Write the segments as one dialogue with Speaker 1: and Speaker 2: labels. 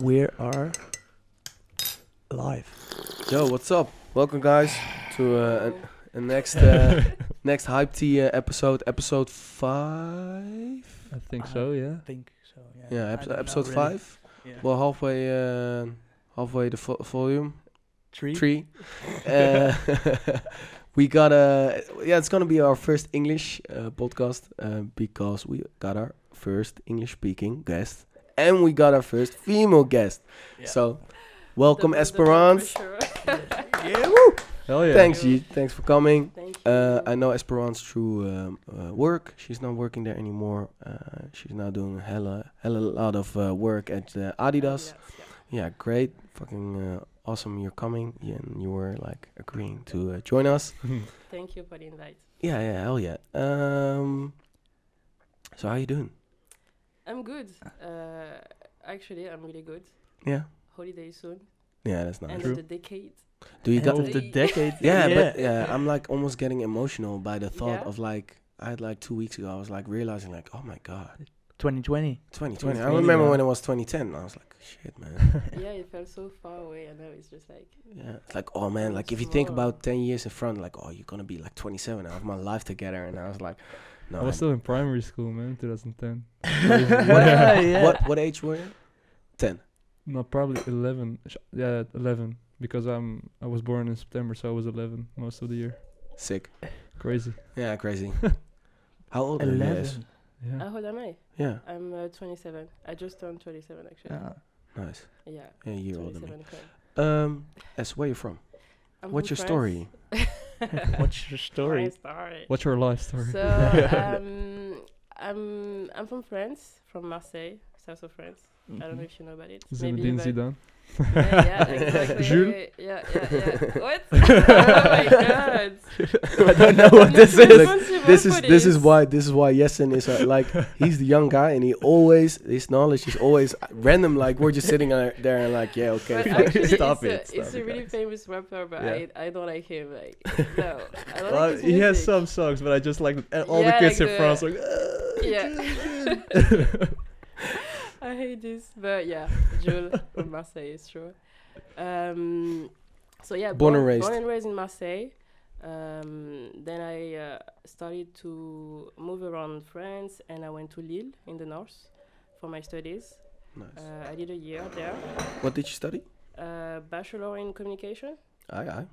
Speaker 1: We are live.
Speaker 2: Yo, what's up? Welcome, guys, to uh, a, a next uh, next hype tea uh, episode, episode five.
Speaker 3: I think
Speaker 1: I
Speaker 4: Uh-huh.
Speaker 3: so, yeah.
Speaker 1: I think so. Yeah.
Speaker 2: Yeah,
Speaker 1: I
Speaker 2: ep-
Speaker 1: don't know
Speaker 2: episode
Speaker 1: really.
Speaker 2: five.
Speaker 1: Yeah.
Speaker 2: Well, halfway, uh, halfway the vo- volume
Speaker 1: three.
Speaker 2: three. Uh, we got a yeah. It's gonna be our first English uh, podcast uh, because we got our first English-speaking guest, and we got our first female guest.
Speaker 1: Yeah.
Speaker 2: So, welcome,
Speaker 4: The- the- the
Speaker 2: Esperance.
Speaker 4: pressure.
Speaker 2: Yeah, woo!
Speaker 3: Hell yeah.
Speaker 2: Thanks, G. Thanks for coming.
Speaker 4: Thank you.
Speaker 2: Uh, I know Esperance through um, uh, work. She's not working there anymore. Uh, she's now doing hella, hella lot of uh, work at uh, Adidas.
Speaker 4: yeah.
Speaker 2: Yeah, great, fucking uh, awesome. You're coming, yeah, and you were like agreeing to uh, join us.
Speaker 4: Thank you for the invite.
Speaker 2: Yeah, yeah, hell yeah. Um, so how you doing?
Speaker 4: I'm good. Uh, actually, I'm really good.
Speaker 2: Yeah,
Speaker 4: Holiday soon.
Speaker 2: yeah, that's nice.
Speaker 4: End
Speaker 3: True.
Speaker 4: of the decade.
Speaker 2: Do you
Speaker 1: End
Speaker 2: got?
Speaker 1: of the
Speaker 4: Yeah.
Speaker 1: decade.
Speaker 2: Yeah, but yeah, I'm like almost getting emotional by the thought
Speaker 4: Yeah.
Speaker 2: of like I had like two weeks ago. I was like realizing like, oh my god.
Speaker 1: 2020.
Speaker 2: 2020. I
Speaker 3: 2020,
Speaker 2: remember
Speaker 3: yeah.
Speaker 2: when it was 2010. I was like, shit, man.
Speaker 4: yeah, it felt so far away, and now it's just like
Speaker 2: Yeah. It's like, oh man, like if you think about 10 years in front, like, oh, you're gonna be like 27. I have my life together, and I was like, no.
Speaker 3: I was
Speaker 2: I-
Speaker 3: still in primary school, man, 2010.
Speaker 2: what,
Speaker 1: Yeah, yeah.
Speaker 2: what what age were you? 10.
Speaker 3: No, probably 11. Sh- Yeah, 11. Because I'm I was born in September, so I was 11 most of the year.
Speaker 2: Sick.
Speaker 3: Crazy.
Speaker 2: Yeah, crazy. How old are you? guys?
Speaker 1: Eleven.
Speaker 3: Yeah.
Speaker 4: how old am I?
Speaker 2: Yeah,
Speaker 4: I'm uh, 27. I just turned 27 actually.
Speaker 1: Yeah.
Speaker 2: nice.
Speaker 4: yeah,
Speaker 2: Yeah, you're older than
Speaker 4: 27. current.
Speaker 2: me. Um, S, where you from?
Speaker 4: I'm
Speaker 2: What's your
Speaker 4: from
Speaker 2: story?
Speaker 4: France.
Speaker 1: What's your
Speaker 4: My
Speaker 1: story?
Speaker 4: story.
Speaker 3: What's your life story?
Speaker 4: So um, I'm I'm from France, from Marseille, south of France. I
Speaker 1: Mm-hmm.
Speaker 4: don't know if you know about it. Maybe,
Speaker 3: Zinedine
Speaker 4: but-
Speaker 3: Zidane.
Speaker 4: yeah, yeah, exactly.
Speaker 3: Jules?
Speaker 4: Yeah, yeah, yeah. What? oh my god.
Speaker 2: I don't know
Speaker 4: I'm
Speaker 2: what
Speaker 4: not
Speaker 2: this is.
Speaker 4: responsible
Speaker 2: This
Speaker 4: for
Speaker 2: is this is why this is why Yesen is uh, like he's the young guy and he always his knowledge is always random like we're just sitting there there and like yeah okay
Speaker 4: But
Speaker 2: fuck,
Speaker 4: actually, uh,
Speaker 2: stop
Speaker 4: it's
Speaker 2: it
Speaker 4: A, it's
Speaker 2: stop
Speaker 4: a
Speaker 2: it,
Speaker 4: really
Speaker 2: guys.
Speaker 4: famous rapper, but
Speaker 3: Yeah.
Speaker 4: I, I don't like him. Like, no, I don't like his
Speaker 3: he has
Speaker 4: music.
Speaker 3: some songs, but I just like all
Speaker 4: all the Yeah,
Speaker 3: the kids
Speaker 4: kids like
Speaker 3: in
Speaker 4: in
Speaker 3: France.
Speaker 4: France
Speaker 3: Like, "Ah,
Speaker 4: Yeah. I hate this, but yeah, Jules from Marseille is true. Um, so yeah,
Speaker 2: Born and raised.
Speaker 4: born and raised in Marseille. Um, then I uh, started to move around France, and I went to Lille in the north for my studies.
Speaker 2: Nice.
Speaker 4: Uh, I did a year there,
Speaker 2: What did you study?
Speaker 4: uh, bachelor in communication,
Speaker 2: I I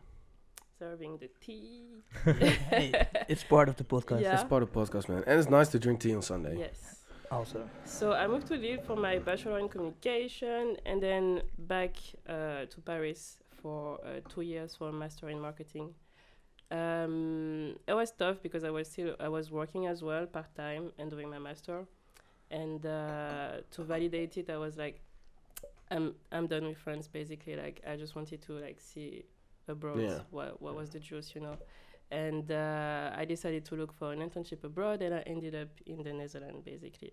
Speaker 4: serving the tea.
Speaker 1: Hey, it's part of the podcast.
Speaker 4: Yeah.
Speaker 2: it's part of podcast man and it's nice to drink tea on Sunday.
Speaker 4: Yes.
Speaker 1: Also.
Speaker 4: So I moved to Lille for my bachelor in communication, and then back uh, to Paris for uh, two years for a master in marketing. Um, it was tough because I was still I was working as well part time and doing my master, and uh, to validate it, I was like, I'm I'm done with France basically. Like I just wanted to like see abroad
Speaker 2: Yeah.
Speaker 4: what what
Speaker 2: Yeah.
Speaker 4: was the juice, you know. And uh, I decided to look for an internship abroad, and I ended up in the Netherlands basically.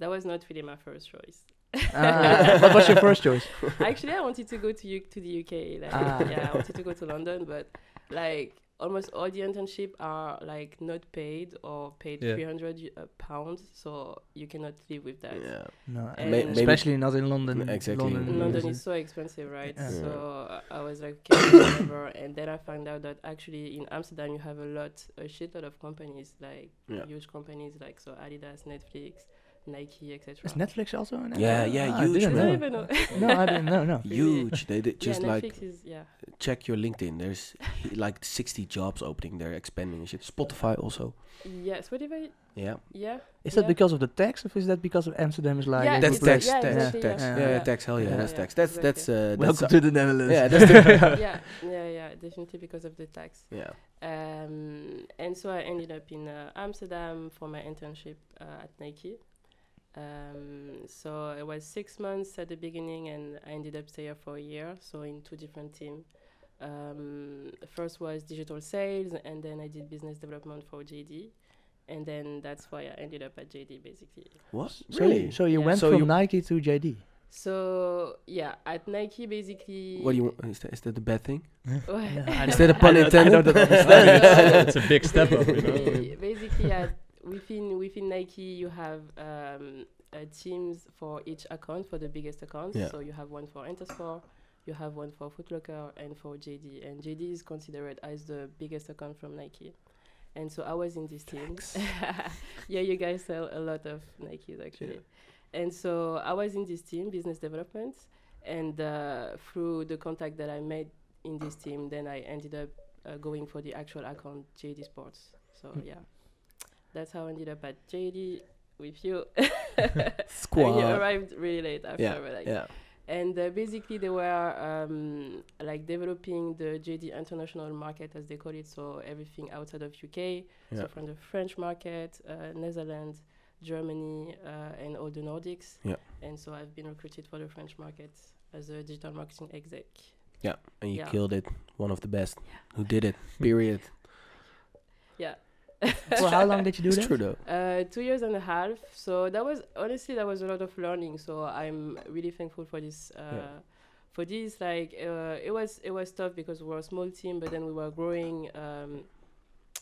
Speaker 4: That was not really my first choice.
Speaker 1: Ah, what was your first choice?
Speaker 4: Actually, I wanted to go to U- to the UK. Like,
Speaker 1: Ah.
Speaker 4: yeah, I wanted to go to London, but like almost all the internship are like not paid or paid
Speaker 3: Yeah.
Speaker 4: 300 eu- uh, pounds, so you cannot live with that.
Speaker 2: Yeah.
Speaker 1: No,
Speaker 4: And- maybe-
Speaker 1: especially not in London.
Speaker 2: Exactly.
Speaker 1: London,
Speaker 2: Mm.
Speaker 4: London
Speaker 2: Yeah.
Speaker 4: is so expensive, right?
Speaker 1: Yeah.
Speaker 4: So uh, I was like, okay, whatever. And then I found out that actually in Amsterdam you have a lot, a shitload of companies, like
Speaker 2: Yeah.
Speaker 4: huge companies, like so Adidas, Netflix, Nike, etc.
Speaker 1: Is Netflix also? in
Speaker 2: Yeah,
Speaker 1: Amsterdam?
Speaker 2: yeah,
Speaker 1: Ah, I
Speaker 2: huge,
Speaker 4: I
Speaker 1: didn't
Speaker 2: man.
Speaker 4: don't
Speaker 1: know.
Speaker 4: even know.
Speaker 1: No, I didn't know. No.
Speaker 2: Huge. They did just
Speaker 4: yeah,
Speaker 2: like
Speaker 4: Netflix is yeah.
Speaker 2: check your LinkedIn. There's he- like 60 jobs opening. They're expanding and shit. Spotify also.
Speaker 4: Yeah, Spotify.
Speaker 2: Yeah.
Speaker 4: Yeah.
Speaker 1: Is that
Speaker 4: yeah.
Speaker 1: because of the tax, or is that because of Amsterdam is like?
Speaker 4: Yeah,
Speaker 1: a
Speaker 2: That's
Speaker 1: good
Speaker 2: tax,
Speaker 1: place?
Speaker 4: yeah,
Speaker 2: tax,
Speaker 4: exactly,
Speaker 2: tax.
Speaker 1: yeah.
Speaker 2: Yeah, yeah,
Speaker 4: Yeah.
Speaker 2: tax. Hell yeah,
Speaker 1: Yeah,
Speaker 2: that's
Speaker 4: yeah,
Speaker 2: tax. That's that's
Speaker 4: exactly.
Speaker 2: uh,
Speaker 1: Welcome
Speaker 2: that's,
Speaker 1: to the Netherlands.
Speaker 2: yeah, that's the,
Speaker 4: yeah, yeah, yeah, definitely because of the tax.
Speaker 2: yeah.
Speaker 4: Um, and so I ended up in uh, Amsterdam for my internship uh, at Nike. Um, so it was six months at the beginning, and I ended up staying for a year. So in two different teams. Um, first was digital sales, and then I did business development for JD, and then that's why I ended up at JD basically.
Speaker 2: What?
Speaker 1: So
Speaker 2: Really?
Speaker 1: you, so you
Speaker 4: Yeah.
Speaker 1: went
Speaker 2: So
Speaker 1: from
Speaker 2: you-
Speaker 1: Nike to JD.
Speaker 4: So yeah, at Nike basically.
Speaker 2: what do you want? Is that, is that the bad thing?
Speaker 1: I
Speaker 2: Is that a pun
Speaker 1: I don't- I
Speaker 2: intended?
Speaker 1: don't
Speaker 4: understand.
Speaker 3: it's a big step up, you know.
Speaker 4: Basically, basically, at- within within Nike, you have um, uh, teams for each account for the biggest accounts.
Speaker 2: Yeah.
Speaker 4: So you have one for Intersport, you have one for Footlocker, and for JD. And JD is considered as the biggest account from Nike. And so I was in this team. yeah, you guys sell a lot of Nikes actually. And so I was in this team, business development, and uh, through the contact that I made in this team, then I ended up uh, going for the actual account JD Sports. So
Speaker 2: Hmm.
Speaker 1: Mm.
Speaker 4: yeah, that's how I ended up at JD with you.
Speaker 2: Squad.
Speaker 4: you arrived really late after,
Speaker 2: Yeah,
Speaker 4: but like,
Speaker 2: yeah.
Speaker 4: and uh, basically they were um, like developing the JD international market as they call it, so everything outside of UK,
Speaker 2: Yeah.
Speaker 4: so from the French market, uh, Netherlands, Germany, uh, and all the Nordics.
Speaker 2: Yeah.
Speaker 4: And so I've been recruited for the French market as a digital marketing exec.
Speaker 2: And you
Speaker 4: Yeah.
Speaker 2: killed it. One of the best who did it. Period.
Speaker 1: For how long did you do
Speaker 2: it's
Speaker 1: that?
Speaker 2: true though.
Speaker 4: Uh, two years and a half. So that was honestly that was a lot of learning. So I'm really thankful for this. Uh, For this, like uh, it was it was tough because we were a small team, but then we were growing um,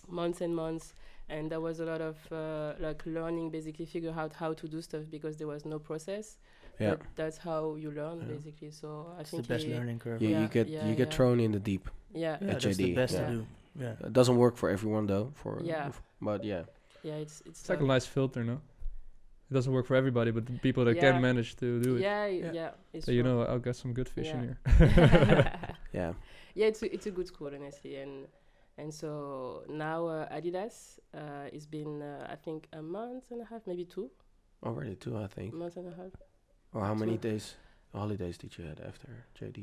Speaker 4: months and months, and there was a lot of uh, like learning, basically figure out how to do stuff because there was no process.
Speaker 2: Yeah.
Speaker 4: But that's how you learn,
Speaker 2: Yeah.
Speaker 4: basically. So I
Speaker 1: It's the
Speaker 4: think
Speaker 1: best
Speaker 4: it-
Speaker 1: learning curve.
Speaker 2: You,
Speaker 4: Yeah,
Speaker 2: you get
Speaker 4: yeah,
Speaker 2: you get
Speaker 4: yeah.
Speaker 2: thrown in the deep.
Speaker 4: Yeah,
Speaker 1: Yeah,
Speaker 2: at
Speaker 1: that's the
Speaker 2: JD,
Speaker 1: best
Speaker 4: yeah.
Speaker 1: to do. Yeah.
Speaker 2: It doesn't work for everyone though. For
Speaker 4: Yeah.
Speaker 2: for- but yeah.
Speaker 4: yeah, it's it's,
Speaker 3: It's like a
Speaker 4: tough.
Speaker 3: nice filter, no? It doesn't work for everybody, but the people that
Speaker 4: Yeah.
Speaker 3: can manage to do it.
Speaker 4: yeah, yeah,
Speaker 1: Yeah.
Speaker 4: it's
Speaker 3: So you
Speaker 4: true.
Speaker 3: know, I'll get some good fish in
Speaker 4: Yeah.
Speaker 3: here.
Speaker 2: Yeah.
Speaker 4: yeah, it's a, it's a good school honestly, and and so now uh, Adidas, uh, it's been uh, I think a month and a half, maybe two
Speaker 2: Already two, I think.
Speaker 4: months and a half.
Speaker 2: Or how many
Speaker 4: Two.
Speaker 2: days holidays did you had after JD?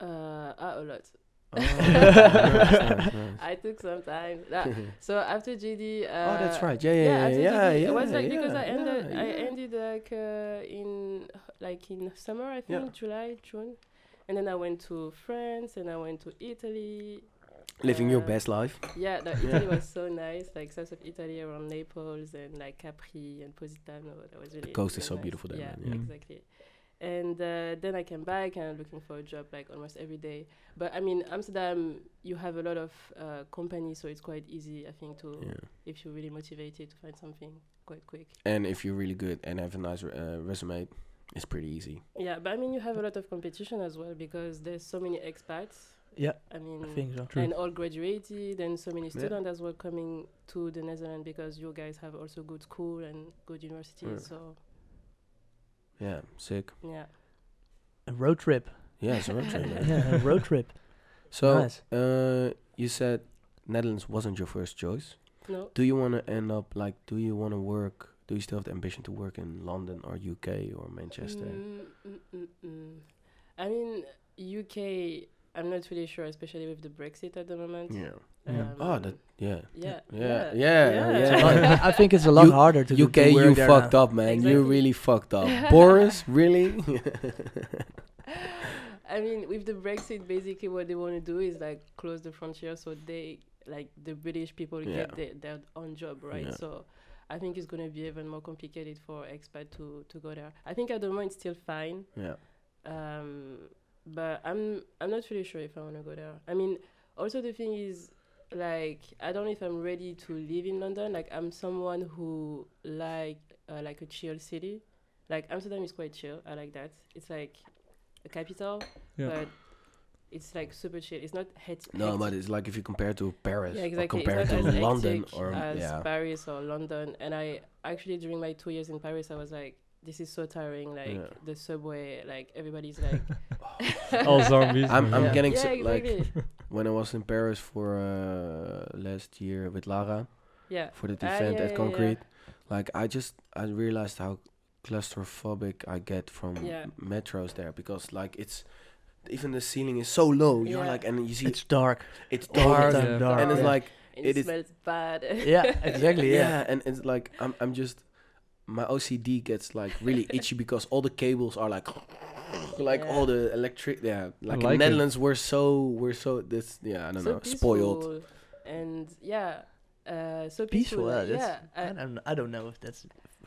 Speaker 4: Uh, ah, a lot.
Speaker 2: Oh, nice, nice, nice.
Speaker 4: I took some time. Ah, so after JD, uh,
Speaker 2: oh, that's right. Yeah, yeah, yeah,
Speaker 4: after
Speaker 2: yeah,
Speaker 4: JD,
Speaker 2: yeah,
Speaker 4: it was like
Speaker 2: yeah,
Speaker 4: because I ended,
Speaker 2: yeah,
Speaker 4: I
Speaker 2: yeah.
Speaker 4: ended like uh, in like in summer, I
Speaker 2: Yeah.
Speaker 4: think July, June, and then I went to France and I went to Italy.
Speaker 2: Living your
Speaker 4: Uh,
Speaker 2: best life.
Speaker 4: Yeah, no,
Speaker 2: Yeah.
Speaker 4: Italy was so nice, like south of Italy around Naples and like Capri and Positano. That was really
Speaker 2: coast is
Speaker 4: really
Speaker 2: so
Speaker 4: nice.
Speaker 2: beautiful there,
Speaker 4: Yeah,
Speaker 2: man, yeah.
Speaker 3: Mm.
Speaker 4: exactly. And uh, then I came back and looking for a job like almost every day. But I mean, Amsterdam, you have a lot of uh, companies, so it's quite easy, I think, to
Speaker 2: Yeah.
Speaker 4: if you're really motivated to find something quite quick.
Speaker 2: And if you're really good and have a nice re- uh, resume, it's pretty easy.
Speaker 4: Yeah, but I mean, you have a lot of competition as well because there's so many expats.
Speaker 1: Yeah,
Speaker 4: I mean,
Speaker 1: I think so.
Speaker 3: True.
Speaker 4: and all graduated and so many
Speaker 2: Yeah.
Speaker 4: students as well coming to the Netherlands because you guys have also good school and good universities.
Speaker 2: Yeah.
Speaker 4: So
Speaker 2: Yeah, sick.
Speaker 4: yeah,
Speaker 1: A road trip.
Speaker 2: Yeah, it's a road trip. man.
Speaker 1: yeah, a road trip.
Speaker 2: So,
Speaker 1: nice.
Speaker 2: uh, you said Netherlands wasn't your first choice.
Speaker 4: no,
Speaker 2: Do you want to end up like? Do you want to work? Do you still have the ambition to work in London or UK or Manchester?
Speaker 4: Mm, mm, mm, mm. I mean UK. I'm not really sure, especially with the Brexit at the moment. Um,
Speaker 2: Yeah.
Speaker 1: Yeah.
Speaker 2: Oh, that. Yeah.
Speaker 4: Yeah.
Speaker 2: Yeah. Yeah.
Speaker 4: yeah.
Speaker 2: Yeah.
Speaker 1: It's a lot-
Speaker 2: yeah.
Speaker 1: I think it's a lot
Speaker 2: uh, You-
Speaker 1: harder to do-
Speaker 2: UK,
Speaker 1: to work
Speaker 2: you
Speaker 1: there
Speaker 2: fucked
Speaker 1: now.
Speaker 2: up, man. You
Speaker 4: Exactly.
Speaker 2: really fucked up. Boris, really?
Speaker 4: I mean, with the Brexit, basically what they want to do is like close the frontier so they, like the British people,
Speaker 2: Yeah.
Speaker 4: get their, their own job, right?
Speaker 2: Yeah.
Speaker 4: So I think it's going to be even more complicated for expat to, to go there. I think at the moment it's still fine,
Speaker 2: yeah.
Speaker 4: um, but I'm I'm not really sure if I want to go there. I mean, also the thing is, like, I don't know if I'm ready to live in London. Like, I'm someone who like uh, like a chill city. Like Amsterdam is quite chill. I like that. It's like a capital,
Speaker 3: Yeah.
Speaker 4: but it's like super chill. It's not het-
Speaker 2: No,
Speaker 4: hectic.
Speaker 2: but it's like if you compare to Paris
Speaker 4: Yeah,
Speaker 2: or
Speaker 4: exactly.
Speaker 2: compare
Speaker 4: it's
Speaker 2: to
Speaker 4: not as
Speaker 2: London
Speaker 4: hectic
Speaker 2: or
Speaker 4: as
Speaker 2: yeah.
Speaker 4: Paris or London. And I actually during my two years in Paris, I was like, this is so tiring. Like
Speaker 2: Yeah.
Speaker 4: the subway, like everybody's like
Speaker 3: All zombies.
Speaker 2: I'm, I'm
Speaker 1: Yeah.
Speaker 2: getting
Speaker 4: yeah,
Speaker 2: si- like
Speaker 4: exactly.
Speaker 2: when I was in Paris for uh, last year with Lara
Speaker 4: yeah.
Speaker 2: for that
Speaker 4: Ah,
Speaker 2: event
Speaker 4: yeah,
Speaker 2: at
Speaker 4: yeah,
Speaker 2: Concrete, like I just I realized how claustrophobic I get from
Speaker 4: Yeah.
Speaker 2: metros there because like it's even the ceiling is so low. You're
Speaker 4: Yeah.
Speaker 2: like and you see it's,
Speaker 1: It's dark. All the
Speaker 2: dark
Speaker 1: time
Speaker 3: Yeah.
Speaker 1: dark.
Speaker 2: and it's
Speaker 4: Yeah.
Speaker 2: like
Speaker 4: And
Speaker 2: It
Speaker 4: it,
Speaker 2: is-
Speaker 4: smells bad.
Speaker 1: Yeah, exactly. Yeah.
Speaker 2: yeah, and it's like I'm I'm just my OCD gets like really itchy because all the cables are like like
Speaker 4: Yeah.
Speaker 2: all the electric yeah like, in
Speaker 3: like it.
Speaker 2: Netherlands we're so we're so this yeah I don't
Speaker 4: so
Speaker 2: know spoiled
Speaker 4: peaceful And yeah, uh, so peaceful.
Speaker 1: Peaceful. uh,
Speaker 4: like,
Speaker 1: that's-
Speaker 4: yeah,
Speaker 1: I,
Speaker 4: uh,
Speaker 1: don't, I don't know if that's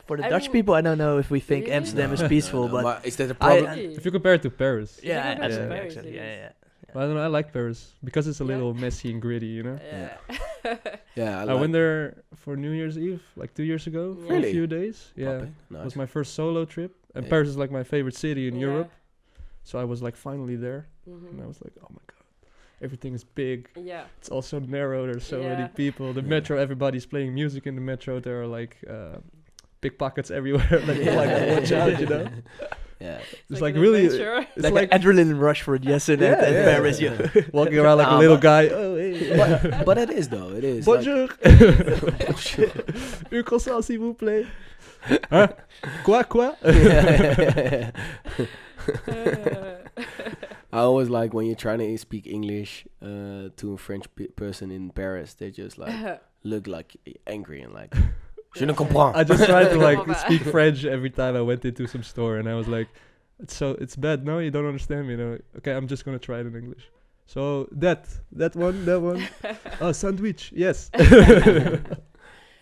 Speaker 1: for the
Speaker 4: I
Speaker 1: Dutch
Speaker 4: mean-
Speaker 1: people. I don't know if we think
Speaker 4: Really?
Speaker 1: Amsterdam
Speaker 2: No,
Speaker 1: is
Speaker 2: no,
Speaker 1: peaceful,
Speaker 2: no,
Speaker 1: but
Speaker 2: is that a
Speaker 1: I-
Speaker 2: problem
Speaker 4: really.
Speaker 3: if you compare it to Paris,
Speaker 1: yeah,
Speaker 4: Yeah,
Speaker 1: I- I
Speaker 3: yeah,
Speaker 1: don't know,
Speaker 4: yeah.
Speaker 1: exactly,
Speaker 4: it
Speaker 1: yeah,
Speaker 4: is.
Speaker 1: yeah.
Speaker 3: But I don't know. I like Paris because it's a
Speaker 4: Yeah.
Speaker 3: little messy and gritty, you know.
Speaker 4: Yeah.
Speaker 2: Yeah, I,
Speaker 3: I,
Speaker 2: like
Speaker 3: went there for New Year's Eve, like two years ago, for
Speaker 2: Really?
Speaker 3: a few days. Yeah,
Speaker 2: Poppy.
Speaker 3: it
Speaker 2: Nice.
Speaker 3: was my first solo trip, and
Speaker 2: Yeah.
Speaker 3: Paris is like my favorite city in
Speaker 4: Yeah.
Speaker 3: Europe. So I was like finally there, and I
Speaker 4: Mhm.
Speaker 3: was like, oh my god, everything is big.
Speaker 4: Yeah.
Speaker 3: It's all so narrow. There's so
Speaker 4: Yeah.
Speaker 3: many people. The
Speaker 2: Yeah.
Speaker 3: metro, everybody's playing music in the metro. There are like uh, pickpockets everywhere. like,
Speaker 2: Yeah.
Speaker 3: oh my God, watch out, you know.
Speaker 2: yeah.
Speaker 3: It's like, really, it's
Speaker 4: adventure.
Speaker 1: Like,
Speaker 3: like,
Speaker 1: an adrenaline rush for Jessen
Speaker 3: Yeah,
Speaker 1: at, at
Speaker 3: yeah,
Speaker 1: Paris.
Speaker 2: yeah,
Speaker 1: yo.
Speaker 3: walking around like
Speaker 2: Ah,
Speaker 3: a little
Speaker 2: but-
Speaker 3: guy. Oh, hey.
Speaker 2: but, but it is though. It is. like-
Speaker 3: Bonjour. Uw croissant, s'il vous plaît. Huh? Quoi, quoi?
Speaker 2: Yeah.
Speaker 4: Uh,
Speaker 2: I always like when you're trying to speak English uh, to a French pe- person in Paris. They just like
Speaker 3: uh,
Speaker 2: look like angry and like. Je ne comprends.
Speaker 3: I just tried to like
Speaker 4: Over.
Speaker 3: speak French every time I went into some store, and I was like, "It's so it's bad. No, you don't understand me. No, okay, I'm just gonna try it in English. So that that one, that one. oh, sandwich. Yes.
Speaker 2: yeah,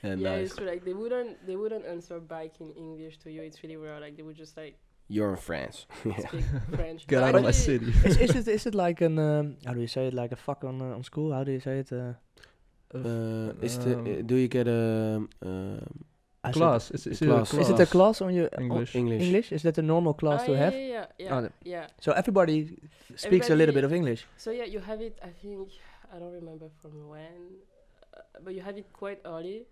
Speaker 4: yeah,
Speaker 2: nice.
Speaker 4: it's true. Like they wouldn't, they wouldn't answer back in English to you. It's really rare. Like they would just like
Speaker 2: You're in France. yeah.
Speaker 4: speak French.
Speaker 3: Get
Speaker 4: But
Speaker 3: out of my
Speaker 4: actually-
Speaker 3: city.
Speaker 1: is, is it is it like an um, how do you say it like a fuck on uh, on school? How do you say it? Uh,
Speaker 2: Uh, is the,
Speaker 3: Um,
Speaker 2: do you get a um,
Speaker 1: I said-
Speaker 3: class. It's, it's
Speaker 2: Class.
Speaker 1: Is
Speaker 3: class.
Speaker 1: it a class on your
Speaker 3: English.
Speaker 1: on
Speaker 2: English?
Speaker 1: English? Is that a normal class
Speaker 4: Ah,
Speaker 1: to
Speaker 4: yeah,
Speaker 1: have?
Speaker 4: Yeah, yeah,
Speaker 1: Oh,
Speaker 4: yeah,
Speaker 1: no.
Speaker 4: yeah.
Speaker 1: So everybody speaks a little
Speaker 4: Everybody-
Speaker 1: bit of English.
Speaker 4: So yeah, you have it. I think I don't remember from when, uh, but you have it quite early.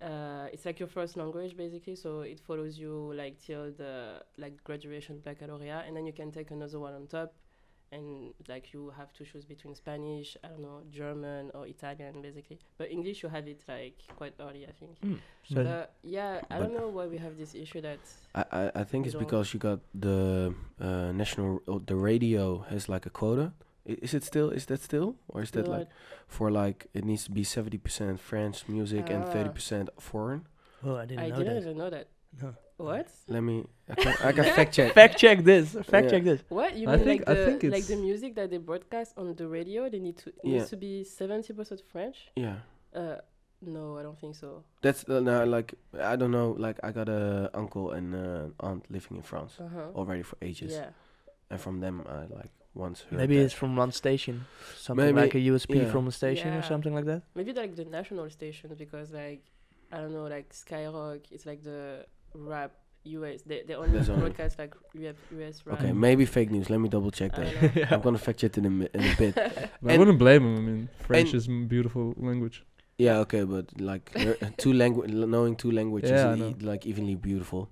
Speaker 4: Uh, it's like your first language basically, so it follows you like till the like graduation baccalaureate, and then you can take another one on top, and like you have to choose between Spanish, I don't know, German or Italian basically. But English you have it like quite early, I think.
Speaker 1: So
Speaker 4: Uh, yeah, I
Speaker 2: But-
Speaker 4: don't know why we have this issue that.
Speaker 2: I, I, I think it's
Speaker 4: Don't.
Speaker 2: because you got the uh, national or the radio has like a quota. I- Is it still is that still or is that
Speaker 4: No, I-
Speaker 2: like for like it needs to be seventy percent French music and
Speaker 4: Ah.
Speaker 2: thirty percent foreign?
Speaker 1: oh, I didn't
Speaker 4: I
Speaker 1: know
Speaker 4: didn't
Speaker 1: that.
Speaker 4: even know that.
Speaker 1: No.
Speaker 4: What?
Speaker 2: Let me I can, I can fact check.
Speaker 1: Fact check this. Fact
Speaker 2: Yeah.
Speaker 1: check this.
Speaker 4: What you
Speaker 3: I
Speaker 4: mean
Speaker 3: think-
Speaker 4: like
Speaker 3: I
Speaker 4: the
Speaker 3: think
Speaker 4: like the
Speaker 3: it's-
Speaker 4: music that they broadcast on the radio? They need to it
Speaker 2: Yeah.
Speaker 4: needs to be seventy percent French.
Speaker 2: Yeah,
Speaker 4: Uh, no, I don't think so.
Speaker 2: that's uh, no, like I don't know. Like I got a uncle and uh, aunt living in France
Speaker 4: Uh huh.
Speaker 2: already for ages,
Speaker 4: Yeah.
Speaker 2: and from them I like once heard
Speaker 1: Maybe
Speaker 2: that.
Speaker 1: it's from one station. Something
Speaker 2: Maybe-
Speaker 1: like a USB
Speaker 2: yeah.
Speaker 1: from a station or
Speaker 4: Yeah.
Speaker 1: something like that.
Speaker 4: Maybe they're, like the national stations because like I don't know like Skyrock. It's like the rap US. They they only
Speaker 2: That's only-
Speaker 4: broadcast like US, US rap.
Speaker 2: okay. Maybe fake news. Let me double check that.
Speaker 4: I
Speaker 2: I'm gonna fact check it in a, mi- in a bit.
Speaker 3: I
Speaker 2: And-
Speaker 3: wouldn't blame him. I mean, French
Speaker 2: and-
Speaker 3: is a beautiful language.
Speaker 2: Yeah, okay, but like lear- two language, knowing two languages,
Speaker 3: Yeah, I
Speaker 2: is
Speaker 3: know.
Speaker 2: e- like evenly beautiful.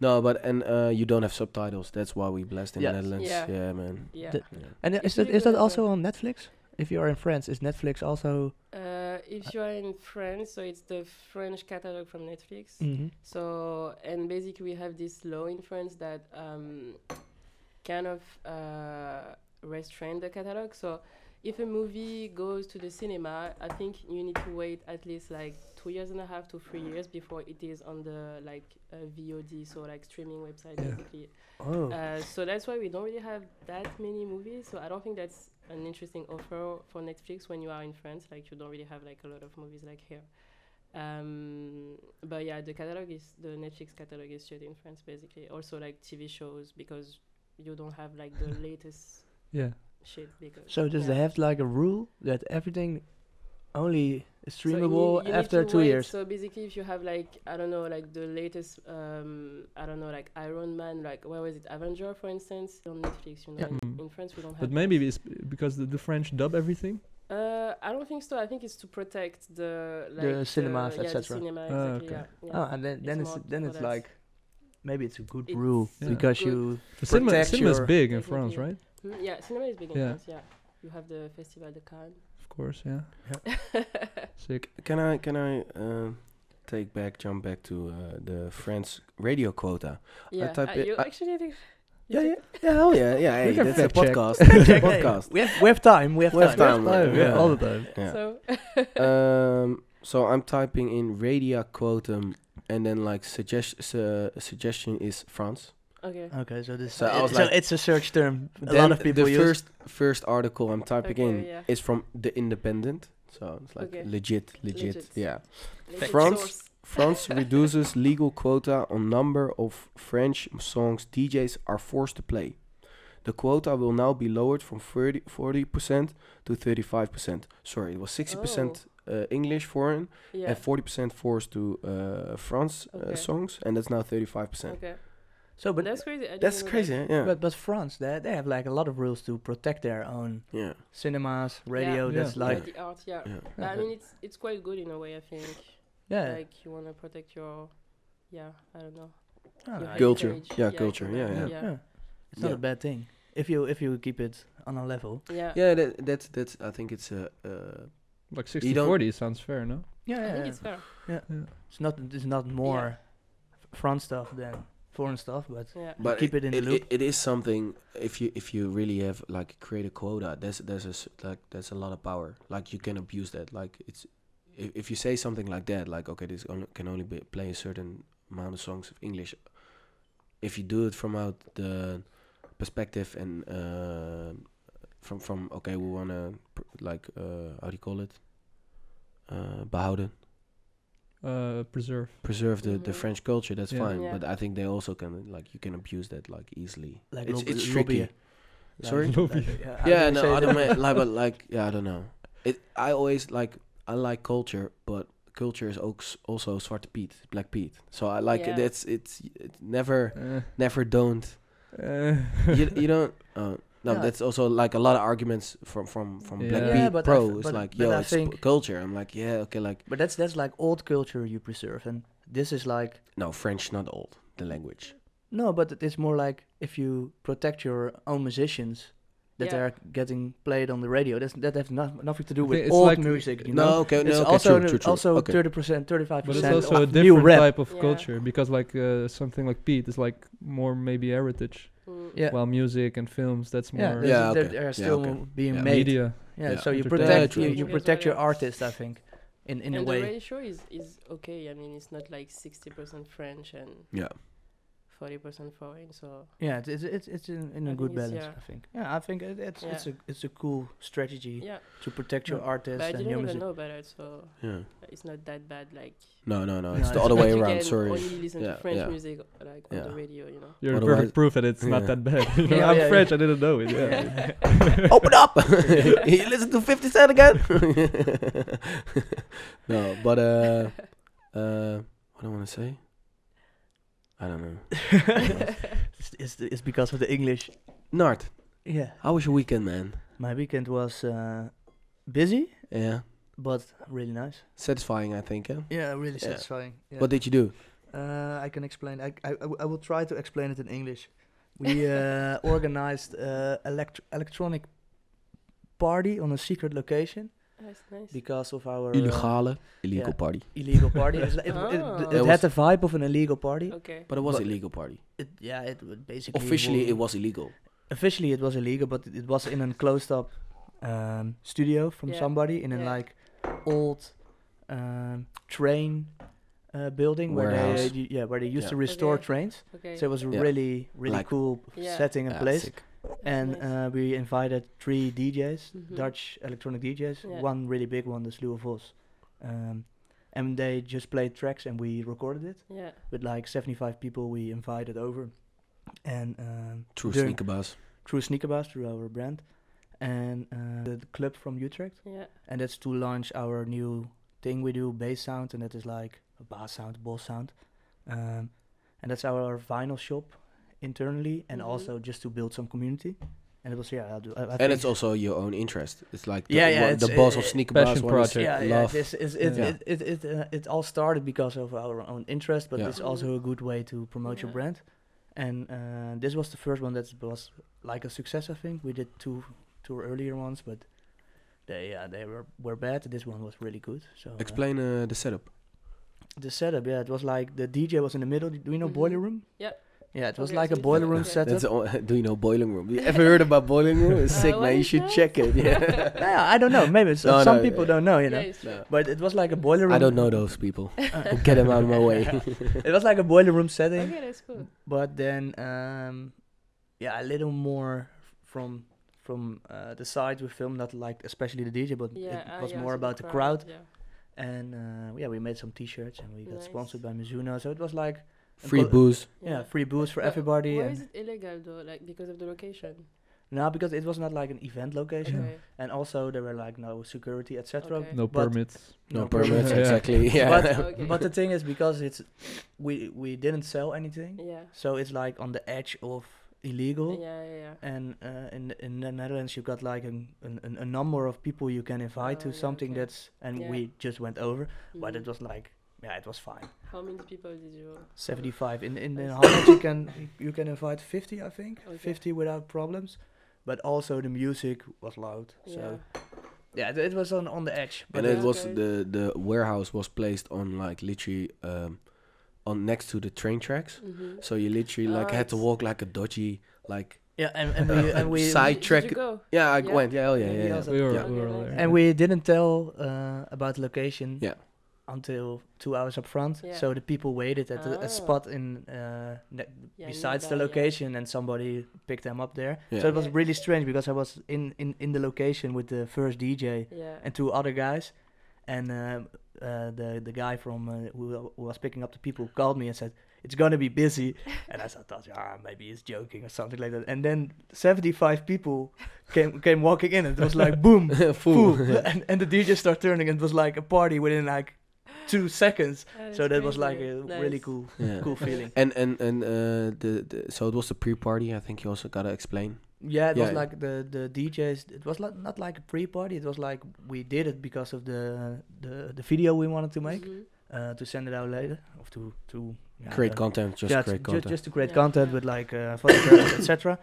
Speaker 2: No, but and uh, you don't have subtitles. That's why we blessed in
Speaker 1: Yes.
Speaker 2: the Netherlands. Yeah,
Speaker 4: Yeah.
Speaker 2: man.
Speaker 4: yeah.
Speaker 1: The-
Speaker 2: Yeah.
Speaker 1: And uh,
Speaker 4: It's
Speaker 1: is that
Speaker 4: really
Speaker 1: is
Speaker 4: good
Speaker 1: that
Speaker 4: as
Speaker 1: also
Speaker 4: well.
Speaker 1: on Netflix? If you are in France, is Netflix also?
Speaker 4: Uh, if you are in France, so it's the French catalog from Netflix.
Speaker 1: Mm-hmm.
Speaker 4: So, and basically, we have this law in France that um, kind of uh, restrain the catalog. So, if a movie goes to the cinema, I think you need to wait at least like two years and a half to three years before it is on the like uh, VOD, so like streaming website
Speaker 3: Yeah.
Speaker 4: basically.
Speaker 1: Oh,
Speaker 4: Uh, so that's why we don't really have that many movies. So I don't think that's an interesting offer for Netflix when you are in France. Like you don't really have like a lot of movies like here. Um, but yeah, the catalog is the Netflix catalog is showed in France basically. Also like TV shows because you don't have like the latest
Speaker 3: Yeah.
Speaker 4: shit because.
Speaker 1: so does
Speaker 4: yeah.
Speaker 1: they have like a rule that everything only is
Speaker 4: So you need-
Speaker 1: streamable
Speaker 4: you need
Speaker 1: after
Speaker 4: to
Speaker 1: two
Speaker 4: wait.
Speaker 1: years?
Speaker 4: So basically, if you have like I don't know, like the latest, um, I don't know, like Iron Man, like where was it, Avenger, for instance, on Netflix. You know,
Speaker 1: Yeah.
Speaker 4: in,
Speaker 3: Mm.
Speaker 4: in France we don't have.
Speaker 3: But
Speaker 4: that.
Speaker 3: maybe it's b- because the, the French dub everything.
Speaker 4: Uh, I don't think so. I think it's to protect the like
Speaker 1: The cinemas,
Speaker 4: yeah, the
Speaker 1: etc..
Speaker 4: cinema,
Speaker 3: Ah,
Speaker 4: exactly,
Speaker 3: okay.
Speaker 4: yeah, yeah.
Speaker 1: Oh, and then then
Speaker 4: It's
Speaker 1: it's,
Speaker 4: more
Speaker 1: then
Speaker 4: for
Speaker 1: it's
Speaker 4: that.
Speaker 1: like maybe it's a good
Speaker 4: It's
Speaker 1: rule
Speaker 3: Yeah.
Speaker 1: because
Speaker 4: good.
Speaker 1: you
Speaker 3: The cinema,
Speaker 1: Protect
Speaker 3: cinema is
Speaker 1: your-
Speaker 3: big in France,
Speaker 4: Technically.
Speaker 3: right?
Speaker 4: Mm, yeah, cinema is big in
Speaker 3: Yeah.
Speaker 4: France. Yeah, you have the festival de Cannes.
Speaker 3: Of course, yeah. Sick.
Speaker 2: Can I can I uh, take back jump back to uh, the France radio quota?
Speaker 4: yeah,
Speaker 2: type
Speaker 4: uh,
Speaker 2: it-
Speaker 4: you
Speaker 2: I-
Speaker 4: actually think
Speaker 2: Yeah, yeah, yeah, hell yeah, yeah. Hey,
Speaker 3: Oh, We can
Speaker 2: that's a
Speaker 3: fact check.
Speaker 2: podcast.
Speaker 1: Fact
Speaker 2: That's a
Speaker 1: check, hey,
Speaker 2: podcast.
Speaker 1: We have we have time. We have
Speaker 2: We have
Speaker 1: time.
Speaker 2: time, right?
Speaker 3: yeah,
Speaker 2: Yeah.
Speaker 3: all the time.
Speaker 2: Yeah.
Speaker 4: so.
Speaker 2: um, so I'm typing in radio quotum, and then like suggest su- suggestion is France.
Speaker 4: Okay.
Speaker 2: Uh,
Speaker 1: Okay, so this
Speaker 2: So I
Speaker 1: it-
Speaker 2: was
Speaker 1: so
Speaker 2: like-
Speaker 1: it's a search term. A
Speaker 2: Then
Speaker 1: lot of people
Speaker 2: the
Speaker 1: use.
Speaker 2: first first article I'm typing
Speaker 4: Okay,
Speaker 2: in
Speaker 4: yeah.
Speaker 2: is from the Independent, so it's like
Speaker 4: Okay.
Speaker 2: legit, legit,
Speaker 4: Legit.
Speaker 2: Yeah,
Speaker 4: Legit
Speaker 2: France?
Speaker 4: source.
Speaker 2: France reduces legal quota on number of French songs DJs are forced to play. The quota will now be lowered from 30, 40% to 35%. Sorry, it was 60%
Speaker 4: Oh.
Speaker 2: uh, English foreign
Speaker 4: Yeah.
Speaker 2: and 40% forced to uh, France uh,
Speaker 4: Okay.
Speaker 2: songs, and that's now 35%.
Speaker 4: okay.
Speaker 1: So, Oh, but
Speaker 4: that's crazy. I didn't
Speaker 2: That's
Speaker 4: know that.
Speaker 2: crazy, eh? yeah.
Speaker 1: but but France, they, they have like a lot of rules to protect their own
Speaker 2: yeah.
Speaker 1: cinemas, radio.
Speaker 3: Yeah.
Speaker 1: That's
Speaker 2: Yeah.
Speaker 1: like
Speaker 4: Like the art, yeah.
Speaker 2: yeah.
Speaker 4: I mean, it's it's quite good in a way. I think.
Speaker 1: yeah,
Speaker 4: Like you want to protect your, yeah. I don't know.
Speaker 1: Ah,
Speaker 4: your
Speaker 2: Culture.
Speaker 4: heritage.
Speaker 2: Yeah, culture. Yeah,
Speaker 1: yeah,
Speaker 4: yeah.
Speaker 1: yeah. It's not
Speaker 2: Yeah.
Speaker 1: a bad thing if you if you keep it on a level.
Speaker 4: Yeah.
Speaker 2: Yeah, that, that's that's. I think it's a. Uh,
Speaker 3: Like
Speaker 2: You
Speaker 3: 60
Speaker 2: don't-
Speaker 3: 40 sounds fair, no?
Speaker 1: Yeah,
Speaker 4: I
Speaker 1: yeah.
Speaker 4: think
Speaker 1: yeah.
Speaker 4: it's fair.
Speaker 1: It's not it's not more f front stuff than foreign stuff, but
Speaker 4: Yeah.
Speaker 2: but
Speaker 1: keep it in the loop.
Speaker 2: it is something. If you if you really have like create a quota, there's there's a s- like there's a lot of power. Like you can abuse that. Like it's if, if you say something like that, like okay, this only, can only be play a certain amount of songs of English. If you do it from out the perspective and uh, from from okay, we wanna pr- like uh, how do you call it? Uh, behouden.
Speaker 3: Uh, preserve.
Speaker 2: preserve the, the
Speaker 4: Mhm.
Speaker 2: French culture. That's
Speaker 3: Yeah.
Speaker 2: fine,
Speaker 4: Yeah.
Speaker 2: but I think they also can like you can abuse that like easily.
Speaker 1: Like
Speaker 2: it's
Speaker 1: lobby-
Speaker 2: it's
Speaker 1: lobby-
Speaker 2: tricky.
Speaker 1: like-
Speaker 2: Sorry?
Speaker 3: Lobby.
Speaker 1: how do
Speaker 2: yeah,
Speaker 1: you say
Speaker 2: no, I
Speaker 1: that?
Speaker 2: don't mean, like, but like yeah, I don't know. It I always like I like culture, but culture is ook- also Zwarte Piet, Black Piet. So I like it.
Speaker 4: Yeah.
Speaker 2: It's it's it never
Speaker 3: Eh,
Speaker 2: never don't
Speaker 3: eh.
Speaker 2: you, you don't. Uh, no,
Speaker 1: Yeah.
Speaker 2: that's also like a lot of arguments from from from Black
Speaker 3: Yeah.
Speaker 2: Piet
Speaker 3: Yeah,
Speaker 1: but I
Speaker 2: Pro.
Speaker 1: th-
Speaker 2: it's
Speaker 1: but-
Speaker 2: like
Speaker 1: but
Speaker 2: yo,
Speaker 1: I
Speaker 2: it's p-
Speaker 1: think-
Speaker 2: culture. I'm like yeah, okay, like
Speaker 1: But that's that's like old culture you preserve, and this is like
Speaker 2: no French, not old the language.
Speaker 1: no, but it is more like if you protect your own musicians that
Speaker 4: Yeah.
Speaker 1: they are getting played on the radio. That's, that has no, nothing to do
Speaker 3: Okay,
Speaker 1: with
Speaker 3: it's
Speaker 1: old
Speaker 3: like-
Speaker 1: music. You
Speaker 2: no,
Speaker 1: know,
Speaker 2: okay, no,
Speaker 1: it's
Speaker 2: okay,
Speaker 1: also
Speaker 2: true, true, true.
Speaker 1: also
Speaker 2: okay.
Speaker 1: thirty percent, thirty five
Speaker 3: But it's
Speaker 1: percent.
Speaker 3: also a
Speaker 1: new
Speaker 3: different
Speaker 1: rap.
Speaker 3: type of
Speaker 4: Yeah.
Speaker 3: culture because, like, uh, something like Pete is like more maybe heritage,
Speaker 4: Mm.
Speaker 1: Yeah.
Speaker 3: while music and films that's
Speaker 1: Yeah,
Speaker 3: more
Speaker 1: this
Speaker 2: Yeah,
Speaker 1: is- they're-
Speaker 2: okay.
Speaker 1: they
Speaker 2: Yeah,
Speaker 1: are still
Speaker 2: okay.
Speaker 1: being
Speaker 2: Yeah.
Speaker 1: made.
Speaker 3: media.
Speaker 1: Yeah,
Speaker 2: Yeah.
Speaker 1: so you
Speaker 3: Entertainment.
Speaker 1: protect
Speaker 2: Yeah,
Speaker 1: you,
Speaker 2: true.
Speaker 1: you
Speaker 4: Yeah.
Speaker 1: protect your
Speaker 4: Yeah.
Speaker 1: artist, I think, in in
Speaker 4: and
Speaker 1: a
Speaker 4: the
Speaker 1: way.
Speaker 4: ratio is is okay. I mean, it's not like sixty percent French and
Speaker 2: Yeah.
Speaker 4: forty percent foreign. So
Speaker 1: Yeah, it's it's it's, it's in, in a
Speaker 4: I think
Speaker 1: good
Speaker 4: it's-
Speaker 1: balance,
Speaker 4: yeah.
Speaker 1: I think. Yeah, I think it, it's
Speaker 4: Yeah.
Speaker 1: it's a it's a cool strategy
Speaker 4: yeah,
Speaker 1: to protect your
Speaker 3: Yeah.
Speaker 1: artist
Speaker 4: but
Speaker 1: and
Speaker 4: I
Speaker 1: your
Speaker 4: didn't even
Speaker 1: music.
Speaker 4: know better, so
Speaker 2: Yeah.
Speaker 4: it's not that bad. Like
Speaker 2: No, no, no.
Speaker 1: No,
Speaker 2: It's
Speaker 1: it's
Speaker 2: the other
Speaker 1: not-
Speaker 2: way
Speaker 4: you
Speaker 2: around.
Speaker 4: can
Speaker 2: Sorry.
Speaker 4: Only listen
Speaker 2: Yeah,
Speaker 4: to French
Speaker 2: yeah.
Speaker 4: music like
Speaker 2: Yeah.
Speaker 4: on the radio, you know.
Speaker 3: You're
Speaker 2: Otherwise-
Speaker 3: perfect proof that it's not
Speaker 2: Yeah.
Speaker 3: that bad. You know,
Speaker 1: Yeah,
Speaker 3: I'm
Speaker 1: yeah,
Speaker 3: French. I didn't know it. Yeah.
Speaker 2: Open up. you listen to Fifty Cent again? no, but uh, uh, what I want to say? I don't know.
Speaker 1: it's, it's it's because of the English.
Speaker 2: Nart,
Speaker 1: Yeah,
Speaker 2: how was your weekend, man?
Speaker 1: my weekend was uh, busy
Speaker 2: Yeah,
Speaker 1: but really nice.
Speaker 2: satisfying, I think. Yeah?
Speaker 1: Yeah, really
Speaker 2: Yeah.
Speaker 1: satisfying. Yeah.
Speaker 2: What did you do?
Speaker 1: uh, I can explain. I, I I w- I will try to explain it in English. We uh, organized uh, elect- electronic party on a secret location
Speaker 4: That's nice.
Speaker 1: because of our uh,
Speaker 2: Illegale, illegal
Speaker 1: yeah.
Speaker 2: party.
Speaker 1: illegal party. It's like- it, it,
Speaker 4: Oh.
Speaker 1: it,
Speaker 4: It
Speaker 1: had
Speaker 2: was-
Speaker 1: the vibe of an illegal party.
Speaker 4: okay.
Speaker 2: But it was
Speaker 1: But-
Speaker 2: illegal party.
Speaker 1: It, yeah, it would basically
Speaker 2: Officially,
Speaker 1: wa-
Speaker 2: it was illegal.
Speaker 1: officially it was illegal, but it, it was in a closed up um, studio from
Speaker 4: Yeah,
Speaker 1: somebody in a
Speaker 4: yeah.
Speaker 1: like old um, train uh, building where
Speaker 2: Warehouse.
Speaker 1: they yeah where they used
Speaker 2: Yeah.
Speaker 1: to restore
Speaker 4: Okay.
Speaker 1: trains.
Speaker 4: Okay.
Speaker 1: So it was a
Speaker 2: Yeah.
Speaker 1: really really
Speaker 2: Like-
Speaker 1: cool
Speaker 4: Yeah.
Speaker 1: setting and
Speaker 2: Ah,
Speaker 1: place.
Speaker 2: sick.
Speaker 4: That's
Speaker 1: And
Speaker 4: nice.
Speaker 1: uh, we invited three DJs,
Speaker 4: Mhm.
Speaker 1: Dutch electronic DJs.
Speaker 4: Yeah.
Speaker 1: One really big one, the Slew of Oz. Um, and they just played tracks, and we recorded it
Speaker 4: yeah.
Speaker 1: with like 75 people we invited over. And um,
Speaker 2: True
Speaker 1: during-
Speaker 2: sneaker bus.
Speaker 1: through Sneakerbus, through our brand, and uh, the, the club from Utrecht,
Speaker 4: Yeah.
Speaker 1: and that's to launch our new thing we do, bass sound, and that is like a bass sound, boss sound, um, and that's our vinyl shop internally, and
Speaker 4: Mhm.
Speaker 1: also just to build some community, and it was yeah, I'll do, I, I
Speaker 2: And
Speaker 1: think-
Speaker 2: it's also your own interest. It's like the,
Speaker 1: Yeah, yeah,
Speaker 2: one-
Speaker 1: it's-
Speaker 2: the boss
Speaker 1: uh,
Speaker 2: of sneaker bus.
Speaker 3: Passion
Speaker 2: one is
Speaker 3: project.
Speaker 1: yeah, yeah,
Speaker 2: love.
Speaker 1: this is it.
Speaker 3: Yeah.
Speaker 1: It it it, uh, it all started because of our own interest, but
Speaker 2: Yeah.
Speaker 1: it's also a good way to promote your
Speaker 4: Yeah.
Speaker 1: brand. And uh, this was the first one that was like a success. I think we did two two earlier ones, but they uh, they were were bad. This one was really good. So uh,
Speaker 2: Explain uh, the setup.
Speaker 1: the setup. Yeah, it was like the DJ was in the middle. Do you know
Speaker 4: Mhm.
Speaker 1: boiler room?
Speaker 4: Yep.
Speaker 1: Yeah, it was
Speaker 4: Okay,
Speaker 1: like
Speaker 4: so
Speaker 1: a
Speaker 4: it's
Speaker 1: boiler
Speaker 4: like-
Speaker 1: room
Speaker 4: okay.
Speaker 1: setup.
Speaker 2: That's all, do you know boiling room? You ever heard about boiling room? It's
Speaker 4: Uh,
Speaker 1: Oh
Speaker 2: sick,
Speaker 4: what
Speaker 2: man. You
Speaker 4: is
Speaker 2: should
Speaker 4: that?
Speaker 2: check it. Yeah.
Speaker 1: no, I don't know. Maybe it's,
Speaker 2: No,
Speaker 1: some
Speaker 2: no,
Speaker 1: people
Speaker 2: yeah.
Speaker 1: don't know. You
Speaker 4: yeah,
Speaker 1: know.
Speaker 4: it's true.
Speaker 2: No.
Speaker 1: But it was like a boiler room.
Speaker 2: I don't know those people.
Speaker 1: Uh,
Speaker 2: Get them out of my way.
Speaker 1: it was like a boiler room setting.
Speaker 4: Okay, that's cool.
Speaker 1: but then um yeah a little more from from uh, the side we filmed not like especially the dj but
Speaker 4: Yeah. ah,
Speaker 1: it was
Speaker 4: yeah,
Speaker 1: more
Speaker 4: so
Speaker 1: about the crowd,
Speaker 4: Yeah.
Speaker 1: and uh, yeah we made some t-shirts and we got
Speaker 4: Nice.
Speaker 1: sponsored by mizuno so it was like
Speaker 2: Free
Speaker 1: co-
Speaker 2: booze.
Speaker 1: Yeah, free booze for
Speaker 4: But
Speaker 1: everybody.
Speaker 4: Why
Speaker 1: And
Speaker 4: is it illegal though? Like because of the location.
Speaker 1: no, because it was not like an event location,
Speaker 4: Okay.
Speaker 1: and also there were like no security, etc.
Speaker 4: Okay.
Speaker 3: No
Speaker 1: But-
Speaker 3: permits.
Speaker 2: No,
Speaker 1: No
Speaker 2: permits,
Speaker 1: permits.
Speaker 3: Yeah.
Speaker 2: exactly. Yeah.
Speaker 1: But,
Speaker 4: Okay.
Speaker 1: but the thing is, because it's we we didn't sell anything,
Speaker 4: Yeah.
Speaker 1: so it's like on the edge of
Speaker 4: Yeah,
Speaker 1: illegal.
Speaker 4: yeah, yeah.
Speaker 1: And uh, in in the Netherlands, you've got like an, an, an- a number of people you can invite
Speaker 4: Oh,
Speaker 1: to
Speaker 4: yeah,
Speaker 1: something
Speaker 4: okay.
Speaker 1: that's, and
Speaker 4: Yeah.
Speaker 1: we just went over, but
Speaker 4: Mhm.
Speaker 1: it was like, yeah, it was fine.
Speaker 4: How many people did you?
Speaker 1: 75 in in, in
Speaker 4: I
Speaker 1: how much you can you can invite 50 i think
Speaker 4: Okay.
Speaker 1: 50 without problems but also the music was loud so yeah it, it was on on the edge but
Speaker 2: and
Speaker 4: Yeah.
Speaker 2: it was
Speaker 4: Okay.
Speaker 2: the the warehouse was placed on like literally um, on next to the train tracks.
Speaker 4: Mhm.
Speaker 2: So you literally like
Speaker 4: Ah,
Speaker 2: had to
Speaker 4: it's-
Speaker 2: walk like a dodgy like
Speaker 1: yeah and, and we and we
Speaker 2: Side- I
Speaker 4: Did-
Speaker 2: track-
Speaker 4: Did you go?
Speaker 2: yeah I
Speaker 4: Yeah.
Speaker 2: went yeah oh yeah
Speaker 1: Yeah,
Speaker 2: yeah,
Speaker 1: he
Speaker 2: yeah.
Speaker 1: also-
Speaker 3: We were,
Speaker 2: Yeah.
Speaker 3: we were all
Speaker 4: Okay,
Speaker 3: there.
Speaker 1: and we didn't tell uh, about location
Speaker 2: Yeah.
Speaker 1: until two hours up front
Speaker 4: Yeah.
Speaker 1: so the people waited at a,
Speaker 4: Ah.
Speaker 1: a spot in uh, ne-
Speaker 4: Yeah,
Speaker 1: besides the
Speaker 4: nearby, yeah.
Speaker 1: location and somebody picked them up there
Speaker 2: Yeah.
Speaker 1: so it was
Speaker 4: Yeah.
Speaker 1: really strange because i was in in in the location with the first dj
Speaker 4: Yeah.
Speaker 1: and two other guys. And um, uh, the the guy from uh, who, who was picking up the people called me and said it's gonna be busy. and I thought, ah, maybe he's joking or something like that. And then seventy five people came came walking in, and it was like boom,
Speaker 2: Full.
Speaker 1: boom. and and the DJ started turning, and it was like a party within like two seconds.
Speaker 4: Oh,
Speaker 1: so
Speaker 4: that's
Speaker 1: that was like
Speaker 4: crazy.
Speaker 1: a
Speaker 4: Nice.
Speaker 1: really cool
Speaker 2: Yeah.
Speaker 1: cool feeling.
Speaker 2: And and and uh, the, the so it was the pre-party. I think you also gotta explain.
Speaker 1: Yeah, it was
Speaker 2: Yeah.
Speaker 1: like the the DJs. It was like not like a pre party. It was like we did it because of the the the video we wanted to make.
Speaker 4: Mhm.
Speaker 1: uh, to send it out later or to to yeah,
Speaker 2: create
Speaker 1: the-
Speaker 2: content, just
Speaker 1: yeah,
Speaker 2: create
Speaker 1: ju-
Speaker 2: content.
Speaker 1: just to create
Speaker 4: Yeah.
Speaker 1: content
Speaker 4: Yeah.
Speaker 1: with like uh, photographs etc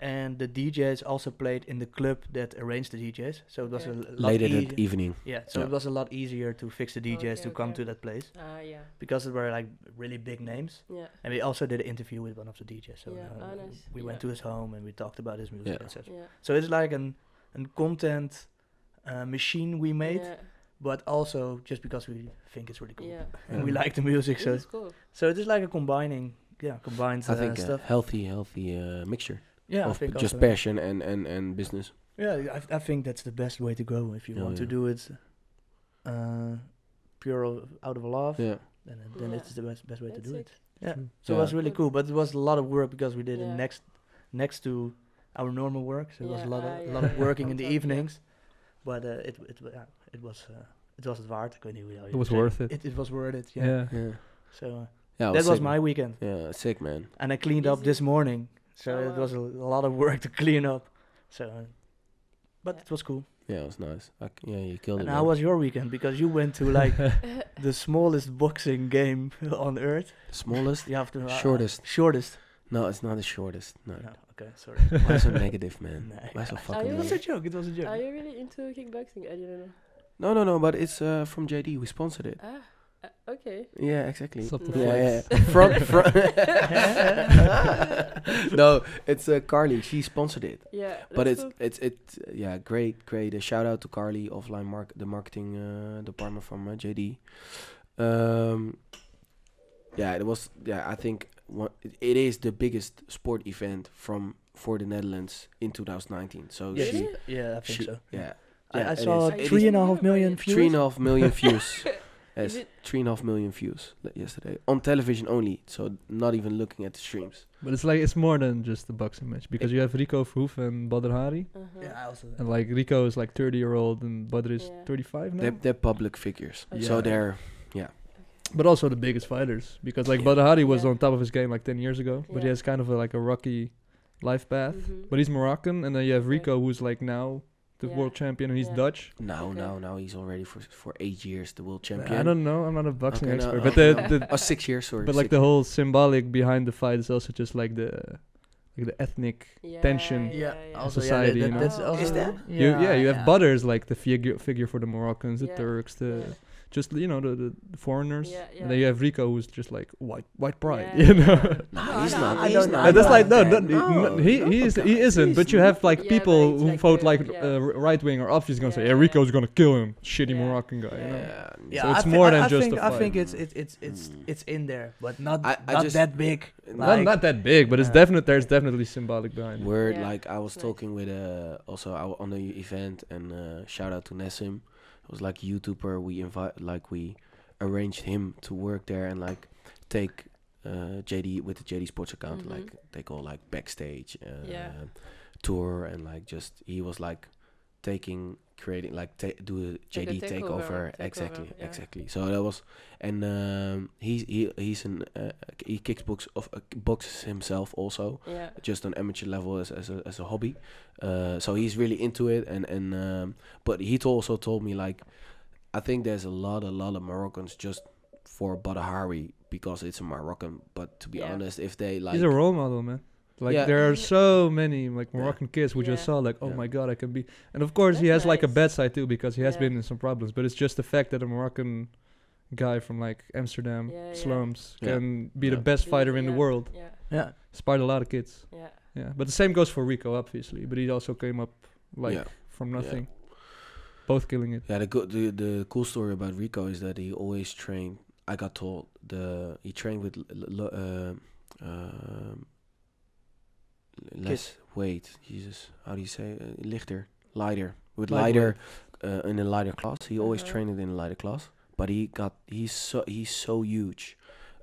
Speaker 1: and the DJs also played in the club that arranged the DJs so it was a
Speaker 4: Okay.
Speaker 1: l- lot
Speaker 2: Later
Speaker 1: easier
Speaker 2: that evening.
Speaker 1: yeah
Speaker 2: e-
Speaker 1: so
Speaker 2: Yeah.
Speaker 1: it was a lot easier to fix the DJs to
Speaker 4: Okay,
Speaker 1: come
Speaker 4: okay.
Speaker 1: to that place
Speaker 4: Ah, yeah.
Speaker 1: because it were like really big names
Speaker 4: Yeah.
Speaker 1: and we also did an interview with one of the DJs so
Speaker 4: Yeah,
Speaker 1: uh,
Speaker 4: oh, nice.
Speaker 1: we went
Speaker 4: Yeah.
Speaker 1: to his home and we talked about his music
Speaker 2: Yeah.
Speaker 1: etc
Speaker 4: Yeah.
Speaker 1: so it's like an an content uh, machine we made
Speaker 4: Yeah.
Speaker 1: but also just because we think it's really cool
Speaker 4: Yeah.
Speaker 1: and we
Speaker 2: Yeah.
Speaker 1: like the music
Speaker 4: This
Speaker 1: so
Speaker 4: is cool.
Speaker 1: so it is like a combining, yeah, combined
Speaker 2: I
Speaker 1: uh,
Speaker 2: think a
Speaker 1: stuff.
Speaker 2: healthy, healthy uh, mixture
Speaker 1: yeah, I
Speaker 2: of
Speaker 1: think
Speaker 2: just
Speaker 1: also.
Speaker 2: passion and, and, and business.
Speaker 1: Yeah, I, I think that's the best way to go if you
Speaker 2: Yeah,
Speaker 1: want to
Speaker 2: yeah.
Speaker 1: do it uh, pure o- out of love.
Speaker 2: Yeah,
Speaker 1: Then, then
Speaker 4: Yeah.
Speaker 1: it's the best best way
Speaker 4: That's
Speaker 1: to do
Speaker 4: it.
Speaker 1: it. Yeah.
Speaker 3: True.
Speaker 1: So it
Speaker 2: Yeah.
Speaker 1: was really
Speaker 4: Good.
Speaker 1: cool, but it was a lot of work because we did
Speaker 4: Yeah.
Speaker 1: it next next to our normal work. So it was a
Speaker 4: Yeah,
Speaker 1: lot of
Speaker 4: ah,
Speaker 1: a
Speaker 4: yeah,
Speaker 1: lot of
Speaker 4: yeah,
Speaker 1: working in the
Speaker 4: contact, yeah.
Speaker 1: evenings, but uh, it it wa- yeah, it was. Uh, it was waard. Ik weet niet hoe je- hoe je
Speaker 3: was
Speaker 1: zegt.
Speaker 3: worth it.
Speaker 1: It, was worth it. Yeah.
Speaker 3: Yeah.
Speaker 2: yeah,
Speaker 1: So uh,
Speaker 2: yeah.
Speaker 1: that was
Speaker 2: sick,
Speaker 1: my
Speaker 2: man.
Speaker 1: weekend.
Speaker 2: yeah sick man.
Speaker 1: and I cleaned up
Speaker 4: Easy.
Speaker 1: this morning. So
Speaker 4: Oh,
Speaker 1: it
Speaker 4: wow.
Speaker 1: was a, a lot of work to clean up. So, uh, but
Speaker 4: Yeah.
Speaker 1: it was cool.
Speaker 2: Yeah, it was nice. I c yeah, you killed
Speaker 1: And
Speaker 2: it.
Speaker 1: how
Speaker 2: man.
Speaker 1: was your weekend? Because you went to like the smallest boxing game on earth.
Speaker 2: smallest?
Speaker 1: You have to uh,
Speaker 2: Shortest.
Speaker 1: Shortest.
Speaker 2: No, it's not the shortest. No,
Speaker 1: No, okay, sorry.
Speaker 2: why so negative, man?
Speaker 1: No.
Speaker 2: Why so
Speaker 4: Are
Speaker 2: fucking?
Speaker 4: you-
Speaker 1: It was
Speaker 2: negative?
Speaker 1: a joke. It was a joke.
Speaker 4: Are you really into kickboxing? I didn't
Speaker 2: No,
Speaker 4: know.
Speaker 2: no, no. But it's uh, from JD. We sponsored it.
Speaker 4: Ah, uh, okay.
Speaker 2: Yeah, exactly.
Speaker 3: Stop the
Speaker 4: No.
Speaker 2: Yeah,
Speaker 3: flex.
Speaker 2: yeah. from from. no, it's uh, Carly. She sponsored it.
Speaker 4: Yeah.
Speaker 2: but
Speaker 4: that's
Speaker 2: it's it's it yeah great great a shout out to carly offline mark the marketing uh, department from uh, jd um yeah it was yeah i think what it- it is the biggest sport event from for the netherlands in 2019 so
Speaker 1: Yes.
Speaker 2: she,
Speaker 4: Really?
Speaker 1: Yeah, I think
Speaker 2: she-
Speaker 1: so.
Speaker 2: Oh, yeah
Speaker 1: I,
Speaker 2: Yeah,
Speaker 1: I
Speaker 2: it
Speaker 1: saw
Speaker 2: is. It is-
Speaker 1: three and a half million
Speaker 4: Three
Speaker 1: views.
Speaker 2: three and a half million views
Speaker 4: Is
Speaker 2: yes
Speaker 4: it-
Speaker 2: three and a half million views le- yesterday on television only so not even looking at the streams
Speaker 3: But it's like, it's more than just a boxing match because you have Rico Verhoeven and Badr Hari.
Speaker 4: Uh-huh.
Speaker 1: Yeah, I also.
Speaker 3: And like Rico is like 30 year old and Badr is
Speaker 4: Yeah.
Speaker 3: 35 now.
Speaker 2: they're, they're public figures
Speaker 4: Okay.
Speaker 2: so
Speaker 3: Yeah.
Speaker 2: they're
Speaker 3: but also the biggest fighters because like
Speaker 2: Yeah.
Speaker 3: Badr Hari was
Speaker 4: Yeah.
Speaker 3: on top of his game like 10 years ago, but he
Speaker 4: Yeah.
Speaker 3: has kind of a, like a rocky life path.
Speaker 4: Mhm.
Speaker 3: But he's Moroccan, and then you have Rico, who's like now the
Speaker 4: Yeah.
Speaker 3: world champion, and he's
Speaker 4: Yeah.
Speaker 3: Dutch.
Speaker 2: now
Speaker 4: Okay.
Speaker 2: now now he's already for for eight years the world
Speaker 3: Uh,
Speaker 2: champion
Speaker 3: I don't know. I'm not a boxing
Speaker 2: Okay, no,
Speaker 3: expert,
Speaker 2: oh,
Speaker 3: but
Speaker 2: no.
Speaker 3: the, the
Speaker 2: Oh, six years, sorry.
Speaker 3: but like
Speaker 2: six
Speaker 3: the
Speaker 2: years.
Speaker 3: whole symbolic behind the fight is also just like the like the ethnic.
Speaker 4: Yeah,
Speaker 3: tension.
Speaker 1: Yeah, also,
Speaker 3: Society,
Speaker 1: yeah,
Speaker 3: you
Speaker 1: that,
Speaker 3: know.
Speaker 1: that's
Speaker 4: Oh,
Speaker 1: also.
Speaker 2: Is there?
Speaker 1: Yeah,
Speaker 3: you, yeah, you have
Speaker 1: yeah.
Speaker 3: butters like the figure figure for the Moroccans, the
Speaker 4: Yeah.
Speaker 3: Turks, the
Speaker 1: uh,
Speaker 4: Yeah.
Speaker 3: just you know the, the, the foreigners.
Speaker 4: Yeah,
Speaker 3: And
Speaker 4: yeah.
Speaker 3: then you have Rico, who's just like white white pride,
Speaker 4: Yeah,
Speaker 3: you
Speaker 4: yeah.
Speaker 3: know.
Speaker 2: Nah, he's
Speaker 4: No,
Speaker 2: not.
Speaker 4: no,
Speaker 2: he's
Speaker 1: I don't
Speaker 2: not.
Speaker 1: know.
Speaker 3: And that's like no,
Speaker 2: that.
Speaker 3: no, he- no, he, he is he isn't. But you have like
Speaker 4: Yeah, but
Speaker 3: people
Speaker 4: it's
Speaker 3: who
Speaker 4: like
Speaker 3: vote
Speaker 4: the-
Speaker 3: like
Speaker 4: yeah.
Speaker 3: uh, right wing or options gonna say,
Speaker 4: Yeah,
Speaker 3: "Yeah,
Speaker 4: yeah.
Speaker 3: Rico's gonna kill him, shitty
Speaker 4: Yeah.
Speaker 3: Moroccan guy." You know?
Speaker 2: Yeah.
Speaker 1: Yeah,
Speaker 3: So
Speaker 1: I
Speaker 3: it's
Speaker 1: thi-
Speaker 3: more
Speaker 1: I-
Speaker 3: than
Speaker 1: I
Speaker 3: just
Speaker 1: think,
Speaker 3: a
Speaker 1: I
Speaker 3: fight.
Speaker 1: think it's it's it's it's
Speaker 2: Mm.
Speaker 1: it's in there, but not
Speaker 2: I- I
Speaker 1: not
Speaker 2: just-
Speaker 1: that big.
Speaker 2: Not-
Speaker 3: Not,
Speaker 1: Like,
Speaker 3: not that big, but it's
Speaker 1: Yeah.
Speaker 3: definite. There's definitely symbolic behind. it.
Speaker 2: Word,
Speaker 4: Yeah.
Speaker 2: like I was
Speaker 4: Nice.
Speaker 2: talking with uh also I, on the event and uh, shout out to Nesim. It was like YouTuber we invite like we arranged him to work there and like take uh, JD with the JD Sports account,
Speaker 4: Mhm.
Speaker 2: like they go like backstage uh,
Speaker 4: Yeah.
Speaker 2: tour and like just he was like taking creating like ta- do a
Speaker 4: Take a
Speaker 2: JD takeover,
Speaker 4: takeover, takeover,
Speaker 2: exactly
Speaker 4: yeah.
Speaker 2: exactly. So that was and um, he's he he's an uh, he kicks books of uh, boxes himself also
Speaker 4: Yeah.
Speaker 2: just on amateur level as, as, a, as a hobby uh, so he's really into it and and um, but he t- also told me like i think there's a lot a lot of moroccans just for badahari because it's a moroccan but to be
Speaker 4: Yeah.
Speaker 2: honest if they like
Speaker 3: He's a role model, man. Like
Speaker 2: Yeah.
Speaker 3: there are
Speaker 4: Mhm.
Speaker 3: so many like
Speaker 2: Yeah.
Speaker 3: Moroccan kids we just
Speaker 4: Yeah.
Speaker 3: saw, like, oh
Speaker 2: Yeah.
Speaker 3: my god, I can be. And of course, he
Speaker 4: That's
Speaker 3: has like a
Speaker 4: nice.
Speaker 3: bad side too because he has
Speaker 4: Yeah.
Speaker 3: been in some problems. But it's just the fact that a Moroccan guy from like Amsterdam
Speaker 4: Yeah, yeah.
Speaker 3: slums
Speaker 2: Yeah.
Speaker 3: can be the
Speaker 2: Yeah.
Speaker 3: best fighter in the
Speaker 4: Yeah.
Speaker 3: world,
Speaker 4: Yeah.
Speaker 1: Yeah.
Speaker 3: inspired a lot of kids.
Speaker 4: Yeah.
Speaker 3: Yeah, but the same goes for Rico, obviously. But he also came up like
Speaker 2: yeah
Speaker 3: from
Speaker 2: Yeah.
Speaker 3: nothing, both killing it.
Speaker 2: yeah the, good the the cool story about rico is that he always trained i got told the he trained with l- l- um um, less weight jesus how do you say uh, lichter lighter with lighter
Speaker 3: Lightweight.
Speaker 2: uh, in a lighter class. He always
Speaker 4: Uh-huh.
Speaker 2: trained in a lighter class, but he got he's so he's so huge.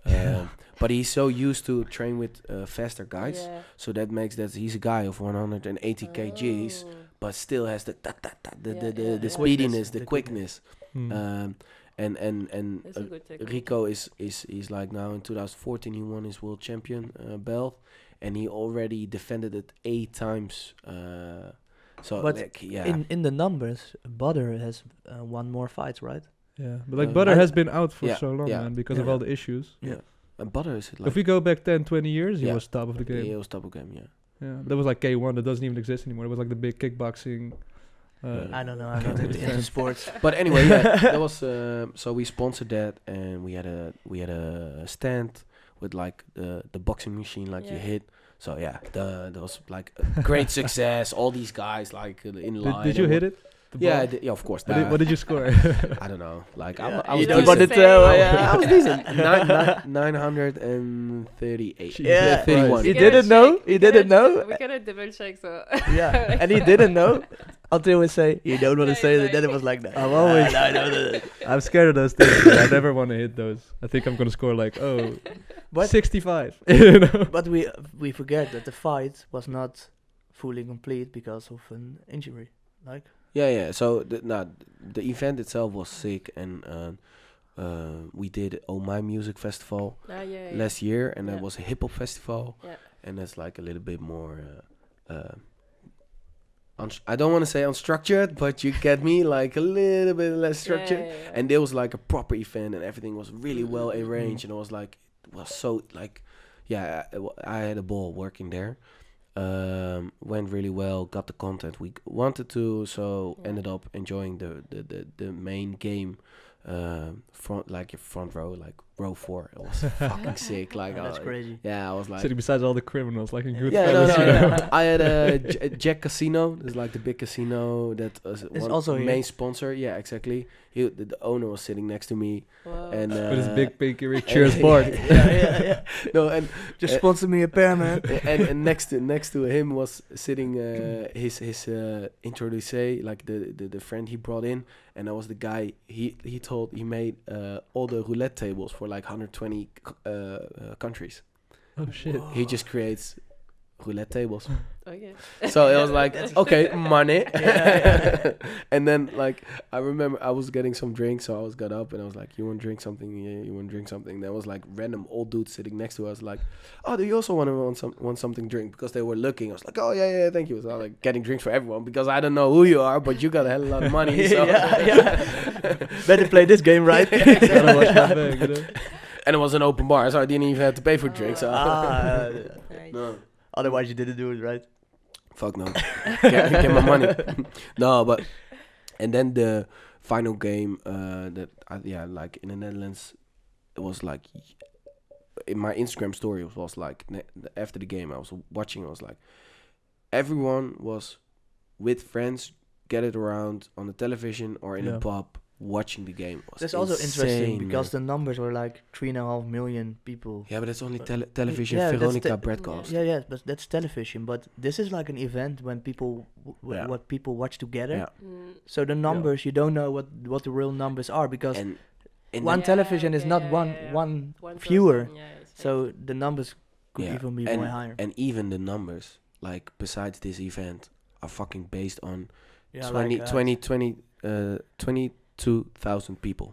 Speaker 3: Yeah.
Speaker 2: Um, but he's so used to train with uh, faster guys,
Speaker 4: Yeah.
Speaker 2: so that makes that he's a guy of 180 kgs,
Speaker 4: Oh.
Speaker 2: but still has the ta- ta- ta- the
Speaker 4: Yeah,
Speaker 2: the, the,
Speaker 4: yeah,
Speaker 2: the
Speaker 4: yeah.
Speaker 2: speediness,
Speaker 1: Quickness,
Speaker 2: the
Speaker 1: the
Speaker 2: quickness,
Speaker 1: quickness.
Speaker 3: Mm.
Speaker 2: um, and and and
Speaker 4: That's
Speaker 2: uh,
Speaker 4: a good technique.
Speaker 2: Rico is is he's like now in 2014 he won his world champion uh, belt, and he already defended it eight times. Uh, so
Speaker 1: But
Speaker 2: like, yeah,
Speaker 1: In in the numbers, Butter has uh, one more fight, right?
Speaker 3: yeah, but like
Speaker 2: uh,
Speaker 3: Butter
Speaker 2: I-
Speaker 3: has been out for
Speaker 2: yeah,
Speaker 3: so long,
Speaker 2: yeah,
Speaker 3: man, because of
Speaker 2: yeah.
Speaker 3: all the issues.
Speaker 2: and Uh, butter is like
Speaker 3: if we go back 10, 20 years, he
Speaker 2: Yeah.
Speaker 3: was top of the game.
Speaker 2: Yeah, it was double game. Yeah.
Speaker 3: Yeah, that was like K1 that doesn't even exist anymore. It was like the big kickboxing. Uh,
Speaker 2: Yeah.
Speaker 1: I don't know. I'm not into into sports.
Speaker 2: But anyway, yeah, that was um, so we sponsored that, and we had a we had a stand with like the the boxing machine, like you
Speaker 4: Yeah.
Speaker 2: hit. So yeah, the that was like a great success. All these guys like in
Speaker 3: did,
Speaker 2: line.
Speaker 3: did you hit it? The
Speaker 2: Yeah, I
Speaker 3: ball?
Speaker 2: did, yeah, of course.
Speaker 3: What, did,
Speaker 2: nah,
Speaker 3: what did you score?
Speaker 2: I don't know. Like
Speaker 1: Yeah,
Speaker 2: I, I was
Speaker 4: you don't
Speaker 2: decent.
Speaker 4: But it's, uh, say.
Speaker 2: yeah, I was decent. Nine- nine- 938.
Speaker 3: Jesus Yeah. Christ.
Speaker 1: he
Speaker 4: We cannot
Speaker 1: didn't know.
Speaker 4: check.
Speaker 1: He
Speaker 4: We
Speaker 1: didn't
Speaker 4: cannot-
Speaker 1: know.
Speaker 4: We cannot double check, so.
Speaker 1: Yeah, and he didn't know until we say you don't want
Speaker 4: Yeah,
Speaker 1: to say
Speaker 4: he's
Speaker 1: that. Then it
Speaker 4: like-
Speaker 1: was like that.
Speaker 3: I'm always-
Speaker 1: I know that.
Speaker 3: I'm scared of those things. man. I never want to hit those. I think I'm gonna score like oh
Speaker 1: But
Speaker 3: 65. you know?
Speaker 1: but we we forget that the fight was not fully complete because of an injury. Like
Speaker 2: Yeah, yeah. So the, nah, the event itself was sick, and uh, uh, we did Oh My Music Festival.
Speaker 4: Ah, yeah, yeah.
Speaker 2: last year, and that
Speaker 4: Yeah.
Speaker 2: was a hip hop festival,
Speaker 4: Yeah.
Speaker 2: and that's like a little bit more. Uh, uh, uns- I don't want to say unstructured, but you get me, like a little bit less
Speaker 4: Yeah, yeah,
Speaker 2: structured.
Speaker 4: yeah.
Speaker 2: And there was like a proper event, and everything was really well
Speaker 4: Mm.
Speaker 2: arranged, and it was like it was so like, yeah, I, I had a ball working there. Um, went really well, got the content we wanted to, so
Speaker 4: Yeah.
Speaker 2: ended up enjoying the the, the, the main game. Um, front like your front row, like row four. It was fucking sick. Like
Speaker 1: that's
Speaker 2: I-
Speaker 1: crazy.
Speaker 2: Yeah, I was like,
Speaker 3: Sitting besides all the criminals, like in
Speaker 1: Yeah,
Speaker 3: good
Speaker 2: yeah, no, no,
Speaker 1: you know.
Speaker 2: no. I had a, J- a Jack Casino. It's like the big casino that is one
Speaker 1: also here.
Speaker 2: main sponsor. Yeah, exactly. He, the, the owner was sitting next to me,
Speaker 4: Wow.
Speaker 2: and uh,
Speaker 3: But it's big pinky Rick Cheers board.
Speaker 1: Yeah, yeah, yeah.
Speaker 2: no, and
Speaker 1: Just
Speaker 2: Uh,
Speaker 1: sponsor me a pair, man.
Speaker 2: and, and next to next to him was sitting uh, his his uh, introduce, like the, the the friend he brought in, and that was the guy he he told he made uh, all the roulette tables for like 120 c- uh, uh, countries.
Speaker 3: Oh shit.
Speaker 2: He just creates roulette tables.
Speaker 4: Okay.
Speaker 2: So it was like,
Speaker 1: That's-
Speaker 2: okay, money.
Speaker 1: Yeah.
Speaker 2: and then like I remember I was getting some drinks, so I was got up and I was like, you want to drink something? Yeah, you want to drink something? There was like random old dude sitting next to us, like, oh, do you also want to want some want something drink? Because they were looking. I was like, oh yeah, yeah, thank you. So I was like getting drinks for everyone because I don't know who you are, but you got a hell of a lot of money. So.
Speaker 1: Yeah, yeah. Better play this game right.
Speaker 3: Gotta watch my bag, you know?
Speaker 2: and it was an open bar, so I didn't even have to pay for drinks. So.
Speaker 1: Ah, yeah.
Speaker 4: Nice.
Speaker 2: No.
Speaker 1: Otherwise, you didn't do it right.
Speaker 2: Fuck no. get, get my money. no, but and then the final game uh, that I, yeah, like in the Netherlands, it was like in my Instagram story was, was like ne- after the game I was watching. I was like, everyone was with friends, gathered around on the television or in
Speaker 3: Yeah.
Speaker 2: a pub watching the game. It was
Speaker 1: That's also
Speaker 2: insane,
Speaker 1: interesting because
Speaker 2: man.
Speaker 1: the numbers were like three and a half million people.
Speaker 2: yeah, but that's only tele- television.
Speaker 1: Uh, Yeah, that's
Speaker 2: Veronica
Speaker 1: the-
Speaker 2: broadcast.
Speaker 1: Yeah, yeah, but that's television. But this is like an event when people, w- w-
Speaker 2: Yeah.
Speaker 1: what people watch together.
Speaker 2: Yeah.
Speaker 4: Mm.
Speaker 1: So the numbers, you don't know what what the real numbers are because
Speaker 2: And in the
Speaker 1: one
Speaker 4: Yeah,
Speaker 1: television is
Speaker 4: okay,
Speaker 1: not
Speaker 4: yeah,
Speaker 1: one
Speaker 4: yeah, yeah.
Speaker 1: one
Speaker 4: One
Speaker 1: viewer.
Speaker 4: person, yeah, it's
Speaker 1: So the numbers could
Speaker 2: Yeah,
Speaker 1: even be
Speaker 2: and-
Speaker 1: way higher.
Speaker 2: and even the numbers, like besides this event, are fucking based on
Speaker 1: Yeah,
Speaker 2: 20,
Speaker 1: like, uh,
Speaker 2: 20, 20, uh, 22,000 people.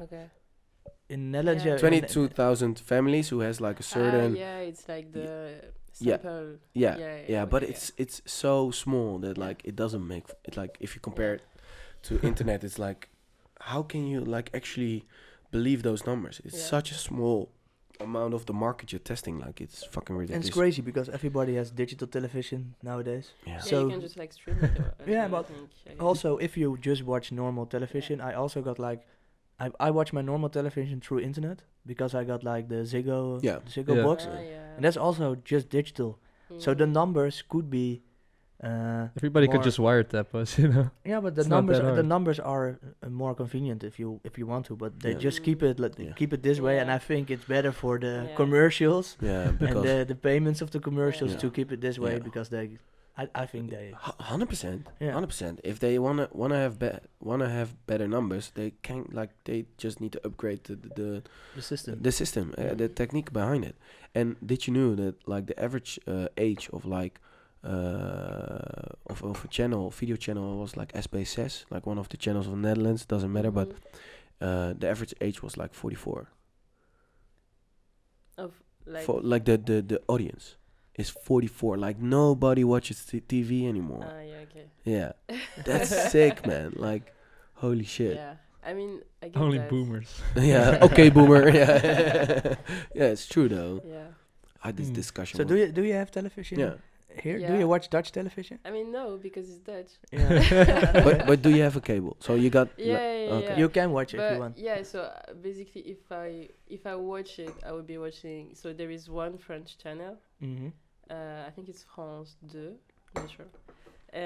Speaker 4: okay.
Speaker 1: in Netherlands,
Speaker 4: Yeah.
Speaker 1: yeah, in-
Speaker 2: 22,000 families who has like a certain. Uh, yeah.
Speaker 4: Ah, yeah, it's like the
Speaker 2: Yeah.
Speaker 4: sample.
Speaker 2: Yeah,
Speaker 4: yeah,
Speaker 2: but
Speaker 4: okay, yeah.
Speaker 2: it's it's so small that
Speaker 4: Yeah.
Speaker 2: like it doesn't make it like if you compare it to internet, it's like how can you like actually believe those numbers? It's
Speaker 4: Yeah.
Speaker 2: such a small amount of the market you're testing. Like it's fucking
Speaker 1: And
Speaker 2: ridiculous.
Speaker 1: it's crazy because everybody has digital television nowadays.
Speaker 2: Yeah.
Speaker 4: Yeah,
Speaker 1: So-
Speaker 4: you can just like stream it. Or, as
Speaker 1: Yeah,
Speaker 4: well,
Speaker 1: but
Speaker 4: I think, I guess.
Speaker 1: Also, if you just watch normal television, I also got like, I, I watch my normal television through internet because I got like the Ziggo
Speaker 2: Yeah.
Speaker 1: Ziggo
Speaker 3: Yeah.
Speaker 1: box,
Speaker 4: Ah,
Speaker 2: and
Speaker 4: yeah.
Speaker 1: and that's also just digital. So the
Speaker 4: Mm.
Speaker 1: numbers could be, uh,
Speaker 3: Everybody could
Speaker 1: Or-
Speaker 3: just wiretap us, you know.
Speaker 1: yeah, but the
Speaker 3: It's not
Speaker 1: numbers
Speaker 3: that
Speaker 1: are, the
Speaker 3: hard.
Speaker 1: numbers are uh, more convenient if you if you want to, but they
Speaker 2: Yeah.
Speaker 1: just keep
Speaker 4: Mm.
Speaker 1: it let,
Speaker 2: Yeah.
Speaker 1: keep it this way, and
Speaker 4: Yeah.
Speaker 1: I think it's better for the
Speaker 4: Yeah.
Speaker 1: commercials
Speaker 2: yeah, because
Speaker 1: and the, the payments of the commercials
Speaker 2: Yeah.
Speaker 1: to keep it this way
Speaker 2: Yeah.
Speaker 1: because they, I, I think they
Speaker 2: Hu- Hundred percent,
Speaker 1: Yeah.
Speaker 2: hundred percent. If they wanna wanna have be- wanna have better numbers, they can like they just need to upgrade the the,
Speaker 1: the
Speaker 2: the,
Speaker 1: system.
Speaker 2: the system, uh, the technique behind it. And did you know that like the average uh, age of like uh, of of a channel video channel was like SB6, like one of the channels of Netherlands. Doesn't matter, but
Speaker 4: Mhm.
Speaker 1: Mm-hmm.
Speaker 2: uh, the average age was like forty four.
Speaker 4: of like
Speaker 2: For like the the the audience is forty four. Like nobody watches t- TV anymore.
Speaker 1: Uh.
Speaker 4: ah, yeah, okay.
Speaker 2: Yeah, that's sick, man. Like, holy shit.
Speaker 4: Yeah, I mean, I get
Speaker 3: Only
Speaker 4: that.
Speaker 3: boomers.
Speaker 2: Yeah, okay, boomer. Yeah, yeah, it's true though.
Speaker 4: Yeah,
Speaker 2: I had this
Speaker 3: Hmm.
Speaker 2: discussion.
Speaker 1: So do you do you have television?
Speaker 2: Yeah,
Speaker 1: Here, do
Speaker 4: Yeah.
Speaker 1: you watch Dutch television?
Speaker 4: I mean no because it's Dutch.
Speaker 1: Yeah.
Speaker 2: but but do you have a cable? So you got
Speaker 4: Yeah, yeah,
Speaker 2: okay.
Speaker 4: yeah.
Speaker 1: You can watch it if
Speaker 4: but
Speaker 1: you want.
Speaker 4: yeah, so uh, basically, if I if I watch it, I would be watching. So there is one French channel.
Speaker 1: hmm
Speaker 4: Uh, I think it's France 2. Not sure.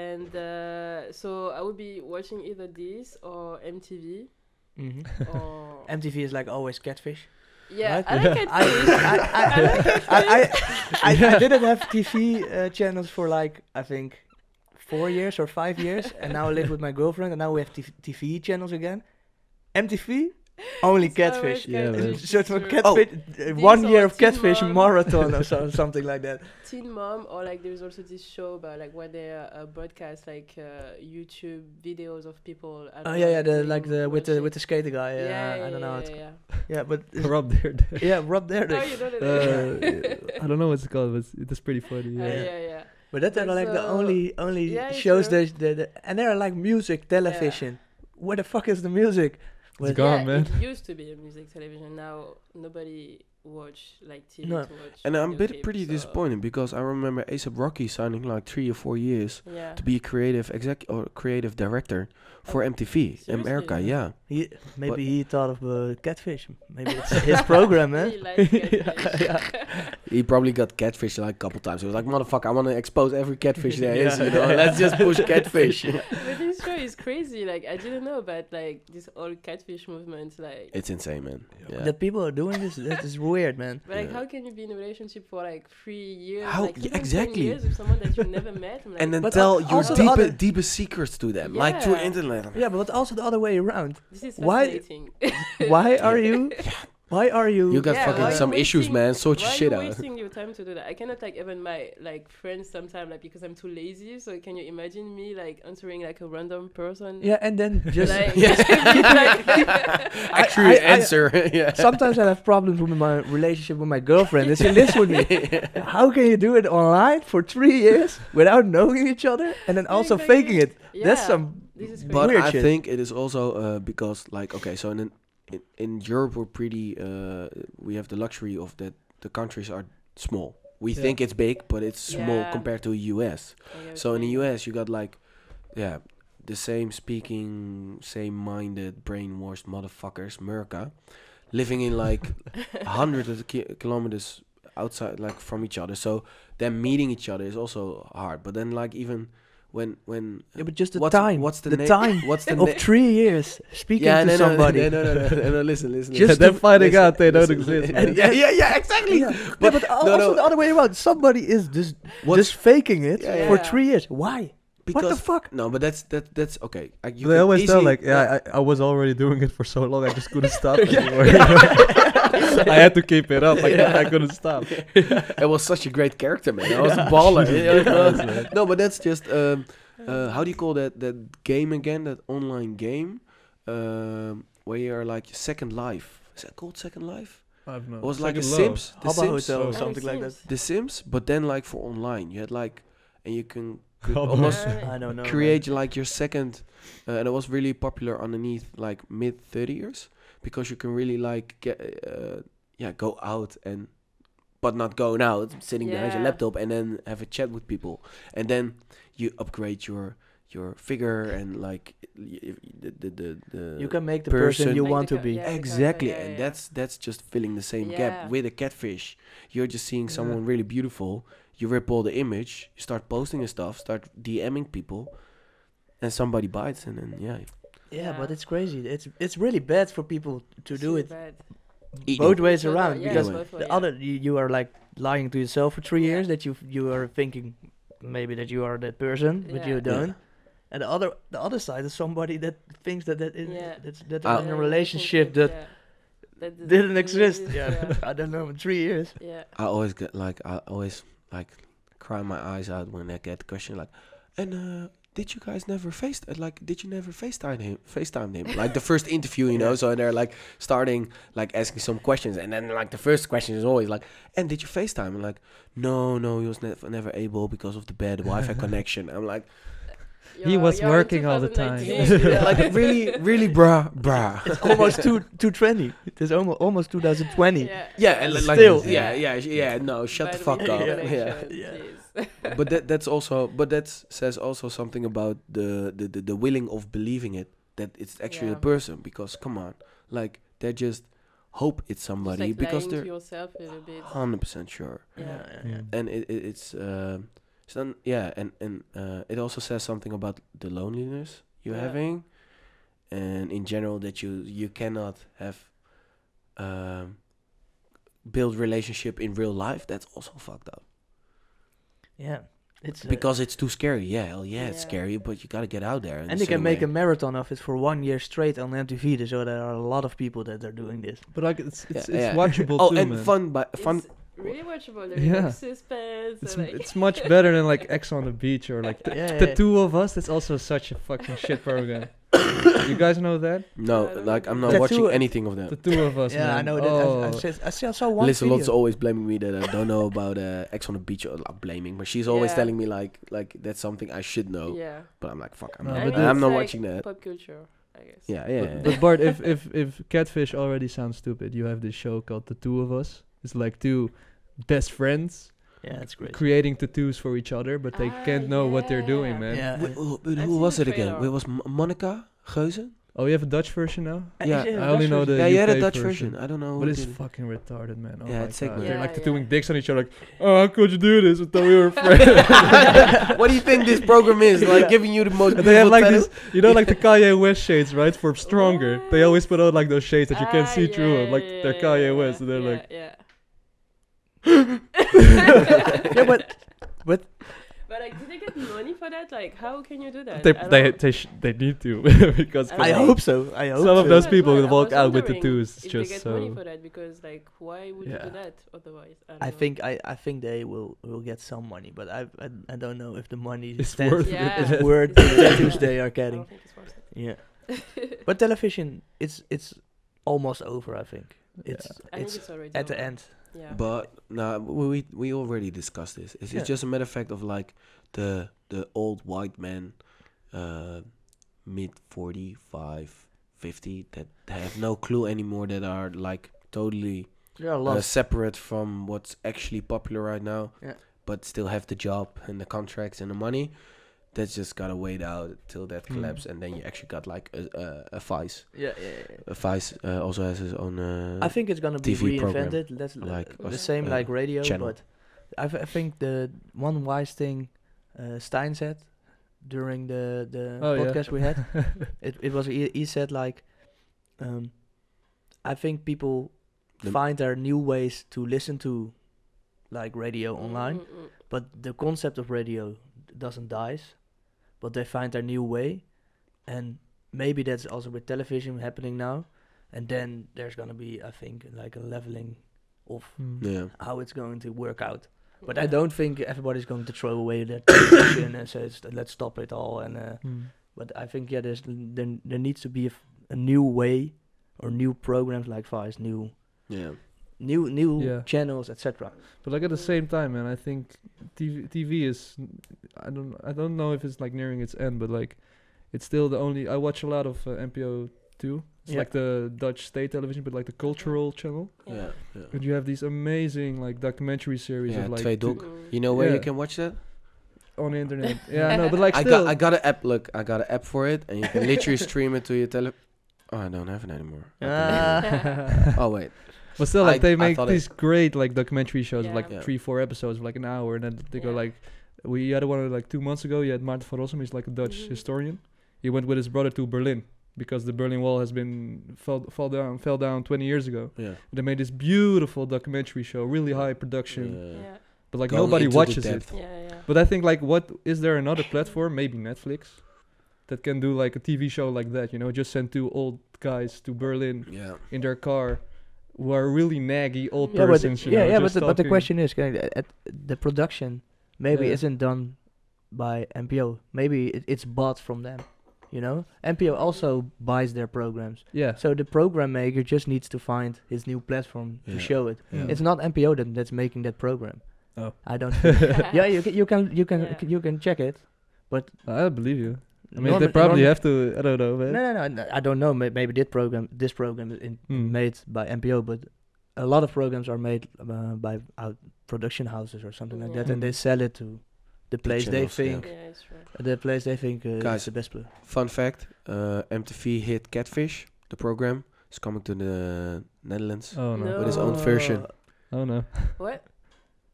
Speaker 4: And uh, so I would be watching either this or MTV
Speaker 1: hmm
Speaker 4: or
Speaker 1: MTV is like always catfish.
Speaker 4: yeah.
Speaker 1: Right?
Speaker 4: I like it.
Speaker 1: I, I, I, I, I, I, I didn't have TV uh, channels for like I think four years or five years, and now I live with my girlfriend, and now we have TV, TV channels again. MTV, only catfish.
Speaker 3: Yeah,
Speaker 1: It's a
Speaker 3: man.
Speaker 1: sort of
Speaker 4: catfish.
Speaker 1: catfish, uh,
Speaker 4: These
Speaker 1: one
Speaker 4: are
Speaker 1: year of
Speaker 4: Teen
Speaker 1: catfish
Speaker 4: Oh, Mom.
Speaker 1: marathon or so, something like that.
Speaker 4: Teen Mom, or like there's also this show about like where they uh, uh, broadcast like uh, YouTube videos of people. I
Speaker 1: Oh yeah,
Speaker 4: don't know,
Speaker 1: yeah, the
Speaker 4: doing
Speaker 1: like the with the
Speaker 4: bullshit.
Speaker 1: with the skater guy.
Speaker 4: yeah,
Speaker 1: Uh,
Speaker 4: yeah,
Speaker 1: I don't know. how
Speaker 4: Yeah,
Speaker 1: it's
Speaker 4: yeah.
Speaker 1: yeah, but it's-
Speaker 3: Rob there. there.
Speaker 1: yeah, Rob there.
Speaker 4: Oh, you know that.
Speaker 3: Uh, I don't know what it's called, but it's- it is pretty funny.
Speaker 4: yeah.
Speaker 3: Yeah.
Speaker 4: Uh, yeah, yeah.
Speaker 1: But that are
Speaker 4: But
Speaker 1: like the
Speaker 4: so-
Speaker 1: only only
Speaker 4: Yeah, it's
Speaker 1: shows
Speaker 4: true.
Speaker 1: that, that, that- and they are like music television. Where the fuck is the music?
Speaker 3: It's
Speaker 1: Well,
Speaker 3: gone,
Speaker 4: yeah,
Speaker 3: man.
Speaker 4: It used to be a music television. Now nobody watch like TV
Speaker 1: No.
Speaker 4: to watch.
Speaker 2: And I'm
Speaker 4: video
Speaker 2: bit
Speaker 4: clips,
Speaker 2: pretty
Speaker 4: so-
Speaker 2: disappointed because I remember ASAP Rocky signing like three or four years
Speaker 4: Yeah.
Speaker 2: to be a creative exec or creative director for MTV
Speaker 4: seriously?
Speaker 2: America. Yeah,
Speaker 1: He, maybe
Speaker 2: But-
Speaker 1: he thought of uh, catfish. Maybe it's his program, man.
Speaker 4: Really like catfish.
Speaker 2: he probably got catfish like a couple times. He was like, "Motherfucker, I want to expose every catfish there is.
Speaker 1: Yeah.
Speaker 2: You know, let's just push catfish."
Speaker 4: but this show is crazy. Like I didn't know about like this whole catfish movement. Like,
Speaker 2: it's insane, man. Yeah.
Speaker 1: That people are doing this, that is weird, man.
Speaker 4: but, like
Speaker 2: Yeah.
Speaker 4: how can you be in a relationship for like three years?
Speaker 2: How-
Speaker 4: like,
Speaker 2: yeah,
Speaker 4: even 10
Speaker 2: exactly.
Speaker 4: Years with someone that you never met. I'm like,
Speaker 2: and then
Speaker 1: But
Speaker 2: tell
Speaker 1: al-
Speaker 2: your
Speaker 1: also the
Speaker 2: deeper,
Speaker 1: other-
Speaker 2: deepest secrets to them, like through
Speaker 4: Yeah.
Speaker 2: internet.
Speaker 1: Yeah, but also the other way around.
Speaker 4: this is
Speaker 1: why-
Speaker 4: fascinating.
Speaker 1: Why are you? Why are you?
Speaker 2: You got
Speaker 4: Yeah,
Speaker 2: fucking
Speaker 4: why
Speaker 2: some
Speaker 4: you
Speaker 2: issues, man.
Speaker 4: wasting-
Speaker 2: Sort your
Speaker 4: Why
Speaker 2: shit
Speaker 4: are
Speaker 2: out.
Speaker 4: you wasting your time to do that? I cannot like even my like friends sometimes like because I'm too lazy. So can you imagine me like answering like a random person?
Speaker 1: yeah, and then just
Speaker 4: Like,
Speaker 2: Actually,
Speaker 1: I- I-
Speaker 2: answer. yeah.
Speaker 1: sometimes I have problems with my relationship with my girlfriend, and she lives with me. How can you do it online for three years without knowing each other, and then also
Speaker 4: exactly.
Speaker 1: faking it? That's
Speaker 4: Yeah,
Speaker 1: some
Speaker 4: This is crazy.
Speaker 2: But
Speaker 1: Weird
Speaker 2: I
Speaker 1: shit.
Speaker 2: think it is also uh, because, like, okay, so in, in in Europe we're pretty. Uh, we have the luxury of that the countries are small. We
Speaker 3: Yeah.
Speaker 2: think it's big, but it's small
Speaker 4: Yeah.
Speaker 2: compared to U.S.
Speaker 4: I get what
Speaker 2: So
Speaker 4: you
Speaker 2: in the
Speaker 4: mean.
Speaker 2: US, you got like, yeah, the same speaking, same minded, brainwashed motherfuckers, Merca, living in like hundreds of ki- kilometers outside, like from each other. So them meeting each other is also hard. But then, like, even when, when,
Speaker 1: Yeah, but just the
Speaker 2: what's,
Speaker 1: time.
Speaker 2: what's the,
Speaker 1: the
Speaker 2: name?
Speaker 1: time
Speaker 2: What's the
Speaker 1: of
Speaker 2: name?
Speaker 1: three years speaking
Speaker 2: Yeah,
Speaker 1: to
Speaker 2: no, no,
Speaker 1: somebody.
Speaker 2: No, no, no, no, no, no, listen, listen.
Speaker 1: Just
Speaker 2: listen.
Speaker 1: to-
Speaker 3: They're finding
Speaker 2: listen,
Speaker 3: out they don't
Speaker 2: listen,
Speaker 3: exist.
Speaker 2: listen.
Speaker 3: man.
Speaker 2: Yeah, yeah, yeah, exactly.
Speaker 1: Yeah. Yeah,
Speaker 2: But
Speaker 1: But, al-
Speaker 2: no,
Speaker 1: also
Speaker 2: no.
Speaker 1: the other way around. Somebody is just
Speaker 2: What's-
Speaker 1: just faking it
Speaker 2: Yeah, yeah.
Speaker 1: for
Speaker 4: Yeah.
Speaker 1: three years. Why? what the
Speaker 2: Because
Speaker 1: fuck?
Speaker 2: no, but that's that that's okay. I, you
Speaker 3: they
Speaker 2: can
Speaker 3: always tell
Speaker 2: easily-
Speaker 3: like, yeah, I, I was already doing it for so long, I just couldn't stop anymore. I had to keep it up. I, cou- I couldn't stop.
Speaker 2: it was such a great character, man. I was a baller. It was- uh,
Speaker 3: man.
Speaker 2: no, but that's just um, uh, how do you call that that game again? That online game um, where you're like Second Life. Is that called Second Life?
Speaker 3: I don't
Speaker 1: Uh,
Speaker 3: know.
Speaker 2: It was like The
Speaker 3: Second love.
Speaker 2: Sims. The
Speaker 1: Habba
Speaker 2: Sims.
Speaker 1: Hotel
Speaker 3: Oh,
Speaker 1: or something like that.
Speaker 2: The Sims, but then like for online, you had like, and you can could
Speaker 3: Habba
Speaker 2: almost
Speaker 4: Hotel.
Speaker 1: I don't know. man.
Speaker 2: create like your second, uh, and it was really popular underneath like mid 30 years because you can really like get, uh, yeah, go out and, but not going out, sitting behind your
Speaker 4: Yeah.
Speaker 2: laptop and then have a chat with people, and then you upgrade your your figure and like y- y- the the the, the
Speaker 1: You can make the person,
Speaker 2: person-
Speaker 1: you
Speaker 4: Like
Speaker 1: want
Speaker 4: the
Speaker 1: to
Speaker 4: co-
Speaker 1: be.
Speaker 4: yeah.
Speaker 2: exactly
Speaker 4: Yeah,
Speaker 2: and
Speaker 4: yeah.
Speaker 2: that's that's just filling the same
Speaker 4: Yeah.
Speaker 2: gap with a catfish you're just seeing
Speaker 3: Yeah.
Speaker 2: someone really beautiful you rip all the image you start posting and stuff start dming people and somebody bites and then yeah
Speaker 1: Yeah, but
Speaker 4: Yeah.
Speaker 1: it's crazy. It's it's really bad for people to do it
Speaker 2: Eat
Speaker 1: both
Speaker 2: it.
Speaker 1: ways
Speaker 4: No, no,
Speaker 1: around
Speaker 4: yeah,
Speaker 1: because
Speaker 2: both
Speaker 4: ways,
Speaker 1: the
Speaker 4: yeah.
Speaker 1: other you, you are like lying to yourself for three
Speaker 4: Yeah.
Speaker 1: years that you you are thinking maybe that you are that person, but
Speaker 4: Yeah.
Speaker 1: you
Speaker 2: Yeah.
Speaker 1: don't. And the other the other side is somebody that thinks that that is,
Speaker 4: Yeah.
Speaker 1: that's, that
Speaker 2: Oh.
Speaker 4: Uh,
Speaker 1: they're in a relationship that didn't exist. Yeah, I don't know in three years.
Speaker 4: Yeah.
Speaker 2: i always get like i always like cry my eyes out when i get the question like and uh did you guys never face like did you never FaceTime him FaceTime him like the first interview you know so they're like starting like asking some questions and then like the first question is always like and did you FaceTime and like no no he was never never able because of the bad Wi-Fi connection I'm like
Speaker 3: He was
Speaker 4: in
Speaker 3: working all the time.
Speaker 4: 2019.
Speaker 2: yeah, like really really bruh bruh
Speaker 1: It's almost two two twenty. It's almost almost two thousand twenty.
Speaker 4: Yeah.
Speaker 2: yeah and li- like
Speaker 1: Still.
Speaker 2: yeah yeah yeah no Oh, shut the
Speaker 4: Bad
Speaker 2: fuck up
Speaker 4: Wi-Fi
Speaker 1: Yeah.
Speaker 2: yeah.
Speaker 4: connection,
Speaker 1: Yeah.
Speaker 4: jeez.
Speaker 2: but that that's also but that says also something about the the, the, the willing of believing it that it's actually
Speaker 4: Yeah.
Speaker 2: a person because come on like they just hope it's
Speaker 4: Just,
Speaker 2: somebody
Speaker 4: like,
Speaker 2: because
Speaker 4: lying to
Speaker 2: they're
Speaker 4: yourself a little
Speaker 2: 100%
Speaker 4: bit.
Speaker 2: sure
Speaker 4: Yeah.
Speaker 1: yeah.
Speaker 2: and it, it it's uh, it's not, yeah and and uh, it also says something about the loneliness you're
Speaker 4: Yeah.
Speaker 2: having and in general that you you cannot have um build relationship in real life that's also fucked up
Speaker 1: Yeah. It's uh,
Speaker 2: because it's too scary. Yeah, hell yeah, it's
Speaker 4: Yeah.
Speaker 2: scary, but you gotta get out there.
Speaker 1: and they can make a marathon of it for one year straight on MTV. So there are a lot of people that are doing this.
Speaker 3: But like, it's
Speaker 2: Yeah,
Speaker 3: it's,
Speaker 2: yeah.
Speaker 3: it's watchable
Speaker 2: Oh,
Speaker 3: too,
Speaker 2: and
Speaker 3: man.
Speaker 2: fun, by, fun.
Speaker 4: It's really watchable.
Speaker 3: Yeah.
Speaker 4: Yeah. Like suspense.
Speaker 3: It's,
Speaker 4: and,
Speaker 3: m-
Speaker 4: like-
Speaker 3: it's much better than like X on the Beach or like the,
Speaker 1: Yeah, yeah,
Speaker 3: the
Speaker 1: yeah.
Speaker 3: two of us. That's also such a fucking shit program. you guys know that?
Speaker 2: No,
Speaker 4: I don't
Speaker 2: like I'm not
Speaker 1: Tattoo-
Speaker 2: watching anything of
Speaker 3: The
Speaker 2: them.
Speaker 3: two of us.
Speaker 1: yeah, I
Speaker 3: man.
Speaker 1: know
Speaker 3: Oh.
Speaker 1: that. I- I, said- I, saw- I saw one
Speaker 2: Lisa
Speaker 1: video.
Speaker 2: Lot's always blaming me that I don't know about uh, X on the Beach. Or, I'm blaming, but she's always
Speaker 4: Yeah.
Speaker 2: telling me like like that's something I should know.
Speaker 4: yeah.
Speaker 2: But I'm like, fuck, I'm
Speaker 3: No,
Speaker 2: not,
Speaker 3: Uh, but
Speaker 2: Oh. I'm
Speaker 4: it's
Speaker 2: not
Speaker 4: like
Speaker 2: watching that.
Speaker 4: Pop culture, I guess.
Speaker 2: Yeah, yeah.
Speaker 3: But, but Bart, if, if if catfish already sounds stupid, you have this show called The Two of Us. It's like two best friends
Speaker 1: Yeah, it's great.
Speaker 3: creating tattoos for each other, but they
Speaker 4: Ah,
Speaker 3: can't know what they're doing,
Speaker 4: yeah.
Speaker 3: man.
Speaker 1: Yeah.
Speaker 2: Wh- wh- but
Speaker 4: I've
Speaker 2: who
Speaker 4: seen
Speaker 2: was
Speaker 4: the
Speaker 2: it again?
Speaker 4: trailer.
Speaker 2: It was M- Monica Geuze.
Speaker 3: Oh, you have a Dutch version now?
Speaker 1: And
Speaker 2: Yeah,
Speaker 1: is it a
Speaker 3: I only
Speaker 1: Dutch
Speaker 3: know
Speaker 1: version?
Speaker 3: the
Speaker 2: yeah, you had a
Speaker 3: UK
Speaker 2: Dutch version. I don't know.
Speaker 3: But
Speaker 2: who
Speaker 3: it's
Speaker 2: did it.
Speaker 3: fucking retarded, man. Oh
Speaker 2: Yeah,
Speaker 3: my
Speaker 2: it's sick,
Speaker 3: God.
Speaker 2: man.
Speaker 3: They're like
Speaker 4: Yeah,
Speaker 3: doing
Speaker 4: yeah.
Speaker 3: dicks on each other, like, oh, how could you do this? I thought we were friends.
Speaker 2: what do you think this program is? Like
Speaker 1: Yeah.
Speaker 2: giving you the most.
Speaker 3: And they have
Speaker 2: beautiful
Speaker 3: like
Speaker 2: tattoo?
Speaker 3: these, you know, like the Kanye West shades, right? For stronger, they always put out like those shades that you can't
Speaker 4: Ah,
Speaker 3: see through,
Speaker 4: yeah,
Speaker 3: like
Speaker 4: yeah,
Speaker 3: they're
Speaker 4: yeah,
Speaker 3: Kanye
Speaker 4: yeah,
Speaker 3: West, and they're
Speaker 4: yeah,
Speaker 3: like,
Speaker 4: yeah.
Speaker 1: yeah, but
Speaker 4: But like, did they get money for that? Like, how can you do that?
Speaker 3: they
Speaker 4: I don't
Speaker 3: they
Speaker 4: know.
Speaker 3: they, sh- they need to because
Speaker 4: I
Speaker 1: I
Speaker 4: Right.
Speaker 1: hope so. I hope
Speaker 3: some of
Speaker 1: so.
Speaker 3: those
Speaker 4: Yeah,
Speaker 3: people
Speaker 4: well,
Speaker 3: will
Speaker 4: I
Speaker 3: walk
Speaker 4: was
Speaker 3: out with
Speaker 4: wondering
Speaker 3: tattoos
Speaker 4: if they
Speaker 3: just
Speaker 4: get money
Speaker 3: so.
Speaker 4: for that because like, why would you
Speaker 3: Yeah.
Speaker 4: do that otherwise? don't
Speaker 1: I
Speaker 4: know.
Speaker 1: think I, I think they will, will get some money, but I, I I don't know if the money
Speaker 3: It's
Speaker 1: stands-
Speaker 3: worth it.
Speaker 4: Yeah.
Speaker 1: is worth the tattoos they are
Speaker 4: I
Speaker 1: getting.
Speaker 4: don't think it's worth it.
Speaker 1: Yeah, but television, it's it's almost over. I think
Speaker 3: Yeah.
Speaker 1: it's
Speaker 4: I
Speaker 1: it's
Speaker 4: think it's already
Speaker 1: at the
Speaker 4: over.
Speaker 1: end.
Speaker 4: Yeah.
Speaker 2: But no, we we already discussed this. It's,
Speaker 1: Yeah.
Speaker 2: it's just a matter of fact of like the the old white man, uh, mid 45, 50 that have no clue anymore that are like totally
Speaker 1: There are a lot.
Speaker 2: uh, separate from what's actually popular right now.
Speaker 1: Yeah.
Speaker 2: But still have the job and the contracts and the money. That's just gotta wait out till that
Speaker 3: Hmm.
Speaker 2: collapse, and then you actually got like a a, a vice.
Speaker 1: yeah, yeah, yeah, yeah.
Speaker 2: A vice uh, also has his own. Uh,
Speaker 1: I think it's gonna be
Speaker 2: TV program,
Speaker 1: reinvented. That's l-
Speaker 2: like
Speaker 1: the
Speaker 4: us-
Speaker 1: same
Speaker 2: uh,
Speaker 1: like radio,
Speaker 2: channel.
Speaker 1: but I, th- I think the one wise thing uh, Stein said during the the
Speaker 3: Oh, yeah.
Speaker 1: podcast we had, it it was he, he said like, um, I think people
Speaker 2: The-
Speaker 1: find their new ways to listen to, like radio online,
Speaker 4: Mm, mm, mm.
Speaker 1: but the concept of radio doesn't dies, but they find their new way, and maybe that's also with television happening now. and then there's gonna be I think like a leveling of
Speaker 3: Mm.
Speaker 2: Yeah.
Speaker 1: how it's going to work out. But I
Speaker 4: Yeah.
Speaker 1: don't think everybody's going to throw away their tradition and say "St- let's stop it all. And uh,
Speaker 3: Mm.
Speaker 1: but I think yeah, there's there, there needs to be a, f- a new way or new programs like Vice, new
Speaker 2: Yeah.
Speaker 1: new new
Speaker 3: Yeah.
Speaker 1: channels, etc.
Speaker 3: But like at the
Speaker 4: Mm.
Speaker 3: same time, man, I think TV, TV is I don't I don't know if it's like nearing its end, but like it's still the only I watch a lot of uh, NPO two. It's
Speaker 1: Yeah.
Speaker 3: like the Dutch state television, but like the cultural channel.
Speaker 2: Yeah.
Speaker 3: And you have these amazing like documentary series
Speaker 2: Yeah,
Speaker 3: of like
Speaker 2: Twee
Speaker 3: two-
Speaker 2: Dok.
Speaker 4: Mm.
Speaker 2: You know where you
Speaker 3: Yeah.
Speaker 2: can watch that?
Speaker 3: on the internet. yeah, no, but like
Speaker 2: I
Speaker 3: still,
Speaker 2: got I got an app. Look, I got an app for it, and you can literally stream it to your tele. Oh, I don't have it anymore. I deleted
Speaker 1: Ah.
Speaker 2: it. oh wait.
Speaker 3: but still
Speaker 2: I-
Speaker 3: like
Speaker 2: I
Speaker 3: they make
Speaker 2: thought it-
Speaker 3: these great like documentary shows of like
Speaker 2: Yeah. Yeah.
Speaker 3: three four episodes of like an hour, and then they go
Speaker 4: Yeah.
Speaker 3: like we had one like two months ago. You had Maarten van Rossum, he's like a Dutch
Speaker 2: Mm-hmm.
Speaker 4: Mhm.
Speaker 3: historian. He went with his brother to Berlin because the Berlin Wall has been fell, fell down fell down 20 years ago.
Speaker 2: Yeah.
Speaker 3: They made this beautiful documentary show, really high production,
Speaker 1: uh,
Speaker 2: Yeah.
Speaker 4: Yeah,
Speaker 3: but like
Speaker 2: Going
Speaker 3: nobody
Speaker 2: uh, into the
Speaker 3: watches it.
Speaker 2: depth.
Speaker 4: yeah, yeah.
Speaker 3: But I think like what is there another platform, maybe Netflix, that can do like a TV show like that, you know, just send two old guys to Berlin
Speaker 2: Yeah.
Speaker 3: in their car who are really naggy old
Speaker 4: Yeah, but
Speaker 3: persons.
Speaker 1: yeah,
Speaker 3: you know,
Speaker 1: yeah, but
Speaker 3: just
Speaker 1: the, but the
Speaker 3: talking.
Speaker 1: question is, kijk, at the production maybe
Speaker 3: Yeah.
Speaker 1: isn't done by NPO. Maybe it, it's bought from them. You know, NPO also buys their programs.
Speaker 3: Yeah.
Speaker 1: So the program maker just needs to find his new platform
Speaker 2: Yeah.
Speaker 1: to show it.
Speaker 2: Yeah.
Speaker 1: It's not NPO that, that's making that program.
Speaker 3: Oh.
Speaker 1: I don't. think- yeah, you can you can you can
Speaker 4: Yeah.
Speaker 1: you can check it.
Speaker 3: I believe you. I mean,
Speaker 1: Norm-
Speaker 3: they probably
Speaker 1: norm-
Speaker 3: have to. I don't know, man.
Speaker 1: No, no, no, no. I don't know. May- Maybe this program this program is in,
Speaker 3: Hmm.
Speaker 1: made by NPO, but a lot of programs are made uh, by out production houses or something like that,
Speaker 3: Hmm.
Speaker 1: and they sell it to the place they
Speaker 2: channels, yeah.
Speaker 1: think
Speaker 4: Yeah, it's true.
Speaker 1: the place they think uh,
Speaker 2: Guys.
Speaker 1: is the best place.
Speaker 2: Fun fact: uh, MTV hit Catfish, the program, is coming to the Netherlands.
Speaker 3: Oh no.
Speaker 4: No.
Speaker 2: With his own version.
Speaker 1: Uh,
Speaker 3: Oh no.
Speaker 4: What?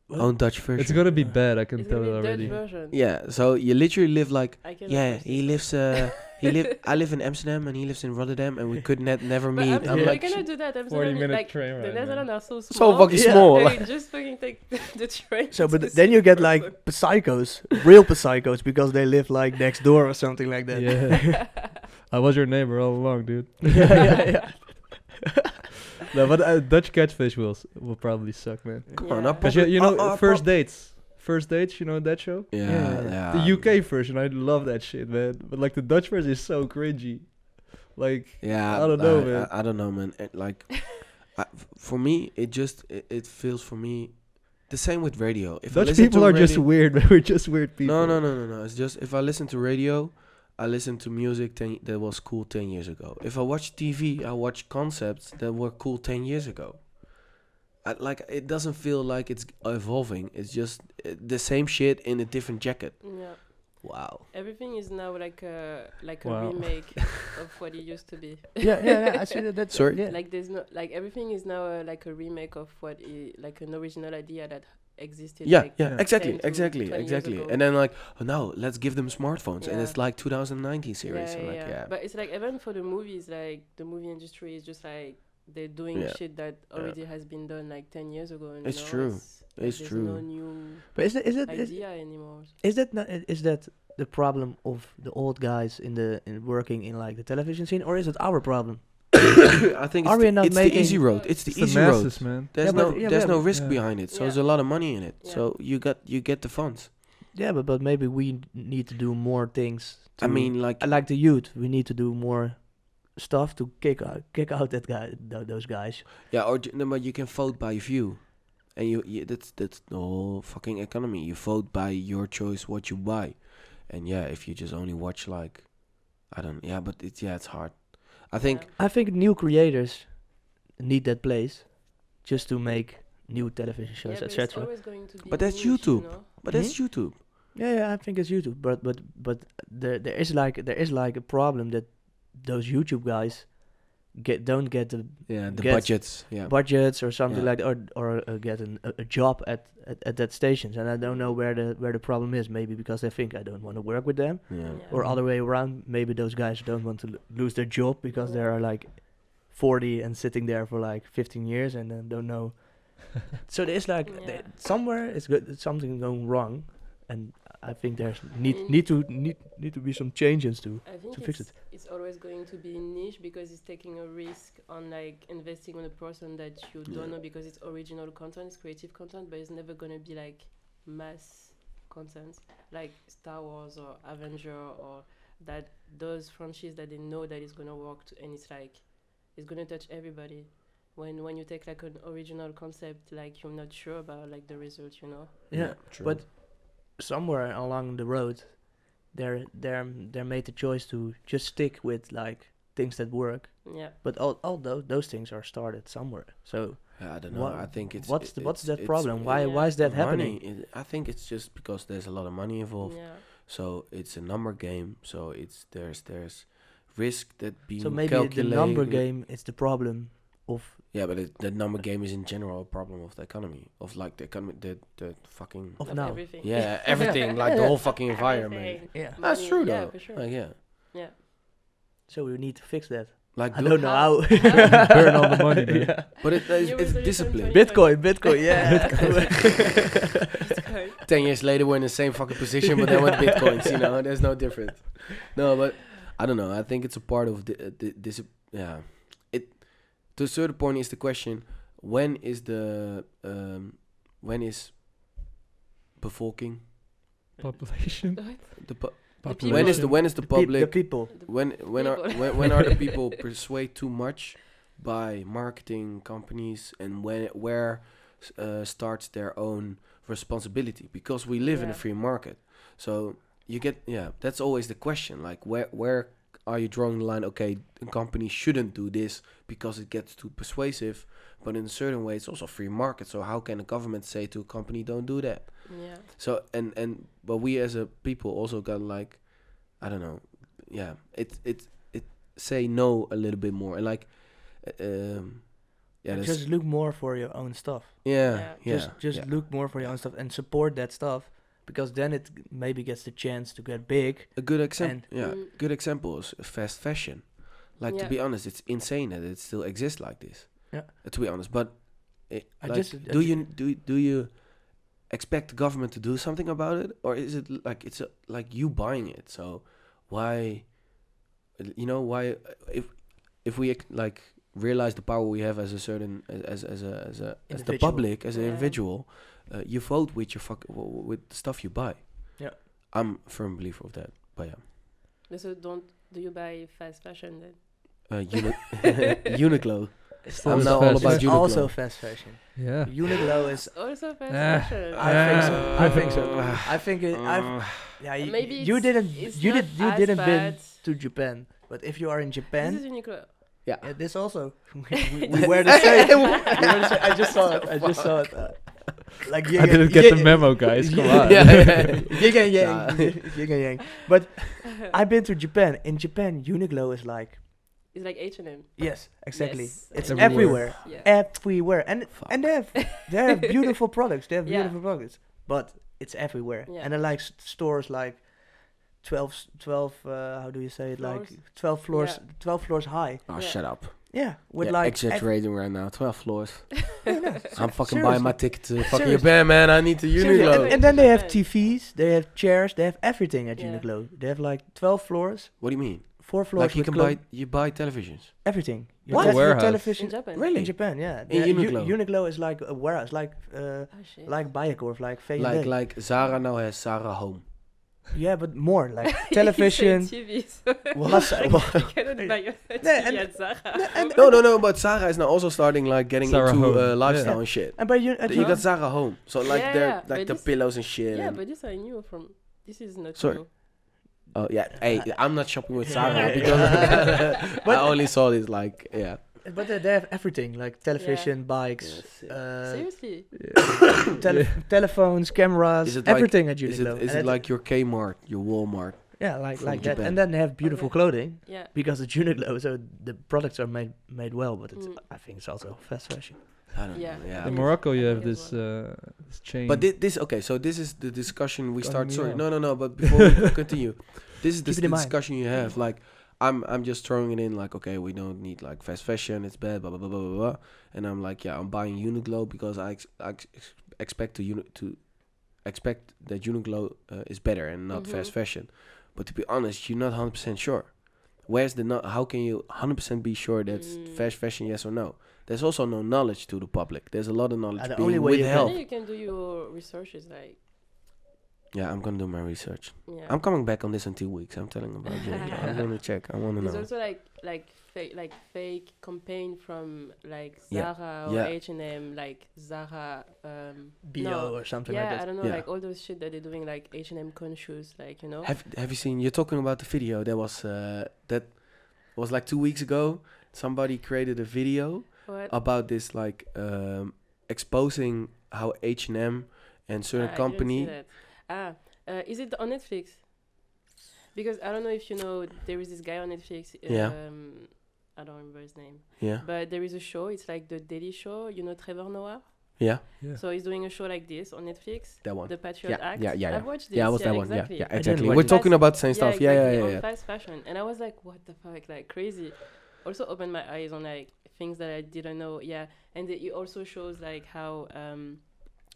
Speaker 1: What?
Speaker 2: Own Dutch version.
Speaker 3: It's gonna be bad. I can
Speaker 4: It's
Speaker 3: tell
Speaker 4: gonna
Speaker 3: it
Speaker 4: be Dutch
Speaker 3: already.
Speaker 4: version.
Speaker 2: Yeah. So you literally live like.
Speaker 4: I cannot
Speaker 2: Yeah,
Speaker 4: watch
Speaker 2: he
Speaker 4: this.
Speaker 2: lives. Uh, he live. I live in Amsterdam, and he lives in Rotterdam, and we could ne- never
Speaker 4: But
Speaker 2: meet.
Speaker 4: I'm,
Speaker 2: I'm
Speaker 4: we
Speaker 2: like,
Speaker 4: cannot do that. I'm
Speaker 3: 40
Speaker 4: sorry,
Speaker 3: minute
Speaker 4: like,
Speaker 3: train
Speaker 4: The
Speaker 3: ride, man.
Speaker 4: Netherlands are so
Speaker 2: so
Speaker 4: small.
Speaker 2: fucking
Speaker 1: Yeah.
Speaker 2: small.
Speaker 4: They
Speaker 2: like-
Speaker 4: just fucking take the, the train.
Speaker 1: So,
Speaker 4: to
Speaker 1: but
Speaker 4: see
Speaker 1: then you get
Speaker 4: the
Speaker 1: like
Speaker 4: person.
Speaker 1: psychos, real psychos, because they live like next door or something like that.
Speaker 3: Yeah. I was your neighbor all along, dude.
Speaker 1: yeah, yeah, yeah.
Speaker 3: No, but uh, Dutch catfish will s- will probably suck, man.
Speaker 2: come on,
Speaker 4: Yeah.
Speaker 2: up.
Speaker 3: Cause you, you know,
Speaker 1: Oh,
Speaker 2: uh, uh,
Speaker 3: first dates, first dates. You know that show?
Speaker 2: Yeah, yeah.
Speaker 3: The UK version, I love that shit, man. But like the Dutch version is so cringy. Like,
Speaker 2: Yeah,
Speaker 3: I don't know,
Speaker 2: I,
Speaker 3: man.
Speaker 2: I, I don't know, man. It, like, I, f- for me, it just it, it feels for me the same with radio. If I
Speaker 3: Dutch
Speaker 2: listen
Speaker 3: people
Speaker 2: to
Speaker 3: are just
Speaker 2: radio-
Speaker 3: weird. man. We're just weird people.
Speaker 2: no, no, no, no, no. It's just if I listen to radio, I listen to music ten, that was cool ten years ago. If I watch TV, I watch concepts that were cool ten years ago. I, like it doesn't feel like it's evolving. It's just uh, the same shit in a different jacket.
Speaker 4: Yeah.
Speaker 2: Wow.
Speaker 4: Everything is now like a like a
Speaker 3: Wow.
Speaker 4: remake of what it used to be.
Speaker 1: yeah, yeah, yeah. I see that. That's
Speaker 2: Sorry?
Speaker 1: Yeah.
Speaker 4: Like there's no like everything is now uh, like a remake of what i- like an original idea that existed.
Speaker 2: Yeah,
Speaker 4: like,
Speaker 2: yeah,
Speaker 3: Yeah.
Speaker 2: exactly,
Speaker 4: 10 to
Speaker 2: exactly,
Speaker 4: 20 years
Speaker 2: exactly.
Speaker 4: ago.
Speaker 2: And then like, oh, no, let's give them smartphones, and
Speaker 4: Yeah.
Speaker 2: it's like 2019 series. I'm like, yeah,
Speaker 4: But it's like even for the movies, like the movie industry is just like they're doing
Speaker 2: Yeah.
Speaker 4: shit that
Speaker 2: Yeah.
Speaker 4: already has been done like ten years ago. And
Speaker 2: It's
Speaker 4: now
Speaker 2: true.
Speaker 4: like,
Speaker 2: It's
Speaker 4: there's
Speaker 2: true.
Speaker 4: No new
Speaker 1: But is it is it is,
Speaker 4: idea anymore.
Speaker 1: is that not, is that the problem of the old guys in the in working in like the television scene, or is it our problem?
Speaker 2: I think
Speaker 1: Are
Speaker 2: it's,
Speaker 1: we
Speaker 2: the,
Speaker 1: not
Speaker 2: it's the
Speaker 1: making-
Speaker 2: easy road. It's the
Speaker 3: It's
Speaker 2: easy
Speaker 3: the masses,
Speaker 2: road.
Speaker 3: man.
Speaker 2: There's
Speaker 1: Yeah,
Speaker 2: no
Speaker 1: but- yeah,
Speaker 2: there's
Speaker 1: yeah,
Speaker 2: no
Speaker 1: but-
Speaker 2: risk
Speaker 3: Yeah.
Speaker 2: behind it. So
Speaker 4: Yeah.
Speaker 2: there's a lot of money in it.
Speaker 4: Yeah.
Speaker 2: So you got you get the funds.
Speaker 1: Yeah, but but maybe we n- need to do more things. To,
Speaker 2: I mean, like
Speaker 1: I like the youth, we need to do more stuff to kick out kick out that guy tho- those guys.
Speaker 2: yeah, or ju- no, but you can vote by view, and you, you that's that's the whole fucking economy. You vote by your choice what you buy, and yeah, if you just only watch like, I don't yeah, but it's yeah, it's hard. I think
Speaker 1: I think new creators need that place just to make new television shows, etc.
Speaker 2: But that's YouTube.
Speaker 4: You know?
Speaker 2: But that's YouTube.
Speaker 1: Yeah, yeah, I think it's YouTube, but but but there there is like there is like a problem that those YouTube guys get don't get the
Speaker 2: Yeah, the
Speaker 1: Gets-
Speaker 2: budgets. Yeah.
Speaker 1: budgets or something
Speaker 2: Yeah.
Speaker 1: like that, or or uh, get an, a, a job at, at at that stations. And I don't know where the where the problem is. Maybe because they think I don't want to work with them,
Speaker 2: yeah.
Speaker 1: or other way around. Maybe those guys don't want to lo- lose their job because they are like forty and sitting there for like fifteen years and then don't know. so there's like
Speaker 4: Yeah.
Speaker 1: there- somewhere it's good something going wrong, and I think there's need need to need need to be some changes to.
Speaker 4: I think
Speaker 1: to
Speaker 4: it's,
Speaker 1: fix
Speaker 4: it's always going to be niche because it's taking a risk on like investing on a person that you
Speaker 2: Yeah.
Speaker 4: don't know because it's original content, it's creative content, but it's never gonna be like mass content like Star Wars or Avenger or that those franchise that they know that is gonna work to, and it's like it's gonna touch everybody. When when you take like an original concept, like you're not sure about like the result, you know.
Speaker 1: Yeah,
Speaker 2: true.
Speaker 1: but somewhere along the road, they're they're they're made the choice to just stick with like things that work.
Speaker 4: Yeah.
Speaker 1: But all all those those things are started somewhere. So
Speaker 2: Yeah, I don't know.
Speaker 1: What-
Speaker 2: I think it's
Speaker 1: what's the,
Speaker 2: it-
Speaker 1: what's
Speaker 2: it's-
Speaker 1: that
Speaker 2: it's
Speaker 1: problem? Why
Speaker 4: Yeah.
Speaker 1: why is that
Speaker 2: money.
Speaker 1: happening?
Speaker 2: It- I think it's just because there's a lot of money involved.
Speaker 4: Yeah.
Speaker 2: So it's a number game. So it's there's there's risk that being
Speaker 1: So maybe the
Speaker 2: calculated.
Speaker 1: number game is the problem of
Speaker 2: Yeah, but it, the number game is in general a problem of the economy, of like the economy, the the fucking
Speaker 1: of
Speaker 4: Of
Speaker 1: now.
Speaker 4: everything.
Speaker 2: yeah everything, like the whole fucking environment.
Speaker 4: Everything.
Speaker 1: Yeah.
Speaker 2: That's
Speaker 4: Money,
Speaker 2: true
Speaker 4: yeah,
Speaker 2: though.
Speaker 4: for sure.
Speaker 2: Like, yeah,
Speaker 1: So we need to fix that.
Speaker 2: like
Speaker 1: I
Speaker 2: do-
Speaker 1: don't know how.
Speaker 4: How?
Speaker 3: Burn all the money, man.
Speaker 1: Yeah.
Speaker 2: but it,
Speaker 4: New
Speaker 2: it's, it's
Speaker 4: resolution
Speaker 2: discipline.
Speaker 4: 20.
Speaker 1: Bitcoin, Bitcoin, yeah.
Speaker 4: Okay.
Speaker 2: Ten years later, we're in the same fucking position, but then with bitcoins, you know, there's no difference. No, but I don't know. I think it's a part of the, uh, the this. Yeah, it to a certain point is the question: when is the um, when is bevolking
Speaker 3: Population.
Speaker 4: What?
Speaker 2: the pu-
Speaker 4: The
Speaker 2: when is the
Speaker 3: Population.
Speaker 2: when is the public
Speaker 1: the people.
Speaker 4: The
Speaker 2: when when are
Speaker 4: people.
Speaker 2: when, when are the people persuaded too much by marketing companies and when where uh, starts their own responsibility because we live in a
Speaker 4: Yeah.
Speaker 2: free market so you get yeah that's always the question like where where are you drawing the line okay a company shouldn't do this because it gets too persuasive but in a certain way it's also free market so how can a government say to a company don't do that
Speaker 4: Yeah.
Speaker 2: so and and but we as a people also got like, I don't know, yeah. It it it say no a little bit more and like, uh, um, yeah, that's,
Speaker 1: just look more for your own stuff.
Speaker 2: yeah,
Speaker 4: yeah.
Speaker 2: yeah,
Speaker 1: just just
Speaker 2: yeah.
Speaker 1: look more for your own stuff and support that stuff because then it g- maybe gets the chance to get big.
Speaker 2: a good example.
Speaker 1: and-
Speaker 2: Yeah,
Speaker 4: Mm.
Speaker 2: good example is fast fashion. Like to
Speaker 4: Yeah.
Speaker 2: be honest, it's insane that it still exists like this.
Speaker 1: Yeah.
Speaker 2: Uh, to be honest, but it,
Speaker 1: I
Speaker 2: like,
Speaker 1: just- I
Speaker 2: do
Speaker 1: ju-
Speaker 2: you do do you expect the government to do something about it, or is it like it's a, like you buying it? So why, you know, why uh, if if we like realize the power we have as a certain as as, as a as a as the
Speaker 1: Individual.
Speaker 2: public as an
Speaker 4: Yeah.
Speaker 2: individual, uh, you vote with your fuck w- w- with the stuff you buy.
Speaker 1: Yeah.
Speaker 2: I'm a firm believer of that. But yeah.
Speaker 4: So don't do you buy fast fashion then?
Speaker 2: Uh, Uni- uh, Uniqlo.
Speaker 3: Still
Speaker 2: I'm
Speaker 3: is
Speaker 2: now all
Speaker 3: fast
Speaker 2: about
Speaker 1: But
Speaker 3: fashion.
Speaker 2: Uniqlo.
Speaker 1: also fast fashion.
Speaker 3: Yeah.
Speaker 1: Uniqlo is.
Speaker 4: Also fast
Speaker 3: Ah,
Speaker 4: fashion.
Speaker 1: I think so. I think so.
Speaker 2: Uh,
Speaker 1: I think it, I've,
Speaker 3: Uh,
Speaker 1: yeah. You,
Speaker 4: Maybe
Speaker 1: you
Speaker 4: it's-
Speaker 1: didn't.
Speaker 4: it's
Speaker 1: You
Speaker 4: not
Speaker 1: did. You
Speaker 4: as
Speaker 1: didn't
Speaker 4: bad.
Speaker 1: been to Japan. But if you are in
Speaker 4: This is
Speaker 1: Japan,
Speaker 4: Uniqlo.
Speaker 1: yeah, this also we, we, we wear the same. we wear the same. I just saw it. I just saw it. Uh, like
Speaker 3: I didn't get the memo, guys. Come on.
Speaker 2: Yeah.
Speaker 1: Yin and
Speaker 2: Nah.
Speaker 1: yang. Yin and yang. But I've been to Japan. In Japan, Uniqlo is like
Speaker 4: It's like H and M.
Speaker 1: Yes, exactly.
Speaker 4: Yes,
Speaker 1: It's
Speaker 3: Everywhere.
Speaker 1: everywhere.
Speaker 4: Yeah.
Speaker 1: Everywhere. And and they have they have beautiful products. They have
Speaker 4: Yeah.
Speaker 1: beautiful products. But it's everywhere.
Speaker 4: Yeah.
Speaker 1: And I like s- stores like 12 s- 12 uh, how do you say it like
Speaker 4: Floors?
Speaker 1: 12 floors 12 floors high.
Speaker 2: Oh,
Speaker 4: Yeah.
Speaker 2: shut up.
Speaker 1: Yeah, with
Speaker 2: We're
Speaker 1: like
Speaker 2: like
Speaker 1: ev-
Speaker 2: exaggerating right now. 12 floors.
Speaker 1: Yeah, no,
Speaker 2: I'm fucking
Speaker 1: seriously.
Speaker 2: buying my ticket to fucking
Speaker 1: Seriously.
Speaker 2: Japan, man. I need to
Speaker 1: Seriously,
Speaker 2: Uniqlo.
Speaker 1: And, and then they have TVs, they have chairs, they have everything at
Speaker 4: Yeah.
Speaker 1: Uniqlo. They have like 12 floors,
Speaker 2: What do you mean?
Speaker 1: 4 floors
Speaker 2: Like you
Speaker 1: with
Speaker 2: can
Speaker 1: clothes,
Speaker 2: buy you buy televisions.
Speaker 1: everything. Your
Speaker 3: What?
Speaker 1: te- your
Speaker 3: Warehouse.
Speaker 1: television
Speaker 4: In Japan.
Speaker 2: Really?
Speaker 1: in Japan, yeah.
Speaker 2: In
Speaker 1: Yeah, U-
Speaker 2: Uniqlo.
Speaker 1: Uniqlo is like a warehouse like uh,
Speaker 4: Oh shit.
Speaker 1: like Bayakorf, like V&D.
Speaker 2: Like like Zara now has Zara Home.
Speaker 1: Yeah, but more like
Speaker 4: You said
Speaker 1: television.
Speaker 4: TVs.
Speaker 1: plus-
Speaker 4: You cannot buy your TV
Speaker 1: and-
Speaker 4: at Zara.
Speaker 2: No no no, but Zara is now also starting like getting
Speaker 3: Zara
Speaker 2: into
Speaker 3: Home.
Speaker 2: uh, lifestyle
Speaker 1: Yeah.
Speaker 2: and shit.
Speaker 1: and by you, uh, at
Speaker 2: You
Speaker 1: your-
Speaker 2: got Zara Home, so like
Speaker 4: Yeah,
Speaker 2: they're
Speaker 4: yeah,
Speaker 2: like
Speaker 4: but
Speaker 2: the
Speaker 4: this-
Speaker 2: pillows and shit.
Speaker 4: Yeah,
Speaker 2: and-
Speaker 4: but this I knew from. This is not
Speaker 2: Sorry.
Speaker 4: new.
Speaker 2: oh yeah, hey, I'm not shopping with Zara
Speaker 1: Yeah.
Speaker 2: because
Speaker 1: But-
Speaker 2: I only saw this like yeah.
Speaker 1: but they, they have everything like television, bikes, uh,
Speaker 4: Seriously.
Speaker 1: tele- telephones, cameras,
Speaker 2: Is it like-
Speaker 1: everything at
Speaker 2: Is it,
Speaker 1: Uniqlo.
Speaker 2: is
Speaker 1: And
Speaker 2: it like your Kmart, your Walmart?
Speaker 1: yeah, like
Speaker 2: from
Speaker 1: like that?
Speaker 2: Japan?
Speaker 1: And then they have beautiful clothing
Speaker 4: Yeah.
Speaker 1: because it's Uniqlo, so the products are made made well. But it's,
Speaker 4: Mm.
Speaker 1: I think it's also fast fashion.
Speaker 2: I don't
Speaker 4: Yeah.
Speaker 2: know. Yeah.
Speaker 3: In Morocco, you
Speaker 4: I
Speaker 3: have
Speaker 4: think as
Speaker 3: this, uh, this chain.
Speaker 2: But this, this okay. So this is the discussion we
Speaker 3: Cutting
Speaker 2: start.
Speaker 3: me
Speaker 2: Sorry,
Speaker 3: off.
Speaker 2: no, no, no. But before we continue, this is the
Speaker 1: Keep it
Speaker 2: s-
Speaker 1: in mind.
Speaker 2: discussion you have. Like, I'm, I'm just throwing it in. Like, okay, we don't need like fast fashion. It's bad. Blah blah blah blah blah. blah. And I'm like, yeah, I'm buying Uniqlo because I, ex- I ex- ex- expect to uni- to expect that Uniqlo uh, is better and not
Speaker 4: Mhm.
Speaker 2: fast fashion. But to be honest, you're not 100% sure. Where's the no- how can you 100% be sure that's
Speaker 4: Mm.
Speaker 2: fast fashion yes or no? There's also no knowledge to the public. There's a lot of knowledge
Speaker 1: Uh, the
Speaker 2: being
Speaker 1: only way you can-
Speaker 4: I
Speaker 1: Help.
Speaker 2: withheld.
Speaker 4: think you can do your researches like
Speaker 2: Yeah, I'm going to do my research.
Speaker 4: yeah.
Speaker 2: I'm coming back on this in 2 weeks. I'm telling about it. I'm going to check. I want to
Speaker 4: There's
Speaker 2: know.
Speaker 4: also like like fake like fake campaign from like
Speaker 2: Yeah.
Speaker 4: Zara
Speaker 2: Yeah.
Speaker 4: or H and M like Zara um
Speaker 1: Bio
Speaker 4: no,
Speaker 1: or something
Speaker 4: yeah
Speaker 1: like
Speaker 4: I
Speaker 1: that.
Speaker 4: don't know
Speaker 2: Yeah.
Speaker 4: like all those shit that they're doing like H and M conscious like you know
Speaker 2: Have Have you seen? You're talking about the video that was uh, that was like two weeks ago. Somebody created a video
Speaker 4: what
Speaker 2: about this, like um, exposing how H and M and certain
Speaker 4: Ah, I didn't see
Speaker 2: company.
Speaker 4: that. ah uh, is it on Netflix because I don't know if you know there is this guy on Netflix
Speaker 2: Yeah.
Speaker 4: um, I don't remember his name
Speaker 2: Yeah,
Speaker 4: but there is a show it's like the Daily Show you know Trevor Noah
Speaker 2: yeah,
Speaker 3: Yeah.
Speaker 4: so he's doing a show like this on Netflix
Speaker 2: that one.
Speaker 4: the Patriot
Speaker 2: yeah,
Speaker 4: Act
Speaker 2: yeah, yeah.
Speaker 4: I've watched this
Speaker 2: yeah, I was that
Speaker 4: exactly.
Speaker 2: one. Yeah, yeah,
Speaker 1: didn't
Speaker 2: exactly.
Speaker 1: watch
Speaker 2: We're
Speaker 1: it.
Speaker 2: talking about the same stuff. Yeah,
Speaker 4: exactly,
Speaker 2: yeah,
Speaker 4: on
Speaker 2: yeah, yeah.
Speaker 4: fast fashion, and I was like, what the fuck, like crazy. Also opened my eyes on like things that I didn't know. Yeah, and it it also shows like how um,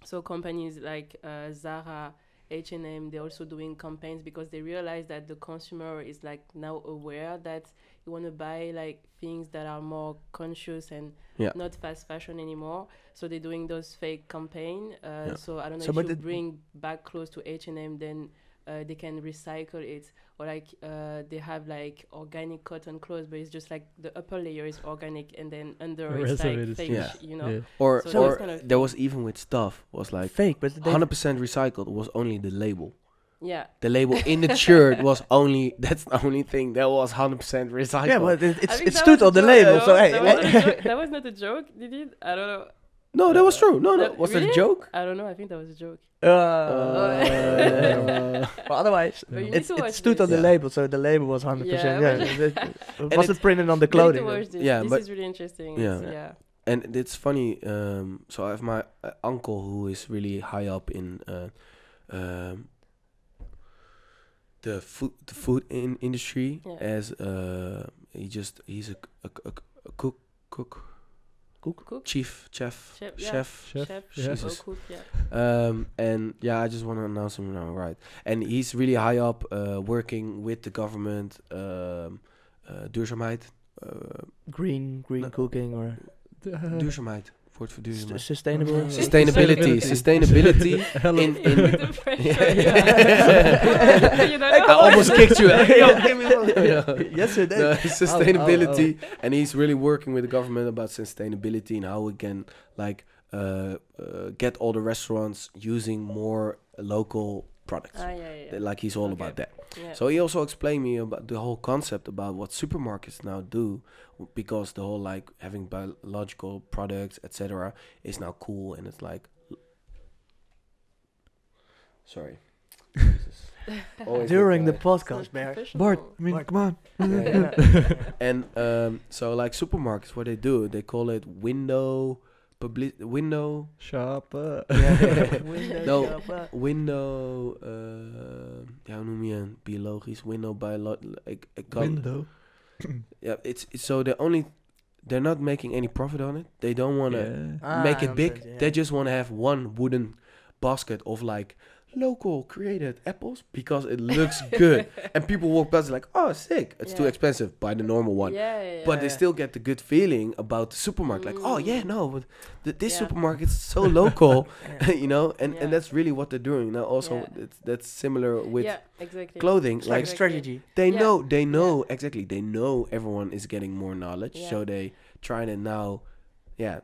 Speaker 4: so companies like uh, Zara, H and M, they're also doing campaigns because they realize that the consumer is like now aware that you want to buy like things that are more conscious and
Speaker 2: Yeah.
Speaker 4: not fast fashion anymore. So they're doing those fake campaign. Uh,
Speaker 2: Yeah.
Speaker 4: So I don't know
Speaker 1: So
Speaker 4: if
Speaker 1: but
Speaker 4: you
Speaker 1: it-
Speaker 4: bring back clothes to H and M, then uh, they can recycle it or like uh, they have like organic cotton clothes but it's just like the upper layer is organic and then under
Speaker 3: The
Speaker 4: it's
Speaker 3: rest of
Speaker 4: like
Speaker 3: it is
Speaker 4: fake
Speaker 2: Yeah.
Speaker 4: you know
Speaker 3: yeah.
Speaker 2: Or
Speaker 4: So
Speaker 2: or
Speaker 4: that's kind of-
Speaker 2: there was even with stuff was like
Speaker 1: Fake, but they,
Speaker 2: 100% recycled was only the label.
Speaker 4: yeah
Speaker 2: The label in the shirt was only that's the only thing that was 100% recycled.
Speaker 1: yeah, but it,
Speaker 4: I
Speaker 1: it's,
Speaker 4: think
Speaker 1: it
Speaker 4: that
Speaker 1: stood
Speaker 4: was a
Speaker 1: on the
Speaker 4: joke,
Speaker 1: label.
Speaker 4: though.
Speaker 1: So
Speaker 4: that, was
Speaker 1: hey,
Speaker 4: not a joke. that was not a joke did it i don't know
Speaker 2: No, that was true. No, no,
Speaker 4: Uh,
Speaker 2: was that
Speaker 4: really?
Speaker 2: a joke?
Speaker 4: i don't know i think that was a joke
Speaker 1: uh,
Speaker 2: Uh,
Speaker 1: but otherwise,
Speaker 4: but you need
Speaker 1: it,
Speaker 4: to
Speaker 1: it
Speaker 4: watch
Speaker 1: stood
Speaker 4: this.
Speaker 1: on the
Speaker 2: Yeah.
Speaker 1: label, so the label was 100%. Yeah,
Speaker 4: Yeah,
Speaker 1: it, it
Speaker 2: it's-
Speaker 1: wasn't printed on the
Speaker 4: You need to
Speaker 1: clothing. though.
Speaker 4: watch this.
Speaker 2: Yeah,
Speaker 4: this
Speaker 2: but-
Speaker 4: is really interesting
Speaker 2: Yeah.
Speaker 4: yeah yeah,
Speaker 2: and it's funny. Um, so I have my uh, uncle who is really high up in uh, um, the food the food in industry.
Speaker 4: Yeah.
Speaker 2: As uh, he just he's a, c- a c- a c- a cook cook
Speaker 4: cook
Speaker 2: chief chef
Speaker 4: Chef, yeah.
Speaker 2: chef.
Speaker 3: Chef,
Speaker 4: chef
Speaker 3: yeah.
Speaker 4: or
Speaker 2: Jesus.
Speaker 4: cook yeah
Speaker 2: Um, and yeah, I just want to announce him now, right? And he's really high up, uh, working with the government, um, uh, duurzaamheid, uh,
Speaker 1: Green, green
Speaker 2: No.
Speaker 1: cooking or
Speaker 4: Uh-huh.
Speaker 2: duurzaamheid, woord voor
Speaker 1: s-
Speaker 2: duurzaamheid.
Speaker 1: sustainable.
Speaker 2: Sustainability, sustainability.
Speaker 3: Hello.
Speaker 2: in- in-
Speaker 4: With the
Speaker 2: Yeah.
Speaker 4: pressure, yeah. You don't
Speaker 2: I
Speaker 4: know.
Speaker 2: almost kicked you. eh? Yo, give me one.
Speaker 1: yes, it
Speaker 4: oh,
Speaker 2: No,
Speaker 1: is.
Speaker 2: sustainability, and he's really working with the government about sustainability and how we can like uh, uh, get all the restaurants using more local products.
Speaker 4: ah, yeah, yeah,
Speaker 2: Like he's all
Speaker 4: Okay.
Speaker 2: about that.
Speaker 4: yeah.
Speaker 2: So he also explained me about the whole concept about what supermarkets now do, w- because the whole like having biological products, etc., is now cool, and it's like, sorry, Jesus. Always
Speaker 1: During the
Speaker 2: that guy.
Speaker 4: It's not
Speaker 1: podcast, Bear.
Speaker 3: Bart,
Speaker 4: professional.
Speaker 3: I mean,
Speaker 1: Bart.
Speaker 3: come on.
Speaker 2: Yeah, and um, so like supermarkets, what they do, they call it window public window
Speaker 3: Shop. Uh.
Speaker 2: Yeah.
Speaker 1: Windows
Speaker 2: No.
Speaker 1: up, uh,
Speaker 2: window. Uh, ja, hoe noem je een biologisch window biolog? Ik ik kan
Speaker 3: Window.
Speaker 2: Yeah, it's, it's so they only they're not making any profit on it. They don't want to
Speaker 3: Yeah.
Speaker 1: Ah,
Speaker 2: make
Speaker 1: I
Speaker 2: it big.
Speaker 1: understand,
Speaker 2: They
Speaker 1: yeah.
Speaker 2: just want to have one wooden basket of like local created apples because it looks good and people walk past like, "Oh, sick. It's too
Speaker 4: Yeah.
Speaker 2: expensive. Buy the normal one."
Speaker 4: Yeah, yeah, yeah.
Speaker 2: But they
Speaker 1: Yeah.
Speaker 2: still get the good feeling about the supermarket. Like, oh yeah,
Speaker 4: Mm.
Speaker 2: no, but th- this
Speaker 4: Yeah.
Speaker 2: supermarket's so local,
Speaker 1: Yeah.
Speaker 2: you know, and,
Speaker 4: Yeah.
Speaker 2: and that's really what they're doing. Now also,
Speaker 4: Yeah.
Speaker 2: it's, that's similar with
Speaker 4: yeah, exactly.
Speaker 2: clothing.
Speaker 1: It's like a
Speaker 4: Exactly.
Speaker 1: strategy.
Speaker 2: They
Speaker 4: Yeah.
Speaker 2: know, they know exactly. They know everyone is getting more knowledge,
Speaker 4: Yeah.
Speaker 2: so they try to now, yeah,
Speaker 1: Yeah,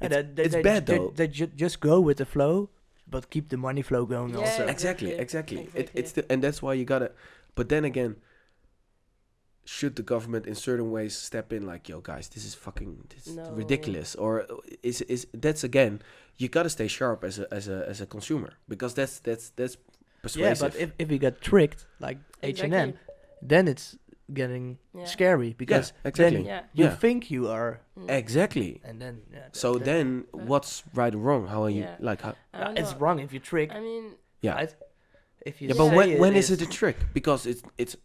Speaker 2: It's-
Speaker 1: they- they-
Speaker 2: it's
Speaker 1: they-
Speaker 2: bad,
Speaker 1: they-
Speaker 2: though.
Speaker 1: They ju- just go with the flow, but keep the money flow going
Speaker 4: Yeah,
Speaker 1: also.
Speaker 2: exactly,
Speaker 4: Exactly.
Speaker 2: exactly. It,
Speaker 4: Exactly.
Speaker 2: it's the, and that's why you gotta. But then again, should the government in certain ways step in, like, yo, guys, this is fucking this is
Speaker 4: No.
Speaker 2: ridiculous, or uh, is is that's again, you gotta stay sharp as a as a as a consumer because that's that's that's
Speaker 1: Yeah,
Speaker 2: persuasive.
Speaker 1: but if, if we get tricked, like H&M,
Speaker 4: Exactly.
Speaker 1: then it's getting
Speaker 4: Yeah.
Speaker 1: scary because
Speaker 2: yeah, exactly,
Speaker 1: then-
Speaker 4: Yeah.
Speaker 1: you
Speaker 2: Yeah.
Speaker 1: think you are,
Speaker 4: Mm.
Speaker 2: exactly.
Speaker 1: and then... yeah,
Speaker 2: So
Speaker 1: that-
Speaker 2: then,
Speaker 4: But-
Speaker 2: what's right or wrong? How are you
Speaker 4: Yeah.
Speaker 2: like? How,
Speaker 4: I don't
Speaker 1: it's
Speaker 4: know.
Speaker 1: wrong if you trick,
Speaker 4: I mean,
Speaker 2: yeah.
Speaker 1: right? If you
Speaker 2: Yeah, but
Speaker 1: say
Speaker 2: when, when is
Speaker 1: is
Speaker 2: it a trick? Because it's it's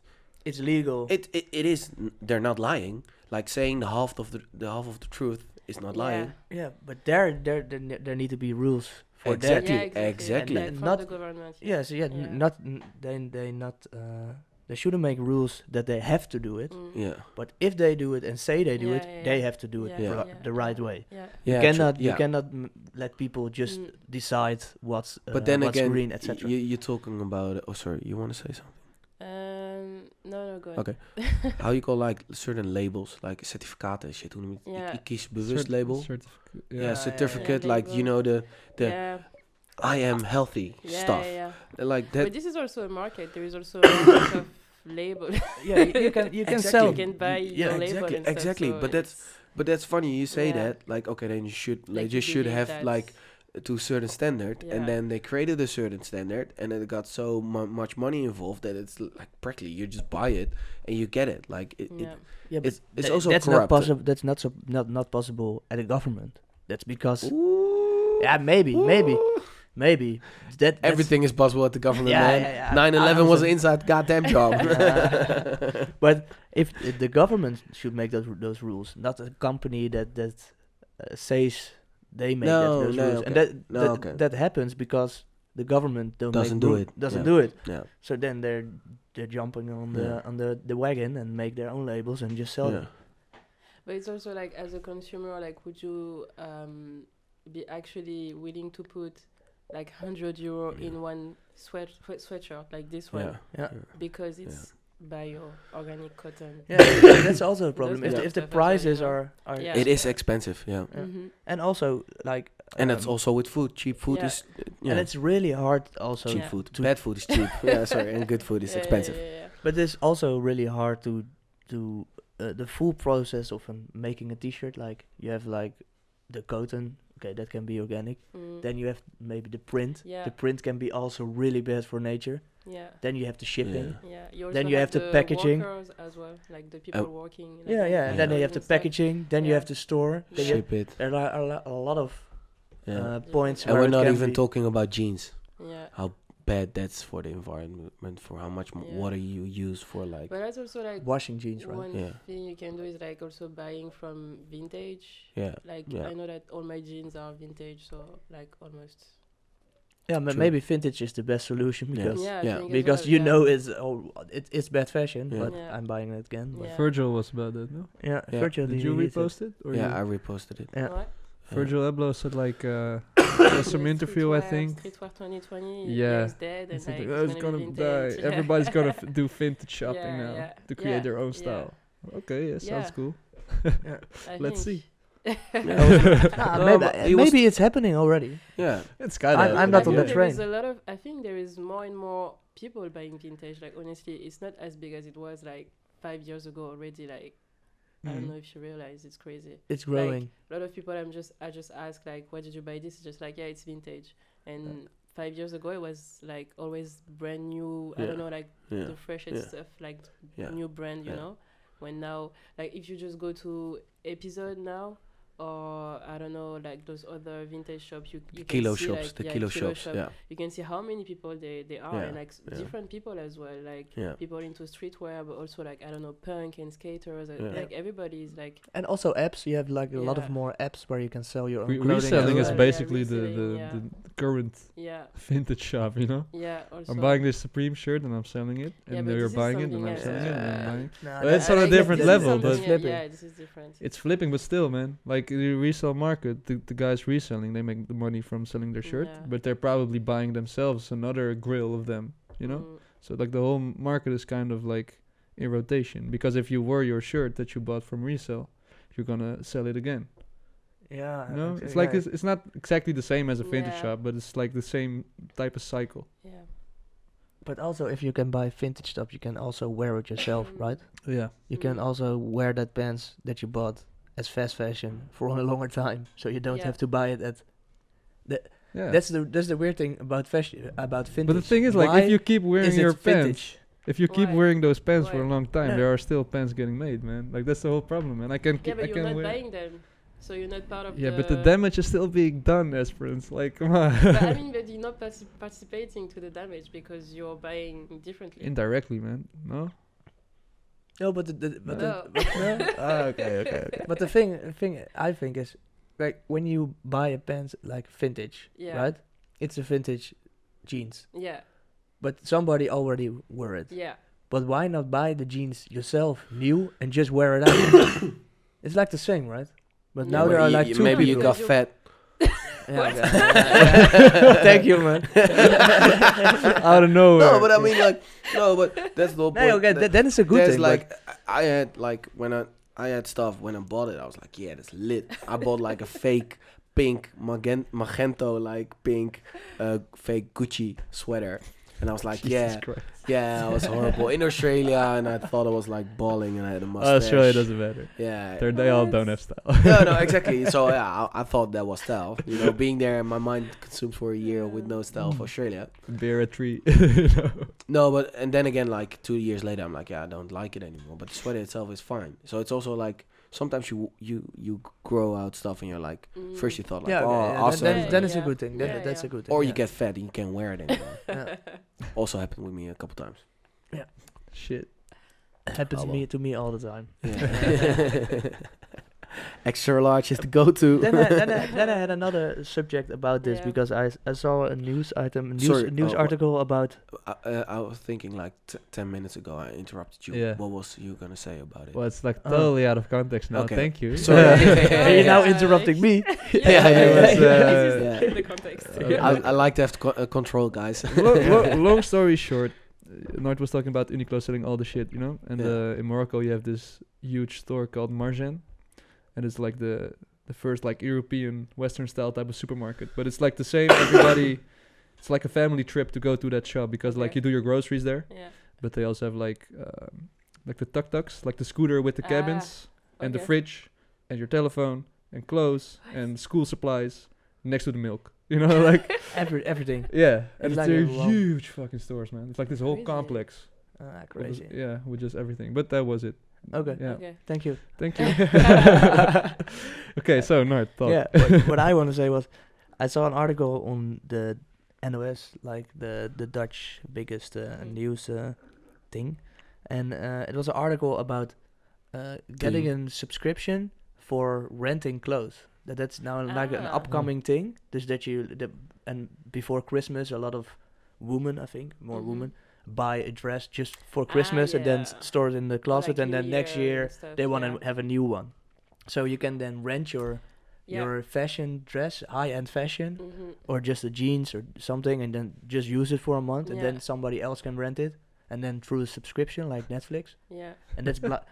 Speaker 1: It's legal.
Speaker 4: Oh.
Speaker 2: it, it it is they're not lying. Like saying the half of the the half of the truth is not
Speaker 4: yeah.
Speaker 2: lying.
Speaker 1: yeah, but there, there, there, ne- there need to be rules for
Speaker 2: Exactly.
Speaker 1: that.
Speaker 2: exactly.
Speaker 4: Yeah,
Speaker 1: And
Speaker 4: from
Speaker 1: not-
Speaker 4: the government.
Speaker 1: Yeah, so yeah, n-
Speaker 4: Yeah.
Speaker 1: not n- they they not uh, they shouldn't make rules that they have to do it,
Speaker 4: Mm.
Speaker 2: Yeah.
Speaker 1: but if they do it and say they do
Speaker 4: Yeah,
Speaker 1: it,
Speaker 4: yeah,
Speaker 1: they
Speaker 4: yeah.
Speaker 1: have to do it
Speaker 4: Yeah,
Speaker 1: ri-
Speaker 4: yeah,
Speaker 1: the
Speaker 4: yeah.
Speaker 1: right way.
Speaker 4: Yeah.
Speaker 2: Yeah.
Speaker 1: you
Speaker 2: true,
Speaker 1: cannot you
Speaker 2: yeah.
Speaker 1: cannot mm, let people just
Speaker 4: Mm.
Speaker 1: decide what's uh,
Speaker 2: but then
Speaker 1: what's
Speaker 2: again,
Speaker 1: green,
Speaker 2: y-
Speaker 1: etc.
Speaker 2: You, you're talking about. Oh, sorry. You want to say something?
Speaker 4: Um, no, no, go ahead.
Speaker 2: Okay. How you call like certain labels, like certificaten en shit. Hoe noem je het?
Speaker 4: Ja.
Speaker 2: Ik- Ik kies bewust label.
Speaker 3: Certific-
Speaker 2: Yeah,
Speaker 3: yeah.
Speaker 1: ja, ja.
Speaker 2: certificate.
Speaker 4: Ja,
Speaker 2: like you know the the
Speaker 4: yeah.
Speaker 2: I am healthy
Speaker 4: Yeah,
Speaker 2: stuff.
Speaker 4: yeah, yeah.
Speaker 2: Like
Speaker 4: but
Speaker 2: that.
Speaker 4: this is also a market. There is also a lot of label.
Speaker 1: yeah, you you can you can
Speaker 2: Exactly.
Speaker 1: sell.
Speaker 4: you can buy
Speaker 2: yeah,
Speaker 4: your label
Speaker 2: exactly,
Speaker 4: and stuff,
Speaker 2: exactly,
Speaker 4: so
Speaker 2: but that's-
Speaker 4: it's-
Speaker 2: But that's funny. You say
Speaker 4: Yeah.
Speaker 2: that. Like okay, then you should like,
Speaker 4: Like,
Speaker 2: just
Speaker 4: you
Speaker 2: should
Speaker 4: believe
Speaker 2: have
Speaker 4: that's-
Speaker 2: like to a certain standard,
Speaker 4: Yeah.
Speaker 2: and then they created a certain standard, and then it got so mu- much money involved that it's l- like practically you just buy it and you get it. Like it, it-
Speaker 4: Yeah.
Speaker 1: Yeah,
Speaker 2: it's it's
Speaker 1: tha-
Speaker 2: also
Speaker 1: that's
Speaker 2: corrupt.
Speaker 1: not possible. That's not so not not possible at a government. That's because
Speaker 2: Ooh.
Speaker 1: yeah, maybe maybe
Speaker 2: Ooh.
Speaker 1: maybe that that's-
Speaker 2: Everything is possible at the government,
Speaker 1: Yeah,
Speaker 2: man.
Speaker 1: yeah, yeah.
Speaker 2: 9/11 was an
Speaker 1: Honestly.
Speaker 2: inside goddamn job.
Speaker 1: Yeah. But if, if the government should make those those rules, not a company that that uh, says they make that,
Speaker 2: No,
Speaker 1: those
Speaker 2: no,
Speaker 1: rules, and
Speaker 2: okay.
Speaker 1: that
Speaker 2: No,
Speaker 1: that,
Speaker 2: okay.
Speaker 1: that happens because the government don't make
Speaker 2: Doesn't do
Speaker 1: rule-
Speaker 2: it.
Speaker 1: Doesn't
Speaker 2: Yeah.
Speaker 1: do it.
Speaker 2: yeah,
Speaker 1: So then they're they're jumping on the
Speaker 2: Yeah.
Speaker 1: on the, the wagon and make their own labels and just sell
Speaker 2: yeah.
Speaker 1: them.
Speaker 4: But it's also like as a consumer, like would you um, be actually willing to put like hundred euro
Speaker 2: Yeah.
Speaker 4: in one sweat sweat- sweatshirt like this one
Speaker 2: yeah,
Speaker 1: Yeah.
Speaker 4: because it's bio organic cotton?
Speaker 1: Yeah, that's also a problem.
Speaker 4: Those
Speaker 1: If,
Speaker 2: kind
Speaker 1: the,
Speaker 2: of
Speaker 1: if the
Speaker 4: stuff as well,
Speaker 1: prices
Speaker 4: yeah.
Speaker 1: are, are
Speaker 4: Yeah.
Speaker 2: It is expensive. Yeah,
Speaker 1: Yeah.
Speaker 4: Mm-hmm.
Speaker 1: and also like
Speaker 2: and that's
Speaker 1: um,
Speaker 2: also with food. Cheap food
Speaker 4: Yeah.
Speaker 2: is uh, yeah.
Speaker 1: and it's really hard also
Speaker 2: cheap
Speaker 4: Yeah.
Speaker 2: food.
Speaker 1: to-
Speaker 2: Bad food is cheap. yeah, sorry. And good food is expensive.
Speaker 4: Yeah, yeah,
Speaker 1: But it's also really hard to do uh, the full process of um, making a T-shirt. Like you have like the cotton, okay, that can be organic.
Speaker 4: yeah. Mm.
Speaker 1: Then you have maybe the print.
Speaker 4: yeah,
Speaker 1: The print can be also really bad for nature.
Speaker 4: yeah.
Speaker 1: Then you have the shipping.
Speaker 2: Yeah.
Speaker 4: Yeah, you
Speaker 1: Then
Speaker 4: also
Speaker 1: you have the packaging. Oh.
Speaker 4: workers as well, like the people working. like,
Speaker 1: Yeah, yeah.
Speaker 4: on
Speaker 1: And
Speaker 2: Yeah.
Speaker 1: then you have the
Speaker 4: factories and stuff.
Speaker 1: packaging. Then you
Speaker 4: Yeah.
Speaker 1: have the store. Then you have,
Speaker 2: Ship it.
Speaker 1: there are a, lo- a lot of
Speaker 2: Yeah.
Speaker 1: uh, points.
Speaker 2: and
Speaker 1: where
Speaker 2: we're
Speaker 1: it
Speaker 2: not
Speaker 1: can
Speaker 2: even
Speaker 1: be-
Speaker 2: talking about jeans.
Speaker 4: Yeah,
Speaker 2: Bad that's for the environment, for how much m-
Speaker 4: Yeah.
Speaker 2: water you use for like.
Speaker 4: but that's also like
Speaker 1: washing jeans, right?
Speaker 4: one
Speaker 2: Yeah.
Speaker 4: thing you can do is like also buying from vintage.
Speaker 2: Yeah.
Speaker 4: Like
Speaker 2: Yeah.
Speaker 4: I know that all my jeans are vintage, so like almost.
Speaker 1: Yeah, but
Speaker 2: True.
Speaker 1: maybe vintage is the best solution because
Speaker 4: Yeah, I
Speaker 2: Yeah.
Speaker 4: think as
Speaker 1: because
Speaker 4: well,
Speaker 1: you
Speaker 4: yeah.
Speaker 1: know it's all it, it's bad fashion,
Speaker 2: Yeah.
Speaker 1: but
Speaker 4: Yeah.
Speaker 1: I'm buying it again. But
Speaker 4: Yeah.
Speaker 3: Virgil was about that, no?
Speaker 1: yeah,
Speaker 2: Yeah.
Speaker 1: virtually
Speaker 3: Did you
Speaker 1: need it.
Speaker 3: repost it? Or
Speaker 2: Yeah,
Speaker 3: you-
Speaker 2: I reposted it.
Speaker 1: Yeah.
Speaker 4: What?
Speaker 2: Yeah.
Speaker 3: Virgil Abloh said like uh, there was some
Speaker 4: Yeah,
Speaker 3: interview, I
Speaker 4: streetwear-
Speaker 3: think.
Speaker 4: Streetwear 2020.
Speaker 3: Yeah.
Speaker 4: Yeah. Is dead
Speaker 3: He
Speaker 4: and
Speaker 3: said,
Speaker 4: like,
Speaker 3: like, "Oh,
Speaker 4: it's
Speaker 3: it's
Speaker 4: gonna,
Speaker 3: gonna
Speaker 4: be
Speaker 3: die.
Speaker 4: vintage."
Speaker 3: Everybody's gonna f- do vintage shopping
Speaker 4: Yeah,
Speaker 3: now
Speaker 4: yeah,
Speaker 3: to create their own
Speaker 4: yeah.
Speaker 3: style. Okay, yeah, sounds
Speaker 4: Yeah.
Speaker 3: cool.
Speaker 4: I
Speaker 3: Let's
Speaker 4: think. Ah,
Speaker 1: Nah,
Speaker 2: No,
Speaker 1: maybe
Speaker 2: but
Speaker 1: uh,
Speaker 2: it was-
Speaker 1: maybe it's happening already.
Speaker 2: Yeah,
Speaker 3: It's kind
Speaker 1: I'm- I'm not
Speaker 4: I
Speaker 1: on
Speaker 4: think
Speaker 1: the
Speaker 4: there is
Speaker 1: train.
Speaker 4: a lot of. I think there is more and more people buying vintage. Like honestly, it's not as big as it was like five years ago already. Like I
Speaker 2: Mm-hmm.
Speaker 4: don't know if you realize, it's crazy.
Speaker 1: It's growing.
Speaker 4: a lot of people i'm just i just ask like why did you buy this it's just like yeah it's vintage and five years ago it was like always brand new i
Speaker 2: Yeah.
Speaker 4: don't know like
Speaker 2: yeah,
Speaker 4: the freshest
Speaker 2: Yeah.
Speaker 4: stuff like
Speaker 2: Yeah.
Speaker 4: new brand you
Speaker 2: Yeah.
Speaker 4: know when now like if you just go to episode now or i don't know like those other vintage shops you, you
Speaker 2: kilo
Speaker 4: can see,
Speaker 2: shops,
Speaker 4: like,
Speaker 2: the
Speaker 4: yeah,
Speaker 2: kilo, shops.
Speaker 4: shop,
Speaker 2: Yeah,
Speaker 4: you can see how many people they they are
Speaker 2: Yeah.
Speaker 4: and like s-
Speaker 2: Yeah.
Speaker 4: different people as well like
Speaker 2: yeah,
Speaker 4: people into streetwear but also like i don't know punk and skaters uh,
Speaker 2: Yeah.
Speaker 4: like everybody is like
Speaker 1: And also apps, you have like a lot of
Speaker 4: Yeah.
Speaker 1: more apps where you can sell your own
Speaker 3: Re-
Speaker 1: clothing. as
Speaker 3: reselling is
Speaker 1: well.
Speaker 4: Yeah,
Speaker 3: basically the, the,
Speaker 4: reselling, yeah.
Speaker 3: the current
Speaker 4: yeah
Speaker 3: vintage shop, you know?
Speaker 4: yeah also
Speaker 3: I'm buying this Supreme shirt and I'm selling it,
Speaker 4: Yeah,
Speaker 3: and
Speaker 4: but
Speaker 3: they're
Speaker 4: this is
Speaker 3: buying it, and
Speaker 4: something
Speaker 3: I'm selling
Speaker 4: else.
Speaker 3: it, and I'm
Speaker 4: Yeah.
Speaker 3: buying.
Speaker 1: Nah,
Speaker 3: But
Speaker 1: that-
Speaker 3: it's on a
Speaker 4: I guess
Speaker 3: different
Speaker 4: this is
Speaker 3: level,
Speaker 4: something-
Speaker 3: but-
Speaker 4: yeah,
Speaker 1: Flipping.
Speaker 4: yeah, this is different.
Speaker 3: It's flipping, but still, man. Like the resale market, the, the guys reselling, they make the money from selling their shirt,
Speaker 4: Yeah.
Speaker 3: but they're probably buying themselves another grill of them, you know?
Speaker 4: Mm,
Speaker 3: So like the whole m- market is kind of like in rotation because if you wear your shirt that you bought from resale, you're gonna sell it again.
Speaker 1: yeah,
Speaker 3: You know,
Speaker 1: okay,
Speaker 3: it's like
Speaker 1: Uh, yeah.
Speaker 3: it's, it's not exactly the same as a vintage
Speaker 4: Yeah.
Speaker 3: shop, but it's like the same type of cycle.
Speaker 4: yeah.
Speaker 1: But also, if you can buy vintage stuff, you can also wear it yourself,
Speaker 4: Mm.
Speaker 1: right?
Speaker 3: Yeah.
Speaker 1: You can
Speaker 4: Mhm.
Speaker 1: also wear that pants that you bought as fast fashion for a longer time, so you don't
Speaker 4: Yeah.
Speaker 1: have to buy it at.
Speaker 3: Yeah.
Speaker 1: That's the that's the weird thing about fashion about vintage.
Speaker 3: but the thing is, like,
Speaker 1: Why
Speaker 3: if you keep
Speaker 1: is
Speaker 3: wearing
Speaker 1: it
Speaker 3: your pants,
Speaker 1: vintage?
Speaker 3: if you keep
Speaker 4: Why?
Speaker 3: wearing those pants for a
Speaker 4: Why?
Speaker 3: long time,
Speaker 1: Yeah.
Speaker 3: there are still pants getting made, man. Like that's the whole problem, man. I can
Speaker 4: Yeah,
Speaker 3: keep,
Speaker 4: but
Speaker 3: I
Speaker 4: you're
Speaker 3: can
Speaker 4: not
Speaker 3: wear.
Speaker 4: buying them, so you're not part of.
Speaker 3: yeah,
Speaker 4: the,
Speaker 3: but the damage is still being done, Esperance. Like, come
Speaker 4: But I
Speaker 3: on.
Speaker 4: mean, but you're not partic- participating to the damage because you're buying differently.
Speaker 3: Indirectly, man. No.
Speaker 1: No, but the, the, but,
Speaker 4: No.
Speaker 2: Oh.
Speaker 1: the, but, no? Ah,
Speaker 3: okay, okay, okay.
Speaker 1: but the thing thing I think is like when you buy a pants like vintage,
Speaker 4: Yeah.
Speaker 1: right? it's a vintage jeans,
Speaker 4: Yeah,
Speaker 1: but somebody already wore it.
Speaker 4: yeah.
Speaker 1: But why not buy the jeans yourself, new, and just wear it out? it's like the same, right? But
Speaker 4: Yeah,
Speaker 1: now
Speaker 4: but
Speaker 1: there are
Speaker 2: you-
Speaker 1: like
Speaker 2: you-
Speaker 1: two
Speaker 2: Maybe you
Speaker 1: people.
Speaker 2: got
Speaker 4: You-
Speaker 2: fat.
Speaker 1: Yeah, okay. Thank you, man.
Speaker 3: Out of nowhere.
Speaker 2: No, but I mean like no, but that's the whole point.
Speaker 1: No, okay,
Speaker 2: That-
Speaker 1: th- then it's a good
Speaker 2: there's
Speaker 1: thing.
Speaker 2: like I I had like when I I had stuff when I bought it, I was like, yeah, that's lit. I bought like a fake pink magen- magento like pink uh, fake Gucci sweater, and I was like,
Speaker 3: Jesus
Speaker 2: yeah,
Speaker 3: Christ.
Speaker 2: yeah, I was horrible in Australia, and I thought I was like balling, and I
Speaker 1: Oh,
Speaker 2: had a mustache.
Speaker 3: Australia doesn't matter.
Speaker 2: Yeah.
Speaker 3: They're- They all
Speaker 4: What?
Speaker 3: don't have style.
Speaker 2: No, no, exactly. So yeah, I, I thought that was style. You know, being there, my mind consumes for a year with no style
Speaker 1: Mm.
Speaker 2: for Australia.
Speaker 3: Beer a tree. no.
Speaker 2: No, but and then again, like two years later, I'm like, yeah, I don't like it anymore. But the sweater itself is fine. So it's also like sometimes you you you grow out stuff, and you're like,
Speaker 4: Mm.
Speaker 2: first you thought like,
Speaker 1: yeah,
Speaker 2: oh,
Speaker 1: okay, yeah, then-
Speaker 2: awesome,
Speaker 1: then, then it's a
Speaker 4: Yeah.
Speaker 1: good thing. Then,
Speaker 4: Yeah,
Speaker 1: that's
Speaker 4: yeah.
Speaker 1: a good thing.
Speaker 2: or you
Speaker 1: yeah.
Speaker 2: get fat and you can't wear it anymore.
Speaker 1: Yeah.
Speaker 2: also happened with me a couple times.
Speaker 3: Shit.
Speaker 1: happens
Speaker 2: Oh, well.
Speaker 1: me to me all the time.
Speaker 2: Yeah. Extra large is the go-to.
Speaker 1: then, I, then, I, then I had another subject about this
Speaker 4: Yeah.
Speaker 1: because I, s- I saw a news item, a news,
Speaker 2: Sorry,
Speaker 1: a news
Speaker 2: uh, wha-
Speaker 1: article about.
Speaker 2: I, uh, I was thinking like t- ten minutes ago, I interrupted you.
Speaker 3: Yeah.
Speaker 2: What was you gonna say about it?
Speaker 3: Well, it's like
Speaker 1: Oh.
Speaker 3: totally out of context now.
Speaker 2: Okay.
Speaker 3: Thank you.
Speaker 2: Sorry.
Speaker 1: Are you now
Speaker 4: Yeah.
Speaker 1: interrupting me?
Speaker 2: Yeah, yeah, yeah.
Speaker 3: it was,
Speaker 4: This
Speaker 3: uh,
Speaker 4: is
Speaker 2: yeah.
Speaker 4: in the context.
Speaker 3: Okay.
Speaker 2: I, I like to have co- uh, control, guys.
Speaker 3: lo- lo- long story short, uh, Noord was talking about Uniqlo selling all the shit, you know. And
Speaker 2: Yeah.
Speaker 3: uh, in Morocco, you have this huge store called Marjan, and it's like the the first like European Western style type of supermarket. But it's like the same. Everybody, it's like a family trip to go to that shop because like
Speaker 4: Okay.
Speaker 3: you do your groceries there.
Speaker 4: Yeah.
Speaker 3: But they also have like um, like the tuk tuks, like the scooter with the
Speaker 4: Ah,
Speaker 3: cabins and the
Speaker 4: okay.
Speaker 3: fridge and your telephone and clothes and school supplies next to the milk. You know, like
Speaker 1: Every, everything.
Speaker 3: yeah, and
Speaker 1: It's
Speaker 3: it's
Speaker 1: like
Speaker 3: they're
Speaker 1: a long-
Speaker 3: huge fucking stores, man. It's like this whole
Speaker 4: Crazy.
Speaker 3: complex.
Speaker 1: Ah,
Speaker 3: with this-
Speaker 1: crazy.
Speaker 3: yeah, with just everything. But that was it.
Speaker 1: Okay.
Speaker 3: Yeah.
Speaker 4: Okay.
Speaker 1: Thank you.
Speaker 3: Thank you. okay, so no thought.
Speaker 1: Yeah. what, what I want to say was, I saw an article on the NOS, like the the Dutch biggest uh,
Speaker 4: Mhm.
Speaker 1: news uh, thing, and uh, it was an article about uh, getting a subscription for renting clothes. That that's now like an
Speaker 4: Ah.
Speaker 1: upcoming thing. This that you the, and before Christmas, a lot of women, I think, more
Speaker 4: Mhm.
Speaker 1: women buy a dress just for
Speaker 4: Ah,
Speaker 1: Christmas and then s-
Speaker 4: yeah.
Speaker 1: store it in the closet,
Speaker 4: Like
Speaker 1: and then
Speaker 4: New
Speaker 1: next year
Speaker 4: and stuff,
Speaker 1: they want
Speaker 4: yeah.
Speaker 1: to have a new one. So you can then rent your
Speaker 4: Yeah.
Speaker 1: your fashion dress, high end fashion,
Speaker 4: Mhm.
Speaker 1: or just the jeans or something, and then just use it for a month, and
Speaker 4: Yeah.
Speaker 1: then somebody else can rent it, and then through a subscription like Netflix,
Speaker 4: Yeah.
Speaker 1: and that's bla-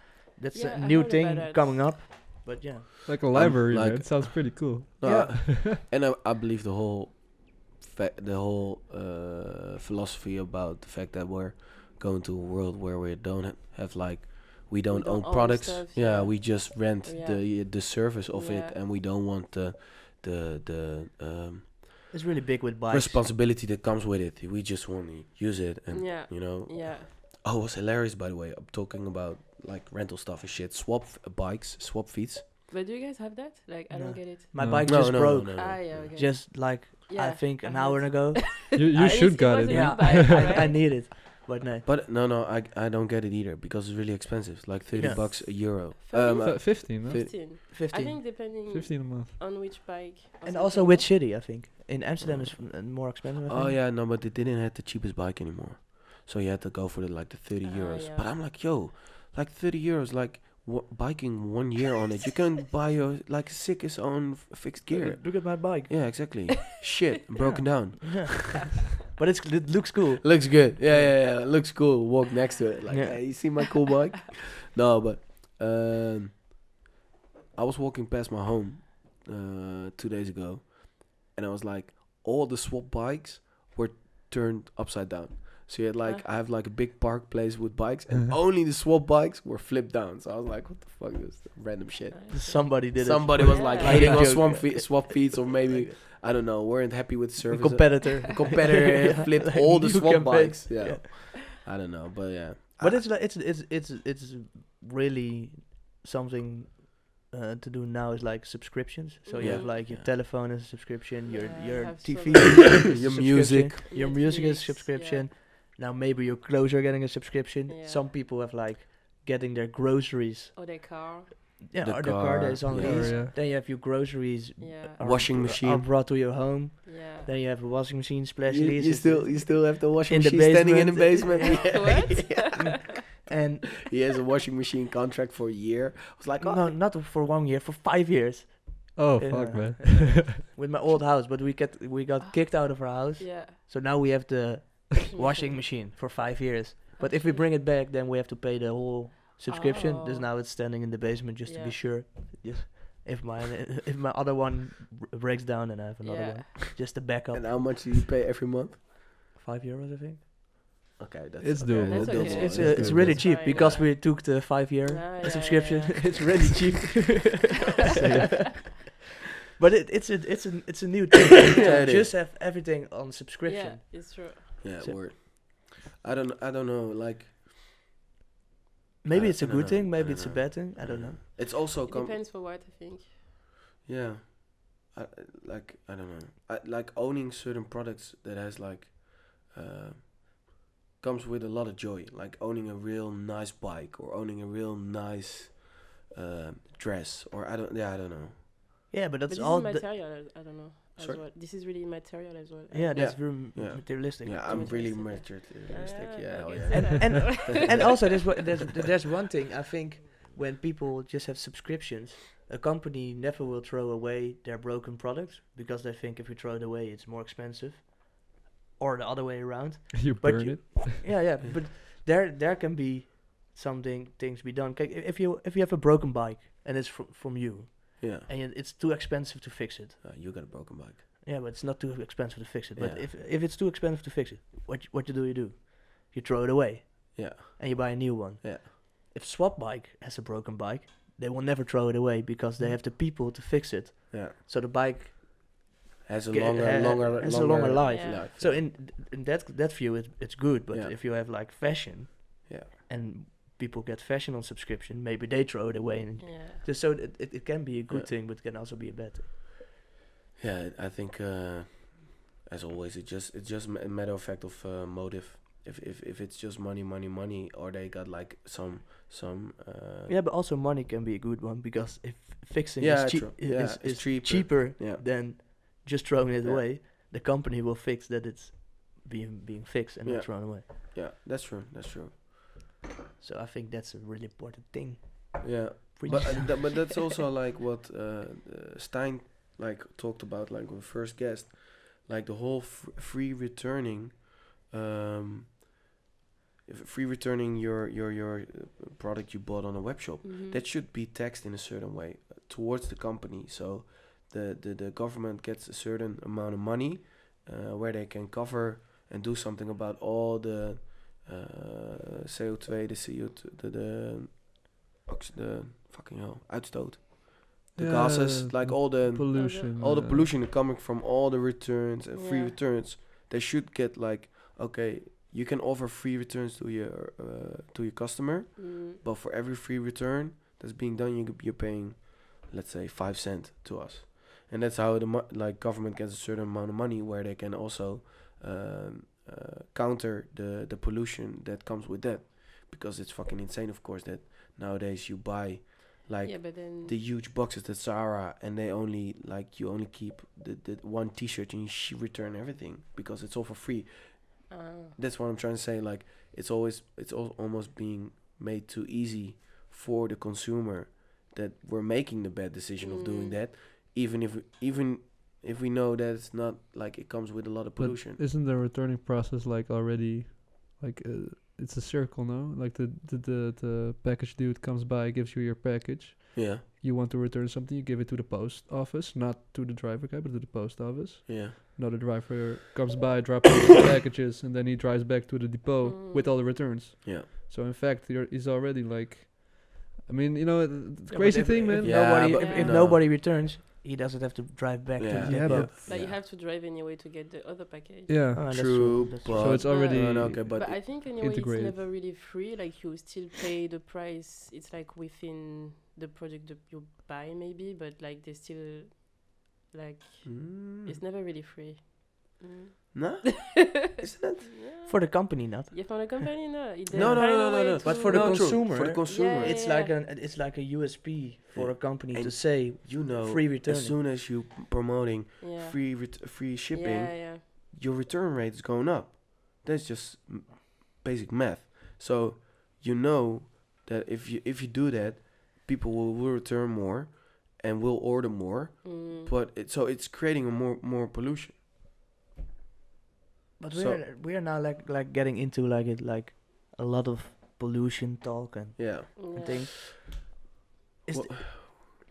Speaker 1: that's
Speaker 4: Yeah, I
Speaker 1: a new
Speaker 4: heard about
Speaker 1: thing
Speaker 4: it.
Speaker 1: coming up. But yeah,
Speaker 3: Like a library,
Speaker 2: like- uh,
Speaker 3: man. Sounds pretty cool.
Speaker 2: No,
Speaker 1: Yeah.
Speaker 2: I- and I, I believe the whole, fa- the whole uh, philosophy about the fact that we're going to a world where we don't ha- have like, we don't,
Speaker 4: don't
Speaker 2: own,
Speaker 4: own
Speaker 2: products.
Speaker 4: stuff,
Speaker 2: yeah,
Speaker 4: yeah.
Speaker 2: we just rent
Speaker 4: Yeah.
Speaker 2: the the service of it,
Speaker 4: Yeah.
Speaker 2: and we don't want the, the the um,
Speaker 1: it's really big with bikes.
Speaker 2: responsibility that comes with it. We just want to use it, and
Speaker 4: Yeah.
Speaker 2: you know.
Speaker 4: Yeah.
Speaker 2: Oh, it was hilarious by the way. I'm talking about like rental stuff and shit. Swap f- bikes, swap feet.
Speaker 4: But do you guys have that? Like, I
Speaker 1: No.
Speaker 4: don't get it.
Speaker 1: My
Speaker 3: No.
Speaker 1: bike
Speaker 2: Mm. No,
Speaker 1: just
Speaker 2: no,
Speaker 1: broke
Speaker 2: no, no, no.
Speaker 4: Ah, yeah. Okay.
Speaker 1: just like
Speaker 4: yeah.
Speaker 1: I think
Speaker 4: I
Speaker 1: an
Speaker 4: heard.
Speaker 1: hour ago.
Speaker 3: You, you
Speaker 4: I-
Speaker 3: should
Speaker 4: it
Speaker 3: got it.
Speaker 4: wasn't
Speaker 3: man.
Speaker 1: yeah,
Speaker 4: new
Speaker 1: I,
Speaker 4: bike,
Speaker 1: I, I
Speaker 4: right?
Speaker 1: need it, but no.
Speaker 2: But no, no, I, I don't get it either because it's really expensive. It's like 30
Speaker 1: Yeah.
Speaker 2: bucks a euro.
Speaker 4: Fair
Speaker 2: Um,
Speaker 4: enough.
Speaker 2: uh,
Speaker 3: F- Fifteen, no?
Speaker 4: 15. I
Speaker 1: 15.
Speaker 4: think depending
Speaker 3: fifteen a month.
Speaker 4: on which bike. or
Speaker 1: and also
Speaker 4: something,
Speaker 1: which
Speaker 4: no?
Speaker 1: city, I think. In Amsterdam is uh, more expensive. I
Speaker 2: oh
Speaker 1: think.
Speaker 2: yeah, no, but they didn't have the cheapest bike anymore. So you had to go for the, like the 30
Speaker 4: Ah,
Speaker 2: euros.
Speaker 4: yeah.
Speaker 2: But I'm like, yo, like 30 euros, like w- biking one year on it. You can buy your like sickest own f- fixed gear.
Speaker 1: Look at my bike.
Speaker 2: Yeah, exactly. Shit, I'm broken down.
Speaker 1: but it's, it looks cool.
Speaker 2: Looks good. Yeah, yeah, yeah. Looks cool. Walk next to it. Like,
Speaker 1: Yeah.
Speaker 2: hey, you see my cool bike? no, but um, I was walking past my home uh, two days ago, and I was like, all the swap bikes were turned upside down. So you had like, I have like a big park place with bikes, and
Speaker 1: Uh-huh.
Speaker 2: only the swap bikes were flipped down. So I was like, what the fuck is this random shit?
Speaker 4: Nice.
Speaker 1: Somebody did
Speaker 2: Somebody
Speaker 1: it.
Speaker 2: was like
Speaker 4: Yeah.
Speaker 2: hating
Speaker 1: Like a
Speaker 2: on
Speaker 1: joke,
Speaker 2: swap
Speaker 1: yeah.
Speaker 2: feet, swap feeds, or maybe I don't know, weren't happy with
Speaker 1: a
Speaker 2: service.
Speaker 1: competitor.
Speaker 2: A competitor
Speaker 1: Yeah,
Speaker 2: flipped
Speaker 1: like
Speaker 2: all the
Speaker 1: new
Speaker 2: swap
Speaker 1: campaign.
Speaker 2: bikes. Yeah. I don't know, but yeah.
Speaker 1: But
Speaker 2: I-
Speaker 1: it's like it's it's it's it's really something uh, to do now is like subscriptions. So you
Speaker 2: Yeah.
Speaker 1: have like your
Speaker 2: Yeah.
Speaker 1: telephone is a subscription, your
Speaker 4: Yeah, you
Speaker 1: your
Speaker 4: have so
Speaker 1: TV,
Speaker 4: many.
Speaker 1: is a subscription,
Speaker 2: music.
Speaker 1: your music
Speaker 4: Netflix,
Speaker 1: is a subscription. Now maybe your clothes are getting a subscription.
Speaker 4: Yeah.
Speaker 1: Some people have like getting their groceries
Speaker 4: Yeah. Or their car.
Speaker 1: yeah,
Speaker 2: The
Speaker 1: the car,
Speaker 2: car,
Speaker 1: is on
Speaker 2: yeah.
Speaker 1: lease.
Speaker 3: Yeah.
Speaker 1: Then you have your groceries
Speaker 4: Yeah.
Speaker 1: are-
Speaker 2: Washing
Speaker 1: are
Speaker 2: machine.
Speaker 1: brought to your home.
Speaker 4: Yeah.
Speaker 1: Uh, Then you have a washing machine
Speaker 2: You,
Speaker 1: splash lease.
Speaker 2: you still you still have the washing
Speaker 1: In the
Speaker 2: machine standing in the
Speaker 1: basement.
Speaker 2: basement.
Speaker 4: What?
Speaker 1: and
Speaker 2: he has a washing machine contract for a year. I was like, oh,
Speaker 1: no, not for one year, for five years
Speaker 3: Oh
Speaker 1: Yeah.
Speaker 3: fuck, man.
Speaker 1: with my old house. But we get we got kicked out of our house,
Speaker 4: Ah. yeah.
Speaker 1: so now we have the washing machine for five years. But if we bring it back, then we have to pay the whole subscription. Thus
Speaker 4: Oh.
Speaker 1: now it's standing in the basement just to
Speaker 4: Yeah.
Speaker 1: be sure. Just if my if my other one br- breaks down, and I have another
Speaker 4: Yeah.
Speaker 1: one, just a backup.
Speaker 2: and uh, how much do you pay every month?
Speaker 1: Five euros, I think.
Speaker 2: Okay, that's
Speaker 3: It's
Speaker 2: okay,
Speaker 3: doable.
Speaker 4: That's
Speaker 2: doable.
Speaker 4: okay.
Speaker 1: It's,
Speaker 4: It's
Speaker 1: uh,
Speaker 4: good,
Speaker 1: it's really
Speaker 4: that's
Speaker 1: cheap
Speaker 4: fine,
Speaker 1: because
Speaker 4: yeah.
Speaker 1: we took the five year
Speaker 4: Ah, yeah,
Speaker 1: subscription.
Speaker 4: yeah, yeah.
Speaker 1: it's really cheap. but it, it's a it's a it's a new thing. to
Speaker 2: Yeah, it
Speaker 1: just have everything on subscription.
Speaker 4: Yeah, it's true.
Speaker 2: Yeah,
Speaker 1: So-
Speaker 2: word. I don't. I don't know. Like
Speaker 1: Maybe
Speaker 2: I-
Speaker 1: it's a
Speaker 2: I
Speaker 1: good
Speaker 2: dunno,
Speaker 1: thing.
Speaker 2: I
Speaker 1: Maybe
Speaker 2: don't
Speaker 1: it's a
Speaker 2: know.
Speaker 1: bad thing. I don't know.
Speaker 2: It's also
Speaker 4: It
Speaker 2: com-
Speaker 4: depends for what I think.
Speaker 2: yeah. I, like I don't know. I, like owning certain products that has like uh, comes with a lot of joy. Like owning a real nice bike or owning a real nice uh, dress or I don't. Yeah, I don't know.
Speaker 1: Yeah, but
Speaker 4: But
Speaker 1: that's
Speaker 4: this
Speaker 1: all.
Speaker 4: is
Speaker 1: the-
Speaker 4: material. as- I don't know. As
Speaker 2: Sorry?
Speaker 4: well. This is really material as well. I
Speaker 1: yeah,
Speaker 4: think.
Speaker 1: that's very m-
Speaker 2: Yeah.
Speaker 1: materialistic.
Speaker 2: Yeah,
Speaker 4: too
Speaker 2: I'm
Speaker 4: much
Speaker 2: really
Speaker 4: realistic.
Speaker 2: materialistic.
Speaker 4: Ah,
Speaker 2: Yeah, oh,
Speaker 4: okay.
Speaker 2: yeah.
Speaker 1: And- and-
Speaker 4: Material.
Speaker 1: and also, there's, one- there's there's one thing I think when people just have subscriptions, a company never will throw away their broken products because they think if we throw it away, it's more expensive, or the other way around.
Speaker 3: you
Speaker 1: But
Speaker 3: burn
Speaker 1: you-
Speaker 3: it.
Speaker 1: yeah, yeah, but there there can be something things be done. Kijk, i- if you if you have a broken bike and it's fr- from you
Speaker 2: yeah.
Speaker 1: and it- it's too expensive to fix it.
Speaker 2: Uh, you got a broken bike.
Speaker 1: Yeah, but it's not too expensive to fix it. But
Speaker 2: Yeah.
Speaker 1: if if it's too expensive to fix it, what you, what you do you do? You throw it away
Speaker 2: Yeah.
Speaker 1: and you buy a new one.
Speaker 2: Yeah.
Speaker 1: If Swap Bike has a broken bike, they will never throw it away because
Speaker 2: Mm.
Speaker 1: they have the people to fix it.
Speaker 2: Yeah.
Speaker 1: So the bike.
Speaker 2: Has a
Speaker 1: Ge-
Speaker 2: longer,
Speaker 1: ha-
Speaker 2: longer,
Speaker 1: Uh, has a longer life.
Speaker 4: Yeah.
Speaker 1: So in in that that view, it, it's good. But
Speaker 2: Yeah.
Speaker 1: if you have like fashion,
Speaker 2: Yeah.
Speaker 1: and people get fashion on subscription, maybe they throw it away and
Speaker 4: yeah.
Speaker 1: Just so it, it, it can be a good
Speaker 2: Yeah.
Speaker 1: thing, but can also be a bad thing.
Speaker 2: Yeah, I think uh, as always, it just it's just ma- a matter of fact of uh, motive. If, if if it's just money, money, money, or they got like some some uh,
Speaker 1: yeah, but also money can be a good one because if fixing
Speaker 2: Yeah,
Speaker 1: is, cheap,
Speaker 2: true. Yeah,
Speaker 1: is,
Speaker 2: it's
Speaker 1: is
Speaker 2: cheaper.
Speaker 1: cheaper,
Speaker 2: Yeah.
Speaker 1: than just throwing it
Speaker 2: Yeah.
Speaker 1: away, the company will fix that it's being being fixed and
Speaker 2: Yeah.
Speaker 1: not thrown away.
Speaker 2: yeah, that's true, that's true.
Speaker 1: So I think that's a really important thing.
Speaker 2: Yeah,
Speaker 1: Preach.
Speaker 2: but uh, tha- but that's also like what uh, uh, Stein like talked about like with first guest, like the whole f- free returning, um, if- free returning your your your uh, product you bought on a web shop.
Speaker 4: Mhm.
Speaker 2: that should be taxed in a certain way uh, towards the company so the, the, the government gets a certain amount of money uh, where they can cover and do something about all the uh, CO2, the CO2, the, the, ox- the fucking hell, uitstoot. The
Speaker 3: Yeah,
Speaker 2: gases, like
Speaker 3: the
Speaker 2: all the
Speaker 3: pollution.
Speaker 2: all the
Speaker 3: uh,
Speaker 2: pollution coming from all the returns and free
Speaker 4: Yeah.
Speaker 2: returns. They should get like, okay, you can offer free returns to your uh, to your customer,
Speaker 4: Mm.
Speaker 2: but for every free return that's being done, you, you're paying, let's say, five cent to us, and that's how the mo- like government gets a certain amount of money where they can also um, uh, counter the the pollution that comes with that, because it's fucking insane, of course, that nowadays you buy like
Speaker 4: yeah, but then
Speaker 2: the huge boxes that Zara and they only like you only keep the, the one T-shirt and you sh- return everything because it's all for free
Speaker 4: ah.
Speaker 2: that's what I'm trying to say. Like it's always it's al- almost being made too easy for the consumer that we're making the bad decision of doing
Speaker 4: Mm.
Speaker 2: that, even if even if we know that it's not like it comes with a lot of
Speaker 3: But
Speaker 2: pollution.
Speaker 3: Isn't the returning process like already, like uh, it's a circle, no? Like the, the the the package dude comes by, gives you your package.
Speaker 2: yeah,
Speaker 3: You want to return something, you give it to the post office, not to the driver guy, but to the post office.
Speaker 2: yeah,
Speaker 3: Now the driver comes by, drops off the packages, and then he drives back to the depot with
Speaker 4: Mm.
Speaker 3: all the returns.
Speaker 2: yeah.
Speaker 3: So in fact, you're, he's already like, I mean, you know, the
Speaker 1: Yeah, but
Speaker 3: crazy
Speaker 1: if-
Speaker 3: thing,
Speaker 1: if
Speaker 3: man.
Speaker 2: Yeah,
Speaker 1: nobody,
Speaker 2: but
Speaker 1: if, if
Speaker 4: no.
Speaker 1: nobody returns, he doesn't have to drive back.
Speaker 2: Yeah.
Speaker 1: to the
Speaker 3: Yeah,
Speaker 1: depot.
Speaker 3: but
Speaker 4: but you
Speaker 2: Yeah.
Speaker 4: have to drive anyway to get the other package.
Speaker 3: yeah.
Speaker 1: Ah, that's
Speaker 2: True,
Speaker 1: that's
Speaker 2: but-
Speaker 3: so it's
Speaker 4: Uh,
Speaker 3: already
Speaker 2: No, no, okay, but,
Speaker 4: But,
Speaker 2: it-
Speaker 4: I think anyway,
Speaker 3: integrated.
Speaker 4: it's never really free. Like you still pay the price. It's like within the product that you buy, maybe. But like they still, like
Speaker 2: Mm,
Speaker 4: it's never really free. Mm.
Speaker 2: No? Isn't it?
Speaker 1: For the company, not.
Speaker 4: Yeah, from the company, no. It- they
Speaker 2: No, no,
Speaker 4: find
Speaker 2: no,
Speaker 4: a
Speaker 2: no,
Speaker 4: way
Speaker 2: no.
Speaker 1: But
Speaker 4: to-
Speaker 1: for the
Speaker 2: No, true.
Speaker 1: consumer,
Speaker 2: For the consumer.
Speaker 4: Yeah,
Speaker 1: It's
Speaker 4: yeah,
Speaker 1: like
Speaker 4: yeah.
Speaker 1: an it's like a USP for
Speaker 2: Yeah.
Speaker 1: a company
Speaker 2: And
Speaker 1: to say
Speaker 2: You know,
Speaker 1: free return.
Speaker 2: as soon as you promoting
Speaker 4: yeah.
Speaker 2: free ret- free shipping,
Speaker 4: Yeah, yeah.
Speaker 2: your return rate is going up. That's just m- basic math. So you know that if you if you do that, people will, will return more and will order more.
Speaker 4: Mm.
Speaker 2: But it, so it's creating a more more pollution.
Speaker 1: But
Speaker 2: So-
Speaker 1: we're we're now like like getting into like it like a lot of pollution talk and,
Speaker 2: Yeah.
Speaker 1: and
Speaker 4: yeah.
Speaker 1: things. Is
Speaker 2: Well-
Speaker 1: th-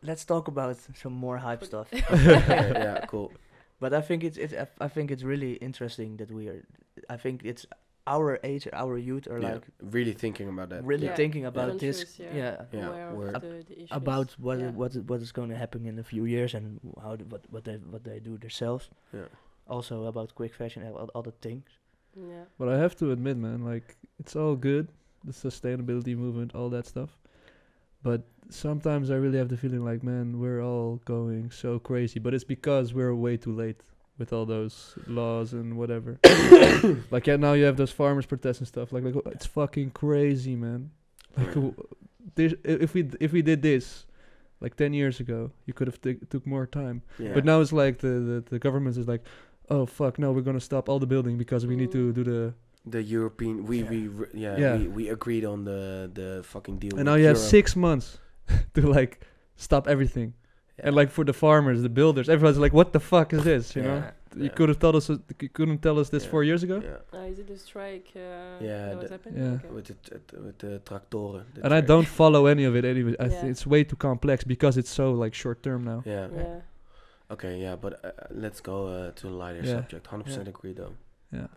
Speaker 1: let's talk about some more hype stuff.
Speaker 2: yeah, yeah, cool.
Speaker 1: But I think it's it's I I think it's really interesting that we are. I think it's our age, our youth are
Speaker 2: Yeah,
Speaker 1: like
Speaker 2: really thinking about that.
Speaker 1: really
Speaker 2: yeah.
Speaker 4: Yeah.
Speaker 1: thinking about this.
Speaker 4: Conscious, yeah.
Speaker 1: yeah.
Speaker 2: Yeah,
Speaker 4: Aware of
Speaker 2: where-
Speaker 4: the, the issues.
Speaker 1: about what
Speaker 4: yeah.
Speaker 1: what what is going to happen in a few years and how do, what what they what they do themselves.
Speaker 2: Yeah.
Speaker 1: Also about quick fashion and all other things.
Speaker 4: Yeah.
Speaker 3: But I have to admit, man, like it's all good, the sustainability movement, all that stuff. But sometimes I really have the feeling like, man, we're all going so crazy. But it's because we're way too late with all those laws and whatever. like yeah, now you have those farmers protests and stuff. Like, like oh, it's fucking crazy, man. Like,
Speaker 2: Yeah.
Speaker 3: w- this, i- if we d- if we did this, like ten years ago, you could have t- took more time.
Speaker 2: Yeah.
Speaker 3: But now it's like the, the the government is like, oh fuck, no, we're gonna stop all the building because we need to
Speaker 4: Mm.
Speaker 3: do the
Speaker 2: the European we
Speaker 1: Yeah.
Speaker 2: we re- yeah,
Speaker 3: Yeah.
Speaker 2: We, we agreed on the the fucking deal.
Speaker 3: and
Speaker 2: with
Speaker 3: now you have
Speaker 2: Europe.
Speaker 3: six months to like stop everything
Speaker 2: Yeah.
Speaker 3: and like for the farmers the builders everyone's like what the fuck is this you know
Speaker 2: Yeah,
Speaker 3: you
Speaker 2: yeah,
Speaker 3: could have told us you couldn't tell us this
Speaker 2: Yeah.
Speaker 3: four years ago
Speaker 2: yeah.
Speaker 4: Uh, is it the strike uh,
Speaker 2: Yeah,
Speaker 4: that was
Speaker 2: the-
Speaker 4: happening?
Speaker 3: yeah.
Speaker 4: Okay.
Speaker 2: with the t- t- with the tractoren. the
Speaker 3: and i
Speaker 2: tractors.
Speaker 3: don't follow any of it anyway I
Speaker 4: Yeah.
Speaker 3: th- it's way too complex because it's so like short term now
Speaker 2: Yeah.
Speaker 4: Yeah.
Speaker 2: Okay. Yeah. But uh, uh, let's go uh, to a lighter
Speaker 3: Yeah.
Speaker 2: subject. Hundred percent agree though.
Speaker 3: Yeah.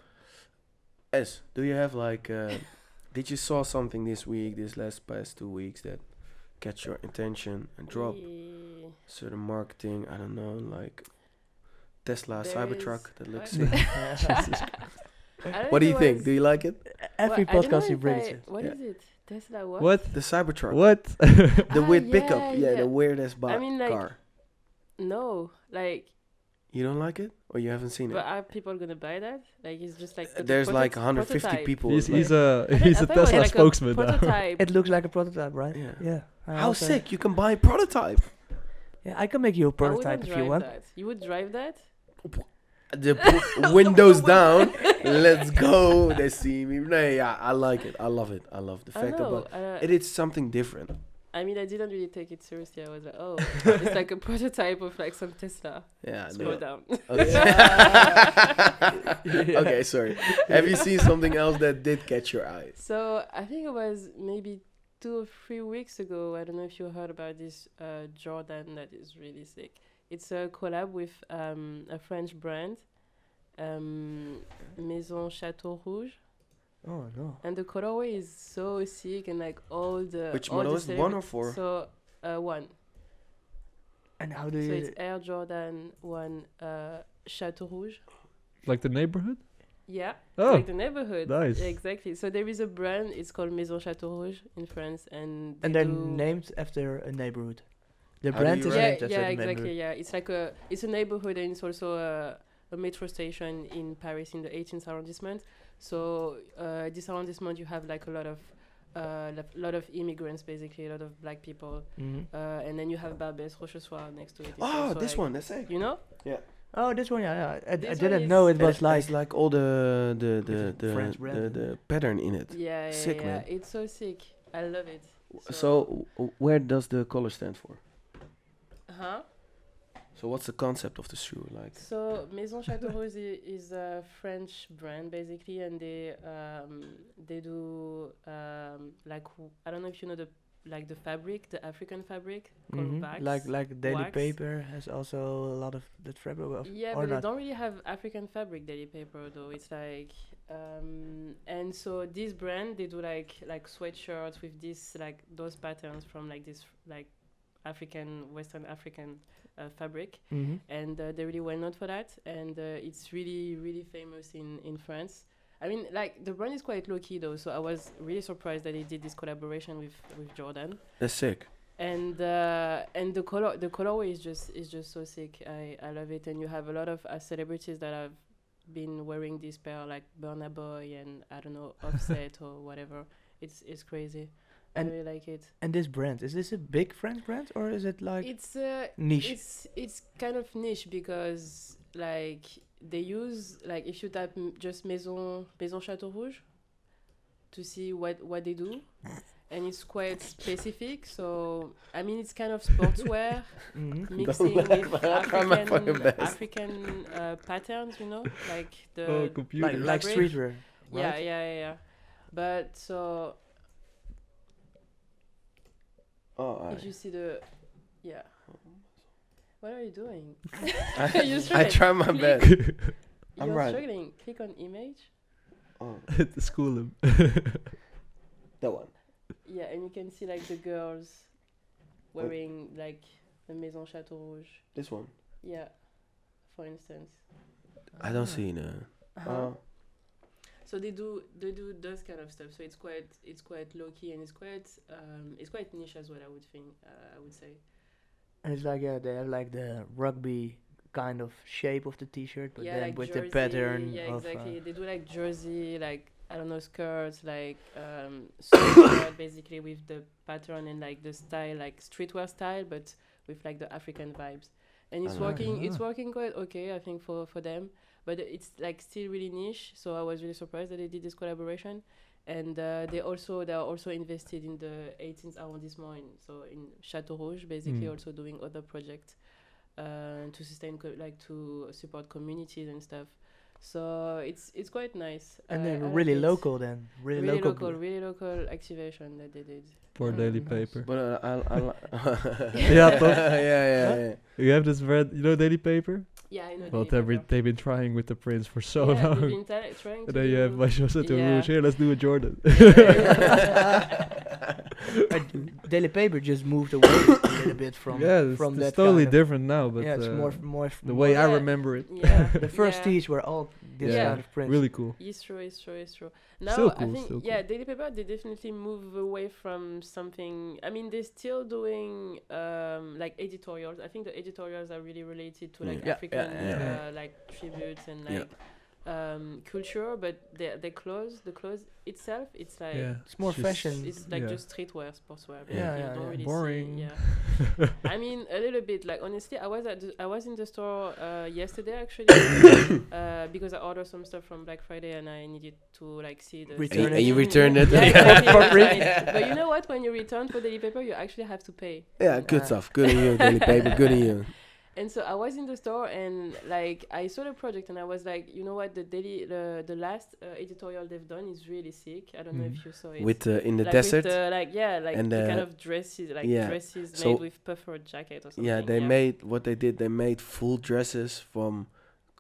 Speaker 2: S, do you have like? Uh, did you saw something this week, this last past two weeks that catch your attention and drop
Speaker 4: Yeah.
Speaker 2: certain marketing? I don't know, like Tesla
Speaker 4: There
Speaker 2: Cybertruck
Speaker 4: is-
Speaker 2: that looks.
Speaker 4: I-
Speaker 2: sick.
Speaker 4: I don't
Speaker 2: what do
Speaker 4: know
Speaker 2: you think?
Speaker 4: what's-
Speaker 2: Do you like it?
Speaker 1: Every
Speaker 4: Well, I don't know
Speaker 1: podcast you
Speaker 4: if
Speaker 1: bring.
Speaker 4: I-
Speaker 1: is-
Speaker 4: What
Speaker 2: Yeah.
Speaker 4: is it? Tesla what?
Speaker 3: what
Speaker 2: The Cybertruck.
Speaker 3: what
Speaker 2: The
Speaker 4: Ah,
Speaker 2: weird
Speaker 4: yeah,
Speaker 2: pickup. Yeah,
Speaker 4: yeah.
Speaker 2: the weirdest bo-
Speaker 4: I mean, like-
Speaker 2: car.
Speaker 4: No, like,
Speaker 2: You don't like it, or you haven't seen it?
Speaker 4: but are people gonna buy that? Like, it's just like
Speaker 2: Uh, There's like 150 people.
Speaker 3: he's,
Speaker 2: like-
Speaker 3: he's a he's a tesla spokesman now.
Speaker 4: Prototype.
Speaker 1: It looks like a prototype, right?
Speaker 2: Yeah.
Speaker 1: I
Speaker 2: How
Speaker 1: also-
Speaker 2: sick! You can buy a prototype.
Speaker 1: Yeah, I can make you a
Speaker 4: I wouldn't
Speaker 1: prototype if you
Speaker 4: drive
Speaker 1: want.
Speaker 4: That. You would drive that?
Speaker 2: The p- windows down. Let's go. They see me. No, yeah, I like it. I love it. I love the
Speaker 4: I
Speaker 2: fact
Speaker 4: know.
Speaker 2: about
Speaker 4: uh,
Speaker 2: it is something different.
Speaker 4: I mean, I didn't really take it seriously. I was like, oh, it's like a prototype of like some Tesla.
Speaker 2: Yeah.
Speaker 4: Slow
Speaker 2: No.
Speaker 4: down.
Speaker 2: Okay. okay. Sorry. Have you seen something else that did catch your eye?
Speaker 4: So I think it was maybe two or three weeks ago. I don't know if you heard about this uh, Jordan that is really sick. It's a collab with um, a French brand, um, Maison Chateau Rouge,
Speaker 1: Oh no.
Speaker 4: and the colorway is so sick and like all the
Speaker 2: Which
Speaker 4: all
Speaker 2: model
Speaker 4: the
Speaker 2: is it? One
Speaker 4: celebra-
Speaker 2: or four?
Speaker 4: So uh, one.
Speaker 1: And how do
Speaker 4: So
Speaker 1: you?
Speaker 4: it's Air Jordan one uh, Chateau Rouge.
Speaker 3: like the neighborhood
Speaker 4: Yeah,
Speaker 3: Oh,
Speaker 4: like the neighborhood.
Speaker 3: nice.
Speaker 4: Exactly. So there is a brand. It's called Maison Chateau Rouge in France, and
Speaker 1: and
Speaker 4: they
Speaker 1: they're
Speaker 4: do-
Speaker 1: named after a neighborhood. The
Speaker 2: How do
Speaker 1: brand
Speaker 2: you
Speaker 1: is
Speaker 4: yeah,
Speaker 1: named after
Speaker 4: yeah,
Speaker 1: the neighborhood.
Speaker 4: exactly. Yeah, it's like a it's a neighborhood and it's also a, a metro station in Paris in the 18th arrondissement. So uh, this arrondissement, you have like a lot of a lot of immigrants, basically a lot of black people,
Speaker 1: Mhm.
Speaker 4: uh, and then you have Barbès Rochechouart next to it. It's
Speaker 1: Ah,
Speaker 2: Oh,
Speaker 4: also
Speaker 2: this
Speaker 4: like-
Speaker 2: one. That's it.
Speaker 4: You know?
Speaker 1: Oh, this one, yeah, yeah. I, I
Speaker 4: This one
Speaker 1: didn't
Speaker 4: is-
Speaker 1: know it
Speaker 2: And
Speaker 1: was
Speaker 2: it
Speaker 1: like.
Speaker 2: has, like all the the the
Speaker 1: With the
Speaker 2: the,
Speaker 1: French
Speaker 2: the,
Speaker 1: brand.
Speaker 2: the pattern in it.
Speaker 4: Yeah, yeah,
Speaker 2: Sick,
Speaker 4: yeah.
Speaker 2: man.
Speaker 4: It's so sick. I love it.
Speaker 2: So w- w- where does the color stand for?
Speaker 4: huh?
Speaker 2: So what's the concept of the shoe like?
Speaker 4: So Maison Chateau Rose i- is a French brand basically, and they um, they do um, like w- I don't know if you know the like the fabric, the African fabric called
Speaker 1: Mhm.
Speaker 4: wax.
Speaker 1: Like like Daily
Speaker 4: wax.
Speaker 1: Paper has also a lot of that fabric. Of,
Speaker 4: yeah,
Speaker 1: uh, or
Speaker 4: but they
Speaker 1: not.
Speaker 4: don't really have African fabric daily paper though. It's like um, and so this brand they do like like sweatshirts with this like those patterns from like this like African Western African uh, fabric
Speaker 1: Mhm.
Speaker 4: and uh, they're really well known for that. And uh, it's really, really famous in, in France. I mean, like the brand is quite low key though, so I was really surprised that they did this collaboration with, with Jordan.
Speaker 2: That's sick.
Speaker 4: And uh, and the color the colorway is just is just so sick. I, I love it. And you have a lot of uh, celebrities that have been wearing this pair like Burna Boy and I don't know Offset or whatever. It's it's crazy.
Speaker 1: And-
Speaker 4: I really like it.
Speaker 1: And this brand is this a big French brand or is it like
Speaker 4: It's uh,
Speaker 1: niche?
Speaker 4: It's it's kind of niche because like they use like if you type m- just Maison Maison Château Rouge to see what what they do, and it's quite specific. So I mean it's kind of sportswear
Speaker 1: Mhm.
Speaker 4: mixing
Speaker 2: laugh,
Speaker 4: with
Speaker 2: I'm trying my fucking
Speaker 4: African
Speaker 2: best.
Speaker 4: African uh, patterns, you know, like the
Speaker 3: oh, computer.
Speaker 1: Like, like
Speaker 4: Elaborate.
Speaker 1: streetwear.
Speaker 4: yeah,
Speaker 1: right?
Speaker 4: yeah, yeah, yeah. But so
Speaker 2: Oh, all
Speaker 4: if
Speaker 2: right.
Speaker 4: you see the, yeah. What are you doing? You
Speaker 2: I, I
Speaker 4: straight.
Speaker 2: try my
Speaker 4: Click.
Speaker 2: best. I'm
Speaker 4: You're
Speaker 2: right.
Speaker 4: struggling. Click on image.
Speaker 2: Oh,
Speaker 3: School him.
Speaker 2: that one.
Speaker 4: Yeah, and you can see like the girls wearing like the Maison Château Rouge.
Speaker 2: This one.
Speaker 4: Yeah, for instance.
Speaker 2: I don't see no. Oh.
Speaker 4: Uh-huh. So they do they do those kind of stuff. So it's quite it's quite low key and it's quite um it's quite niche as well. I would think uh, I would say.
Speaker 1: And it's like yeah, they have like the rugby kind of shape of the T-shirt, but
Speaker 4: yeah,
Speaker 1: then
Speaker 4: like
Speaker 1: with
Speaker 4: jersey,
Speaker 1: the pattern
Speaker 4: Yeah,
Speaker 1: of. uh,
Speaker 4: exactly. They do like jersey, like I don't know, skirts, like um, skirt basically with the pattern and like the style, like streetwear style, but with like the African vibes. And it's
Speaker 2: Ah.
Speaker 4: working. It's
Speaker 3: Ah.
Speaker 4: working quite okay, I think, for for them. But it's like still really niche. So I was really surprised that they did this collaboration. And uh, they also they are also invested in the 18th arrondissement, in, so in Chateau Rouge, basically
Speaker 3: Mm.
Speaker 4: also doing other projects uh, to sustain co- like to support communities and stuff. So it's it's quite nice.
Speaker 1: and
Speaker 4: I-
Speaker 1: they're
Speaker 4: I like
Speaker 1: really
Speaker 4: it.
Speaker 1: local then, really,
Speaker 4: Uh, really,
Speaker 1: local.
Speaker 4: local, really local activation that they did.
Speaker 3: Poor
Speaker 4: Mm.
Speaker 3: daily
Speaker 1: Nice.
Speaker 3: paper.
Speaker 2: But uh, I, I li-
Speaker 3: Yeah, toch?
Speaker 2: yeah, yeah, yeah.
Speaker 3: You have this red, you know, daily paper.
Speaker 4: Yeah, I know.
Speaker 3: Well,
Speaker 4: they did
Speaker 3: they've been,
Speaker 4: that.
Speaker 3: they've been trying with the prince for so
Speaker 4: yeah, they've
Speaker 3: long.
Speaker 4: been tell- trying to
Speaker 3: And then you have
Speaker 4: do-
Speaker 3: my Jose to
Speaker 4: Yeah.
Speaker 3: Rouge. Here, let's do a Jordan.
Speaker 1: Uh, Daily Paper just moved away a little bit from
Speaker 3: yeah, it's,
Speaker 1: from
Speaker 3: it's
Speaker 1: that
Speaker 3: totally
Speaker 1: kind of-
Speaker 3: different now, but
Speaker 1: yeah, it's
Speaker 3: uh,
Speaker 1: more f- more f-
Speaker 3: the
Speaker 1: more
Speaker 3: way I
Speaker 4: Yeah.
Speaker 3: remember it,
Speaker 4: yeah,
Speaker 1: The first
Speaker 4: yeah.
Speaker 1: tees were all this
Speaker 4: Yeah.
Speaker 1: kind of print.
Speaker 3: really cool.
Speaker 4: It's true, it's true, it's true. Now
Speaker 3: Still
Speaker 4: I
Speaker 3: cool,
Speaker 4: think
Speaker 3: still cool.
Speaker 4: yeah, Daily Paper they definitely move away from something. I mean, they're still doing um, like editorials. I think the editorials are really related to
Speaker 3: Mm.
Speaker 4: like
Speaker 1: Yeah, yeah,
Speaker 4: African
Speaker 2: yeah.
Speaker 4: Uh, like tributes and
Speaker 2: Yeah.
Speaker 4: like um, culture, but the the clothes, the clothes itself, it's like.
Speaker 3: yeah,
Speaker 1: It's more
Speaker 3: just-
Speaker 1: fashion.
Speaker 4: It's like
Speaker 3: Yeah.
Speaker 4: just streetwear, sportswear.
Speaker 1: Yeah,
Speaker 4: basically.
Speaker 1: yeah,
Speaker 4: You
Speaker 1: yeah.
Speaker 4: don't Really see-
Speaker 3: Boring.
Speaker 4: yeah. I mean, a little bit. Like honestly, I was at the, I was in the store uh, yesterday actually uh, because I ordered some stuff from Black Friday and I needed to like see the.
Speaker 1: Return
Speaker 4: stuff.
Speaker 1: And- and you
Speaker 2: returned it?
Speaker 4: Yeah, exactly,
Speaker 1: For
Speaker 4: exactly.
Speaker 1: free?
Speaker 4: But you know what? When you return for daily paper, you actually have to pay.
Speaker 2: Yeah, good stuff. Good on you, daily paper. Good on you.
Speaker 4: And so I was in the store and like I saw the project and I was like, you know what? The daily the, the last uh, editorial they've done is really sick. I don't
Speaker 1: Mm.
Speaker 4: know if
Speaker 3: Mhm.
Speaker 4: you saw it.
Speaker 2: With uh, in the
Speaker 4: like
Speaker 2: desert.
Speaker 4: With the, like yeah, like
Speaker 2: And,
Speaker 4: the
Speaker 2: uh,
Speaker 4: kind of dresses, like
Speaker 2: yeah.
Speaker 4: dresses
Speaker 2: So-
Speaker 4: made with puffer jacket or something.
Speaker 2: yeah, they made what they did. They made full dresses from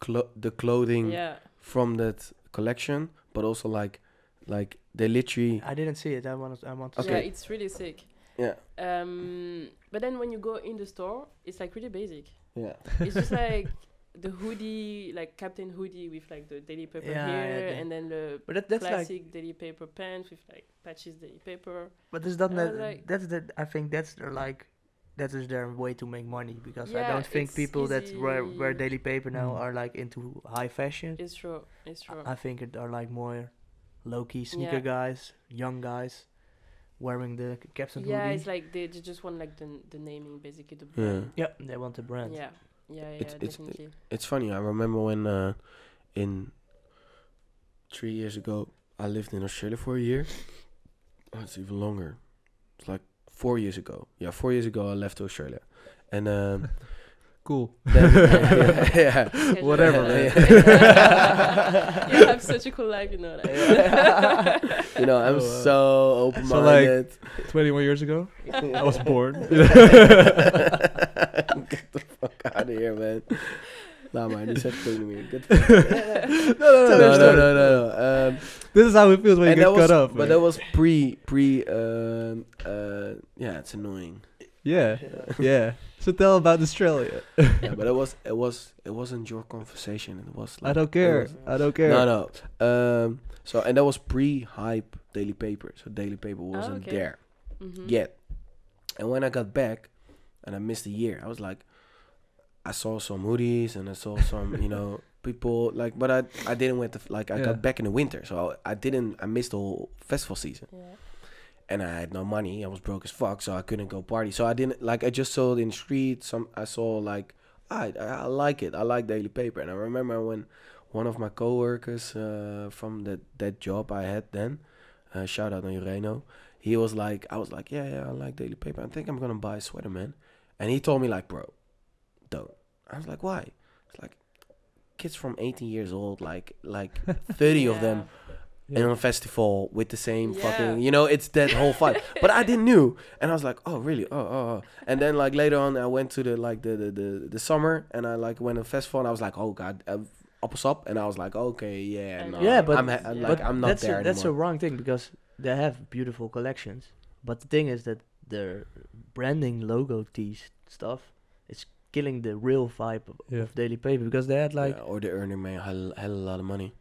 Speaker 2: clo- the clothing
Speaker 4: Yeah,
Speaker 2: from that collection, but also like, like they literally.
Speaker 1: I didn't see it. I want I want to
Speaker 2: Okay.
Speaker 4: yeah,
Speaker 1: see. it.
Speaker 4: it's really sick.
Speaker 2: Yeah.
Speaker 4: Um, but then when you go in the store, it's like really basic.
Speaker 2: Yeah.
Speaker 4: It's just like the hoodie, like Captain Hoodie with like the daily paper
Speaker 1: Yeah, yeah,
Speaker 4: here,
Speaker 1: the-
Speaker 4: and then the
Speaker 1: But that, that's like
Speaker 4: classic daily paper pants with like patches daily paper.
Speaker 1: But is that
Speaker 4: I
Speaker 1: not,
Speaker 4: was like-
Speaker 1: that's the I think that's their like that is their way to make money because I
Speaker 4: Yeah,
Speaker 1: don't think
Speaker 4: it's
Speaker 1: people that wear, wear
Speaker 4: easy.
Speaker 1: daily paper now
Speaker 3: Mm.
Speaker 1: are like into high fashion.
Speaker 4: It's true. It's true.
Speaker 1: I think it are like more low key sneaker guys, young guys wearing the c- caps and
Speaker 4: yeah,
Speaker 1: hoodie.
Speaker 4: it's like they ju- just want like the the naming basically the
Speaker 2: Yeah.
Speaker 4: brand.
Speaker 1: yep, they want the brand.
Speaker 4: Yeah, yeah, yeah,
Speaker 2: It's- it's-
Speaker 4: definitely.
Speaker 2: It's funny. I remember when uh, in three years ago, I lived in Australia for a year. Oh, it's even longer. It's like four years ago. Yeah, four years ago I left Australia, and um,
Speaker 3: cool.
Speaker 2: then, yeah, yeah.
Speaker 4: Schedule.
Speaker 3: Whatever,
Speaker 2: man.
Speaker 4: you have such a cool life, you know. Like.
Speaker 2: you know, I'm
Speaker 3: Oh, wow.
Speaker 2: so
Speaker 3: So, like,
Speaker 2: open-minded.
Speaker 3: 21 years ago, I was born.
Speaker 2: Get the fuck out of here, man. Nah, man, you said thing to me. Get the fuck no,
Speaker 3: no,
Speaker 2: no, no, no, no. Um,
Speaker 3: This is how it feels when
Speaker 2: and
Speaker 3: you
Speaker 2: that
Speaker 3: get
Speaker 2: was,
Speaker 3: cut off.
Speaker 2: but that was pre, pre. Um, uh, yeah, it's annoying.
Speaker 3: yeah, yeah. So tell about Australia.
Speaker 2: yeah, but it was, it was, it wasn't your conversation. It was. Like,
Speaker 3: I don't
Speaker 2: it
Speaker 3: care.
Speaker 2: was-
Speaker 3: I don't care.
Speaker 2: No, no. Um, so and that was pre-hype Daily Paper. So Daily Paper wasn't
Speaker 4: okay.
Speaker 2: there.
Speaker 4: Mhm.
Speaker 2: yet. And when I got back and I missed a year, I was like, I saw some hoodies and I saw some, you know, people like, but I I didn't went to like I
Speaker 3: Yeah.
Speaker 2: got back in the winter, so I, I didn't I missed the whole festival season,
Speaker 4: Yeah.
Speaker 2: and I had no money. I was broke as fuck, so I couldn't go party. So I didn't like I just saw it in the street. Some I saw like I I I like it. I like Daily Paper, and I remember when one of my coworkers uh, from that that job I had then, uh, shout out on Ureno, he was like I was like yeah yeah I like Daily Paper. I think I'm gonna buy a sweater, man, and he told me like bro, don't. I was like why? It's like kids from 18 years old like like 30 of them
Speaker 4: Oh,
Speaker 3: Yeah.
Speaker 2: in a festival with the same
Speaker 4: Yeah.
Speaker 2: fucking you know it's that whole vibe but i didn't knew and i was like oh really oh, oh oh and then like later on i went to the like the the the, the summer and i like went to festival and i was like oh god uh, up is up and i was like okay yeah
Speaker 4: And-
Speaker 2: no,
Speaker 1: Yeah, but-
Speaker 2: i'm, ha- I'm
Speaker 4: Yeah.
Speaker 2: like
Speaker 1: but
Speaker 2: i'm not
Speaker 1: that's
Speaker 2: there
Speaker 1: a, that's a
Speaker 2: anymore.
Speaker 1: wrong thing because they have beautiful collections. But the thing is that their branding, logo, tees, stuff is killing the real vibe of,
Speaker 3: Yeah.
Speaker 1: of Daily Paper because they had like
Speaker 2: yeah, or the earning man hell, hell a lot of money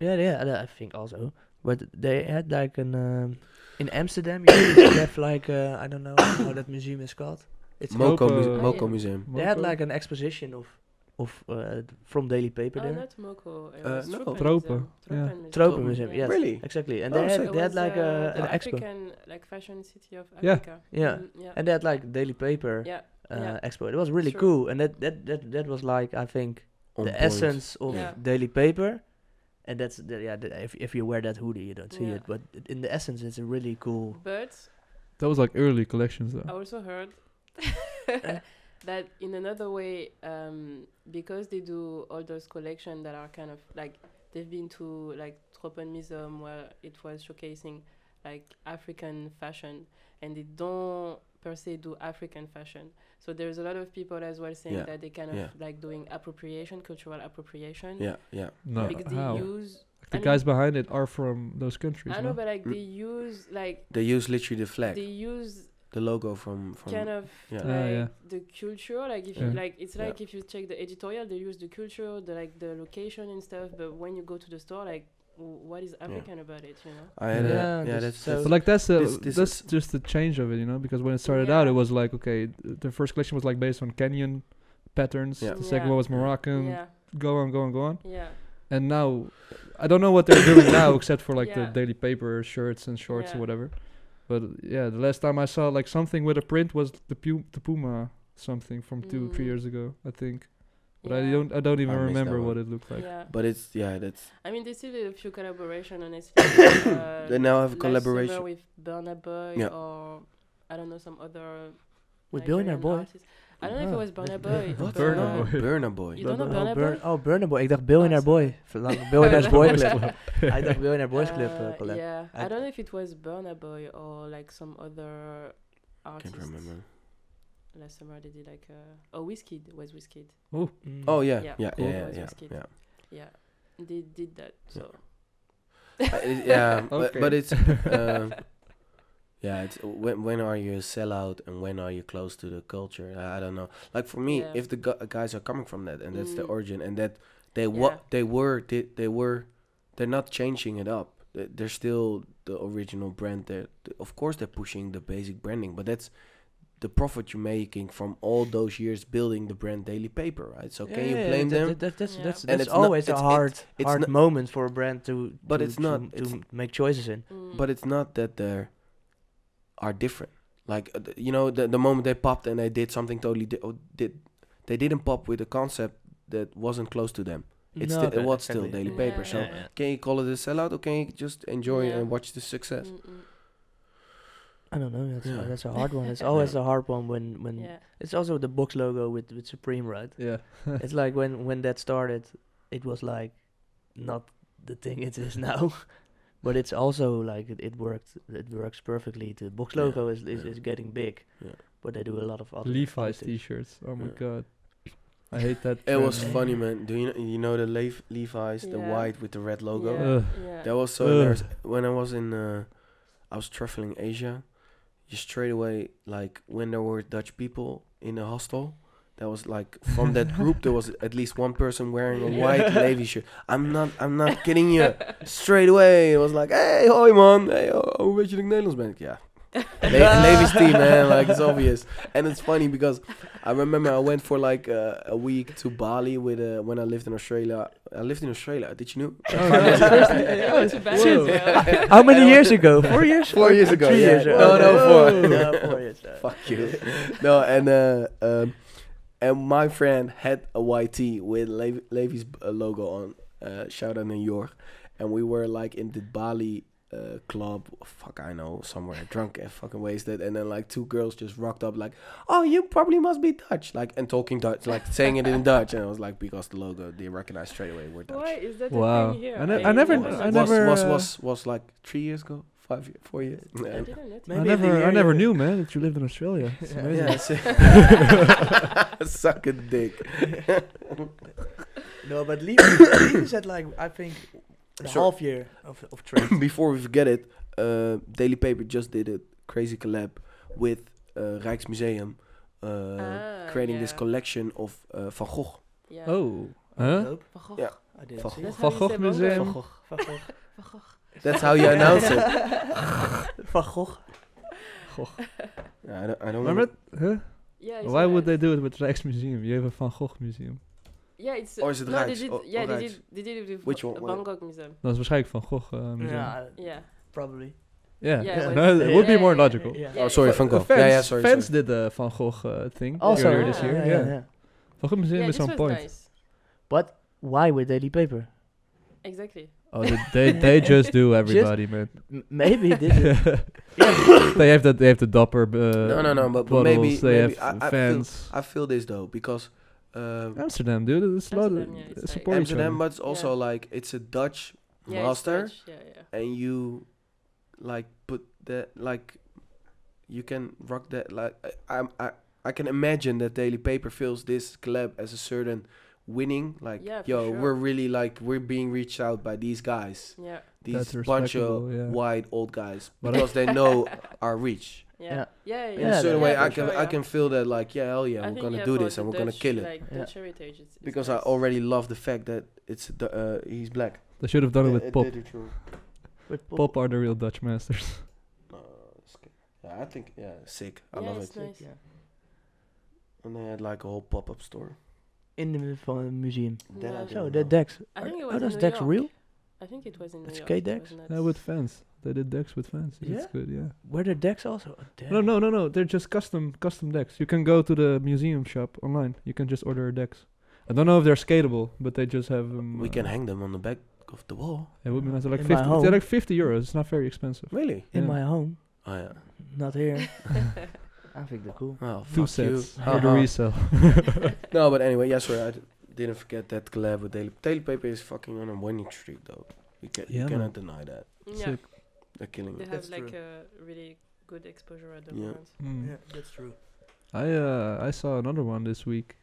Speaker 1: yeah yeah, I think also, but they had like an um, in Amsterdam you know, they have like uh, I don't know how that museum is called. It's
Speaker 2: moco
Speaker 3: Moco-
Speaker 2: Muse- moco
Speaker 4: Yeah.
Speaker 2: museum
Speaker 1: they had
Speaker 3: Moco?
Speaker 1: like an exposition of of uh, from Daily Paper
Speaker 4: Oh,
Speaker 1: there.
Speaker 4: not Moko. It
Speaker 2: Uh,
Speaker 4: was
Speaker 2: no.
Speaker 3: Tropen, yeah.
Speaker 1: Tropen Museum, yes,
Speaker 2: Really?
Speaker 1: exactly. And
Speaker 2: Oh,
Speaker 1: they
Speaker 2: sick.
Speaker 1: had,
Speaker 4: It
Speaker 1: they had
Speaker 4: was,
Speaker 1: like
Speaker 4: uh,
Speaker 1: a,
Speaker 4: the
Speaker 1: an expo,
Speaker 4: African, like fashion city of
Speaker 3: Yeah.
Speaker 4: Africa.
Speaker 1: Yeah.
Speaker 4: Mm, yeah.
Speaker 1: and they had like Daily Paper
Speaker 4: yeah.
Speaker 1: uh,
Speaker 4: Yeah.
Speaker 1: expo. It was really
Speaker 4: True.
Speaker 1: cool, and that that that, that was like I think
Speaker 2: On
Speaker 1: the
Speaker 2: point.
Speaker 1: essence of
Speaker 4: Yeah.
Speaker 1: Daily Paper, and that's the, yeah. The, if if you wear that hoodie, you don't see
Speaker 4: Yeah.
Speaker 1: it, but i- in the essence, it's a really cool.
Speaker 4: But
Speaker 3: That was like early collections
Speaker 4: I
Speaker 1: Oh,
Speaker 3: though.
Speaker 4: also heard that in another way, um, because they do all those collections that are kind of like they've been to like Tropen Museum where it was showcasing like African fashion, and they don't per se do African fashion. So there's a lot of people as well saying
Speaker 2: Yeah,
Speaker 4: that they kind of
Speaker 2: yeah.
Speaker 4: like doing appropriation, cultural appropriation.
Speaker 2: yeah yeah
Speaker 3: No,
Speaker 4: Because
Speaker 3: how?
Speaker 4: they use,
Speaker 3: the
Speaker 4: I mean-
Speaker 3: guys behind it are from those countries.
Speaker 4: I
Speaker 3: no?
Speaker 4: know, but like
Speaker 2: Mm.
Speaker 4: they use like
Speaker 2: they use literally the flag
Speaker 4: they use
Speaker 2: the logo from from
Speaker 4: kind of
Speaker 2: Yeah.
Speaker 4: like
Speaker 3: Ah, yeah.
Speaker 4: the culture like if you
Speaker 3: Yeah.
Speaker 4: like it's
Speaker 2: Yeah.
Speaker 4: like if you check the editorial they use the culture the like the location and stuff but when you go to the store like w- what is african about it you know
Speaker 2: i had
Speaker 1: Yeah,
Speaker 2: a,
Speaker 1: this-
Speaker 2: yeah that's,
Speaker 1: so-
Speaker 2: that's
Speaker 3: But like that's the
Speaker 2: This- this
Speaker 3: that's
Speaker 2: is-
Speaker 3: just the change of it, you know, because when it started out, it
Speaker 4: Yeah.
Speaker 3: was like okay, th- the first collection was like based on Kenyan patterns.
Speaker 2: Yeah.
Speaker 3: The second
Speaker 4: Yeah.
Speaker 3: one was Moroccan.
Speaker 4: yeah
Speaker 3: Go on, go on, go on.
Speaker 4: yeah
Speaker 3: And now, I don't know what they're doing now, except for like the
Speaker 4: Yeah.
Speaker 3: daily paper shirts and shorts or
Speaker 4: Yeah.
Speaker 3: whatever. But yeah, the last time I saw like something with a print was the, Pu- the Puma something from two three
Speaker 4: Mm.
Speaker 3: years ago, I think. But I
Speaker 4: Yeah.
Speaker 3: don't I don't even
Speaker 2: I missed that
Speaker 3: remember
Speaker 2: one.
Speaker 3: what it looked like.
Speaker 4: yeah
Speaker 2: but it's yeah that's
Speaker 4: i mean they still did a few collaboration honestly uh,
Speaker 2: they now have a
Speaker 4: last summer
Speaker 2: collaboration
Speaker 4: with Burna Boy
Speaker 2: Yeah.
Speaker 4: or I don't know some other
Speaker 1: With
Speaker 4: Nigerian
Speaker 1: Burna Boy?
Speaker 4: artist. I don't know if
Speaker 3: Ah,
Speaker 4: it was Burna
Speaker 3: with
Speaker 4: Boy.
Speaker 3: What?
Speaker 4: but,
Speaker 3: Burna
Speaker 4: uh,
Speaker 3: Boy.
Speaker 2: Burner Boy.
Speaker 4: You don't know
Speaker 1: oh,
Speaker 4: Burna Boy?
Speaker 1: oh, Burner Boy. Ik dacht Billionaire Boy. Verlang- Billionaire's Boy Club. I dacht Billionaire Boys Club
Speaker 4: Uh,
Speaker 1: uh, collab.
Speaker 4: Yeah,
Speaker 1: I-
Speaker 4: I, don't know if it was Burna Boy or like some other artist.
Speaker 2: Can't remember.
Speaker 4: Last summer they did like a oh Wizkid was Wizkid.
Speaker 1: Mm.
Speaker 2: Oh yeah, yeah,
Speaker 4: Yeah,
Speaker 2: yeah,
Speaker 4: cool.
Speaker 2: yeah,
Speaker 4: Always
Speaker 2: yeah.
Speaker 4: risky.
Speaker 2: yeah.
Speaker 4: Yeah, they did that. So
Speaker 2: Uh, it- yeah, but, but
Speaker 3: Okay.
Speaker 2: it's um, yeah. It's when when are you a sellout and when are you close to the culture? I, I don't know. Like for me,
Speaker 4: Yeah.
Speaker 2: if the gu- guys are coming from that and that's the
Speaker 4: Mm.
Speaker 2: origin and that they what
Speaker 4: Yeah.
Speaker 2: they were they, they were they're not changing it up. They- They're still the original brand. They're, th- of course, they're pushing the basic branding, but that's the profit you're making from all those years building the brand Daily Paper, right? So can you blame
Speaker 1: that,
Speaker 2: them?
Speaker 1: That, that, that's
Speaker 4: Yeah.
Speaker 1: that's,
Speaker 2: And
Speaker 1: that's
Speaker 2: it's not-
Speaker 1: always
Speaker 2: it's-
Speaker 1: a
Speaker 2: it's-
Speaker 1: hard
Speaker 2: it's
Speaker 1: hard
Speaker 2: not-
Speaker 1: moment for a brand to
Speaker 2: But
Speaker 1: to,
Speaker 2: it's not-
Speaker 1: to,
Speaker 2: it's-
Speaker 1: to make choices in.
Speaker 4: mm,
Speaker 2: but it's not that they are different. Like uh, th- you know, the, the moment they popped and they did something totally di- or did they didn't pop with a concept that wasn't close to them. It's
Speaker 1: No,
Speaker 2: still,
Speaker 1: that-
Speaker 2: it was still
Speaker 1: exactly.
Speaker 2: Daily
Speaker 4: Yeah,
Speaker 2: Paper. So
Speaker 1: yeah, yeah.
Speaker 2: can you call it a sellout or can you just enjoy
Speaker 4: Yeah.
Speaker 2: and watch the success?
Speaker 4: mm, mm,
Speaker 1: I don't know. That's
Speaker 2: Yeah.
Speaker 1: that's a hard one. It's always a hard one when when
Speaker 4: yeah,
Speaker 1: it's also the box logo with with Supreme, right?
Speaker 3: yeah.
Speaker 1: it's like when when that started, it was like not the thing it is now, but it's also like it, it worked. It works perfectly. The box
Speaker 2: Yeah,
Speaker 1: logo is is,
Speaker 2: yeah.
Speaker 1: is getting big,
Speaker 2: Yeah.
Speaker 1: but they do a lot of other
Speaker 3: Levi's
Speaker 1: other things.
Speaker 3: t-shirts. Oh my
Speaker 2: Yeah.
Speaker 3: god, I hate that.
Speaker 2: It was
Speaker 3: trend.
Speaker 2: funny, man. Do you know, you know the Lev- Levi's, the
Speaker 4: Yeah.
Speaker 2: white with the red logo?
Speaker 4: Yeah,
Speaker 3: Ugh.
Speaker 4: yeah.
Speaker 2: That was so
Speaker 3: Ugh.
Speaker 2: hilarious. When I was in, uh, I was traveling Asia. You straight away, like when there were Dutch people in the hostel, that was like from that group. There was at least one person wearing a white Levi shirt. I'm not, I'm not kidding you. Straight away, it was like, hey, hoi man, hey, oh, oh, hoe weet je dat ik Nederlands ben? Ik, Ja, Le- Levy's team, man. Like it's obvious, and it's funny because I remember I went for like uh, a week to Bali with uh, when I lived in Australia. I lived in Australia. Did you know?
Speaker 1: Oh,
Speaker 4: Go to bed
Speaker 1: Shit.
Speaker 4: as well.
Speaker 1: How many years ago? Four years?
Speaker 2: Four years ago,
Speaker 1: Three
Speaker 2: yeah.
Speaker 1: years
Speaker 2: No, no,
Speaker 1: Oh,
Speaker 2: four.
Speaker 1: no, four years. uh,
Speaker 2: Fuck you. no, and uh, um, and my friend had a white tee with Le- Levy's uh, logo on. Uh, shout out New York, and we were like in the Bali uh, club. Fuck, I know somewhere drunk and fucking wasted. And then like two girls just rocked up like, "Oh, you probably must be Dutch," like and talking Dutch, like saying it in Dutch. And I was like, because the logo, they recognize straight away we're Dutch.
Speaker 4: Why is that
Speaker 3: Wow.
Speaker 4: a thing here?
Speaker 3: I ne- I never-
Speaker 4: didn't
Speaker 3: I
Speaker 4: notice.
Speaker 2: was,
Speaker 3: never,
Speaker 2: was
Speaker 3: uh,
Speaker 2: was was like three years ago, five, year, four years.
Speaker 4: I
Speaker 2: Yeah.
Speaker 4: didn't notice.
Speaker 1: Maybe
Speaker 3: I
Speaker 1: I didn't
Speaker 3: never, I
Speaker 1: hear
Speaker 3: never
Speaker 1: you.
Speaker 3: knew, man, that you lived in Australia. It's
Speaker 1: Yeah.
Speaker 3: amazing.
Speaker 2: Yeah, sick. suck a dick.
Speaker 1: No, but Leaf Leaf is at like I think a
Speaker 2: Sure.
Speaker 1: half year of of trade.
Speaker 2: Before we forget it, uh, Daily Paper just did a crazy collab with uh, Rijksmuseum, uh,
Speaker 4: Ah,
Speaker 2: creating this
Speaker 4: yeah.
Speaker 2: collection of uh, Van Gogh.
Speaker 4: Yeah.
Speaker 3: Oh. Huh?
Speaker 1: Nope,
Speaker 4: Van Gogh.
Speaker 2: Yeah.
Speaker 1: I didn't
Speaker 2: Van
Speaker 1: see
Speaker 4: That's
Speaker 1: it.
Speaker 3: Van
Speaker 4: how you
Speaker 3: Gogh
Speaker 4: say
Speaker 3: Museum.
Speaker 1: Van Gogh. Van Gogh.
Speaker 4: Van Gogh.
Speaker 2: That's how you announce it.
Speaker 1: Van Gogh.
Speaker 2: Yeah, I don't. I don't
Speaker 3: Maar met, huh?
Speaker 4: Yeah, it's
Speaker 3: Why would they
Speaker 4: nice.
Speaker 3: do it with Rijksmuseum? You have a Van Gogh museum.
Speaker 4: Yeah, it's.
Speaker 2: Or is it
Speaker 4: no, they
Speaker 2: Rijks?
Speaker 4: did,
Speaker 2: Or-
Speaker 4: yeah,
Speaker 2: or
Speaker 4: they
Speaker 2: Rijks?
Speaker 4: did, they did it with
Speaker 2: Which
Speaker 4: Va-
Speaker 2: one?
Speaker 4: Van Gogh Museum.
Speaker 3: Dat is waarschijnlijk Van Gogh eh, museum. Ja,
Speaker 1: Yeah,
Speaker 4: Yeah.
Speaker 1: probably.
Speaker 4: Yeah,
Speaker 3: No,
Speaker 1: yeah,
Speaker 3: it would be
Speaker 4: yeah,
Speaker 3: more
Speaker 4: yeah,
Speaker 3: logical.
Speaker 1: Yeah.
Speaker 4: Yeah,
Speaker 2: oh, sorry,
Speaker 4: yeah.
Speaker 2: Van Gogh.
Speaker 3: Fans,
Speaker 2: yeah, yeah, sorry.
Speaker 3: fans
Speaker 2: sorry.
Speaker 3: did the Van Gogh eh, thing
Speaker 1: Also,
Speaker 3: earlier
Speaker 4: yeah,
Speaker 3: this year.
Speaker 4: yeah,
Speaker 3: Yeah, Van Gogh museum
Speaker 4: Yeah,
Speaker 3: is
Speaker 4: this
Speaker 3: on
Speaker 4: was
Speaker 3: point.
Speaker 4: nice.
Speaker 1: Why with Daily Paper?
Speaker 4: Exactly.
Speaker 3: Oh, they, they, they just do everybody, man.
Speaker 1: M- maybe this. Is
Speaker 3: they have the they have the dapper. Uh,
Speaker 2: No, no, no, but- but
Speaker 3: bottles.
Speaker 2: maybe-
Speaker 3: they
Speaker 2: maybe I-
Speaker 3: have
Speaker 2: I feel-
Speaker 3: fans.
Speaker 2: I feel this though because uh,
Speaker 3: Amsterdam, dude, it's a lot.
Speaker 4: Amsterdam, yeah, it's like-
Speaker 3: support each
Speaker 2: Amsterdam,
Speaker 3: other.
Speaker 2: but it's also like it's a Dutch
Speaker 4: Yeah, it's
Speaker 2: master.
Speaker 4: Dutch, Yeah, yeah.
Speaker 2: and you like put that like you can rock that like I, I'm I I can imagine that Daily Paper feels this collab as a certain winning like
Speaker 4: Yeah, for
Speaker 2: yo
Speaker 4: sure.
Speaker 2: we're really like we're being reached out by these guys
Speaker 4: Yeah,
Speaker 2: these
Speaker 3: That's
Speaker 2: bunch of
Speaker 3: respectable, yeah.
Speaker 2: white old guys
Speaker 3: But I-
Speaker 2: because they know our reach
Speaker 4: yeah, yeah, yeah.
Speaker 2: in a
Speaker 1: Yeah,
Speaker 2: certain
Speaker 1: yeah,
Speaker 2: way
Speaker 1: for
Speaker 2: I can
Speaker 4: sure,
Speaker 2: I
Speaker 4: yeah.
Speaker 2: can feel that like yeah hell yeah
Speaker 4: I
Speaker 2: we're
Speaker 4: think,
Speaker 2: gonna
Speaker 4: yeah,
Speaker 2: do
Speaker 4: for
Speaker 2: this
Speaker 4: the
Speaker 2: and we're gonna
Speaker 4: Dutch,
Speaker 2: kill it
Speaker 4: Like
Speaker 1: Yeah.
Speaker 4: Dutch heritage, it's, it's
Speaker 2: because I
Speaker 4: nice.
Speaker 2: already love the fact that it's the, uh, he's black
Speaker 3: They should have done it
Speaker 2: Yeah,
Speaker 3: with pop.
Speaker 2: did it wrong.
Speaker 1: with Pop.
Speaker 3: Pop are the real Dutch masters.
Speaker 2: No, it's good. yeah I think yeah sick I
Speaker 4: yeah,
Speaker 2: love
Speaker 4: it's
Speaker 2: it
Speaker 4: nice.
Speaker 1: Yeah.
Speaker 2: And they had like a whole pop up store.
Speaker 1: In the mu- for the museum.
Speaker 2: That I
Speaker 4: Yeah.
Speaker 2: didn't
Speaker 1: So
Speaker 2: know.
Speaker 1: the Dex.
Speaker 4: I
Speaker 1: Are-
Speaker 4: think it was
Speaker 1: Are
Speaker 4: in
Speaker 1: those
Speaker 4: New
Speaker 1: Dex
Speaker 4: York.
Speaker 1: real?
Speaker 4: I think it was in New
Speaker 1: It's
Speaker 4: York.
Speaker 1: gay
Speaker 4: it
Speaker 1: decks?
Speaker 4: was
Speaker 3: yeah,
Speaker 4: not-
Speaker 3: with fans. They did decks with fans. That's
Speaker 1: Yeah.
Speaker 3: good. Yeah.
Speaker 1: Were there Dex also? Oh, damn.
Speaker 3: No, no, no, no. They're just custom custom decks. You can go to the museum shop online. You can just order decks. I don't know if they're skatable, but they just have. Um,
Speaker 2: We can
Speaker 3: uh,
Speaker 2: hang them on the back of the wall.
Speaker 3: It would be nice. They're like
Speaker 1: In my
Speaker 3: fifty. They're
Speaker 1: home.
Speaker 3: like fifty euros. It's not very expensive.
Speaker 2: Really?
Speaker 1: In
Speaker 3: Yeah.
Speaker 1: my home,
Speaker 2: Oh yeah.
Speaker 1: not here. I think they're cool.
Speaker 2: Oh, fuck
Speaker 3: Two sets
Speaker 2: you.
Speaker 3: for the
Speaker 2: Uh-huh.
Speaker 3: resale.
Speaker 2: No, but anyway, yeah, sorry, I d- didn't forget that collab with Daily Daily Paper is fucking on a winning streak though. You can
Speaker 3: Yeah,
Speaker 2: you cannot
Speaker 3: man.
Speaker 2: deny that.
Speaker 4: Yeah,
Speaker 3: Sick.
Speaker 2: They're killing
Speaker 4: they
Speaker 2: it.
Speaker 4: have
Speaker 1: That's
Speaker 4: like
Speaker 1: true.
Speaker 4: a really good exposure at the
Speaker 2: Yeah.
Speaker 4: moment.
Speaker 3: Mm.
Speaker 1: Yeah, that's true.
Speaker 3: I uh, I saw another one this week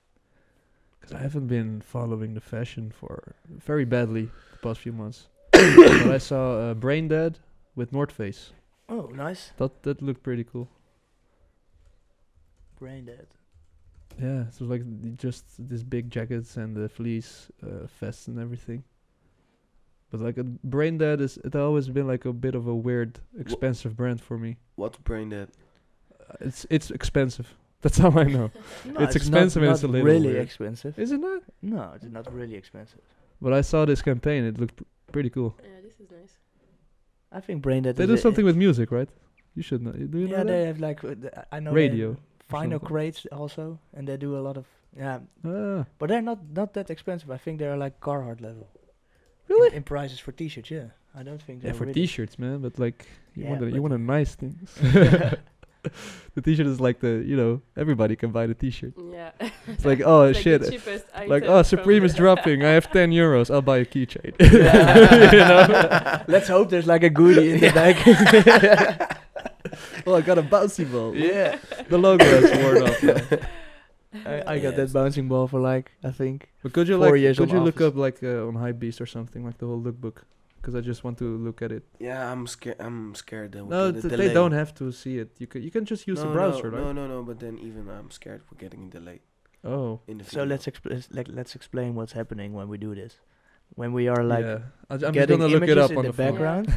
Speaker 3: because I haven't been following the fashion for very badly the past few months. but I saw uh, Brain Dead with North Face.
Speaker 1: Oh, nice.
Speaker 3: That that looked pretty cool.
Speaker 1: Brain dead.
Speaker 3: Yeah, so like th- just these big jackets and the fleece uh, vests and everything. But like a Brain Dead is it always been like a bit of a weird expensive brand for me.
Speaker 2: What brain dead?
Speaker 3: Uh, It's it's expensive. That's how I
Speaker 1: No,
Speaker 3: know. It's
Speaker 1: not-
Speaker 3: expensive and it's
Speaker 1: not
Speaker 3: a little
Speaker 1: really
Speaker 3: weird.
Speaker 1: expensive.
Speaker 3: Isn't it?
Speaker 1: No, it's not really expensive.
Speaker 3: But I saw this campaign. It looked pr- pretty cool.
Speaker 4: Yeah, this is nice.
Speaker 1: I think brain dead.
Speaker 3: They
Speaker 1: is
Speaker 3: do
Speaker 1: a-
Speaker 3: something with music, right? You should know. Do you
Speaker 1: yeah,
Speaker 3: know
Speaker 1: they
Speaker 3: that?
Speaker 1: have like uh, th- I know they have
Speaker 3: Radio.
Speaker 1: Final
Speaker 3: something.
Speaker 1: crates also, and they do a lot of yeah,
Speaker 3: Ah,
Speaker 1: but they're not not that expensive. I think they're like Carhartt level. Really? In, in prices for t-shirts, yeah. I don't think
Speaker 3: yeah,
Speaker 1: they're
Speaker 3: for
Speaker 1: really-
Speaker 3: t-shirts, man. But like, you
Speaker 1: Yeah,
Speaker 3: want a, you
Speaker 1: but-
Speaker 3: want a nice things. the t-shirt is like the you know everybody can buy the t-shirt.
Speaker 4: Yeah.
Speaker 3: It's like oh
Speaker 4: It's
Speaker 3: shit,
Speaker 4: Like, the cheapest
Speaker 3: like
Speaker 4: item
Speaker 3: oh
Speaker 4: from
Speaker 3: Supreme
Speaker 4: the-
Speaker 3: is dropping. I have ten euros. I'll buy a keychain.
Speaker 1: Yeah. Let's hope there's like a goodie in the back.
Speaker 3: oh, I got a bouncy ball.
Speaker 1: yeah,
Speaker 3: The logo has worn off. now.
Speaker 1: I, I got
Speaker 2: Yes.
Speaker 1: that bouncing ball for like I think
Speaker 3: But could you
Speaker 1: Four
Speaker 3: like
Speaker 1: years
Speaker 3: could
Speaker 1: on
Speaker 3: you look
Speaker 1: office.
Speaker 3: up like uh, on Hypebeast or something like the whole lookbook? Because I just want to look at it.
Speaker 2: Yeah, I'm scared. I'm scared that we
Speaker 3: No,
Speaker 2: get
Speaker 3: th-
Speaker 2: a
Speaker 3: they
Speaker 2: delay.
Speaker 3: don't have to see it. You can you can just use
Speaker 2: no,
Speaker 3: the browser,
Speaker 2: no,
Speaker 3: right?
Speaker 2: No, no, no. But then even I'm scared we're getting a delay
Speaker 3: Oh,
Speaker 2: in the
Speaker 1: so.
Speaker 2: video.
Speaker 1: Let's expl- let, let's explain what's happening when we do this. When we are like
Speaker 3: yeah. I, am just
Speaker 1: getting
Speaker 3: gonna look it
Speaker 1: images
Speaker 3: up
Speaker 1: in
Speaker 3: on
Speaker 1: the
Speaker 3: the, phone.
Speaker 1: background,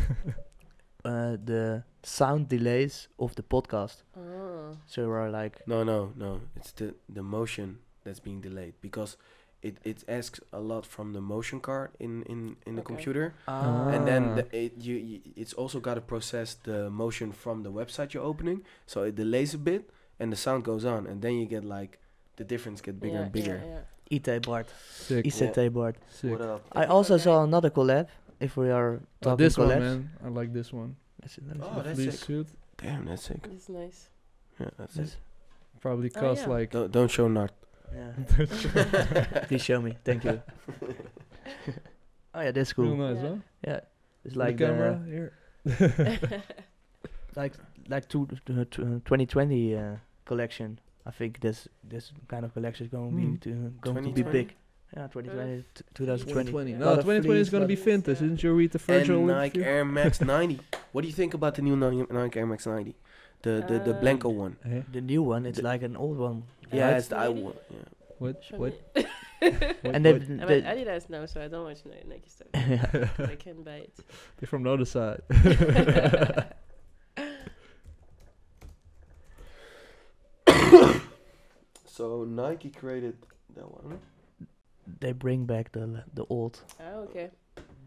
Speaker 1: uh, the sound delays of the podcast.
Speaker 4: Oh.
Speaker 1: So we're like,
Speaker 2: No, no, no. It's the the motion that's being delayed because it, it asks a lot from the motion card in in in the
Speaker 4: Okay.
Speaker 2: computer,
Speaker 1: ah.
Speaker 2: and then
Speaker 3: Ah.
Speaker 2: the, it you, you it's also got to process the motion from the website you're opening, so it delays a bit, and the sound goes on, and then you get like the difference get bigger
Speaker 4: yeah,
Speaker 2: and bigger.
Speaker 4: Yeah, yeah.
Speaker 1: IT board,
Speaker 3: Sick.
Speaker 1: ICT board.
Speaker 3: sick.
Speaker 2: What up?
Speaker 1: I
Speaker 4: Different
Speaker 1: also
Speaker 4: collab.
Speaker 1: saw another collab. If we are
Speaker 3: Oh,
Speaker 1: talking
Speaker 3: this one,
Speaker 1: collabs.
Speaker 3: man. I like this one.
Speaker 1: Let's see, let me
Speaker 2: Oh,
Speaker 1: see.
Speaker 3: The
Speaker 2: that's
Speaker 3: fleece
Speaker 2: sick.
Speaker 3: suit
Speaker 2: Damn, that's sick.
Speaker 4: It's nice.
Speaker 2: Yeah,
Speaker 3: Oh,
Speaker 2: that's
Speaker 1: Yes.
Speaker 2: sick.
Speaker 3: probably
Speaker 4: Oh,
Speaker 3: cost
Speaker 4: yeah.
Speaker 3: like.
Speaker 2: Don't don't show Nart.
Speaker 1: Yeah. Please show me. Thank you. oh yeah, that's
Speaker 3: Real
Speaker 1: cool.
Speaker 3: nice,
Speaker 4: Yeah.
Speaker 3: huh?
Speaker 1: Yeah, it's like uh,
Speaker 3: the
Speaker 1: the
Speaker 3: camera here.
Speaker 1: like like two, uh, tw- uh, 2020 uh, collection. I think this this kind of collection is going
Speaker 3: Hmm.
Speaker 1: to be to, going to be
Speaker 4: 2020?
Speaker 1: big. Yeah, 2020, t-
Speaker 4: 2020.
Speaker 1: 2020.
Speaker 3: No,
Speaker 1: Lot of
Speaker 3: 2020 is
Speaker 1: fleece, uh,
Speaker 3: gonna
Speaker 1: lot
Speaker 3: be
Speaker 4: of-
Speaker 3: Fintas.
Speaker 4: Yeah.
Speaker 3: Didn't you read the
Speaker 2: And
Speaker 3: Virgil
Speaker 2: Nike
Speaker 3: interview?
Speaker 2: Air Max 90. What do you think about the new Ni- Nike Air Max 90? The the, the
Speaker 4: Uh,
Speaker 2: Blanco one.
Speaker 3: Eh?
Speaker 1: The new one, it's
Speaker 2: The-
Speaker 1: like an old one.
Speaker 2: Yeah,
Speaker 4: Nike
Speaker 2: it's the I
Speaker 4: 90?
Speaker 2: one. Yeah.
Speaker 3: What?
Speaker 4: Show
Speaker 3: What?
Speaker 4: me.
Speaker 3: What-
Speaker 1: and
Speaker 3: what?
Speaker 1: they've,
Speaker 4: I'm
Speaker 1: they-
Speaker 4: at Adidas now, so I don't watch Ni- Nike stuff. 'cause I can buy it.
Speaker 3: They're from the other side.
Speaker 2: So Nike created that one.
Speaker 1: they bring back the the old,
Speaker 4: Oh, okay.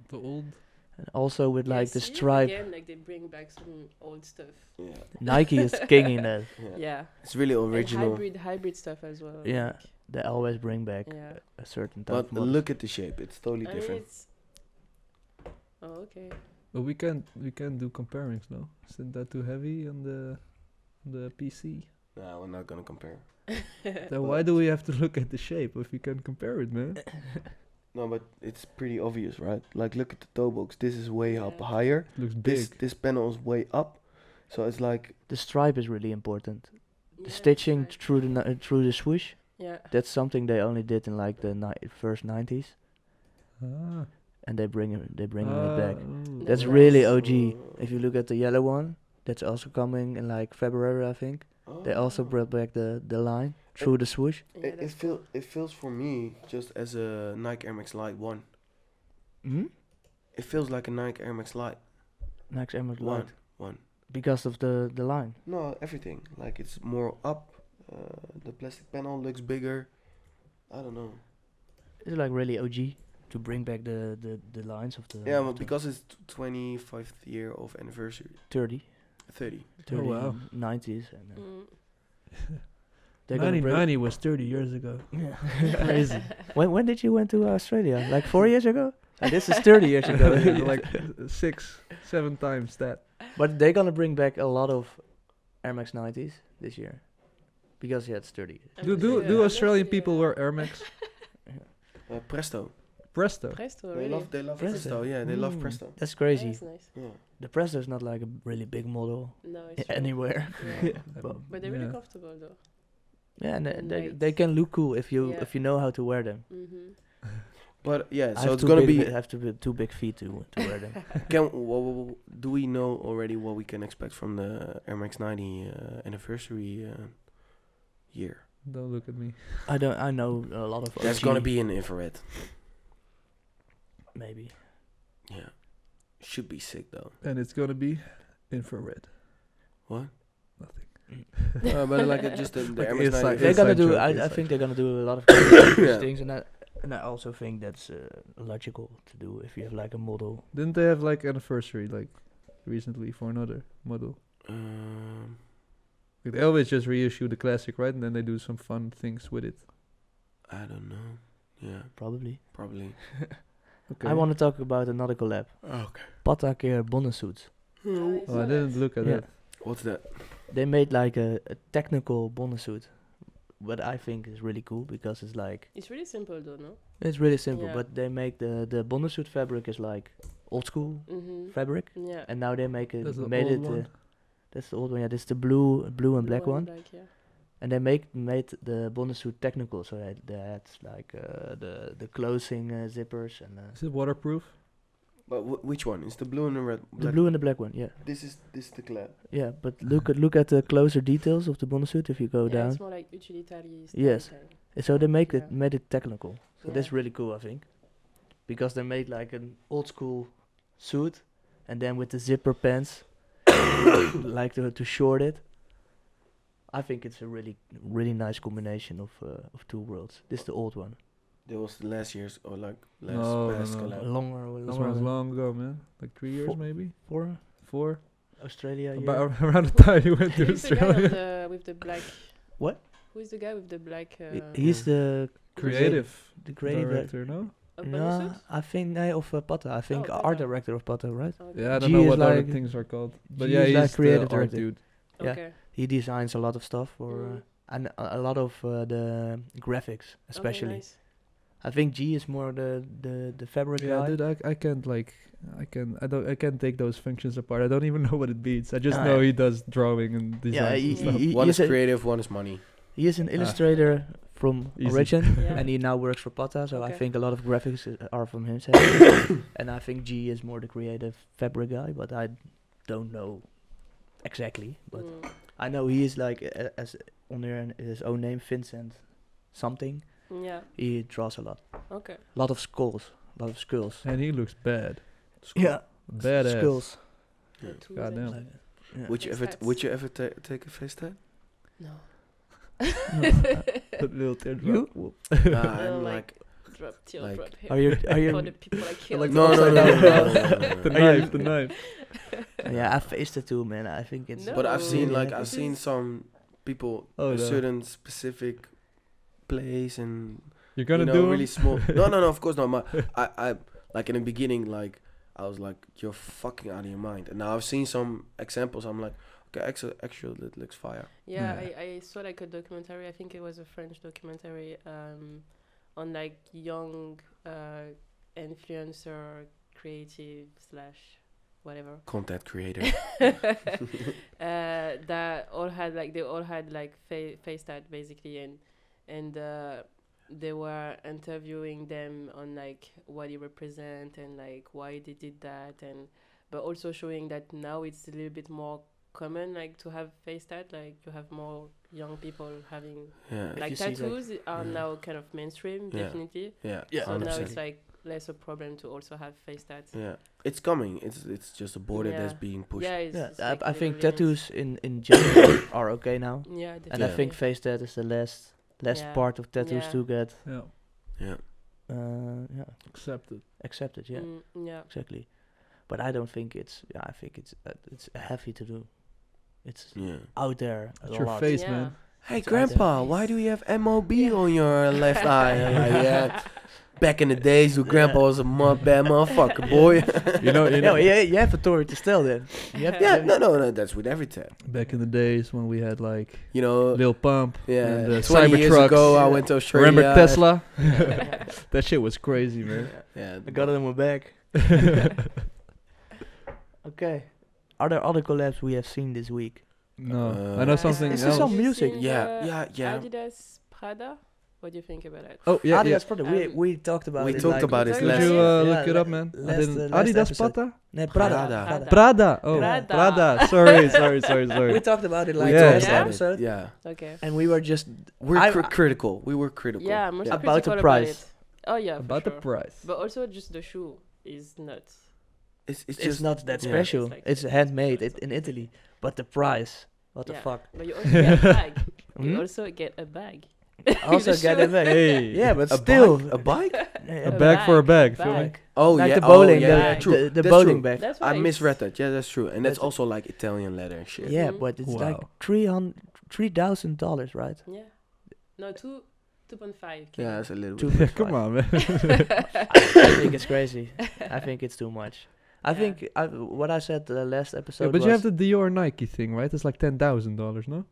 Speaker 3: the old.
Speaker 1: and also with
Speaker 4: Yeah,
Speaker 1: like the
Speaker 4: see?
Speaker 1: stripe.
Speaker 4: Again, like they bring back some old stuff.
Speaker 2: Yeah.
Speaker 1: Nike is king in that.
Speaker 4: Yeah.
Speaker 2: It's really
Speaker 4: And
Speaker 2: original.
Speaker 4: hybrid, hybrid stuff as well. I
Speaker 1: Yeah,
Speaker 4: think.
Speaker 1: they always bring back
Speaker 4: Yeah.
Speaker 1: a certain type.
Speaker 2: But
Speaker 1: of model.
Speaker 2: look at the shape. It's totally
Speaker 4: I mean,
Speaker 2: different.
Speaker 4: it's. Oh, okay.
Speaker 3: But we can't we can't do comparings no. Isn't that too heavy on the on the PC?
Speaker 2: Nah, we're not gonna compare.
Speaker 3: Then why do we have to look at the shape if you can compare it, man?
Speaker 2: No, but it's pretty obvious, right? Like look at the toe box. This is way up
Speaker 4: Yeah.
Speaker 2: higher.
Speaker 3: It looks
Speaker 2: This
Speaker 3: big.
Speaker 2: this panel is way up. So it's like
Speaker 1: the stripe is really important. The
Speaker 4: Yeah,
Speaker 1: stitching
Speaker 4: right.
Speaker 1: through the ni- uh, through the swoosh.
Speaker 4: Yeah.
Speaker 1: That's something they only did in like the ni- first 90s,
Speaker 3: Ah.
Speaker 1: and they bring it, they bringing it
Speaker 3: Ah,
Speaker 1: back.
Speaker 2: Uh,
Speaker 3: oh.
Speaker 1: That's
Speaker 4: Nice.
Speaker 1: really OG.
Speaker 2: Oh.
Speaker 1: If you look at the yellow one, that's also coming in like February, I think. They also
Speaker 2: Oh.
Speaker 1: brought back the the line through the swoosh.
Speaker 4: yeah
Speaker 2: It, it
Speaker 4: that's
Speaker 2: feel it feels for me just as a Nike Air Max Light one.
Speaker 1: Hmm?
Speaker 2: It feels like a Nike Air Max Light
Speaker 1: Next Emirates
Speaker 2: one.
Speaker 1: Light
Speaker 2: One.
Speaker 1: because of the the line.
Speaker 2: No, everything. Like it's more up. Uh, the plastic panel looks bigger. I don't know.
Speaker 1: It's like really OG to bring back the the, the lines of the
Speaker 2: Yeah,
Speaker 1: of
Speaker 2: but
Speaker 1: the
Speaker 2: because it's t- 25th year of anniversary,
Speaker 1: 30,
Speaker 2: 30.
Speaker 1: 30
Speaker 3: Oh, wow.
Speaker 1: and 90s and uh,
Speaker 4: Mm.
Speaker 1: they're gonna bring-
Speaker 3: was 30 years ago.
Speaker 1: Yeah. Crazy. When when did you went to Australia? Like four years ago? And this is thirty years ago.
Speaker 3: like six, seven times that.
Speaker 1: But they're gonna bring back a lot of Air Max nineties this year. Because yeah, it's thirty.
Speaker 4: I
Speaker 3: Do
Speaker 4: would
Speaker 3: do
Speaker 4: say,
Speaker 3: do
Speaker 4: uh,
Speaker 3: Australian
Speaker 4: yeah.
Speaker 3: people wear Air Max?
Speaker 2: Uh, Presto.
Speaker 3: Presto.
Speaker 4: Presto,
Speaker 2: They
Speaker 4: Oh, really?
Speaker 2: love they love
Speaker 1: Presto.
Speaker 2: Presto. Yeah, they love
Speaker 3: Mm.
Speaker 2: Presto.
Speaker 1: That's
Speaker 4: Yeah,
Speaker 1: crazy.
Speaker 4: That's nice.
Speaker 2: Yeah.
Speaker 1: The Presto is not like a really big model
Speaker 4: No,
Speaker 1: i-
Speaker 4: it's true.
Speaker 1: anywhere.
Speaker 4: Yeah.
Speaker 1: But-
Speaker 4: But they're really
Speaker 3: Yeah.
Speaker 4: comfortable though.
Speaker 1: yeah, and they-
Speaker 4: And
Speaker 1: they,
Speaker 4: light.
Speaker 1: they can look cool if you
Speaker 4: Yeah.
Speaker 1: if you know how to wear them.
Speaker 4: Mm-hmm.
Speaker 2: But yeah,
Speaker 1: I
Speaker 2: so
Speaker 1: have
Speaker 2: it's
Speaker 1: too
Speaker 2: gonna
Speaker 1: big-
Speaker 2: be.
Speaker 1: I have to be too big feet to to wear them.
Speaker 2: Can wha- wha- wha- do we know already what we can expect from the Air Max 90 uh, anniversary uh, year?
Speaker 3: Don't look at me.
Speaker 1: I don't. I know a lot of.
Speaker 2: That's
Speaker 1: OG,
Speaker 2: gonna be in infrared.
Speaker 1: maybe.
Speaker 2: Yeah, should be sick though.
Speaker 3: And it's gonna be infrared.
Speaker 2: What?
Speaker 3: Nothing.
Speaker 2: Uh, but like uh, just the, the
Speaker 3: Like
Speaker 2: Air Max
Speaker 3: inside-
Speaker 2: 90.
Speaker 1: They're gonna do.
Speaker 3: Inside joke,
Speaker 1: I, I
Speaker 3: inside
Speaker 1: think they're gonna do a lot of crazy
Speaker 2: Yeah.
Speaker 1: things, and I and I also think that's uh, logical to do if you have like a model.
Speaker 3: Didn't they have like anniversary like recently for another model?
Speaker 2: Um,
Speaker 3: Like, they always just reissue the classic, right? And then they do some fun things with it.
Speaker 2: I don't know. Yeah,
Speaker 1: Probably.
Speaker 2: probably.
Speaker 3: Okay.
Speaker 1: I want to talk about another collab.
Speaker 2: Okay.
Speaker 1: Patakir Bonnesuits.
Speaker 4: Oh,
Speaker 3: Oh, I didn't look at
Speaker 1: Yeah.
Speaker 3: that.
Speaker 2: What's that?
Speaker 1: They made like a, a technical bonnesuit, what I think is really cool because it's like
Speaker 4: It's really simple though, no?
Speaker 1: it's really simple.
Speaker 4: Yeah.
Speaker 1: But they make the the bonnesuit fabric is like old school
Speaker 4: Mm-hmm.
Speaker 1: fabric,
Speaker 4: Yeah.
Speaker 1: and now they make it
Speaker 3: That's the
Speaker 1: made
Speaker 3: old
Speaker 1: it. Uh,
Speaker 3: one.
Speaker 1: that's the old one. Yeah, this is the blue blue and black
Speaker 4: Blue
Speaker 1: one.
Speaker 4: black, yeah.
Speaker 1: and they make made the bonnesuit technical, so that they had like uh, the the closing uh, zippers and uh,
Speaker 3: Is it waterproof?
Speaker 2: But wh- which one? Is the blue and the red?
Speaker 1: the blue and the black one. Yeah,
Speaker 2: This is this is the club.
Speaker 1: yeah. But look at look at the closer details of the bonnesuit if you go
Speaker 4: yeah,
Speaker 1: down.
Speaker 4: It's more like utilitarian.
Speaker 1: Yes.
Speaker 4: style.
Speaker 1: So they make
Speaker 4: Yeah.
Speaker 1: it made it technical. So
Speaker 4: Yeah.
Speaker 1: that's really cool, I think, because they made like an old school suit and then with the zipper pants, like to to short it. I think it's a really really nice combination of uh, of two worlds. This is the old one,
Speaker 2: That was last year's or like last
Speaker 3: last No, no,
Speaker 2: past
Speaker 3: past no. collab.
Speaker 1: longer
Speaker 3: Uh, This one was
Speaker 1: longer
Speaker 3: long ago, man. Like three years,
Speaker 1: Four-
Speaker 3: maybe
Speaker 1: for
Speaker 3: four.
Speaker 1: Australia. yeah.
Speaker 3: About around the time you went to
Speaker 4: Who's the guy on
Speaker 3: Australia.
Speaker 4: the, with the black?
Speaker 1: What?
Speaker 4: Who is the guy with the black? Uh,
Speaker 1: I- He's the
Speaker 3: Creative
Speaker 1: the creative. direct-
Speaker 3: director, no?
Speaker 1: No,
Speaker 4: Abanusut?
Speaker 1: I think I of uh, Pata. I think
Speaker 4: Oh,
Speaker 1: art
Speaker 4: Pata.
Speaker 1: director of Pata, right?
Speaker 4: Oh, Okay.
Speaker 3: Yeah, I don't
Speaker 1: G
Speaker 3: know
Speaker 1: is
Speaker 3: what other
Speaker 1: like-
Speaker 3: things are called, but
Speaker 1: G
Speaker 3: yeah,
Speaker 1: is
Speaker 3: he's
Speaker 1: like creative
Speaker 3: the art
Speaker 1: director.
Speaker 3: dude.
Speaker 1: yeah.
Speaker 4: Okay.
Speaker 1: He designs a lot of stuff for uh,
Speaker 4: Mm.
Speaker 1: and a, a lot of uh, the graphics, especially.
Speaker 4: Okay, Oh, nice.
Speaker 1: I think G is more the the the fabric
Speaker 3: Yeah,
Speaker 1: guy.
Speaker 3: dude, I, I can't like I can I don't I can't take those functions apart. I don't even know what it means. I just
Speaker 1: Ah,
Speaker 3: know
Speaker 1: yeah.
Speaker 3: he does drawing and design.
Speaker 1: yeah,
Speaker 3: and
Speaker 1: he,
Speaker 3: stuff.
Speaker 1: he, he-
Speaker 2: One
Speaker 1: he
Speaker 2: is
Speaker 1: is a-
Speaker 2: creative, one is money.
Speaker 1: he is an illustrator from
Speaker 3: Easy.
Speaker 1: origin,
Speaker 4: Yeah.
Speaker 1: and he now works for Pata. So I
Speaker 4: Okay.
Speaker 1: think a lot of graphics uh, are from himself, and I think G is more the creative fabric guy. But I don't know exactly. But
Speaker 4: Mm.
Speaker 1: I know he is like uh, as under his own name, Vincent something.
Speaker 4: Yeah.
Speaker 1: He draws a lot,
Speaker 4: Okay.
Speaker 1: a lot of skulls, a lot of skulls.
Speaker 3: And he looks bad.
Speaker 1: Yeah,
Speaker 3: Badass.
Speaker 1: skulls.
Speaker 2: Yeah.
Speaker 4: The two
Speaker 3: Goddamn.
Speaker 4: then.
Speaker 1: Like, yeah.
Speaker 2: Would you ever
Speaker 4: Face
Speaker 2: would you ever ta- take a face tag?
Speaker 4: No.
Speaker 3: That little teardrop.
Speaker 1: You?
Speaker 2: nah,
Speaker 4: No,
Speaker 2: I'm like
Speaker 4: like- drop teal,
Speaker 2: Like-
Speaker 4: drop here.
Speaker 1: Are you? Are
Speaker 4: For the
Speaker 1: you?
Speaker 4: people I killed.
Speaker 3: like
Speaker 2: no, no, no,
Speaker 3: upside
Speaker 2: no,
Speaker 3: down
Speaker 2: no,
Speaker 3: cross.
Speaker 2: no, no, no,
Speaker 3: the
Speaker 2: no.
Speaker 3: knife, the knife.
Speaker 1: yeah, I faced it too, man. I think it's.
Speaker 2: But I've seen
Speaker 1: really
Speaker 2: like
Speaker 1: heavy.
Speaker 2: I've seen some people
Speaker 3: Oh,
Speaker 2: a
Speaker 3: no.
Speaker 2: certain specific place and
Speaker 3: You're gonna
Speaker 2: you know,
Speaker 3: do
Speaker 2: really
Speaker 3: him?
Speaker 2: small. No, no, no. Of course not. My, I, I, like in the beginning, like I was like, you're fucking out of your mind. And now I've seen some examples. I'm like, okay, actually, actually, it looks fire.
Speaker 4: Yeah,
Speaker 3: Yeah.
Speaker 4: I, I saw like a documentary. I think it was a French documentary um, on like young uh, influencer, creative slash whatever.
Speaker 2: Content creator.
Speaker 4: uh, that all had like they all had like fa- face tat basically, and and uh, they were interviewing them on like what he represent and like why they did that, and but also showing that now it's a little bit more common like to have face tat, like you have more young people having
Speaker 2: yeah,
Speaker 4: like
Speaker 1: you see, like-
Speaker 4: tattoos are
Speaker 2: Yeah.
Speaker 4: now kind of mainstream,
Speaker 2: Yeah.
Speaker 4: definitely.
Speaker 2: yeah,
Speaker 1: Yeah.
Speaker 2: yeah.
Speaker 4: So now
Speaker 2: 100%.
Speaker 4: it's like less a problem to also have face tats.
Speaker 2: yeah, it's coming. It's it's just a border
Speaker 4: Yeah.
Speaker 2: that's being pushed.
Speaker 4: Yeah, it's,
Speaker 1: Yeah,
Speaker 4: it's,
Speaker 1: I,
Speaker 4: like,
Speaker 1: I think
Speaker 4: really nice.
Speaker 1: tattoos in in general are okay now,
Speaker 4: Yeah,
Speaker 1: and I
Speaker 2: Yeah.
Speaker 1: think face tat is the last last
Speaker 4: Yeah.
Speaker 1: part of tattoos
Speaker 4: Yeah.
Speaker 1: to get
Speaker 3: Yeah,
Speaker 2: Yeah,
Speaker 1: uh, yeah
Speaker 3: accepted.
Speaker 1: accepted. Yeah,
Speaker 4: Mm, yeah.
Speaker 1: exactly. But I don't think it's. Yeah, I think it's uh, it's heavy to do. It's
Speaker 2: yeah.
Speaker 1: out there a
Speaker 3: It's your
Speaker 1: lot.
Speaker 3: face,
Speaker 4: Yeah.
Speaker 3: man.
Speaker 2: Hey,
Speaker 1: It's out
Speaker 2: Grandpa,
Speaker 4: there.
Speaker 2: why do you have MOB on your left eye? I'm like, yeah. Back in the days, when Grandpa was a mo- bad motherfucker, boy.
Speaker 3: You know, you know.
Speaker 1: No, yeah, you have a story to tell then. You have to
Speaker 2: yeah,
Speaker 1: have-
Speaker 2: no, no, no. That's with every tab.
Speaker 3: Back in the days when we had like
Speaker 2: You
Speaker 1: Uh,
Speaker 2: know,
Speaker 3: Lil Pump
Speaker 2: Yeah,
Speaker 3: and the
Speaker 2: 20 years
Speaker 3: Cybertrucks.
Speaker 2: ago, I went to Australia.
Speaker 3: Remember Tesla? that shit was crazy, man.
Speaker 2: Yeah,
Speaker 1: I got it in my bag. okay. Are there other collabs we have seen this week?
Speaker 3: No,
Speaker 2: Uh,
Speaker 3: I know something
Speaker 1: Is
Speaker 3: else.
Speaker 1: there some
Speaker 4: Have you
Speaker 1: music?
Speaker 4: seen
Speaker 2: Yeah,
Speaker 4: the
Speaker 2: yeah, yeah.
Speaker 4: Adidas Prada. What do you think about it?
Speaker 3: oh yeah,
Speaker 1: Adidas
Speaker 3: yeah.
Speaker 1: Prada, we,
Speaker 4: Um,
Speaker 1: we talked about
Speaker 2: we
Speaker 1: it.
Speaker 2: talked
Speaker 1: like-
Speaker 2: about it
Speaker 4: Did
Speaker 3: Did
Speaker 2: last.
Speaker 3: you uh,
Speaker 1: Yeah,
Speaker 3: look it
Speaker 1: la-
Speaker 3: up, man? I
Speaker 1: last-
Speaker 3: didn't.
Speaker 1: uh, last
Speaker 3: Adidas
Speaker 1: episode.
Speaker 3: Pata?
Speaker 1: Nee, Prada.
Speaker 2: Prada.
Speaker 1: Prada.
Speaker 3: Prada. Oh,
Speaker 4: Prada.
Speaker 3: Prada. Sorry, sorry, sorry,
Speaker 1: We
Speaker 3: sorry.
Speaker 1: talked about it
Speaker 2: We
Speaker 1: like
Speaker 3: Yeah.
Speaker 1: last
Speaker 2: talked
Speaker 4: Yeah.
Speaker 2: about it,
Speaker 1: episode.
Speaker 2: Yeah,
Speaker 4: Okay.
Speaker 1: And we were just
Speaker 2: we're
Speaker 1: I-
Speaker 2: cri- critical. We were critical.
Speaker 4: Yeah, I'm also
Speaker 1: About the
Speaker 4: critical about
Speaker 1: price.
Speaker 4: it. Oh yeah, for
Speaker 3: About the
Speaker 4: sure.
Speaker 3: price.
Speaker 4: But also just the shoe is nuts.
Speaker 2: It's, it's
Speaker 1: it's,
Speaker 2: just
Speaker 1: not that
Speaker 2: yeah.
Speaker 1: special.
Speaker 4: It's like-
Speaker 1: it's handmade it, in Italy. But the price. What the
Speaker 4: Yeah.
Speaker 1: fuck?
Speaker 4: But you also get a bag.
Speaker 1: Hmm?
Speaker 4: You also get a bag.
Speaker 1: Also
Speaker 4: The
Speaker 1: get
Speaker 4: shoe.
Speaker 1: it back.
Speaker 3: Hey.
Speaker 1: Yeah, but
Speaker 2: a
Speaker 1: still.
Speaker 2: bike. A bike?
Speaker 1: Yeah,
Speaker 3: A
Speaker 1: but-
Speaker 3: bag for a bag, feel me?
Speaker 4: Bag.
Speaker 2: Oh
Speaker 1: like
Speaker 2: yeah.
Speaker 1: the
Speaker 2: oh,
Speaker 1: bowling,
Speaker 2: yeah,
Speaker 1: the,
Speaker 2: yeah,
Speaker 4: bag.
Speaker 2: true.
Speaker 1: the, the
Speaker 2: That's
Speaker 1: bowling
Speaker 2: true.
Speaker 1: bag.
Speaker 4: That's why
Speaker 2: I misread
Speaker 4: it's-
Speaker 2: that. Yeah, that's true. And that's
Speaker 1: That's-
Speaker 2: also like Italian leather and shit.
Speaker 1: Yeah,
Speaker 4: Mhm.
Speaker 1: but it's like
Speaker 3: Wow.
Speaker 1: three hundred, three thousand dollars, right?
Speaker 4: Yeah. No, two, two point five.
Speaker 2: Yeah, that's a little.
Speaker 1: Two
Speaker 2: bit.
Speaker 1: point
Speaker 3: Come
Speaker 1: five.
Speaker 3: on, man.
Speaker 1: I think it's crazy. I think it's too much. I
Speaker 4: Yeah.
Speaker 1: think I, what I said the last episode.
Speaker 3: Yeah, but
Speaker 1: was
Speaker 3: you have the Dior Nike thing, right? It's like ten thousand dollars, no?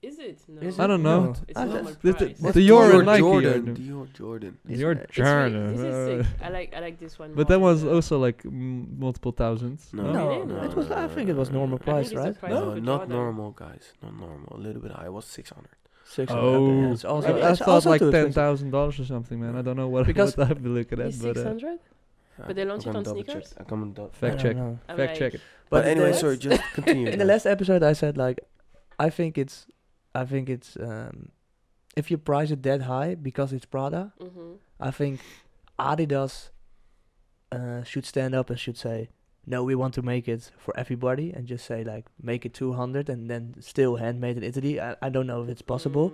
Speaker 4: Is it? No.
Speaker 1: Is
Speaker 3: I don't
Speaker 1: No.
Speaker 3: know. Ah,
Speaker 4: It's
Speaker 1: I
Speaker 4: normal
Speaker 1: just-
Speaker 3: the- the-
Speaker 4: price.
Speaker 3: What? Dior and Nike are
Speaker 2: Jordan.
Speaker 3: doing-
Speaker 2: Dior Jordan.
Speaker 1: It's-
Speaker 3: Dior
Speaker 1: it's
Speaker 4: It's really-
Speaker 3: Jordan.
Speaker 4: this
Speaker 3: uh,
Speaker 4: is sick. I like, I like this one.
Speaker 3: But
Speaker 4: more
Speaker 3: that
Speaker 4: than
Speaker 3: was
Speaker 4: the-
Speaker 3: also like m- multiple thousands.
Speaker 2: No,
Speaker 1: no,
Speaker 4: No, no,
Speaker 1: it was.
Speaker 2: no,
Speaker 1: I
Speaker 2: no,
Speaker 1: think it was
Speaker 2: no,
Speaker 1: normal
Speaker 2: no,
Speaker 4: I think
Speaker 1: price,
Speaker 4: it's the
Speaker 1: right?
Speaker 4: price
Speaker 2: No,
Speaker 4: of a
Speaker 2: not
Speaker 4: Jordan.
Speaker 2: normal, guys. Not normal. A little bit high. It was six hundred.
Speaker 1: Six.
Speaker 3: Oh.
Speaker 1: it's also,
Speaker 4: Really?
Speaker 3: I, I
Speaker 1: it's
Speaker 3: thought
Speaker 1: also
Speaker 3: like
Speaker 1: too
Speaker 3: ten
Speaker 1: expensive.
Speaker 3: thousand dollars or something, man. I don't know what,
Speaker 1: Because-
Speaker 3: what I've been looking at,
Speaker 4: It's
Speaker 3: but uh,
Speaker 4: 600? But they launched it on sneakers?
Speaker 2: I come and dou-
Speaker 1: I
Speaker 3: fact
Speaker 1: don't
Speaker 3: check,
Speaker 1: know.
Speaker 4: I'm
Speaker 3: fact
Speaker 4: like,
Speaker 3: check it.
Speaker 2: But
Speaker 1: But in
Speaker 2: anyway,
Speaker 1: the-
Speaker 2: sorry, just continue.
Speaker 1: In the
Speaker 2: guys.
Speaker 1: last episode, I said like, I think it's, I think it's, um, if you price it that high because it's Prada,
Speaker 4: mhm.
Speaker 1: I think Adidas uh, should stand up and should say, no, we want to make it for everybody and just say like make it 200 and then still handmade in Italy. I, I don't know if it's
Speaker 4: Mm.
Speaker 1: possible,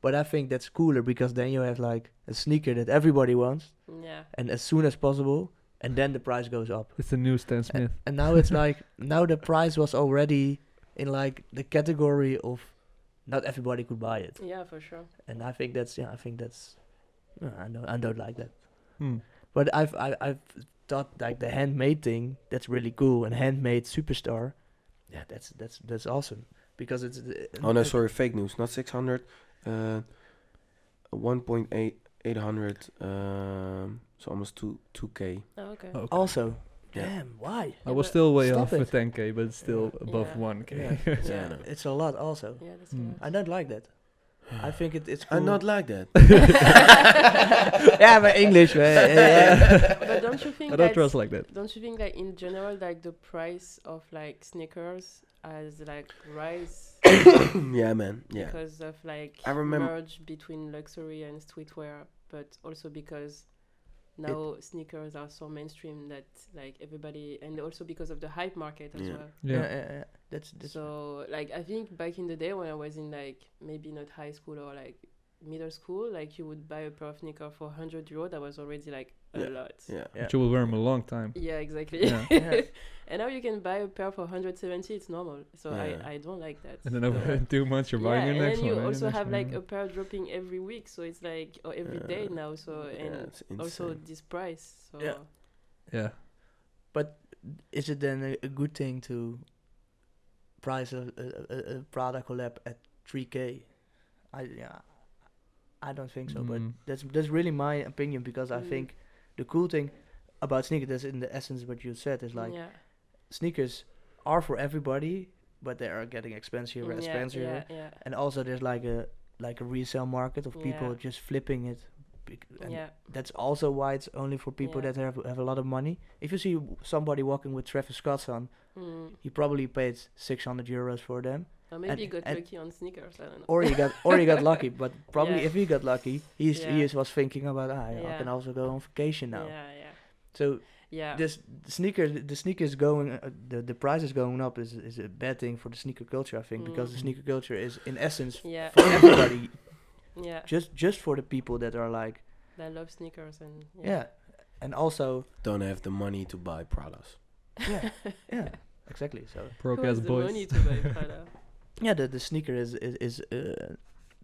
Speaker 1: but I think that's cooler because then you have like a sneaker that everybody wants
Speaker 4: Mm, yeah.
Speaker 1: and as soon as possible and then the price goes up.
Speaker 3: It's the new
Speaker 4: Uh,
Speaker 3: Stan
Speaker 1: A-
Speaker 3: Smith.
Speaker 1: and now it's like now the price was already in like the category of not everybody could buy it.
Speaker 4: Yeah, for sure.
Speaker 1: And I think that's yeah, I think that's uh, I don't I don't like that.
Speaker 3: Hmm.
Speaker 1: But I've I, I've thought like the handmade thing that's really cool and handmade superstar, yeah, that's that's that's awesome because it's
Speaker 2: Oh no, sorry, fake news. Not 600, uh, 1.8, 800, um, so almost 2, 2k.
Speaker 4: Oh, okay.
Speaker 3: Oh, okay.
Speaker 1: Also,
Speaker 2: Yeah.
Speaker 1: damn, why?
Speaker 3: I was still way
Speaker 1: Stop
Speaker 3: off
Speaker 1: it.
Speaker 3: with 10k, but it's still above
Speaker 4: Yeah.
Speaker 3: 1k.
Speaker 4: Yeah.
Speaker 2: Yeah, I know.
Speaker 1: It's a lot. Also,
Speaker 4: Yeah, that's
Speaker 3: Mm.
Speaker 1: I don't like that. I think it, it's. Cool.
Speaker 2: I'm not like that.
Speaker 1: yeah, but English, man. Yeah, yeah.
Speaker 4: But don't you think
Speaker 3: I don't
Speaker 4: that's-
Speaker 3: trust like that.
Speaker 4: Don't you think like in general like the price of like sneakers has like rise
Speaker 2: yeah, man. Yeah.
Speaker 4: because of like
Speaker 2: I remem-
Speaker 4: merge between luxury and streetwear, but also because now sneakers are so mainstream that like everybody and also because of the hype market as
Speaker 2: Yeah.
Speaker 4: well.
Speaker 1: yeah,
Speaker 3: Yeah.
Speaker 1: yeah, yeah. That's, that's
Speaker 4: So like I think back in the day when I was in like maybe not high school or like middle school, like you would buy a pair of sneaker for hundred euro. That was already like a lot.
Speaker 2: Yeah.
Speaker 1: Yeah.
Speaker 3: But you will wear them a long time.
Speaker 4: Yeah, exactly.
Speaker 3: Yeah.
Speaker 1: Yeah.
Speaker 4: and now you can buy a pair for 170. It's normal. So
Speaker 2: Yeah.
Speaker 4: I, I don't like that.
Speaker 3: And then over
Speaker 1: Yeah.
Speaker 3: two months, you're buying
Speaker 4: yeah,
Speaker 3: your
Speaker 4: and
Speaker 3: next
Speaker 4: then you
Speaker 3: one. right? Your
Speaker 4: also
Speaker 3: next
Speaker 4: have
Speaker 3: one,
Speaker 4: like
Speaker 3: yeah.
Speaker 4: a pair dropping every week, so it's like or every day
Speaker 2: Yeah.
Speaker 4: now. So and
Speaker 2: it's
Speaker 4: also
Speaker 2: insane.
Speaker 4: this price. So
Speaker 1: Yeah.
Speaker 3: yeah.
Speaker 1: is it then a, a good thing to price a, a, a- a Prada collab at 3k? I yeah, I don't think so. But
Speaker 3: Mm.
Speaker 1: that's that's really my opinion because I
Speaker 4: Mm.
Speaker 1: think the cool thing about sneakers, that's in the essence what you said, is like
Speaker 4: yeah,
Speaker 1: sneakers are for everybody, but they are getting expensive,
Speaker 4: Mm, yeah,
Speaker 1: expensive,
Speaker 4: yeah, yeah,
Speaker 1: and also there's like a like a resale market of people
Speaker 4: Yeah.
Speaker 1: just flipping it. bec- and
Speaker 4: yeah,
Speaker 1: that's also why it's only for people
Speaker 4: Yeah.
Speaker 1: that have, have a lot of money. If you see w- somebody walking with Travis Scott's on,
Speaker 4: Mm.
Speaker 1: he probably paid 600 euros for them,
Speaker 4: Or maybe
Speaker 1: And-
Speaker 4: you got
Speaker 1: and-
Speaker 4: lucky on sneakers. I don't know.
Speaker 1: or he got or he got lucky. But probably
Speaker 4: Yeah.
Speaker 1: if he got lucky, he's,
Speaker 4: Yeah.
Speaker 1: he is, was thinking about ah, I
Speaker 4: Yeah.
Speaker 1: can also go on vacation now.
Speaker 4: Yeah, yeah,
Speaker 1: So
Speaker 4: yeah.
Speaker 1: this sneaker, the sneakers going, uh, the the prices going up is is a bad thing for the sneaker culture, I think, because the
Speaker 3: Mm.
Speaker 1: sneaker culture is in essence
Speaker 4: yeah,
Speaker 1: for everybody,
Speaker 4: yeah.
Speaker 1: just just for the people that are like
Speaker 4: I love sneakers and
Speaker 1: yeah, and also
Speaker 2: Don't have the money to buy products.
Speaker 1: yeah, yeah, exactly. So.
Speaker 4: Who
Speaker 3: Broke
Speaker 4: has
Speaker 3: ass
Speaker 4: the
Speaker 3: boys.
Speaker 4: money to buy Prada?
Speaker 1: Yeah, the, the sneaker is is, is uh,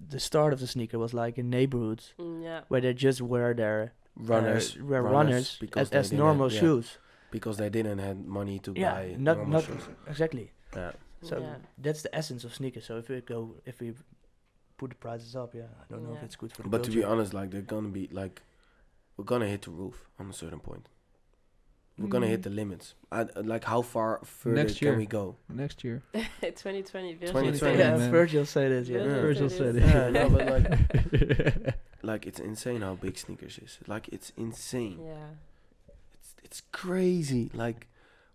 Speaker 1: the start of the sneaker was like in neighborhoods
Speaker 4: Mm, yeah,
Speaker 1: where they just wear their
Speaker 2: Runners.
Speaker 1: uh, wear
Speaker 2: runners,
Speaker 1: runners,
Speaker 2: because
Speaker 1: as,
Speaker 2: they
Speaker 1: as
Speaker 2: didn't
Speaker 1: normal
Speaker 2: have- yeah,
Speaker 1: shoes.
Speaker 2: Because they didn't have money to
Speaker 1: Yeah,
Speaker 2: buy
Speaker 1: not-
Speaker 2: normal
Speaker 1: not-
Speaker 2: shoes.
Speaker 1: Exactly.
Speaker 2: Yeah.
Speaker 1: So
Speaker 4: yeah.
Speaker 1: that's the essence of sneakers. So if we go, if we put the prices up, yeah, I don't know if
Speaker 4: Yeah.
Speaker 1: it's good for the
Speaker 2: But to be
Speaker 1: culture.
Speaker 2: honest, like they're gonna be like, we're gonna hit the roof on a certain point. We're gonna hit
Speaker 3: Mm.
Speaker 2: the limits. I, like how far further
Speaker 3: Next
Speaker 2: can
Speaker 3: year.
Speaker 2: we go?
Speaker 3: Next year.
Speaker 4: 2020 version.
Speaker 2: 2020,
Speaker 1: yeah,
Speaker 3: man.
Speaker 1: Virgil said it. Yeah.
Speaker 4: Virgil
Speaker 3: Virgil
Speaker 4: said
Speaker 3: said
Speaker 4: it.
Speaker 3: it.
Speaker 2: Yeah, no, but like, like it's insane how big sneakers is. Like it's insane.
Speaker 4: Yeah,
Speaker 2: It's it's crazy. Like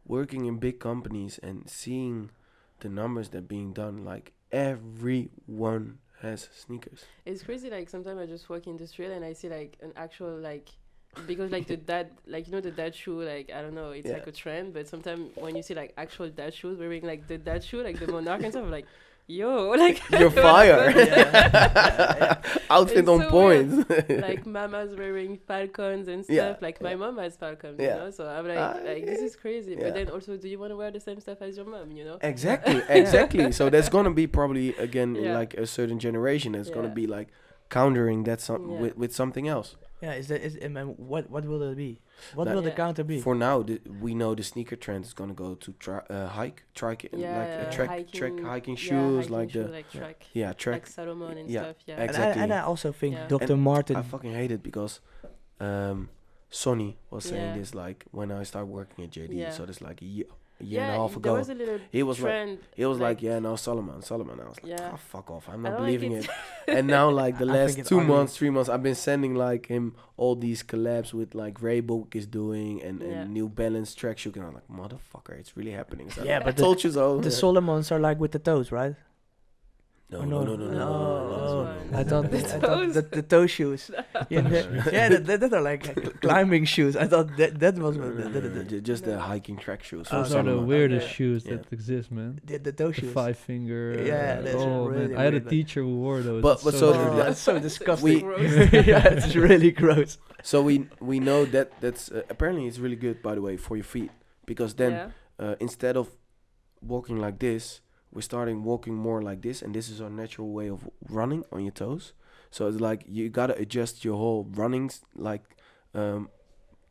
Speaker 2: working in big companies and seeing the numbers that being done. Like everyone has sneakers.
Speaker 4: it's crazy. Like sometimes I just walk in the street and I see like an actual like because like the dad like you know the dad shoe like I don't know it's
Speaker 2: Yeah.
Speaker 4: like a trend, but sometimes when you see like actual dad shoes wearing like the dad shoe like the monarch and stuff I'm like yo like
Speaker 2: You're
Speaker 4: what the
Speaker 2: fire.
Speaker 4: fuck?
Speaker 2: Outfit
Speaker 4: It's
Speaker 2: on
Speaker 4: so
Speaker 2: point.
Speaker 4: weird. like mama's wearing falcons and stuff.
Speaker 2: Yeah,
Speaker 4: Like my
Speaker 2: yeah.
Speaker 4: mom has falcons,
Speaker 2: Yeah.
Speaker 4: you know. So I'm like,
Speaker 2: Ah,
Speaker 4: like this is crazy.
Speaker 2: yeah.
Speaker 4: But then also, do you want to wear the same stuff as your mom? You know?
Speaker 2: Exactly, exactly. so there's gonna be probably again in
Speaker 4: Yeah.
Speaker 2: like a certain generation that's gonna
Speaker 4: Yeah.
Speaker 2: be like countering that some
Speaker 4: Yeah.
Speaker 2: with, with something else.
Speaker 1: yeah, is that is and then what what will it be? What
Speaker 2: Like-
Speaker 1: will the
Speaker 4: Yeah.
Speaker 1: counter be?
Speaker 2: For now, th- we know the sneaker trend is gonna go to tri- uh, hike, trike, and
Speaker 4: Yeah,
Speaker 2: like
Speaker 4: yeah,
Speaker 2: a trek, trek,
Speaker 4: hiking-
Speaker 2: hiking
Speaker 4: Yeah,
Speaker 2: shoes,
Speaker 4: hiking
Speaker 2: like
Speaker 4: shoe,
Speaker 2: the
Speaker 4: like
Speaker 1: yeah.
Speaker 4: track,
Speaker 2: yeah trek.
Speaker 4: like Salomon and
Speaker 2: yeah,
Speaker 4: stuff.
Speaker 2: ex-
Speaker 4: Yeah.
Speaker 1: And, I, and
Speaker 2: exactly.
Speaker 1: I also think
Speaker 4: Yeah.
Speaker 1: Dr.
Speaker 2: And
Speaker 1: Martin.
Speaker 2: I fucking hate it because um, Sonny was saying
Speaker 4: Yeah.
Speaker 2: this like when I started working at JD,
Speaker 4: Yeah.
Speaker 2: so that's like a year, a year
Speaker 4: yeah,
Speaker 2: and a half
Speaker 4: it-
Speaker 2: ago.
Speaker 4: there was a little
Speaker 2: He was like-
Speaker 4: trend.
Speaker 2: He was like,
Speaker 4: like-
Speaker 2: "Yeah, no, Solomon, Solomon." I was like,
Speaker 4: Yeah.
Speaker 2: "Ah, "Fuck off! I'm
Speaker 4: I
Speaker 2: not
Speaker 4: don't
Speaker 2: believing
Speaker 4: like
Speaker 2: it." and now, like the
Speaker 1: I
Speaker 2: last
Speaker 1: think it's
Speaker 2: two
Speaker 1: ugly.
Speaker 2: months, three months, I've been sending like him all these collabs with like Raybook is doing and,
Speaker 4: Yeah.
Speaker 2: and New Balance track shoe, and I'm like, "Motherfucker, it's really happening." So
Speaker 1: Yeah,
Speaker 2: I
Speaker 1: but the,
Speaker 2: told you so.
Speaker 1: the Solomons are like with the toes, right?
Speaker 2: no,
Speaker 1: Oh,
Speaker 2: no, no, no, no, no, no, no,
Speaker 1: Oh,
Speaker 2: no, no, no,
Speaker 1: oh.
Speaker 2: no,
Speaker 4: no.
Speaker 1: I thought,
Speaker 4: The
Speaker 1: I thought
Speaker 4: toes.
Speaker 1: the, the toe shoes. yeah, the- yeah that, that, that are like uh, climbing shoes. I thought that that was what the, the, the, the,
Speaker 2: Ju- Just the
Speaker 4: No.
Speaker 2: hiking track shoes.
Speaker 1: Oh,
Speaker 3: Those
Speaker 1: sorry
Speaker 3: are the
Speaker 1: about that.
Speaker 3: weirdest
Speaker 4: uh, Yeah.
Speaker 3: shoes
Speaker 2: Yeah.
Speaker 3: that exist, man.
Speaker 1: the, the toe
Speaker 3: The
Speaker 1: shoes.
Speaker 3: five finger.
Speaker 1: Yeah,
Speaker 3: uh,
Speaker 1: that's
Speaker 3: oh
Speaker 1: really
Speaker 3: man, I had a
Speaker 1: weird, like-
Speaker 3: teacher who wore those.
Speaker 2: But-
Speaker 3: It's
Speaker 2: but
Speaker 1: Oh,
Speaker 2: so
Speaker 3: dirty.
Speaker 2: that-
Speaker 1: that's so
Speaker 2: We-
Speaker 1: disgusting.
Speaker 4: Gross.
Speaker 1: yeah, it's really gross.
Speaker 2: So we we know that that's uh, apparently it's really good by the way for your feet because then
Speaker 4: Yeah.
Speaker 2: uh, instead of walking like this, we're starting walking more like this, and this is our natural way of running on your toes. So it's like you gotta adjust your whole runnings like um,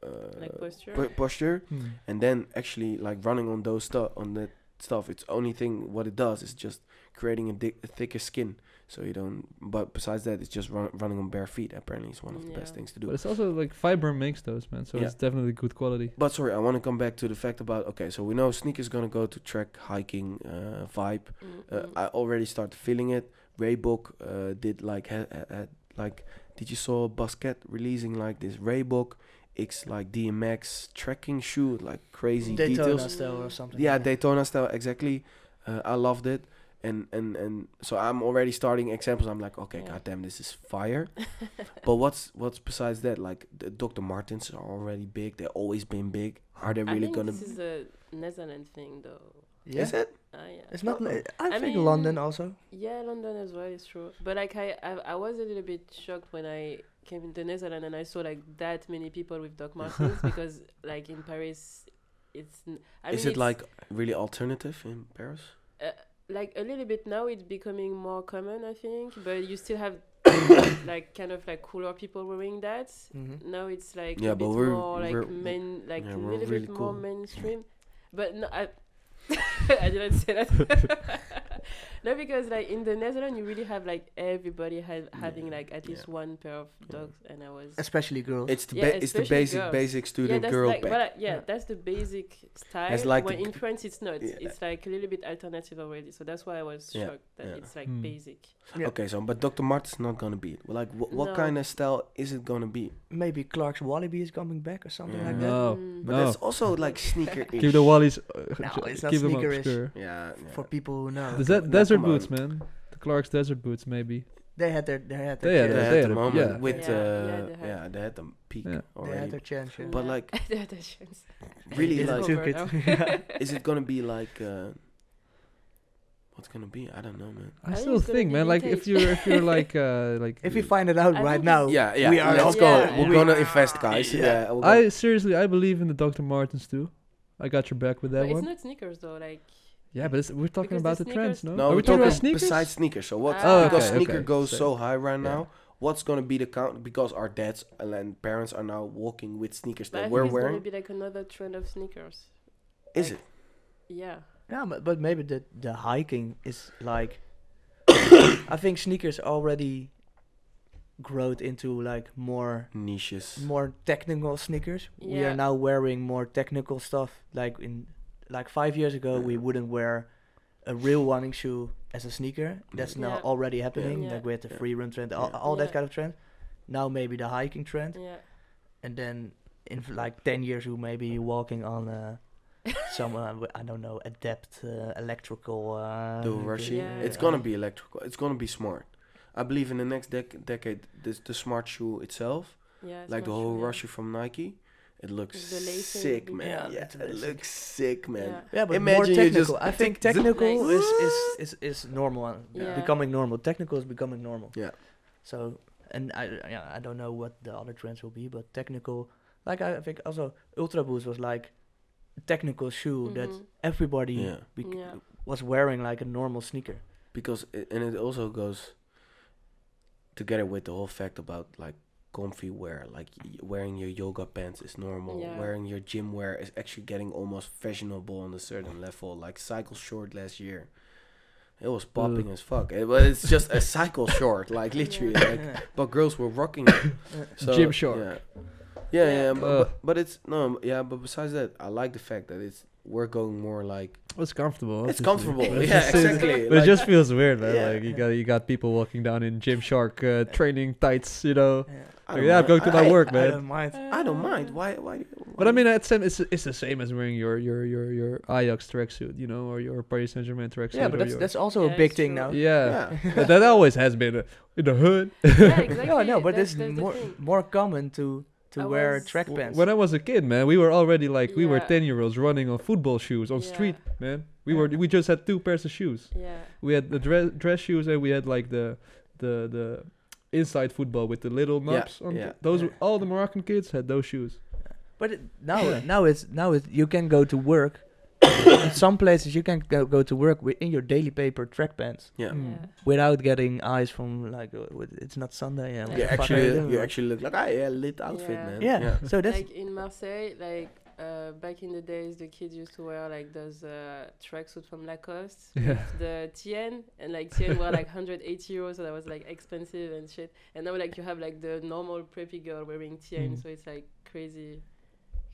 Speaker 2: uh,
Speaker 4: like posture.
Speaker 2: pu- posture,
Speaker 3: Hmm.
Speaker 2: and then actually like running on those stuff on that stuff. It's only thing what it does is just creating a, di- a thicker skin, so you don't. But besides that, it's just run- running on bare feet. Apparently, is one of the best
Speaker 4: Yeah.
Speaker 2: things to do.
Speaker 3: But it's also like fiber makes those, man. So
Speaker 2: Yeah.
Speaker 3: it's definitely good quality.
Speaker 2: But sorry, I want to come back to the fact about okay. So we know sneakers gonna go to track hiking uh, vibe. Uh,
Speaker 4: Mm, mm.
Speaker 1: Mm-hmm.
Speaker 2: I already started feeling it. Reebok uh, did like ha- ha- ha- like did you saw Basket releasing like this Reebok X like DMX trekking shoe like crazy
Speaker 1: Daytona
Speaker 2: details.
Speaker 1: style or something.
Speaker 2: Yeah, Daytona style exactly. Uh, I loved it. And, and and so I'm already starting examples. I'm like, okay,
Speaker 4: Yeah.
Speaker 2: goddamn, this is fire. but what's what's besides that? Like, the Dr. Martens are already big. They've always been big. Are they
Speaker 4: I
Speaker 2: really
Speaker 4: think
Speaker 2: gonna?
Speaker 4: this is a Netherlands thing, though.
Speaker 1: Yeah.
Speaker 2: Is it?
Speaker 4: Ah, yeah.
Speaker 1: It's
Speaker 2: Oh.
Speaker 1: not. I,
Speaker 4: I
Speaker 1: think
Speaker 4: mean-
Speaker 1: London also.
Speaker 4: Yeah, London as well is true. But like I, I, I was a little bit shocked when I came into Netherlands and I saw like that many people with Doc Martens because like in Paris, it's. n- I
Speaker 2: is
Speaker 4: mean,
Speaker 2: it
Speaker 4: it's,
Speaker 2: like really alternative in Paris?
Speaker 4: like a little bit now? It's becoming more common, I think. But you still have like kind of like cooler people wearing that.
Speaker 1: Mhm.
Speaker 4: Now it's like
Speaker 2: Yeah,
Speaker 4: a
Speaker 2: but
Speaker 4: bit
Speaker 2: we're-
Speaker 4: more like
Speaker 2: we're-
Speaker 4: main, like
Speaker 2: yeah,
Speaker 4: a
Speaker 2: we're
Speaker 4: little
Speaker 2: really
Speaker 4: bit more
Speaker 2: cool.
Speaker 4: mainstream. But no, I, I didn't say that. no, because like in the Netherlands, you really have like everybody ha- having
Speaker 2: Yeah,
Speaker 4: like at least
Speaker 2: yeah.
Speaker 4: one pair of
Speaker 2: Yeah.
Speaker 4: dogs, and I was
Speaker 1: Especially girls.
Speaker 2: It's the
Speaker 4: Yeah,
Speaker 2: ba- it's the
Speaker 4: especially
Speaker 2: basic
Speaker 4: girls.
Speaker 2: basic student
Speaker 4: that's
Speaker 2: girl
Speaker 4: like,
Speaker 2: bag.
Speaker 4: well, uh, yeah,
Speaker 1: Yeah.
Speaker 4: that's the basic style.
Speaker 2: It's like the
Speaker 4: when
Speaker 2: g-
Speaker 4: in France, it's not.
Speaker 2: Yeah.
Speaker 4: It's like a little bit alternative already. So that's why I was
Speaker 2: Yeah,
Speaker 4: shocked that
Speaker 2: yeah.
Speaker 4: it's like
Speaker 3: Hmm.
Speaker 4: basic.
Speaker 1: Yeah.
Speaker 2: Okay, so but Dr. Mart's not gonna be it. Well, Like, wh- what
Speaker 4: No.
Speaker 2: kind of style is it gonna be?
Speaker 1: Maybe Clark's Wallaby is coming back or something like that.
Speaker 3: No,
Speaker 4: Mm.
Speaker 2: Oh, But
Speaker 3: no.
Speaker 2: that's also like sneaker.
Speaker 3: Keep the wallies. Uh,
Speaker 1: No,
Speaker 3: ju-
Speaker 1: it's not
Speaker 3: keep them
Speaker 1: sneaker-ish.
Speaker 3: obscure.
Speaker 2: Yeah.
Speaker 1: For
Speaker 2: yeah.
Speaker 1: people who know,
Speaker 3: The
Speaker 2: Now,
Speaker 3: ze- desert
Speaker 2: come
Speaker 3: boots,
Speaker 2: on.
Speaker 3: man. The Clark's desert boots, maybe.
Speaker 1: they had their they had their
Speaker 3: They had
Speaker 2: They
Speaker 3: Yeah,
Speaker 1: chance.
Speaker 2: had
Speaker 3: they
Speaker 2: the
Speaker 3: had a-
Speaker 2: moment
Speaker 3: yeah.
Speaker 2: with
Speaker 4: Yeah,
Speaker 2: the
Speaker 4: yeah,
Speaker 2: yeah,
Speaker 4: they
Speaker 2: they
Speaker 4: had-
Speaker 2: had the peak
Speaker 3: Yeah.
Speaker 1: they had their
Speaker 2: already.
Speaker 1: chance. Yeah.
Speaker 2: But
Speaker 4: Yeah.
Speaker 2: like,
Speaker 4: They had their chance.
Speaker 2: really,
Speaker 1: It's
Speaker 4: It's
Speaker 2: like,
Speaker 1: too
Speaker 4: over
Speaker 1: good.
Speaker 4: now.
Speaker 1: Yeah.
Speaker 2: is it gonna be like? Uh, what's gonna be? I don't know, man.
Speaker 3: I,
Speaker 4: I think
Speaker 3: still
Speaker 4: it's gonna
Speaker 3: think,
Speaker 4: be
Speaker 3: man. Like if
Speaker 4: vintage.
Speaker 3: you're if you're like uh like
Speaker 1: If we find it out
Speaker 4: I
Speaker 1: right
Speaker 4: think
Speaker 1: now,
Speaker 4: it's-
Speaker 2: Yeah, yeah.
Speaker 1: we are
Speaker 2: let's
Speaker 1: all-
Speaker 2: go.
Speaker 4: Yeah,
Speaker 2: We're
Speaker 4: yeah.
Speaker 2: gonna invest, guys.
Speaker 1: Yeah.
Speaker 2: Yeah. we're gonna-
Speaker 3: I seriously I believe in the Dr. Martens too. I got your back with that
Speaker 4: But it's
Speaker 3: one.
Speaker 4: not sneakers though. Like
Speaker 3: yeah, but it's, we're talking about
Speaker 4: Because the
Speaker 3: the trends,
Speaker 4: sneakers-
Speaker 3: no?
Speaker 2: no,
Speaker 3: Are
Speaker 2: we're
Speaker 3: we talking about
Speaker 2: talking
Speaker 3: sneakers?
Speaker 2: besides sneakers. So what?
Speaker 4: Ah. Oh,
Speaker 2: because
Speaker 4: okay,
Speaker 2: sneaker
Speaker 3: okay.
Speaker 2: goes
Speaker 3: So-
Speaker 2: so high right
Speaker 3: yeah.
Speaker 2: now. What's gonna be the count? Because our dads and parents are now walking with sneakers
Speaker 4: but I
Speaker 2: that
Speaker 4: think
Speaker 2: we're
Speaker 4: it's gonna
Speaker 2: wearing.
Speaker 4: be like another trend of sneakers.
Speaker 2: Is
Speaker 4: like-
Speaker 2: it?
Speaker 4: Yeah.
Speaker 1: yeah, but, but maybe the the hiking is like, I think sneakers already growed into like more
Speaker 2: niches.
Speaker 1: more technical sneakers. We
Speaker 4: Yeah.
Speaker 1: are now wearing more technical stuff. Like in like five years ago, we
Speaker 2: Yeah.
Speaker 1: wouldn't wear a real running shoe as a sneaker. That's now
Speaker 4: Yeah.
Speaker 1: already happening.
Speaker 4: Yeah.
Speaker 1: Like we had the
Speaker 2: Mm. Yeah.
Speaker 1: free run trend, all,
Speaker 2: Yeah.
Speaker 1: all that
Speaker 4: Yeah. Mm.
Speaker 1: kind of trend. Now maybe the hiking trend,
Speaker 4: Yeah.
Speaker 1: and then in f- like ten years, you may be walking on uh, some uh, w- I don't know adept uh, electrical. Uh,
Speaker 2: the Russian.
Speaker 4: Yeah,
Speaker 2: It's
Speaker 4: yeah.
Speaker 2: gonna be electrical. It's gonna be smart. I believe in the next dec- decade, this, the smart shoe itself,
Speaker 4: Yeah.
Speaker 2: like the
Speaker 4: smart
Speaker 2: whole
Speaker 4: shoe,
Speaker 2: rush shoe from Nike, it looks
Speaker 4: The lacing
Speaker 2: sick,
Speaker 4: will be
Speaker 2: man.
Speaker 1: Yeah,
Speaker 2: Yeah,
Speaker 1: it's
Speaker 2: it
Speaker 1: amazing.
Speaker 2: looks sick, man.
Speaker 4: Yeah.
Speaker 1: Yeah, but
Speaker 2: Imagine
Speaker 1: more
Speaker 2: you
Speaker 1: technical.
Speaker 2: just
Speaker 1: I think
Speaker 2: zip-
Speaker 1: technical
Speaker 4: Nice.
Speaker 1: is, is, is, is normal. uh,
Speaker 4: Yeah.
Speaker 1: Becoming normal. Technical is becoming normal.
Speaker 2: Yeah.
Speaker 1: So, and I yeah, I don't know what the other trends will be, but technical, like I think also Ultra Boost was like a technical shoe that
Speaker 4: Mhm.
Speaker 1: everybody
Speaker 2: Yeah,
Speaker 1: bec-
Speaker 4: Yeah.
Speaker 1: was wearing like a normal sneaker.
Speaker 2: because it, and it also goes together with the whole fact about like comfy wear, like y- wearing your yoga pants is normal,
Speaker 4: Yeah.
Speaker 2: wearing your gym wear is actually getting almost fashionable on a certain level. Like cycle short last year, it was popping as fuck. It, but it's just a cycle short, like
Speaker 4: Yeah.
Speaker 2: literally, like
Speaker 1: Yeah.
Speaker 2: but girls were rocking it. so,
Speaker 3: Gymshark.
Speaker 2: Yeah, yeah, yeah,
Speaker 4: Yeah.
Speaker 2: but,
Speaker 3: Ugh.
Speaker 2: but but it's no, yeah. But besides that, I like the fact that it's we're going more like
Speaker 3: It's comfortable.
Speaker 2: it's
Speaker 3: obviously.
Speaker 2: comfortable.
Speaker 3: Let's
Speaker 2: yeah,
Speaker 3: just say-
Speaker 2: exactly.
Speaker 3: But it
Speaker 2: like-
Speaker 3: just feels weird, man.
Speaker 2: Yeah.
Speaker 3: Like you got you got people walking down in Gymshark uh, training tights, you know.
Speaker 1: Yeah.
Speaker 2: I
Speaker 3: Like,
Speaker 2: don't
Speaker 3: Oh, yeah, I'm
Speaker 2: mind.
Speaker 3: going to
Speaker 2: I-
Speaker 3: my work,
Speaker 1: I
Speaker 3: man.
Speaker 4: Uh,
Speaker 1: don't mind.
Speaker 2: I don't mind. Why? Why?
Speaker 3: But I mean, it's same. It's, it's the same as wearing your your your your Ajax tracksuit, you know, or your Paris Saint Germain tracksuit.
Speaker 1: yeah, but
Speaker 3: or
Speaker 1: that's
Speaker 3: your-
Speaker 1: that's uh, also
Speaker 4: Yeah,
Speaker 1: a big
Speaker 4: it's
Speaker 1: thing
Speaker 4: true.
Speaker 1: now.
Speaker 3: yeah. But that always has been uh, in the hood.
Speaker 4: yeah, exactly.
Speaker 1: No, no, but
Speaker 4: that's-
Speaker 1: it's
Speaker 4: that's the
Speaker 1: more
Speaker 4: thing.
Speaker 1: more common to to
Speaker 4: I
Speaker 1: wear
Speaker 4: was-
Speaker 1: track
Speaker 3: W-
Speaker 1: pants.
Speaker 3: When I was a kid, man, we were already like we were
Speaker 4: Yeah.
Speaker 3: ten year olds running on football shoes on
Speaker 4: Yeah.
Speaker 3: street, man. We were
Speaker 1: Yeah.
Speaker 3: we just had two pairs of shoes.
Speaker 4: Yeah.
Speaker 3: We had the dress dress shoes and we had like the the the inside football with the little
Speaker 2: Yeah,
Speaker 3: knobs. on
Speaker 2: yeah,
Speaker 3: th- those
Speaker 1: yeah.
Speaker 3: were all the Moroccan kids had those shoes.
Speaker 1: But it, now,
Speaker 3: Yeah.
Speaker 1: now it's now it's you can go to work. in some places you can go, go to work wi- in your daily paper track pants
Speaker 2: Yeah.
Speaker 3: Mm.
Speaker 4: yeah.
Speaker 1: without getting eyes from like uh, what- it's not Sunday. Yeah, what
Speaker 2: You
Speaker 1: the fuck are
Speaker 2: actually,
Speaker 1: doing,
Speaker 2: you
Speaker 1: like-
Speaker 2: actually look like ah yeah, lit outfit,
Speaker 4: Yeah.
Speaker 2: man.
Speaker 1: yeah. So that's
Speaker 4: like in Marseille, like uh, back in the days, the kids used to wear like those uh, tracksuit from Lacoste,
Speaker 3: Yeah.
Speaker 4: the Tien, and like Tien were like 180 euros, so that was like expensive and shit. And now like you have like the normal preppy girl wearing Tien,
Speaker 3: Mm.
Speaker 4: so it's like crazy,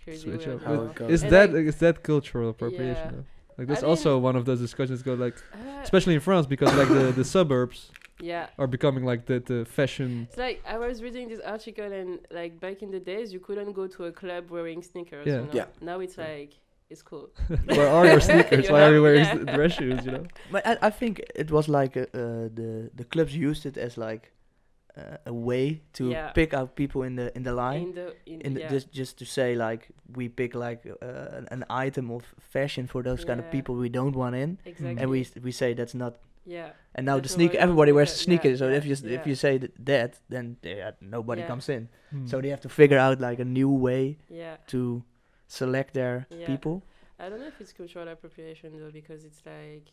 Speaker 4: crazy.
Speaker 3: Switch
Speaker 4: weird
Speaker 3: up.
Speaker 2: How
Speaker 4: now.
Speaker 2: it goes.
Speaker 3: Is
Speaker 4: And
Speaker 3: that
Speaker 4: like-
Speaker 3: is that cultural appropriation?
Speaker 4: Yeah.
Speaker 3: though? Like that's
Speaker 4: mean-
Speaker 3: also one of those discussions go like,
Speaker 4: Uh,
Speaker 3: especially in France, because like the the suburbs
Speaker 4: yeah.
Speaker 3: are becoming like the the fashion.
Speaker 4: It's like I was reading this article and like back in the days you couldn't go to a club wearing sneakers.
Speaker 3: Yeah.
Speaker 4: You know?
Speaker 2: Yeah.
Speaker 4: Now it's
Speaker 2: Yeah.
Speaker 4: like it's cool.
Speaker 3: Where are your sneakers?
Speaker 4: You
Speaker 3: Why are you
Speaker 4: know?
Speaker 3: wearing
Speaker 4: Yeah.
Speaker 3: s- dress shoes? You know.
Speaker 1: But I, I think it was like uh, uh, the the clubs used it as like uh, a way to
Speaker 4: Yeah.
Speaker 1: pick out people in the in the line.
Speaker 4: In the in,
Speaker 1: In the,
Speaker 4: yeah.
Speaker 1: just just to say like we pick like uh, an- an item of fashion for those kind of
Speaker 4: Yeah.
Speaker 1: people we don't want in,
Speaker 4: exactly.
Speaker 1: and we s- we say that's not.
Speaker 4: yeah.
Speaker 1: And now the
Speaker 4: That's what we
Speaker 1: sneaker,
Speaker 4: want,
Speaker 1: everybody wears
Speaker 4: yeah, yeah,
Speaker 1: sneakers. so
Speaker 4: yeah,
Speaker 1: if you s if
Speaker 4: yeah.
Speaker 1: you say th- that, then yeah, nobody
Speaker 4: Yeah.
Speaker 1: comes in.
Speaker 3: Hmm.
Speaker 1: So they have to figure out like a new way
Speaker 4: Yeah,
Speaker 1: to select their
Speaker 4: Yeah.
Speaker 1: people.
Speaker 4: I don't know if it's cultural appropriation though, because it's like,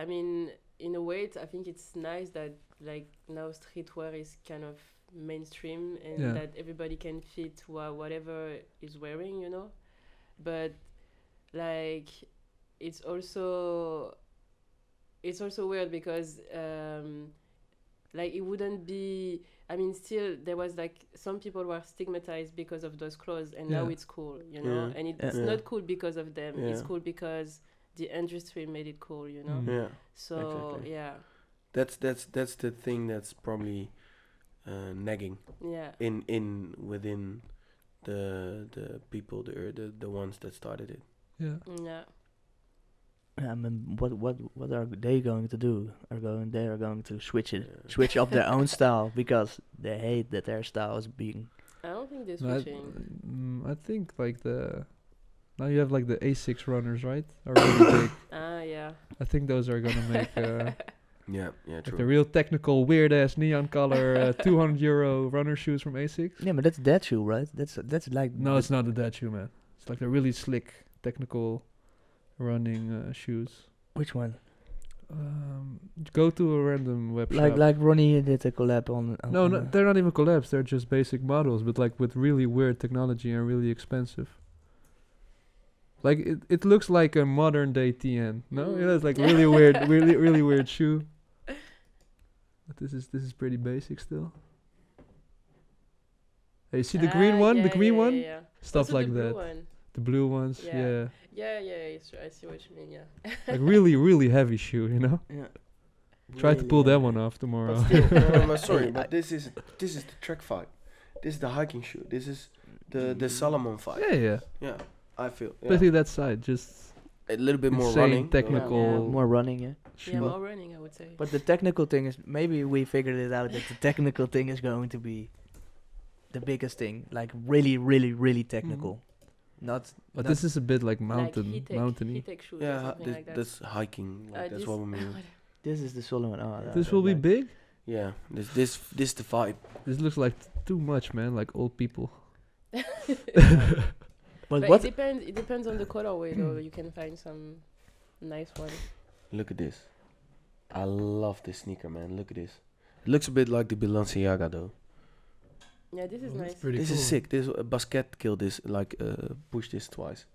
Speaker 4: I mean, in a way, it's, I think it's nice that like now streetwear is kind of mainstream and
Speaker 3: Yeah.
Speaker 4: that everybody can fit wha- whatever is wearing, you know. But like, it's also, it's also weird because um, like it wouldn't be. I mean, still there was like some people were stigmatized because of those clothes, and now
Speaker 3: Yeah.
Speaker 4: it's cool, you know.
Speaker 2: Yeah.
Speaker 4: And it,
Speaker 1: Yeah.
Speaker 4: it's
Speaker 2: Yeah.
Speaker 4: not cool because of them. It's
Speaker 2: Yeah.
Speaker 4: cool because the industry made it cool, you know.
Speaker 3: Mm.
Speaker 2: yeah.
Speaker 4: So
Speaker 2: Exactly.
Speaker 4: yeah,
Speaker 2: That's that's that's the thing that's probably uh, nagging
Speaker 4: yeah,
Speaker 2: in in within the the people the er, the the ones that started it.
Speaker 3: yeah.
Speaker 4: yeah.
Speaker 1: I mean, Um, what what what are they going to do? Are going they are going to switch it,
Speaker 2: Yeah.
Speaker 1: switch up their own style because they hate that their style is being.
Speaker 4: I don't think they're
Speaker 3: No, I,
Speaker 4: switching.
Speaker 3: mm, I think like the now you have like the A6 runners, right? Are really big.
Speaker 4: Ah, yeah.
Speaker 3: I think those are gonna make uh,
Speaker 2: Yeah, yeah,
Speaker 3: like the
Speaker 2: true.
Speaker 3: real technical, weird ass neon color, uh, 200 euro runner shoes from A6.
Speaker 1: Yeah, but that's that shoe, right? That's that's like
Speaker 3: No, it's not a dad shoe, man. It's like the really slick technical running uh, shoes.
Speaker 1: which one?
Speaker 3: Um, go to a random web
Speaker 1: Like
Speaker 3: shop.
Speaker 1: like Ronnie did a collab on. on
Speaker 3: no,
Speaker 1: on
Speaker 3: no,
Speaker 1: a-
Speaker 3: they're not even collabs. They're just basic models, but like with really weird technology and really expensive. Like it, it looks like a modern day TN. No,
Speaker 4: Mm.
Speaker 3: it has like really weird, really, really weird shoe. But this is this is pretty basic still. Hey, you see the green
Speaker 4: Ah,
Speaker 3: one,
Speaker 4: yeah,
Speaker 3: the green
Speaker 4: yeah,
Speaker 3: one,
Speaker 4: Yeah,
Speaker 3: stuff
Speaker 4: Also
Speaker 3: like
Speaker 4: the blue
Speaker 3: that.
Speaker 4: One.
Speaker 3: The blue ones,
Speaker 4: Yeah.
Speaker 3: yeah.
Speaker 4: Yeah, yeah, it's true. I see what you mean. Yeah.
Speaker 3: like really, really heavy shoe. You know,
Speaker 1: Yeah.
Speaker 3: try to pull that one off tomorrow.
Speaker 2: But still, no, no,
Speaker 1: Hey,
Speaker 2: sorry,
Speaker 1: I-
Speaker 2: but this is this is the track fight. This is the hiking shoe. This is the the Solomon fight.
Speaker 3: Mm. yeah, yeah,
Speaker 2: Yeah, I feel yeah.
Speaker 3: Basically that side, just
Speaker 2: a little bit more
Speaker 3: insane
Speaker 2: running.
Speaker 3: technical
Speaker 4: Yeah.
Speaker 1: more running, yeah.
Speaker 3: shoe.
Speaker 4: yeah, more running, I would say.
Speaker 1: But the technical thing is maybe we figured it out that the technical thing is going to be the biggest thing, like really, really, really technical.
Speaker 4: Mm-hmm.
Speaker 1: Not
Speaker 3: But
Speaker 1: not-
Speaker 3: this is a bit like
Speaker 4: like,
Speaker 3: mountain,
Speaker 4: heat tech-
Speaker 3: mountainy.
Speaker 4: heat tech shoes or
Speaker 2: Yeah,
Speaker 4: something
Speaker 2: this,
Speaker 4: like that.
Speaker 2: that's hiking. Like,
Speaker 4: Uh,
Speaker 2: that's
Speaker 4: this-
Speaker 2: what we mean.
Speaker 1: this is the Solomon. Oh, no,
Speaker 3: This
Speaker 1: no,
Speaker 3: will be
Speaker 1: no.
Speaker 3: big.
Speaker 2: Yeah, this this this the vibe.
Speaker 3: This looks like t- too much, man. Like old people.
Speaker 1: But,
Speaker 4: But
Speaker 1: what?
Speaker 4: it depends. It depends on the colorway, though. You can find some nice one.
Speaker 2: Look at this. I love this sneaker, man. Look at this. It looks a bit like the Balenciaga though.
Speaker 4: Yeah, this is nice.
Speaker 2: this is sick. This uh, Basquet killed this, like uh, pushed this twice.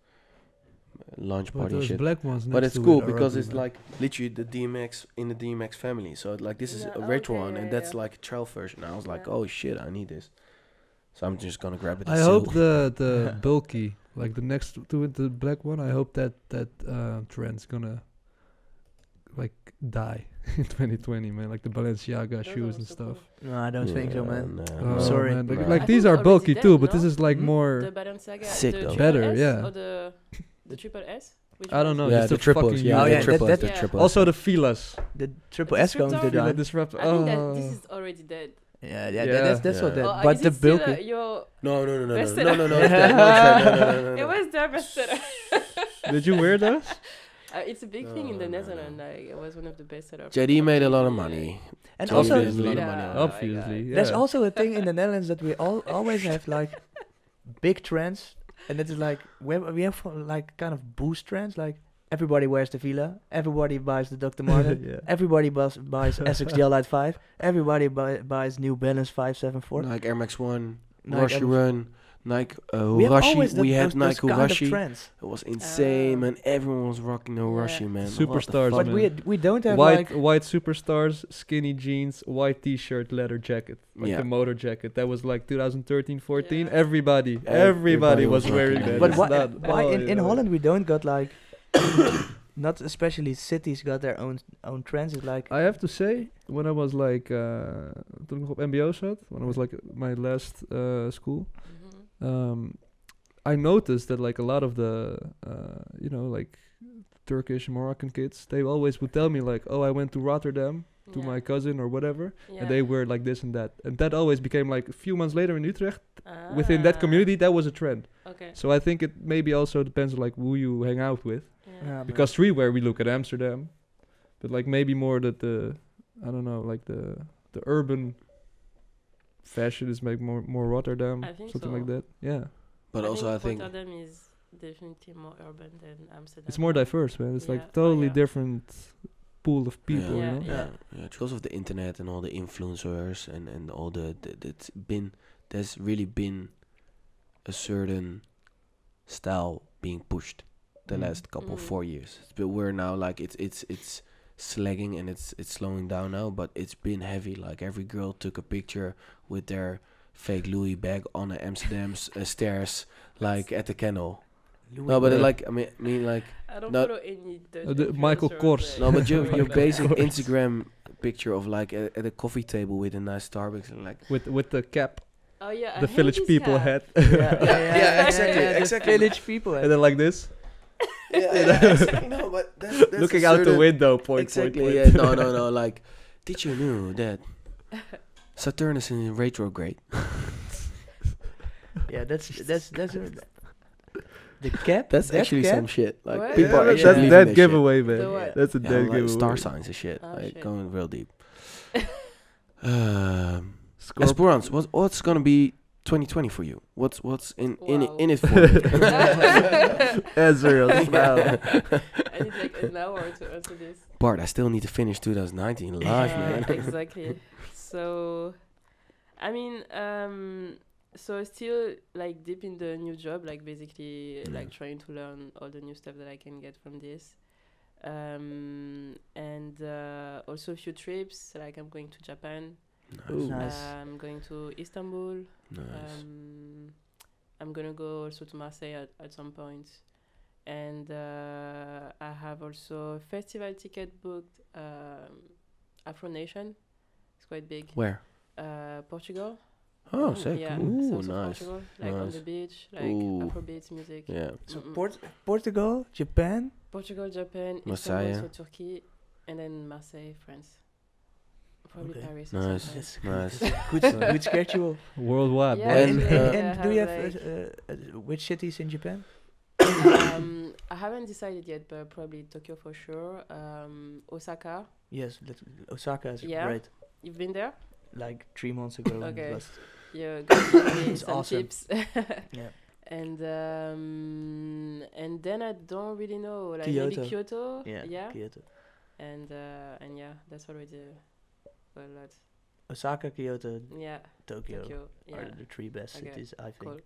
Speaker 2: Uh, Launch
Speaker 3: But
Speaker 2: party
Speaker 3: those
Speaker 2: shit.
Speaker 3: black ones.
Speaker 2: But
Speaker 3: next
Speaker 2: it's
Speaker 3: to it
Speaker 2: cool
Speaker 3: are
Speaker 2: because
Speaker 3: ugly,
Speaker 2: it's
Speaker 3: man.
Speaker 2: like literally the DMX in the DMX family. So like this is
Speaker 4: Yeah, oh,
Speaker 2: a red
Speaker 4: okay,
Speaker 2: one,
Speaker 4: yeah,
Speaker 2: and that's
Speaker 4: yeah.
Speaker 2: like a trail version. I was like,
Speaker 4: Yeah.
Speaker 2: oh shit, I need this. So I'm just gonna grab it.
Speaker 3: I hope the the bulky, like the next to it, the black one. I hope that that uh, trend's gonna like die in 2020, man. Like the Balenciaga
Speaker 4: Those are
Speaker 3: shoes and
Speaker 4: also cool.
Speaker 3: stuff.
Speaker 1: No, I don't think so,
Speaker 2: Yeah,
Speaker 1: man.
Speaker 2: no,
Speaker 3: Oh,
Speaker 2: no,
Speaker 1: sorry.
Speaker 3: man, Like,
Speaker 2: no.
Speaker 3: like
Speaker 4: I
Speaker 3: these
Speaker 4: think
Speaker 3: are
Speaker 4: it's already
Speaker 3: bulky
Speaker 4: there,
Speaker 3: too, but this
Speaker 4: no? Mm-hmm.
Speaker 3: is like
Speaker 1: Hmm?
Speaker 3: more.
Speaker 4: The Balenciaga,
Speaker 2: Sick
Speaker 4: the
Speaker 2: though.
Speaker 4: triple
Speaker 3: Better,
Speaker 4: S
Speaker 3: yeah.
Speaker 4: or the the triple S. Which
Speaker 3: I don't
Speaker 4: one?
Speaker 3: know.
Speaker 2: yeah,
Speaker 3: just
Speaker 2: the
Speaker 3: a
Speaker 2: triples.
Speaker 3: fucking
Speaker 2: Yeah,
Speaker 1: Oh,
Speaker 2: the
Speaker 1: yeah, that-
Speaker 2: triples.
Speaker 1: that-
Speaker 2: the
Speaker 4: yeah.
Speaker 2: triples.
Speaker 3: Also the filas.
Speaker 1: The triple S
Speaker 4: Descriptor?
Speaker 1: comes to
Speaker 3: Fila
Speaker 4: Yeah.
Speaker 1: die.
Speaker 3: disrupt.
Speaker 4: I think that this
Speaker 3: oh.
Speaker 4: is already dead.
Speaker 1: Yeah, yeah,
Speaker 3: Yeah.
Speaker 1: That, that's that's what
Speaker 2: Yeah.
Speaker 1: that.
Speaker 4: Or
Speaker 1: but
Speaker 4: is
Speaker 1: the
Speaker 4: it still,
Speaker 1: bulky.
Speaker 4: uh, your-
Speaker 2: No, no, no, no, no,
Speaker 4: Best
Speaker 2: no, no, no,
Speaker 4: seller.
Speaker 2: no, no,
Speaker 4: It was there, but still-
Speaker 3: Did you wear those?
Speaker 4: Uh, it's a big thing in
Speaker 2: No,
Speaker 4: the
Speaker 2: no, no.
Speaker 4: Netherlands. Like it was one of the best sellers.
Speaker 2: JD made a lot of money.
Speaker 1: and
Speaker 2: Jay
Speaker 1: also,
Speaker 2: made a lot of money.
Speaker 4: Yeah.
Speaker 2: on
Speaker 4: Oh
Speaker 2: it.
Speaker 4: my
Speaker 3: Obviously. Yeah.
Speaker 1: there's also a thing in the Netherlands that we all always have like big trends, and that is like when we have like kind of boost trends. Like everybody wears the Villa, everybody buys the Dr. Marten,
Speaker 3: Yeah.
Speaker 1: everybody buys, buys Essex Gel Light Five, everybody buy, buys New Balance Five Seven Four.
Speaker 2: Nike Air Max One,
Speaker 1: Nike
Speaker 2: Rashi
Speaker 1: Air-
Speaker 2: Run, Nike uh,
Speaker 1: We have
Speaker 2: Rashi.
Speaker 1: always that-
Speaker 2: we had
Speaker 1: those, those
Speaker 2: Nike
Speaker 1: kind of
Speaker 2: Rashi.
Speaker 1: trends.
Speaker 2: It was insane,
Speaker 4: Oh.
Speaker 2: man. Everyone was rocking the
Speaker 4: Yeah.
Speaker 2: Rashi, man.
Speaker 3: Superstars,
Speaker 2: What the fuck?
Speaker 1: But
Speaker 3: man.
Speaker 1: we we don't have
Speaker 3: white
Speaker 1: like
Speaker 3: white superstars, skinny jeans, white t-shirt, leather jacket, like
Speaker 2: Yeah.
Speaker 3: the motor jacket. That was like 2013, 14.
Speaker 4: Yeah.
Speaker 3: Everybody, everybody,
Speaker 2: Everybody
Speaker 3: was
Speaker 2: was
Speaker 3: wearing
Speaker 2: rocking
Speaker 3: that.
Speaker 2: it.
Speaker 1: But
Speaker 3: It's
Speaker 1: why,
Speaker 3: not-
Speaker 1: why
Speaker 3: oh,
Speaker 1: in, in
Speaker 3: yeah.
Speaker 1: Holland we don't got like not especially cities got their own own trends. It's like
Speaker 3: I have to say, when I was like, uh, toen ik nog op MBO zat, when I was like my last uh, school,
Speaker 4: Mhm.
Speaker 3: um, I noticed that like a lot of the, uh, you know, like Turkish Moroccan kids, they always would tell me like, oh, I went to Rotterdam to
Speaker 4: Yeah.
Speaker 3: my cousin or whatever,
Speaker 4: Yeah.
Speaker 3: and they were like this and that, and that always became like a few months later in Utrecht. within
Speaker 4: Ah,
Speaker 3: that community that was a trend
Speaker 4: Okay.
Speaker 3: so i think it maybe also depends on like who you hang out with
Speaker 4: yeah.
Speaker 1: yeah,
Speaker 3: because streetwear we look at amsterdam but like maybe more that the i don't know like the the urban fashion is like more more rotterdam
Speaker 4: I think
Speaker 3: something
Speaker 4: so.
Speaker 3: like that yeah
Speaker 2: But also, I think
Speaker 4: Rotterdam is definitely more urban than Amsterdam.
Speaker 3: it's more diverse man it's
Speaker 4: Yeah.
Speaker 3: like
Speaker 4: Oh,
Speaker 3: totally
Speaker 4: yeah.
Speaker 3: different pool of people
Speaker 4: Yeah.
Speaker 3: you know
Speaker 2: yeah, yeah, because of the internet and all the influencers and and all the, the that's been there's really been a certain style being pushed the
Speaker 3: Mm.
Speaker 2: last couple
Speaker 4: Mm.
Speaker 2: four years but we're now like it's it's it's slagging and it's it's slowing down now but it's been heavy like every girl took a picture with their fake louis bag on the amsterdam's uh, stairs like at the kennel no but uh,
Speaker 3: bag.
Speaker 2: like i mean i mean like
Speaker 4: I don't
Speaker 2: not-
Speaker 4: follow any Dutch
Speaker 3: Uh, the Michael
Speaker 4: influencers,
Speaker 3: Kors.
Speaker 4: like,
Speaker 2: no, but your
Speaker 4: something
Speaker 2: your
Speaker 4: like
Speaker 2: basic
Speaker 4: that.
Speaker 2: Instagram picture of like a, at a coffee table with a nice Starbucks and like
Speaker 3: with with the cap
Speaker 4: Oh yeah.
Speaker 3: the
Speaker 4: I hate
Speaker 3: village
Speaker 4: this
Speaker 3: people
Speaker 4: guy.
Speaker 3: hat
Speaker 1: yeah, yeah, yeah, yeah,
Speaker 2: exactly,
Speaker 1: yeah, the
Speaker 2: exactly.
Speaker 1: Village people.
Speaker 3: and then like this
Speaker 2: yeah, no, but that's, that's
Speaker 3: looking out the window point
Speaker 2: Exactly.
Speaker 3: point,
Speaker 2: yeah.
Speaker 3: point.
Speaker 2: No, no, no. Like, did you know that Saturnus is in retrograde?
Speaker 1: yeah, that's that's that's a- the cap.
Speaker 2: That's
Speaker 1: that
Speaker 2: actually
Speaker 1: cap,
Speaker 2: some shit. Like
Speaker 4: What?
Speaker 2: people
Speaker 3: yeah,
Speaker 2: are actually
Speaker 1: that's
Speaker 3: that's
Speaker 2: believing
Speaker 3: dead
Speaker 2: this shit.
Speaker 3: giveaway man
Speaker 4: The what?
Speaker 3: that's a
Speaker 2: Yeah,
Speaker 3: dead
Speaker 2: like
Speaker 3: giveaway
Speaker 2: star signs and shit.
Speaker 4: Oh,
Speaker 2: like
Speaker 4: shit.
Speaker 2: going real deep. um,
Speaker 3: Scorp-
Speaker 2: Esperance, what, what's gonna be 2020 for you? What's what's in in
Speaker 4: Wow.
Speaker 2: in it for? you?
Speaker 3: Ezreal, smile.
Speaker 4: I need like an hour to answer this.
Speaker 2: Bart, I still need to finish 2019 live,
Speaker 4: Yeah,
Speaker 2: man.
Speaker 4: exactly. So, I mean, um, so still like deep in the new job, like basically
Speaker 2: Yeah.
Speaker 4: like trying to learn all the new stuff that I can get from this. Um, and uh, also a few trips. Like I'm going to Japan.
Speaker 2: Nice.
Speaker 1: Nice.
Speaker 4: I'm going to Istanbul.
Speaker 2: nice.
Speaker 4: Um, I'm gonna go also to Marseille at, at some point, and uh, I have also a festival ticket booked. Um, Afro Nation, it's quite big.
Speaker 2: Where?
Speaker 4: Uh, Portugal.
Speaker 2: Oh, sick.
Speaker 4: Yeah,
Speaker 2: Ooh,
Speaker 4: south of
Speaker 2: nice.
Speaker 4: Portugal, like on
Speaker 2: nice.
Speaker 4: the beach, like
Speaker 2: Ooh.
Speaker 4: Afrobeats music.
Speaker 2: Yeah.
Speaker 1: So
Speaker 4: Mm-mm.
Speaker 1: Port- Portugal, Japan.
Speaker 4: Portugal, Japan,
Speaker 2: Marseille.
Speaker 4: Istanbul, so Turkey, and then Marseille, France. Probably
Speaker 1: Okay.
Speaker 4: Paris. or
Speaker 2: Nice.
Speaker 4: something.
Speaker 1: That's
Speaker 2: Nice.
Speaker 1: Good, good schedule.
Speaker 3: Worldwide,
Speaker 4: Yeah,
Speaker 3: bro.
Speaker 2: And,
Speaker 1: And,
Speaker 4: uh,
Speaker 1: and,
Speaker 4: I
Speaker 1: and do you
Speaker 4: have,
Speaker 1: have
Speaker 4: like-
Speaker 1: uh, uh, which cities in Japan?
Speaker 4: um, I haven't decided yet, but probably Tokyo for sure. Um, Osaka.
Speaker 1: Yes, let's- Osaka is
Speaker 4: Yeah.
Speaker 1: great.
Speaker 4: You've been there?
Speaker 1: Like three months ago. when it
Speaker 4: Okay.
Speaker 1: was-
Speaker 4: Yeah, got
Speaker 1: It's
Speaker 4: some
Speaker 1: awesome.
Speaker 4: tips.
Speaker 1: Yeah.
Speaker 4: And um, and then I don't really know, like
Speaker 1: Kyoto.
Speaker 4: maybe Kyoto.
Speaker 1: yeah,
Speaker 4: Yeah.
Speaker 1: Kyoto.
Speaker 4: And uh, and yeah, that's already a lot.
Speaker 1: Osaka, Kyoto,
Speaker 4: Yeah,
Speaker 1: Tokyo.
Speaker 4: Tokyo. Yeah,
Speaker 1: are the three best
Speaker 4: Okay,
Speaker 1: cities I think.
Speaker 4: cool.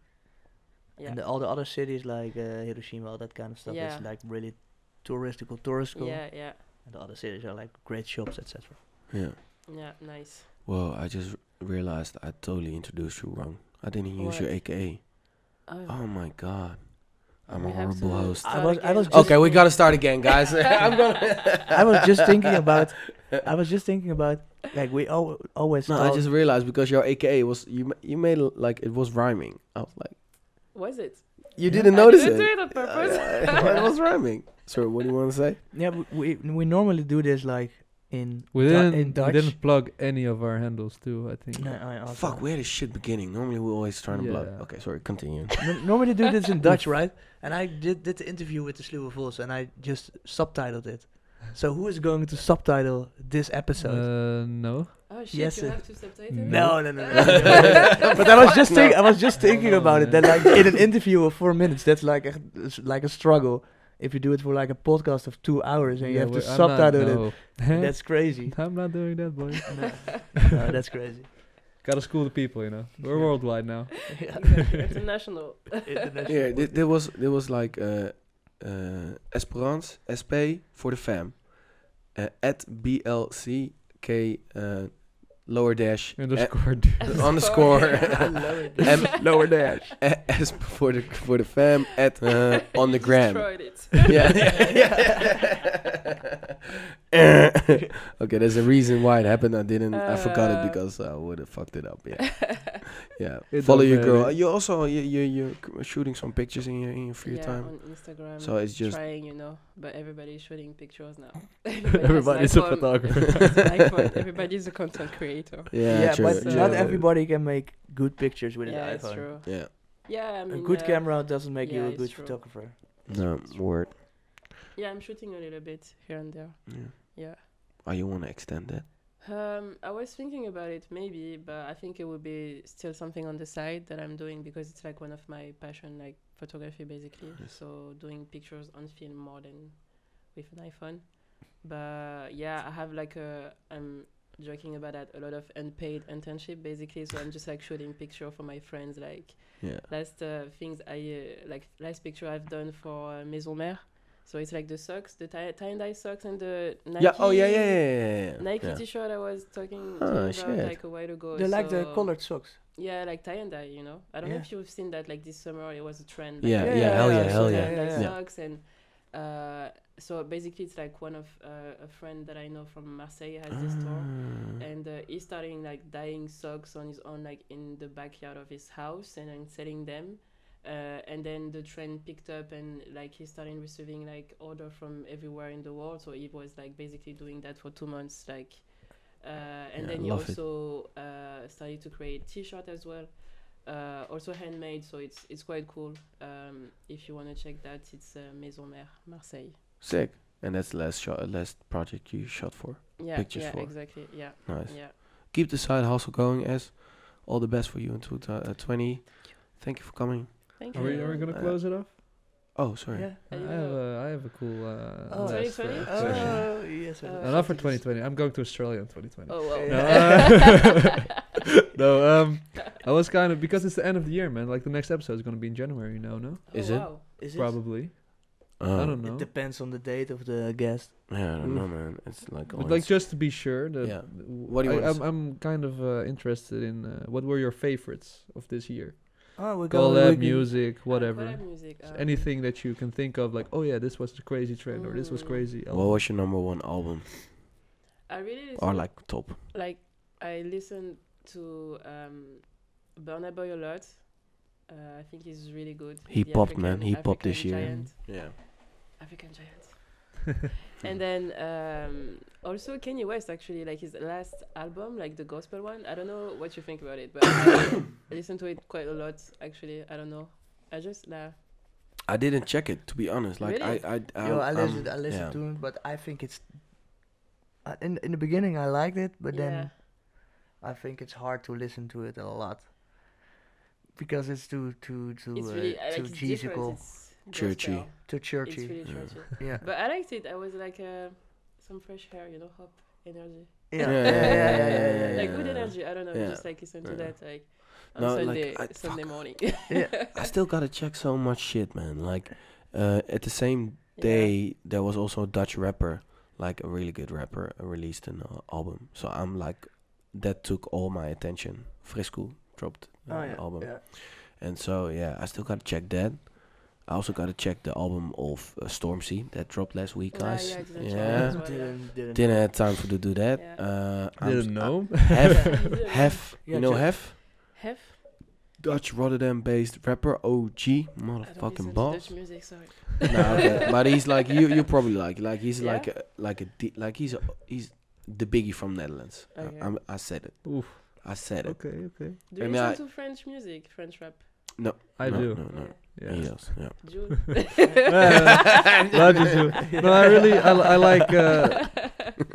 Speaker 4: Yeah.
Speaker 1: And the, all the other cities like uh, Hiroshima, all that kind of stuff
Speaker 4: Yeah.
Speaker 1: is like really touristical, touristical.
Speaker 4: Yeah, yeah,
Speaker 1: And the other cities are like great shops, etc.
Speaker 2: Yeah.
Speaker 4: yeah. Nice.
Speaker 2: Well, I just r- realized I totally introduced you wrong. I didn't use your AKA.
Speaker 4: Oh,
Speaker 2: Oh my god. I'm a
Speaker 4: We have Oh,
Speaker 2: horrible
Speaker 4: to
Speaker 2: host.
Speaker 4: start
Speaker 1: I was- I
Speaker 4: again.
Speaker 1: was just-
Speaker 2: Okay, we gotta start again, guys. I'm gonna.
Speaker 1: I was just thinking about. I was just thinking about like we al- always.
Speaker 2: No, I
Speaker 1: talk-
Speaker 2: just realized because your AKA was you. ma- You made it like it was rhyming. I was like,
Speaker 4: Was it?
Speaker 2: you didn't
Speaker 4: I
Speaker 2: notice
Speaker 4: didn't
Speaker 2: it.
Speaker 4: do it on purpose.
Speaker 2: Uh, it was rhyming. So what do you want to say?
Speaker 1: yeah. w- We we normally do this like in Du-
Speaker 3: We didn't,
Speaker 1: in
Speaker 3: we
Speaker 1: Dutch.
Speaker 3: didn't plug any of our handles too, I think.
Speaker 1: No, I also-
Speaker 2: Fuck, we had a shit beginning. Normally we always trying to block.
Speaker 3: Yeah.
Speaker 2: Okay, sorry. Continue.
Speaker 1: Nor- normally do this in Dutch, right? And I did did the interview with the Sluwe Vols, and I just subtitled it. So who is going to subtitle this episode?
Speaker 3: Uh, no.
Speaker 4: Oh shit!
Speaker 1: Yes,
Speaker 4: you
Speaker 1: uh,
Speaker 4: have to subtitle.
Speaker 1: no, no, no. no,
Speaker 4: Uh,
Speaker 1: no. but I was just think, I was just thinking
Speaker 3: Oh,
Speaker 1: about it
Speaker 3: man.
Speaker 1: that like in an interview of four minutes, that's like a, it's like a struggle. If you do it for like a podcast of two hours and you
Speaker 3: Yeah,
Speaker 1: have to
Speaker 3: we- I'm
Speaker 1: subtitle it,
Speaker 3: not, no.
Speaker 1: that's crazy.
Speaker 3: I'm not doing that, boy.
Speaker 1: no, no, that's crazy.
Speaker 3: Gotta school the people, you know. We're
Speaker 1: Yeah.
Speaker 3: worldwide now.
Speaker 1: Yeah.
Speaker 4: Exactly, International.
Speaker 1: International
Speaker 2: yeah, th- there was there was like uh, uh, Esperance SP for the fam uh, at BLCK uh, lower dash
Speaker 3: Underscore.
Speaker 2: eh, underscore
Speaker 1: I love it.
Speaker 2: M lower dash eh, S for the for the fam at uh, on the gram.
Speaker 4: Destroyed it.
Speaker 2: yeah. yeah. okay, there's a reason why it happened. I didn't. I forgot it
Speaker 4: Uh.
Speaker 2: because I would have fucked it up. Yeah, yeah.
Speaker 3: It
Speaker 2: Follow
Speaker 3: don't
Speaker 2: your girl.
Speaker 3: matter.
Speaker 2: Uh, You also you you you're shooting some pictures in your in your free
Speaker 4: yeah,
Speaker 2: time.
Speaker 4: on Instagram.
Speaker 2: So it's just-
Speaker 4: trying, you know. But everybody's shooting pictures now.
Speaker 3: Everybody's
Speaker 4: has
Speaker 3: a
Speaker 4: an iPhone.
Speaker 3: photographer.
Speaker 4: Everybody's an iPhone. Everybody's a content creator.
Speaker 2: Yeah,
Speaker 1: Yeah,
Speaker 2: true,
Speaker 1: but
Speaker 4: true.
Speaker 1: not
Speaker 4: Yeah.
Speaker 1: everybody can make good pictures with
Speaker 4: yeah,
Speaker 1: an
Speaker 4: it's
Speaker 1: iPhone.
Speaker 4: true.
Speaker 2: Yeah.
Speaker 4: Yeah, I mean,
Speaker 1: a good
Speaker 4: uh,
Speaker 1: camera doesn't make you
Speaker 4: yeah,
Speaker 1: a
Speaker 4: it's
Speaker 1: good
Speaker 4: true.
Speaker 1: photographer.
Speaker 2: No word.
Speaker 4: Yeah, I'm shooting a little bit here and there.
Speaker 2: Yeah.
Speaker 4: Yeah.
Speaker 2: Oh, you want to extend that?
Speaker 4: Um, I was thinking about it maybe, but I think it would be still something on the side that I'm doing because it's like one of my passion, like photography basically.
Speaker 2: Yes.
Speaker 4: So doing pictures on film more than with an iPhone. But yeah, I have like a I'm joking about that a lot of unpaid internship basically. So I'm just like shooting picture for my friends. Like
Speaker 2: Yeah.
Speaker 4: last uh, things I uh, like last picture I've done for uh, Maison Mère. So it's like the socks, the tie and dye socks, and the Nike
Speaker 2: yeah. Oh yeah yeah yeah yeah. yeah.
Speaker 4: Nike
Speaker 2: yeah.
Speaker 4: t-shirt I was talking
Speaker 1: Oh,
Speaker 2: Ah,
Speaker 4: to you
Speaker 2: shit.
Speaker 4: about like a while ago.
Speaker 1: They like the
Speaker 4: Oh, so-
Speaker 1: colored socks.
Speaker 4: Yeah, like tie and dye. You know, I don't know
Speaker 1: Yeah.
Speaker 4: if you've seen that. Like this summer, it was a trend.
Speaker 2: Yeah,
Speaker 4: like,
Speaker 1: yeah, Yeah, hell yeah, yeah, hell
Speaker 4: socks
Speaker 1: yeah.
Speaker 4: and, like,
Speaker 1: yeah, yeah.
Speaker 4: Socks and uh, so basically, it's like one of uh, a friend that I know from Marseille has this store,
Speaker 2: Ah.
Speaker 4: and uh, he's starting like dyeing socks on his own, like in the backyard of his house, and then selling them. Uh, and then the trend picked up, and like he started receiving like order from everywhere in the world. So he was like basically doing that for two months, like. Uh, and
Speaker 2: Yeah,
Speaker 4: then he
Speaker 2: love it.
Speaker 4: also uh, started to create T-shirt as well, uh, also handmade. So it's it's quite cool. Um, if you want to check that, it's uh, Maison Mère, Marseille.
Speaker 2: Sick. And that's the last shot, last project you shot for.
Speaker 4: Yeah,
Speaker 2: Pictures
Speaker 4: yeah,
Speaker 2: for.
Speaker 4: exactly. Yeah,
Speaker 2: Nice.
Speaker 4: yeah.
Speaker 2: keep the side hustle going as all the best for you in 2020 thank you for coming
Speaker 4: Thank
Speaker 3: Are
Speaker 4: you.
Speaker 3: we, are we gonna
Speaker 2: Uh,
Speaker 3: close it off?
Speaker 2: oh sorry
Speaker 1: Yeah.
Speaker 4: I
Speaker 3: I
Speaker 4: don't
Speaker 3: have,
Speaker 4: know.
Speaker 3: a, I have a cool. Uh,
Speaker 1: Oh,
Speaker 3: last, uh,
Speaker 4: 2020?
Speaker 3: section.
Speaker 1: Oh, yes.
Speaker 4: Uh,
Speaker 3: Uh, not for 2020. I'm going to Australia in 2020.
Speaker 4: Oh well.
Speaker 3: No, uh, no, um, I was kind of because it's the end of the year, man. Like the next episode is gonna be in January now, no?
Speaker 2: Is it?
Speaker 4: Oh,
Speaker 2: Uh,
Speaker 4: Wow.
Speaker 1: Is it?
Speaker 3: Probably. I don't know.
Speaker 1: It depends on the date of the guest.
Speaker 2: yeah i
Speaker 1: Mm.
Speaker 2: don't
Speaker 3: Oof.
Speaker 2: know man oh, it's like
Speaker 3: But
Speaker 2: always-
Speaker 3: like just to be sure that
Speaker 2: Yeah.
Speaker 3: w-
Speaker 2: What do you
Speaker 3: I,
Speaker 2: want
Speaker 3: I'm,
Speaker 2: to
Speaker 3: I'm kind of uh, interested in uh, what were your favorites of this year?
Speaker 1: Oh, we're going.
Speaker 3: Collab
Speaker 1: we
Speaker 3: music,
Speaker 4: Uh,
Speaker 3: whatever.
Speaker 4: collab music,
Speaker 3: S-
Speaker 4: um,
Speaker 3: Anything that you can think of, like oh yeah, this was the crazy trend or this was
Speaker 4: Mm.
Speaker 3: crazy. Oh,
Speaker 2: what was your number one album
Speaker 4: I really listen,
Speaker 2: or like top
Speaker 4: like I listen to um, Burna Boy a lot. Uh, I think he's really good.
Speaker 2: He
Speaker 4: The
Speaker 2: popped, man.
Speaker 4: African-
Speaker 2: He popped this
Speaker 4: African
Speaker 2: year.
Speaker 4: Giant.
Speaker 2: yeah
Speaker 4: African giant.
Speaker 2: Hmm.
Speaker 4: and then um, also Kanye West actually like his last album, like the gospel one. I don't know what you think about it, but I listen to it quite a lot actually. I don't know. I just nah.
Speaker 2: i didn't check it to be honest like
Speaker 4: Really?
Speaker 2: i i I,
Speaker 1: Yo, I
Speaker 2: I'm-
Speaker 1: listened. I listened
Speaker 2: Um, yeah.
Speaker 1: to it, but I think it's. I in in the beginning, I liked it, but
Speaker 4: Yeah.
Speaker 1: then I think it's hard to listen to it a lot because it's too too too
Speaker 4: It's
Speaker 1: uh,
Speaker 4: really I like
Speaker 1: too
Speaker 4: it's different.
Speaker 1: cheesical,
Speaker 4: It's
Speaker 2: Churchy.
Speaker 4: gospel.
Speaker 1: too
Speaker 4: It's
Speaker 1: churchy.
Speaker 4: really
Speaker 2: Yeah.
Speaker 4: churchy.
Speaker 1: Yeah.
Speaker 4: But I liked it. I was like uh, some fresh hair, you know, hop energy.
Speaker 1: Yeah,
Speaker 2: Yeah,
Speaker 1: yeah, yeah, yeah, yeah, yeah, yeah,
Speaker 4: like good
Speaker 2: yeah.
Speaker 4: energy. I don't know.
Speaker 2: Yeah.
Speaker 4: Just like listen to
Speaker 2: Yeah.
Speaker 4: that like on
Speaker 2: No, like,
Speaker 4: Sunday
Speaker 2: I-
Speaker 4: Sunday morning.
Speaker 2: i still gotta check so much shit man like uh at the same day there was also a dutch rapper like a really good rapper uh, released an uh, album so i'm like that took all my attention frisco dropped uh,
Speaker 1: Oh,
Speaker 2: an
Speaker 1: yeah,
Speaker 2: album
Speaker 1: yeah.
Speaker 2: And so yeah, I still gotta check that. I also got to check the album of uh, Stormzy that dropped last week, guys.
Speaker 4: yeah, I didn't check that
Speaker 2: yeah.
Speaker 4: as well.
Speaker 1: Didn't, didn't.
Speaker 2: Didn't have time for to do that.
Speaker 4: Yeah.
Speaker 2: Uh, I'm s-
Speaker 3: Didn't know.
Speaker 2: I- Hef,
Speaker 4: Yeah.
Speaker 2: Hef,
Speaker 1: Yeah,
Speaker 2: you know
Speaker 1: check.
Speaker 2: Hef,
Speaker 4: Hef?
Speaker 2: Dutch Rotterdam-based rapper, OG,
Speaker 4: I don't listen
Speaker 2: motherfucking
Speaker 4: to
Speaker 2: boss.
Speaker 4: Dutch music, sorry.
Speaker 2: no, okay. but he's like you. You probably like like he's
Speaker 4: Yeah?
Speaker 2: like a, like a di- like he's a, he's the biggie from Netherlands. I-
Speaker 4: Okay.
Speaker 2: I'm- I, said it.
Speaker 3: Oof.
Speaker 2: I said it.
Speaker 3: Okay, okay.
Speaker 4: Do
Speaker 2: I
Speaker 4: you
Speaker 2: mean, I-
Speaker 4: listen to French music, French rap?
Speaker 3: I
Speaker 2: no,
Speaker 3: do.
Speaker 2: No, no.
Speaker 3: Yeah.
Speaker 2: He does, yeah.
Speaker 4: Jules?
Speaker 3: Yeah. Roger do. No, I really, I, li- I like, uh,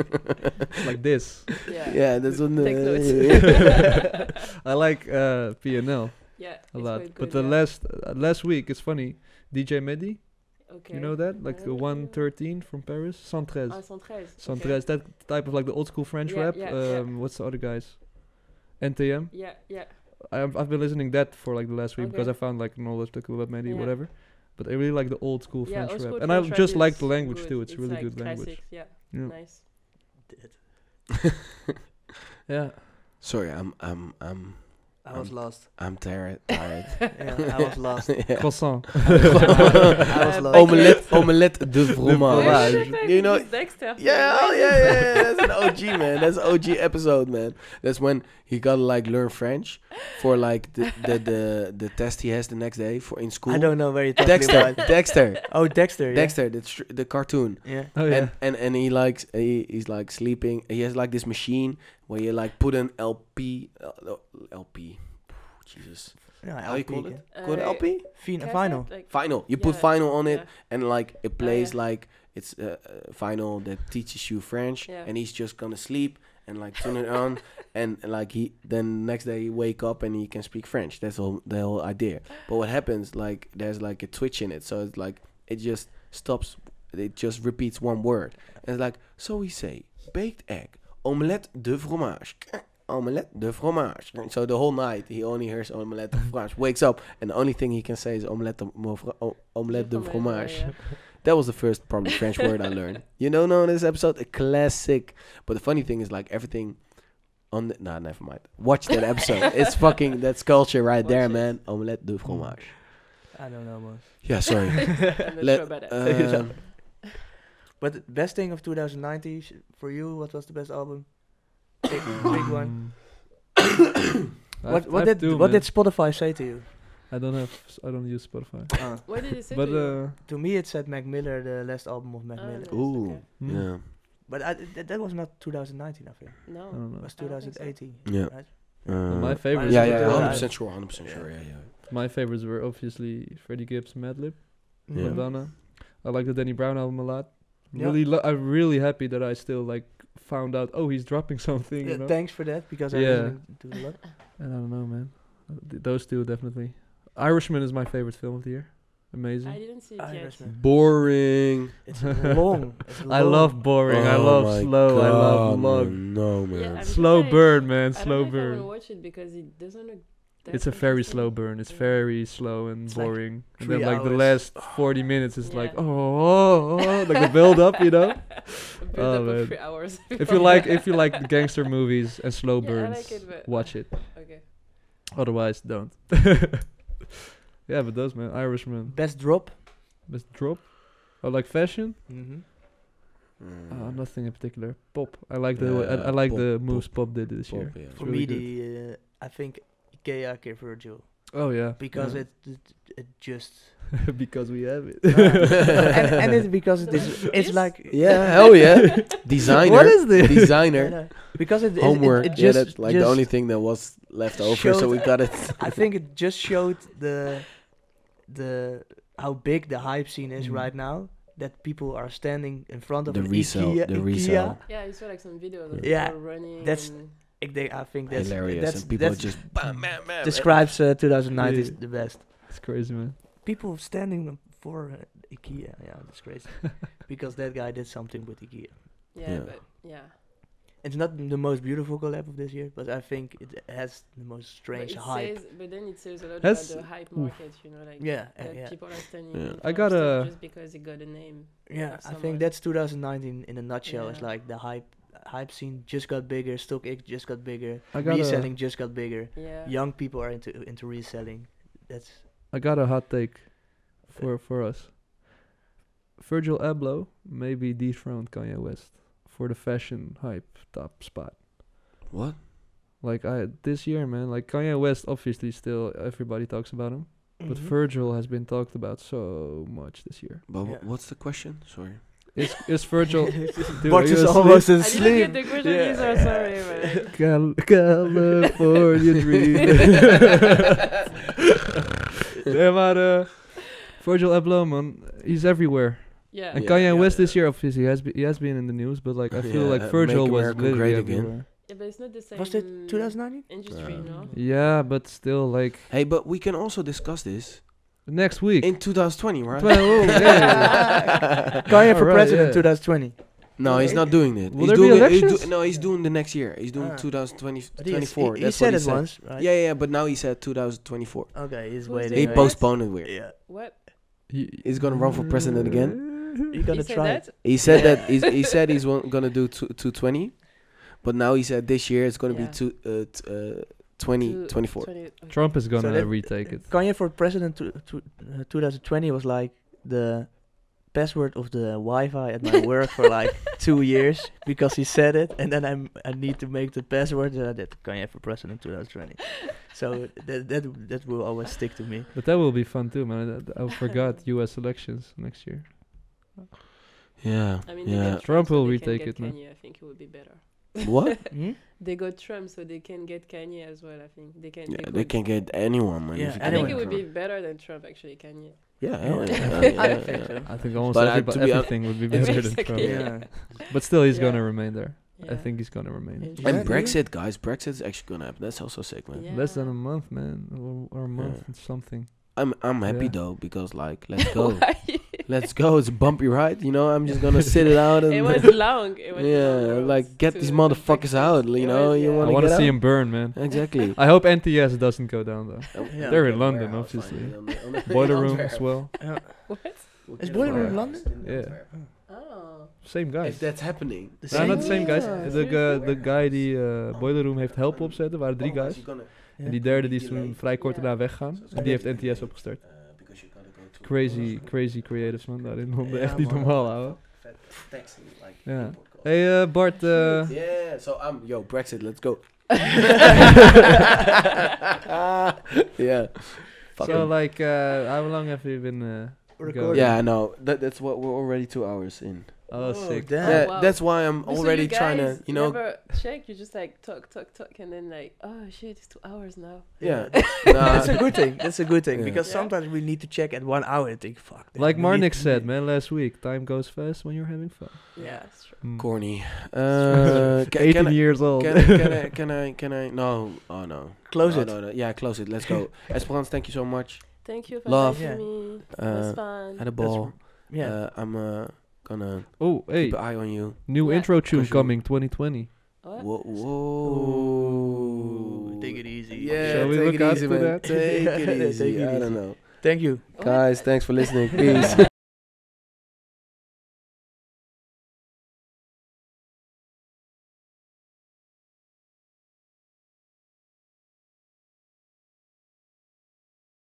Speaker 3: like this.
Speaker 4: Yeah.
Speaker 2: Yeah, that's one.
Speaker 4: Take notes.
Speaker 3: I like uh, PNL
Speaker 4: yeah.
Speaker 3: a
Speaker 4: it's
Speaker 3: lot.
Speaker 4: quite
Speaker 3: but
Speaker 4: good,
Speaker 3: the
Speaker 4: yeah.
Speaker 3: last uh, last week, it's funny. DJ Medi,
Speaker 4: Okay.
Speaker 3: you know that, like the
Speaker 4: Uh,
Speaker 3: 113 from Paris, 113.
Speaker 4: Ah, 113. okay.
Speaker 3: Santrez, that type of like the old school French
Speaker 4: Yeah,
Speaker 3: rap.
Speaker 4: yeah, yeah.
Speaker 3: um, What's the other guys? NTM.
Speaker 4: Yeah, yeah.
Speaker 3: I've, I've been listening that for like the last week because I
Speaker 4: Okay.
Speaker 3: found like knowledge that about Medi,
Speaker 4: Yeah.
Speaker 3: whatever. But I really like the old school
Speaker 4: yeah,
Speaker 3: French
Speaker 4: old
Speaker 3: rap,
Speaker 4: school
Speaker 3: and I
Speaker 4: French rap
Speaker 3: just like
Speaker 4: is
Speaker 3: the language
Speaker 4: good.
Speaker 3: too. It's, really
Speaker 4: like
Speaker 3: good language.
Speaker 4: classic, Yeah,
Speaker 3: Yeah.
Speaker 4: nice.
Speaker 1: Did.
Speaker 3: Yeah.
Speaker 2: Sorry, I'm I'm I'm
Speaker 1: I was
Speaker 2: Um,
Speaker 1: lost.
Speaker 2: I'm tired. Tired.
Speaker 1: Yeah, I was lost.
Speaker 2: Yeah.
Speaker 3: Croissant.
Speaker 1: I was lost.
Speaker 2: omelette, omelette de
Speaker 4: Holy
Speaker 2: fromage.
Speaker 4: shit,
Speaker 2: you know,
Speaker 4: this is Dexter.
Speaker 2: yeah, oh, yeah, yeah, yeah, that's an OG man. That's OG episode, man. That's when he gotta like learn French for like the the the, the test he has the next day for in school.
Speaker 1: I don't know where you're talking
Speaker 2: Dexter,
Speaker 1: about.
Speaker 2: Dexter,
Speaker 1: Oh, Dexter. Yeah.
Speaker 2: Dexter, the tr- the cartoon.
Speaker 1: Yeah.
Speaker 3: Oh yeah.
Speaker 2: And, and and he likes he, he's like sleeping. He has like this machine where you like put an LP uh, LP. Jesus,
Speaker 1: yeah
Speaker 2: how you
Speaker 1: LP.
Speaker 2: call
Speaker 1: yeah.
Speaker 2: it? Call it
Speaker 4: Uh,
Speaker 2: LP?
Speaker 1: Fin-
Speaker 4: Cassette,
Speaker 1: final.
Speaker 4: like-
Speaker 2: Final. You put
Speaker 4: Yeah,
Speaker 2: final on it,
Speaker 4: yeah.
Speaker 2: and like it plays
Speaker 4: Oh, yeah.
Speaker 2: like it's a uh, final that teaches you French,
Speaker 4: Yeah.
Speaker 2: and he's just gonna sleep and like turn it on, and like he then next day he wake up and he can speak French. That's all the whole idea. But what happens like there's like a twitch in it, so it's like it just stops. It just repeats one word, and it's like so we say baked egg, omelette de fromage. Omelette de fromage. And so the whole night he only hears omelette de fromage. Wakes up and the only thing he can say is omelette de, mo- fro- o- omelette de
Speaker 4: oh,
Speaker 2: fromage.
Speaker 4: yeah.
Speaker 2: That was the first probably French word I learned. You know, no, this episode a classic. But the funny thing is, like everything on the nah, never mind. Watch that episode. it's fucking that's culture right there,
Speaker 4: Watch
Speaker 2: man.
Speaker 4: it.
Speaker 2: Omelette de fromage.
Speaker 1: I don't know, man.
Speaker 2: Yeah, sorry.
Speaker 4: I'm not
Speaker 2: Let-
Speaker 4: sure about that.
Speaker 2: uh,
Speaker 1: But the best thing of 2019 sh- for you, what was the best album? Big, big one.
Speaker 3: I
Speaker 1: What,
Speaker 3: have-
Speaker 1: what
Speaker 3: I
Speaker 1: did
Speaker 3: have Mm. two,
Speaker 1: what
Speaker 3: man.
Speaker 1: did Spotify say to you?
Speaker 3: I don't have I don't use Spotify.
Speaker 1: Uh,
Speaker 4: what did he say
Speaker 3: But
Speaker 4: to you?
Speaker 3: uh,
Speaker 1: to me, it said Mac Miller, the last album of Mac
Speaker 4: Oh,
Speaker 1: Miller.
Speaker 4: nice,
Speaker 2: ooh,
Speaker 4: okay.
Speaker 3: hmm,
Speaker 2: yeah,
Speaker 1: But I, th- that was not 2019, I think.
Speaker 3: I
Speaker 4: No.
Speaker 3: don't
Speaker 1: It
Speaker 3: know.
Speaker 1: was
Speaker 4: I don't think so.
Speaker 1: 2018.
Speaker 2: yeah.
Speaker 1: Right?
Speaker 2: Uh,
Speaker 3: my favorites.
Speaker 2: yeah,
Speaker 1: is
Speaker 2: yeah,
Speaker 1: the-
Speaker 2: hundred percent sure, hundred percent sure. Yeah, yeah.
Speaker 3: My favorites were obviously Freddie Gibbs, Madlib,
Speaker 1: Mm-hmm.
Speaker 2: Yeah.
Speaker 3: Madonna. I like the Danny Brown album a lot.
Speaker 1: Yeah.
Speaker 3: Really, lo- I'm really happy that I still like found out. Oh, he's dropping something.
Speaker 1: Yeah,
Speaker 3: you know?
Speaker 1: Uh, thanks for that because I
Speaker 3: Yeah.
Speaker 1: listened to a lot.
Speaker 3: I don't know, man. Uh, th- those two definitely. Irishman is my favorite film of the year.
Speaker 4: I
Speaker 3: Amazing.
Speaker 4: didn't see it yet.
Speaker 1: Irishman.
Speaker 2: Boring.
Speaker 1: It's long. It's long.
Speaker 3: I, love boring. I
Speaker 2: Oh
Speaker 3: love
Speaker 2: my
Speaker 3: slow. I
Speaker 2: God,
Speaker 3: love long.
Speaker 2: man, No man.
Speaker 4: Yeah, I'm
Speaker 3: Slow
Speaker 4: surprised.
Speaker 3: burn, man.
Speaker 4: I don't
Speaker 3: Slow
Speaker 4: know if I want to
Speaker 3: burn.
Speaker 4: watch it because it doesn't look. that
Speaker 3: It's a very
Speaker 4: interesting.
Speaker 3: slow burn. It's
Speaker 4: Yeah.
Speaker 3: very slow and
Speaker 1: It's like
Speaker 3: boring. and
Speaker 1: three
Speaker 3: then like the
Speaker 1: hours.
Speaker 3: last 40 minutes is like,
Speaker 4: Yeah.
Speaker 3: oh, oh, oh, like the build up, you know?
Speaker 4: A build
Speaker 3: Oh,
Speaker 4: up
Speaker 3: man.
Speaker 4: of three hours.
Speaker 3: If you like if you like the gangster movies and slow
Speaker 4: Yeah, I
Speaker 3: burns,
Speaker 4: like it, but-
Speaker 3: watch it.
Speaker 4: Okay.
Speaker 3: Otherwise, don't. yeah, but those man, Irishman.
Speaker 1: Best drop.
Speaker 3: Best drop. I like fashion.
Speaker 1: Mm-hmm.
Speaker 2: Mm.
Speaker 3: Uh, nothing in particular. Pop. I like the way- I,
Speaker 2: Yeah,
Speaker 3: I like
Speaker 2: pop,
Speaker 3: the moves pop, did this
Speaker 2: Pop,
Speaker 3: year.
Speaker 2: yeah.
Speaker 1: For
Speaker 3: really
Speaker 1: me,
Speaker 3: good.
Speaker 1: the uh, I think Ikea Ke Virgil
Speaker 3: Oh yeah.
Speaker 1: because
Speaker 2: Mm-hmm.
Speaker 3: yeah.
Speaker 1: it, it it just
Speaker 3: because we have it.
Speaker 1: No, and, and it's because it is it's
Speaker 4: Yes.
Speaker 1: like
Speaker 2: Yeah, hell yeah. Designer.
Speaker 3: What is this?
Speaker 1: no,
Speaker 2: Designer.
Speaker 1: no, because it, it- it-
Speaker 2: Homework.
Speaker 1: It, just,
Speaker 2: yeah, that's like
Speaker 1: just-
Speaker 2: the only thing that was left over, so
Speaker 1: showed-
Speaker 2: we got it.
Speaker 1: I think it just showed the the how big the hype scene is
Speaker 3: Mm.
Speaker 1: right now that people are standing in front of
Speaker 2: The
Speaker 1: an
Speaker 2: resale-
Speaker 1: Ikea,
Speaker 2: the
Speaker 1: Ikea.
Speaker 2: resale.
Speaker 4: Yeah, you saw like some videos of
Speaker 1: Yeah,
Speaker 4: people running.
Speaker 1: that's-
Speaker 4: and-
Speaker 1: I think- I think that's
Speaker 2: Hilarious.
Speaker 1: That's,
Speaker 2: and people
Speaker 1: that's
Speaker 2: just bam, bam, bam.
Speaker 1: describes uh, 2009 is
Speaker 3: Yeah.
Speaker 1: the best.
Speaker 3: it's crazy, man.
Speaker 1: People standing for uh, IKEA, yeah, that's crazy. because that guy did something with IKEA.
Speaker 4: yeah,
Speaker 2: Yeah.
Speaker 4: but yeah.
Speaker 1: It's not the most beautiful collab of this year, but I think it has the most strange
Speaker 4: but it
Speaker 1: hype.
Speaker 4: Says, but then it says a lot
Speaker 3: That's-
Speaker 4: about the hype market, you know, like
Speaker 1: Yeah, uh,
Speaker 4: that
Speaker 1: yeah,
Speaker 4: people are standing.
Speaker 2: Yeah.
Speaker 4: in
Speaker 2: I
Speaker 4: front of
Speaker 3: got
Speaker 4: stuff
Speaker 3: a-
Speaker 4: just because it got a name.
Speaker 1: yeah. I
Speaker 4: someone.
Speaker 1: think that's 2019 in a nutshell. It's
Speaker 4: Yeah.
Speaker 1: like the hype, hype scene just got bigger. Stock X just got bigger.
Speaker 3: I got
Speaker 1: reselling just got bigger.
Speaker 4: Yeah.
Speaker 1: Young people are into into reselling. That's
Speaker 3: a I got a hot take for for us. Virgil Abloh maybe dethroned Kanye West for the fashion hype top spot.
Speaker 2: What?
Speaker 3: Like I this year, man. Like Kanye West, obviously, still everybody talks about him, but
Speaker 2: Mm-hmm.
Speaker 1: Mhm.
Speaker 3: Virgil has been talked about so much this year.
Speaker 2: But
Speaker 1: Yeah.
Speaker 2: wh- what's the question? Sorry.
Speaker 3: Is is Virgil? Dude,
Speaker 1: Bart
Speaker 3: are you
Speaker 1: is
Speaker 3: asleep?
Speaker 1: almost
Speaker 4: I didn't
Speaker 1: asleep.
Speaker 4: get the question either, sorry, man.
Speaker 3: Cal- California dream. nee, maar eh, Virgil Abloh, man, he's everywhere.
Speaker 4: Yeah.
Speaker 3: And
Speaker 2: Yeah,
Speaker 3: Kanye
Speaker 2: yeah,
Speaker 3: West this
Speaker 2: yeah.
Speaker 3: year, obviously, he has be- he has been in the news, but like I feel
Speaker 2: Yeah,
Speaker 3: like
Speaker 2: uh,
Speaker 3: Virgil
Speaker 2: Make
Speaker 3: was
Speaker 2: America
Speaker 3: literally
Speaker 2: Great Again.
Speaker 3: everywhere.
Speaker 4: Yeah, but it's not the same.
Speaker 1: Was that 2019?
Speaker 4: Industry,
Speaker 2: Uh,
Speaker 4: no?
Speaker 3: Yeah, but still, like
Speaker 2: hey, but we can also discuss this
Speaker 3: next week.
Speaker 2: in 2020, right?
Speaker 3: Well, oh,
Speaker 1: yeah. Kanye for
Speaker 3: Alright,
Speaker 1: president
Speaker 3: yeah.
Speaker 1: 2020.
Speaker 2: No, he's not doing it.
Speaker 3: Will
Speaker 2: he's
Speaker 3: there be
Speaker 2: doing it- he's do-
Speaker 3: elections?
Speaker 2: no, he's doing the next year. He's doing
Speaker 1: Ah.
Speaker 2: 2020,
Speaker 1: But he-
Speaker 2: 2024.
Speaker 1: He, he
Speaker 2: That's
Speaker 1: said
Speaker 2: what he
Speaker 1: it
Speaker 2: said.
Speaker 1: once, right?
Speaker 2: Yeah, yeah, but now he said 2024.
Speaker 1: Okay, he's
Speaker 4: Who's
Speaker 1: waiting.
Speaker 2: He
Speaker 4: Right.
Speaker 2: postponed it. Weird.
Speaker 1: Yeah.
Speaker 4: What?
Speaker 3: He-
Speaker 2: He's gonna run for president
Speaker 1: You
Speaker 3: again.
Speaker 1: gonna
Speaker 4: You say
Speaker 1: try?
Speaker 4: that?
Speaker 2: He said that he's, he said he's won- gonna do two, 220, but now he said this year it's gonna
Speaker 4: Yeah.
Speaker 2: be two, uh, t- uh, 20,
Speaker 4: Two-
Speaker 2: 24.
Speaker 4: 20 okay.
Speaker 3: Trump is gonna
Speaker 1: that-
Speaker 3: retake it.
Speaker 1: Kanye for president to, to, uh, 2020 was like the password of the Wi-Fi at my work for like two years because he said it, and then I'm I need to make the password and I did Kanye for president 2020. So that that that will always stick to me.
Speaker 3: But that will be fun too, man. I, I forgot U.S. elections next year.
Speaker 2: Yeah,
Speaker 4: I mean, they
Speaker 2: yeah.
Speaker 4: got
Speaker 3: Trump
Speaker 4: so
Speaker 3: will
Speaker 4: they can
Speaker 3: retake
Speaker 4: get
Speaker 3: it, man.
Speaker 4: Kanye, I think it would be better.
Speaker 2: What?
Speaker 1: Hmm?
Speaker 4: They got Trump, so they can get Kanye as well. I think they can.
Speaker 2: Yeah,
Speaker 4: could-
Speaker 2: they can get anyone, man.
Speaker 1: Yeah,
Speaker 2: if you
Speaker 4: I
Speaker 2: can
Speaker 4: think
Speaker 1: anyone.
Speaker 4: it
Speaker 2: get
Speaker 4: would be
Speaker 2: Trump.
Speaker 4: better than Trump actually, Kanye.
Speaker 2: Yeah, hell yeah,
Speaker 1: Yeah.
Speaker 2: hell yeah,
Speaker 1: I
Speaker 2: yeah,
Speaker 1: think so.
Speaker 2: yeah.
Speaker 3: I think almost
Speaker 2: But I-
Speaker 3: everybo-
Speaker 2: to be hon-
Speaker 3: everything would be better than
Speaker 4: Basically,
Speaker 3: Trump.
Speaker 1: Yeah.
Speaker 3: But still, he's
Speaker 4: Yeah.
Speaker 3: gonna remain there. I
Speaker 4: Yeah.
Speaker 3: think he's gonna remain.
Speaker 4: Yeah.
Speaker 2: And
Speaker 1: Yeah, dude.
Speaker 2: Brexit, guys, Brexit is actually gonna happen. That's also sick, man.
Speaker 4: Yeah.
Speaker 3: Less than a month, man, or, or a month
Speaker 2: Yeah.
Speaker 3: and something.
Speaker 2: I'm I'm happy
Speaker 3: Yeah.
Speaker 2: though because like let's go,
Speaker 4: Why?
Speaker 2: let's go. It's a bumpy ride, you know. I'm just gonna sit it out and
Speaker 4: It was long. It was long
Speaker 2: yeah,
Speaker 4: road
Speaker 2: like get
Speaker 4: to
Speaker 2: these
Speaker 4: the
Speaker 2: motherfuckers
Speaker 4: Brexit.
Speaker 2: out, you
Speaker 4: It
Speaker 2: know.
Speaker 4: was,
Speaker 2: You
Speaker 4: yeah.
Speaker 3: I
Speaker 2: want
Speaker 3: want
Speaker 2: to
Speaker 3: to see him burn, man.
Speaker 2: exactly.
Speaker 3: I hope NTS doesn't go down though.
Speaker 1: Yeah.
Speaker 3: They're in London, obviously. Boiler room as well.
Speaker 4: What?
Speaker 1: Is Boiler
Speaker 3: Room
Speaker 1: London?
Speaker 3: Yeah,
Speaker 4: Oh.
Speaker 3: same
Speaker 2: If
Speaker 3: guys.
Speaker 2: that's happening,
Speaker 1: The
Speaker 3: Nou,
Speaker 1: same-
Speaker 3: not the same guys.
Speaker 1: Yeah.
Speaker 3: De, ge- de guy die eh, Boiler Room heeft helpen opzetten, waren drie guys. En die derde die is toen vrij kort
Speaker 4: Ja.
Speaker 3: daarna weggegaan. En die heeft NTS
Speaker 2: uh,
Speaker 3: opgestart. Crazy, crazy creatives man daar in Londen.
Speaker 1: Ja,
Speaker 3: Echt niet
Speaker 1: man.
Speaker 3: normaal, ouwe. Ja.
Speaker 2: Ja.
Speaker 3: Hey eh, Bart, eh,
Speaker 2: Yeah, so I'm yo Brexit, let's go. yeah. Fuck
Speaker 3: so
Speaker 2: him.
Speaker 3: like, uh, how long have you been? eh,
Speaker 1: Recording.
Speaker 2: yeah, I know. That, that's what we're already two hours in.
Speaker 3: oh, sick.
Speaker 1: damn.
Speaker 2: yeah,
Speaker 4: wow.
Speaker 2: that's why I'm
Speaker 4: Oh. So you
Speaker 2: already trying to,
Speaker 4: guys
Speaker 2: you know.
Speaker 4: Never check. You just like talk, talk, talk, and then like, oh shit, it's two hours now.
Speaker 2: Yeah.
Speaker 1: That's a
Speaker 2: nah,
Speaker 1: good thing. That's a good thing
Speaker 2: Yeah.
Speaker 1: because
Speaker 4: Yeah.
Speaker 1: sometimes we need to check at one hour and think, fuck.
Speaker 3: Like
Speaker 1: we need
Speaker 3: Marnik
Speaker 1: to
Speaker 3: said,
Speaker 1: do-
Speaker 3: man, last week, time goes fast when you're having fun.
Speaker 4: Yeah, that's true.
Speaker 3: Mm.
Speaker 2: corny. Uh, can,
Speaker 3: 18
Speaker 2: can, I,
Speaker 3: years old.
Speaker 2: can, I, can I? Can I? Can I? No. Oh no.
Speaker 1: Close
Speaker 2: no,
Speaker 1: it.
Speaker 2: No, no. Yeah, close it. Let's go. Esperance, thank you so much.
Speaker 4: Thank you for
Speaker 2: Love.
Speaker 4: having
Speaker 1: Yeah.
Speaker 4: me. it was
Speaker 2: Uh,
Speaker 4: fun.
Speaker 2: had a ball.
Speaker 1: Yeah.
Speaker 2: Uh, I'm uh, gonna
Speaker 3: oh, hey,
Speaker 2: keep an eye on you.
Speaker 3: new
Speaker 4: Yeah.
Speaker 3: intro tune
Speaker 2: Casual.
Speaker 3: coming 2020.
Speaker 4: What?
Speaker 2: Whoa, Uh,
Speaker 1: Ooh,
Speaker 2: whoa.
Speaker 1: take it easy.
Speaker 2: Yeah,
Speaker 3: Shall we
Speaker 2: take
Speaker 3: look
Speaker 2: it
Speaker 3: out
Speaker 2: easy,
Speaker 3: for
Speaker 2: man.
Speaker 3: that?
Speaker 2: Take
Speaker 1: Take
Speaker 2: it
Speaker 1: it
Speaker 2: easy. I don't
Speaker 1: easy.
Speaker 2: know.
Speaker 1: Thank you.
Speaker 4: What?
Speaker 2: Guys, thanks for listening. Peace.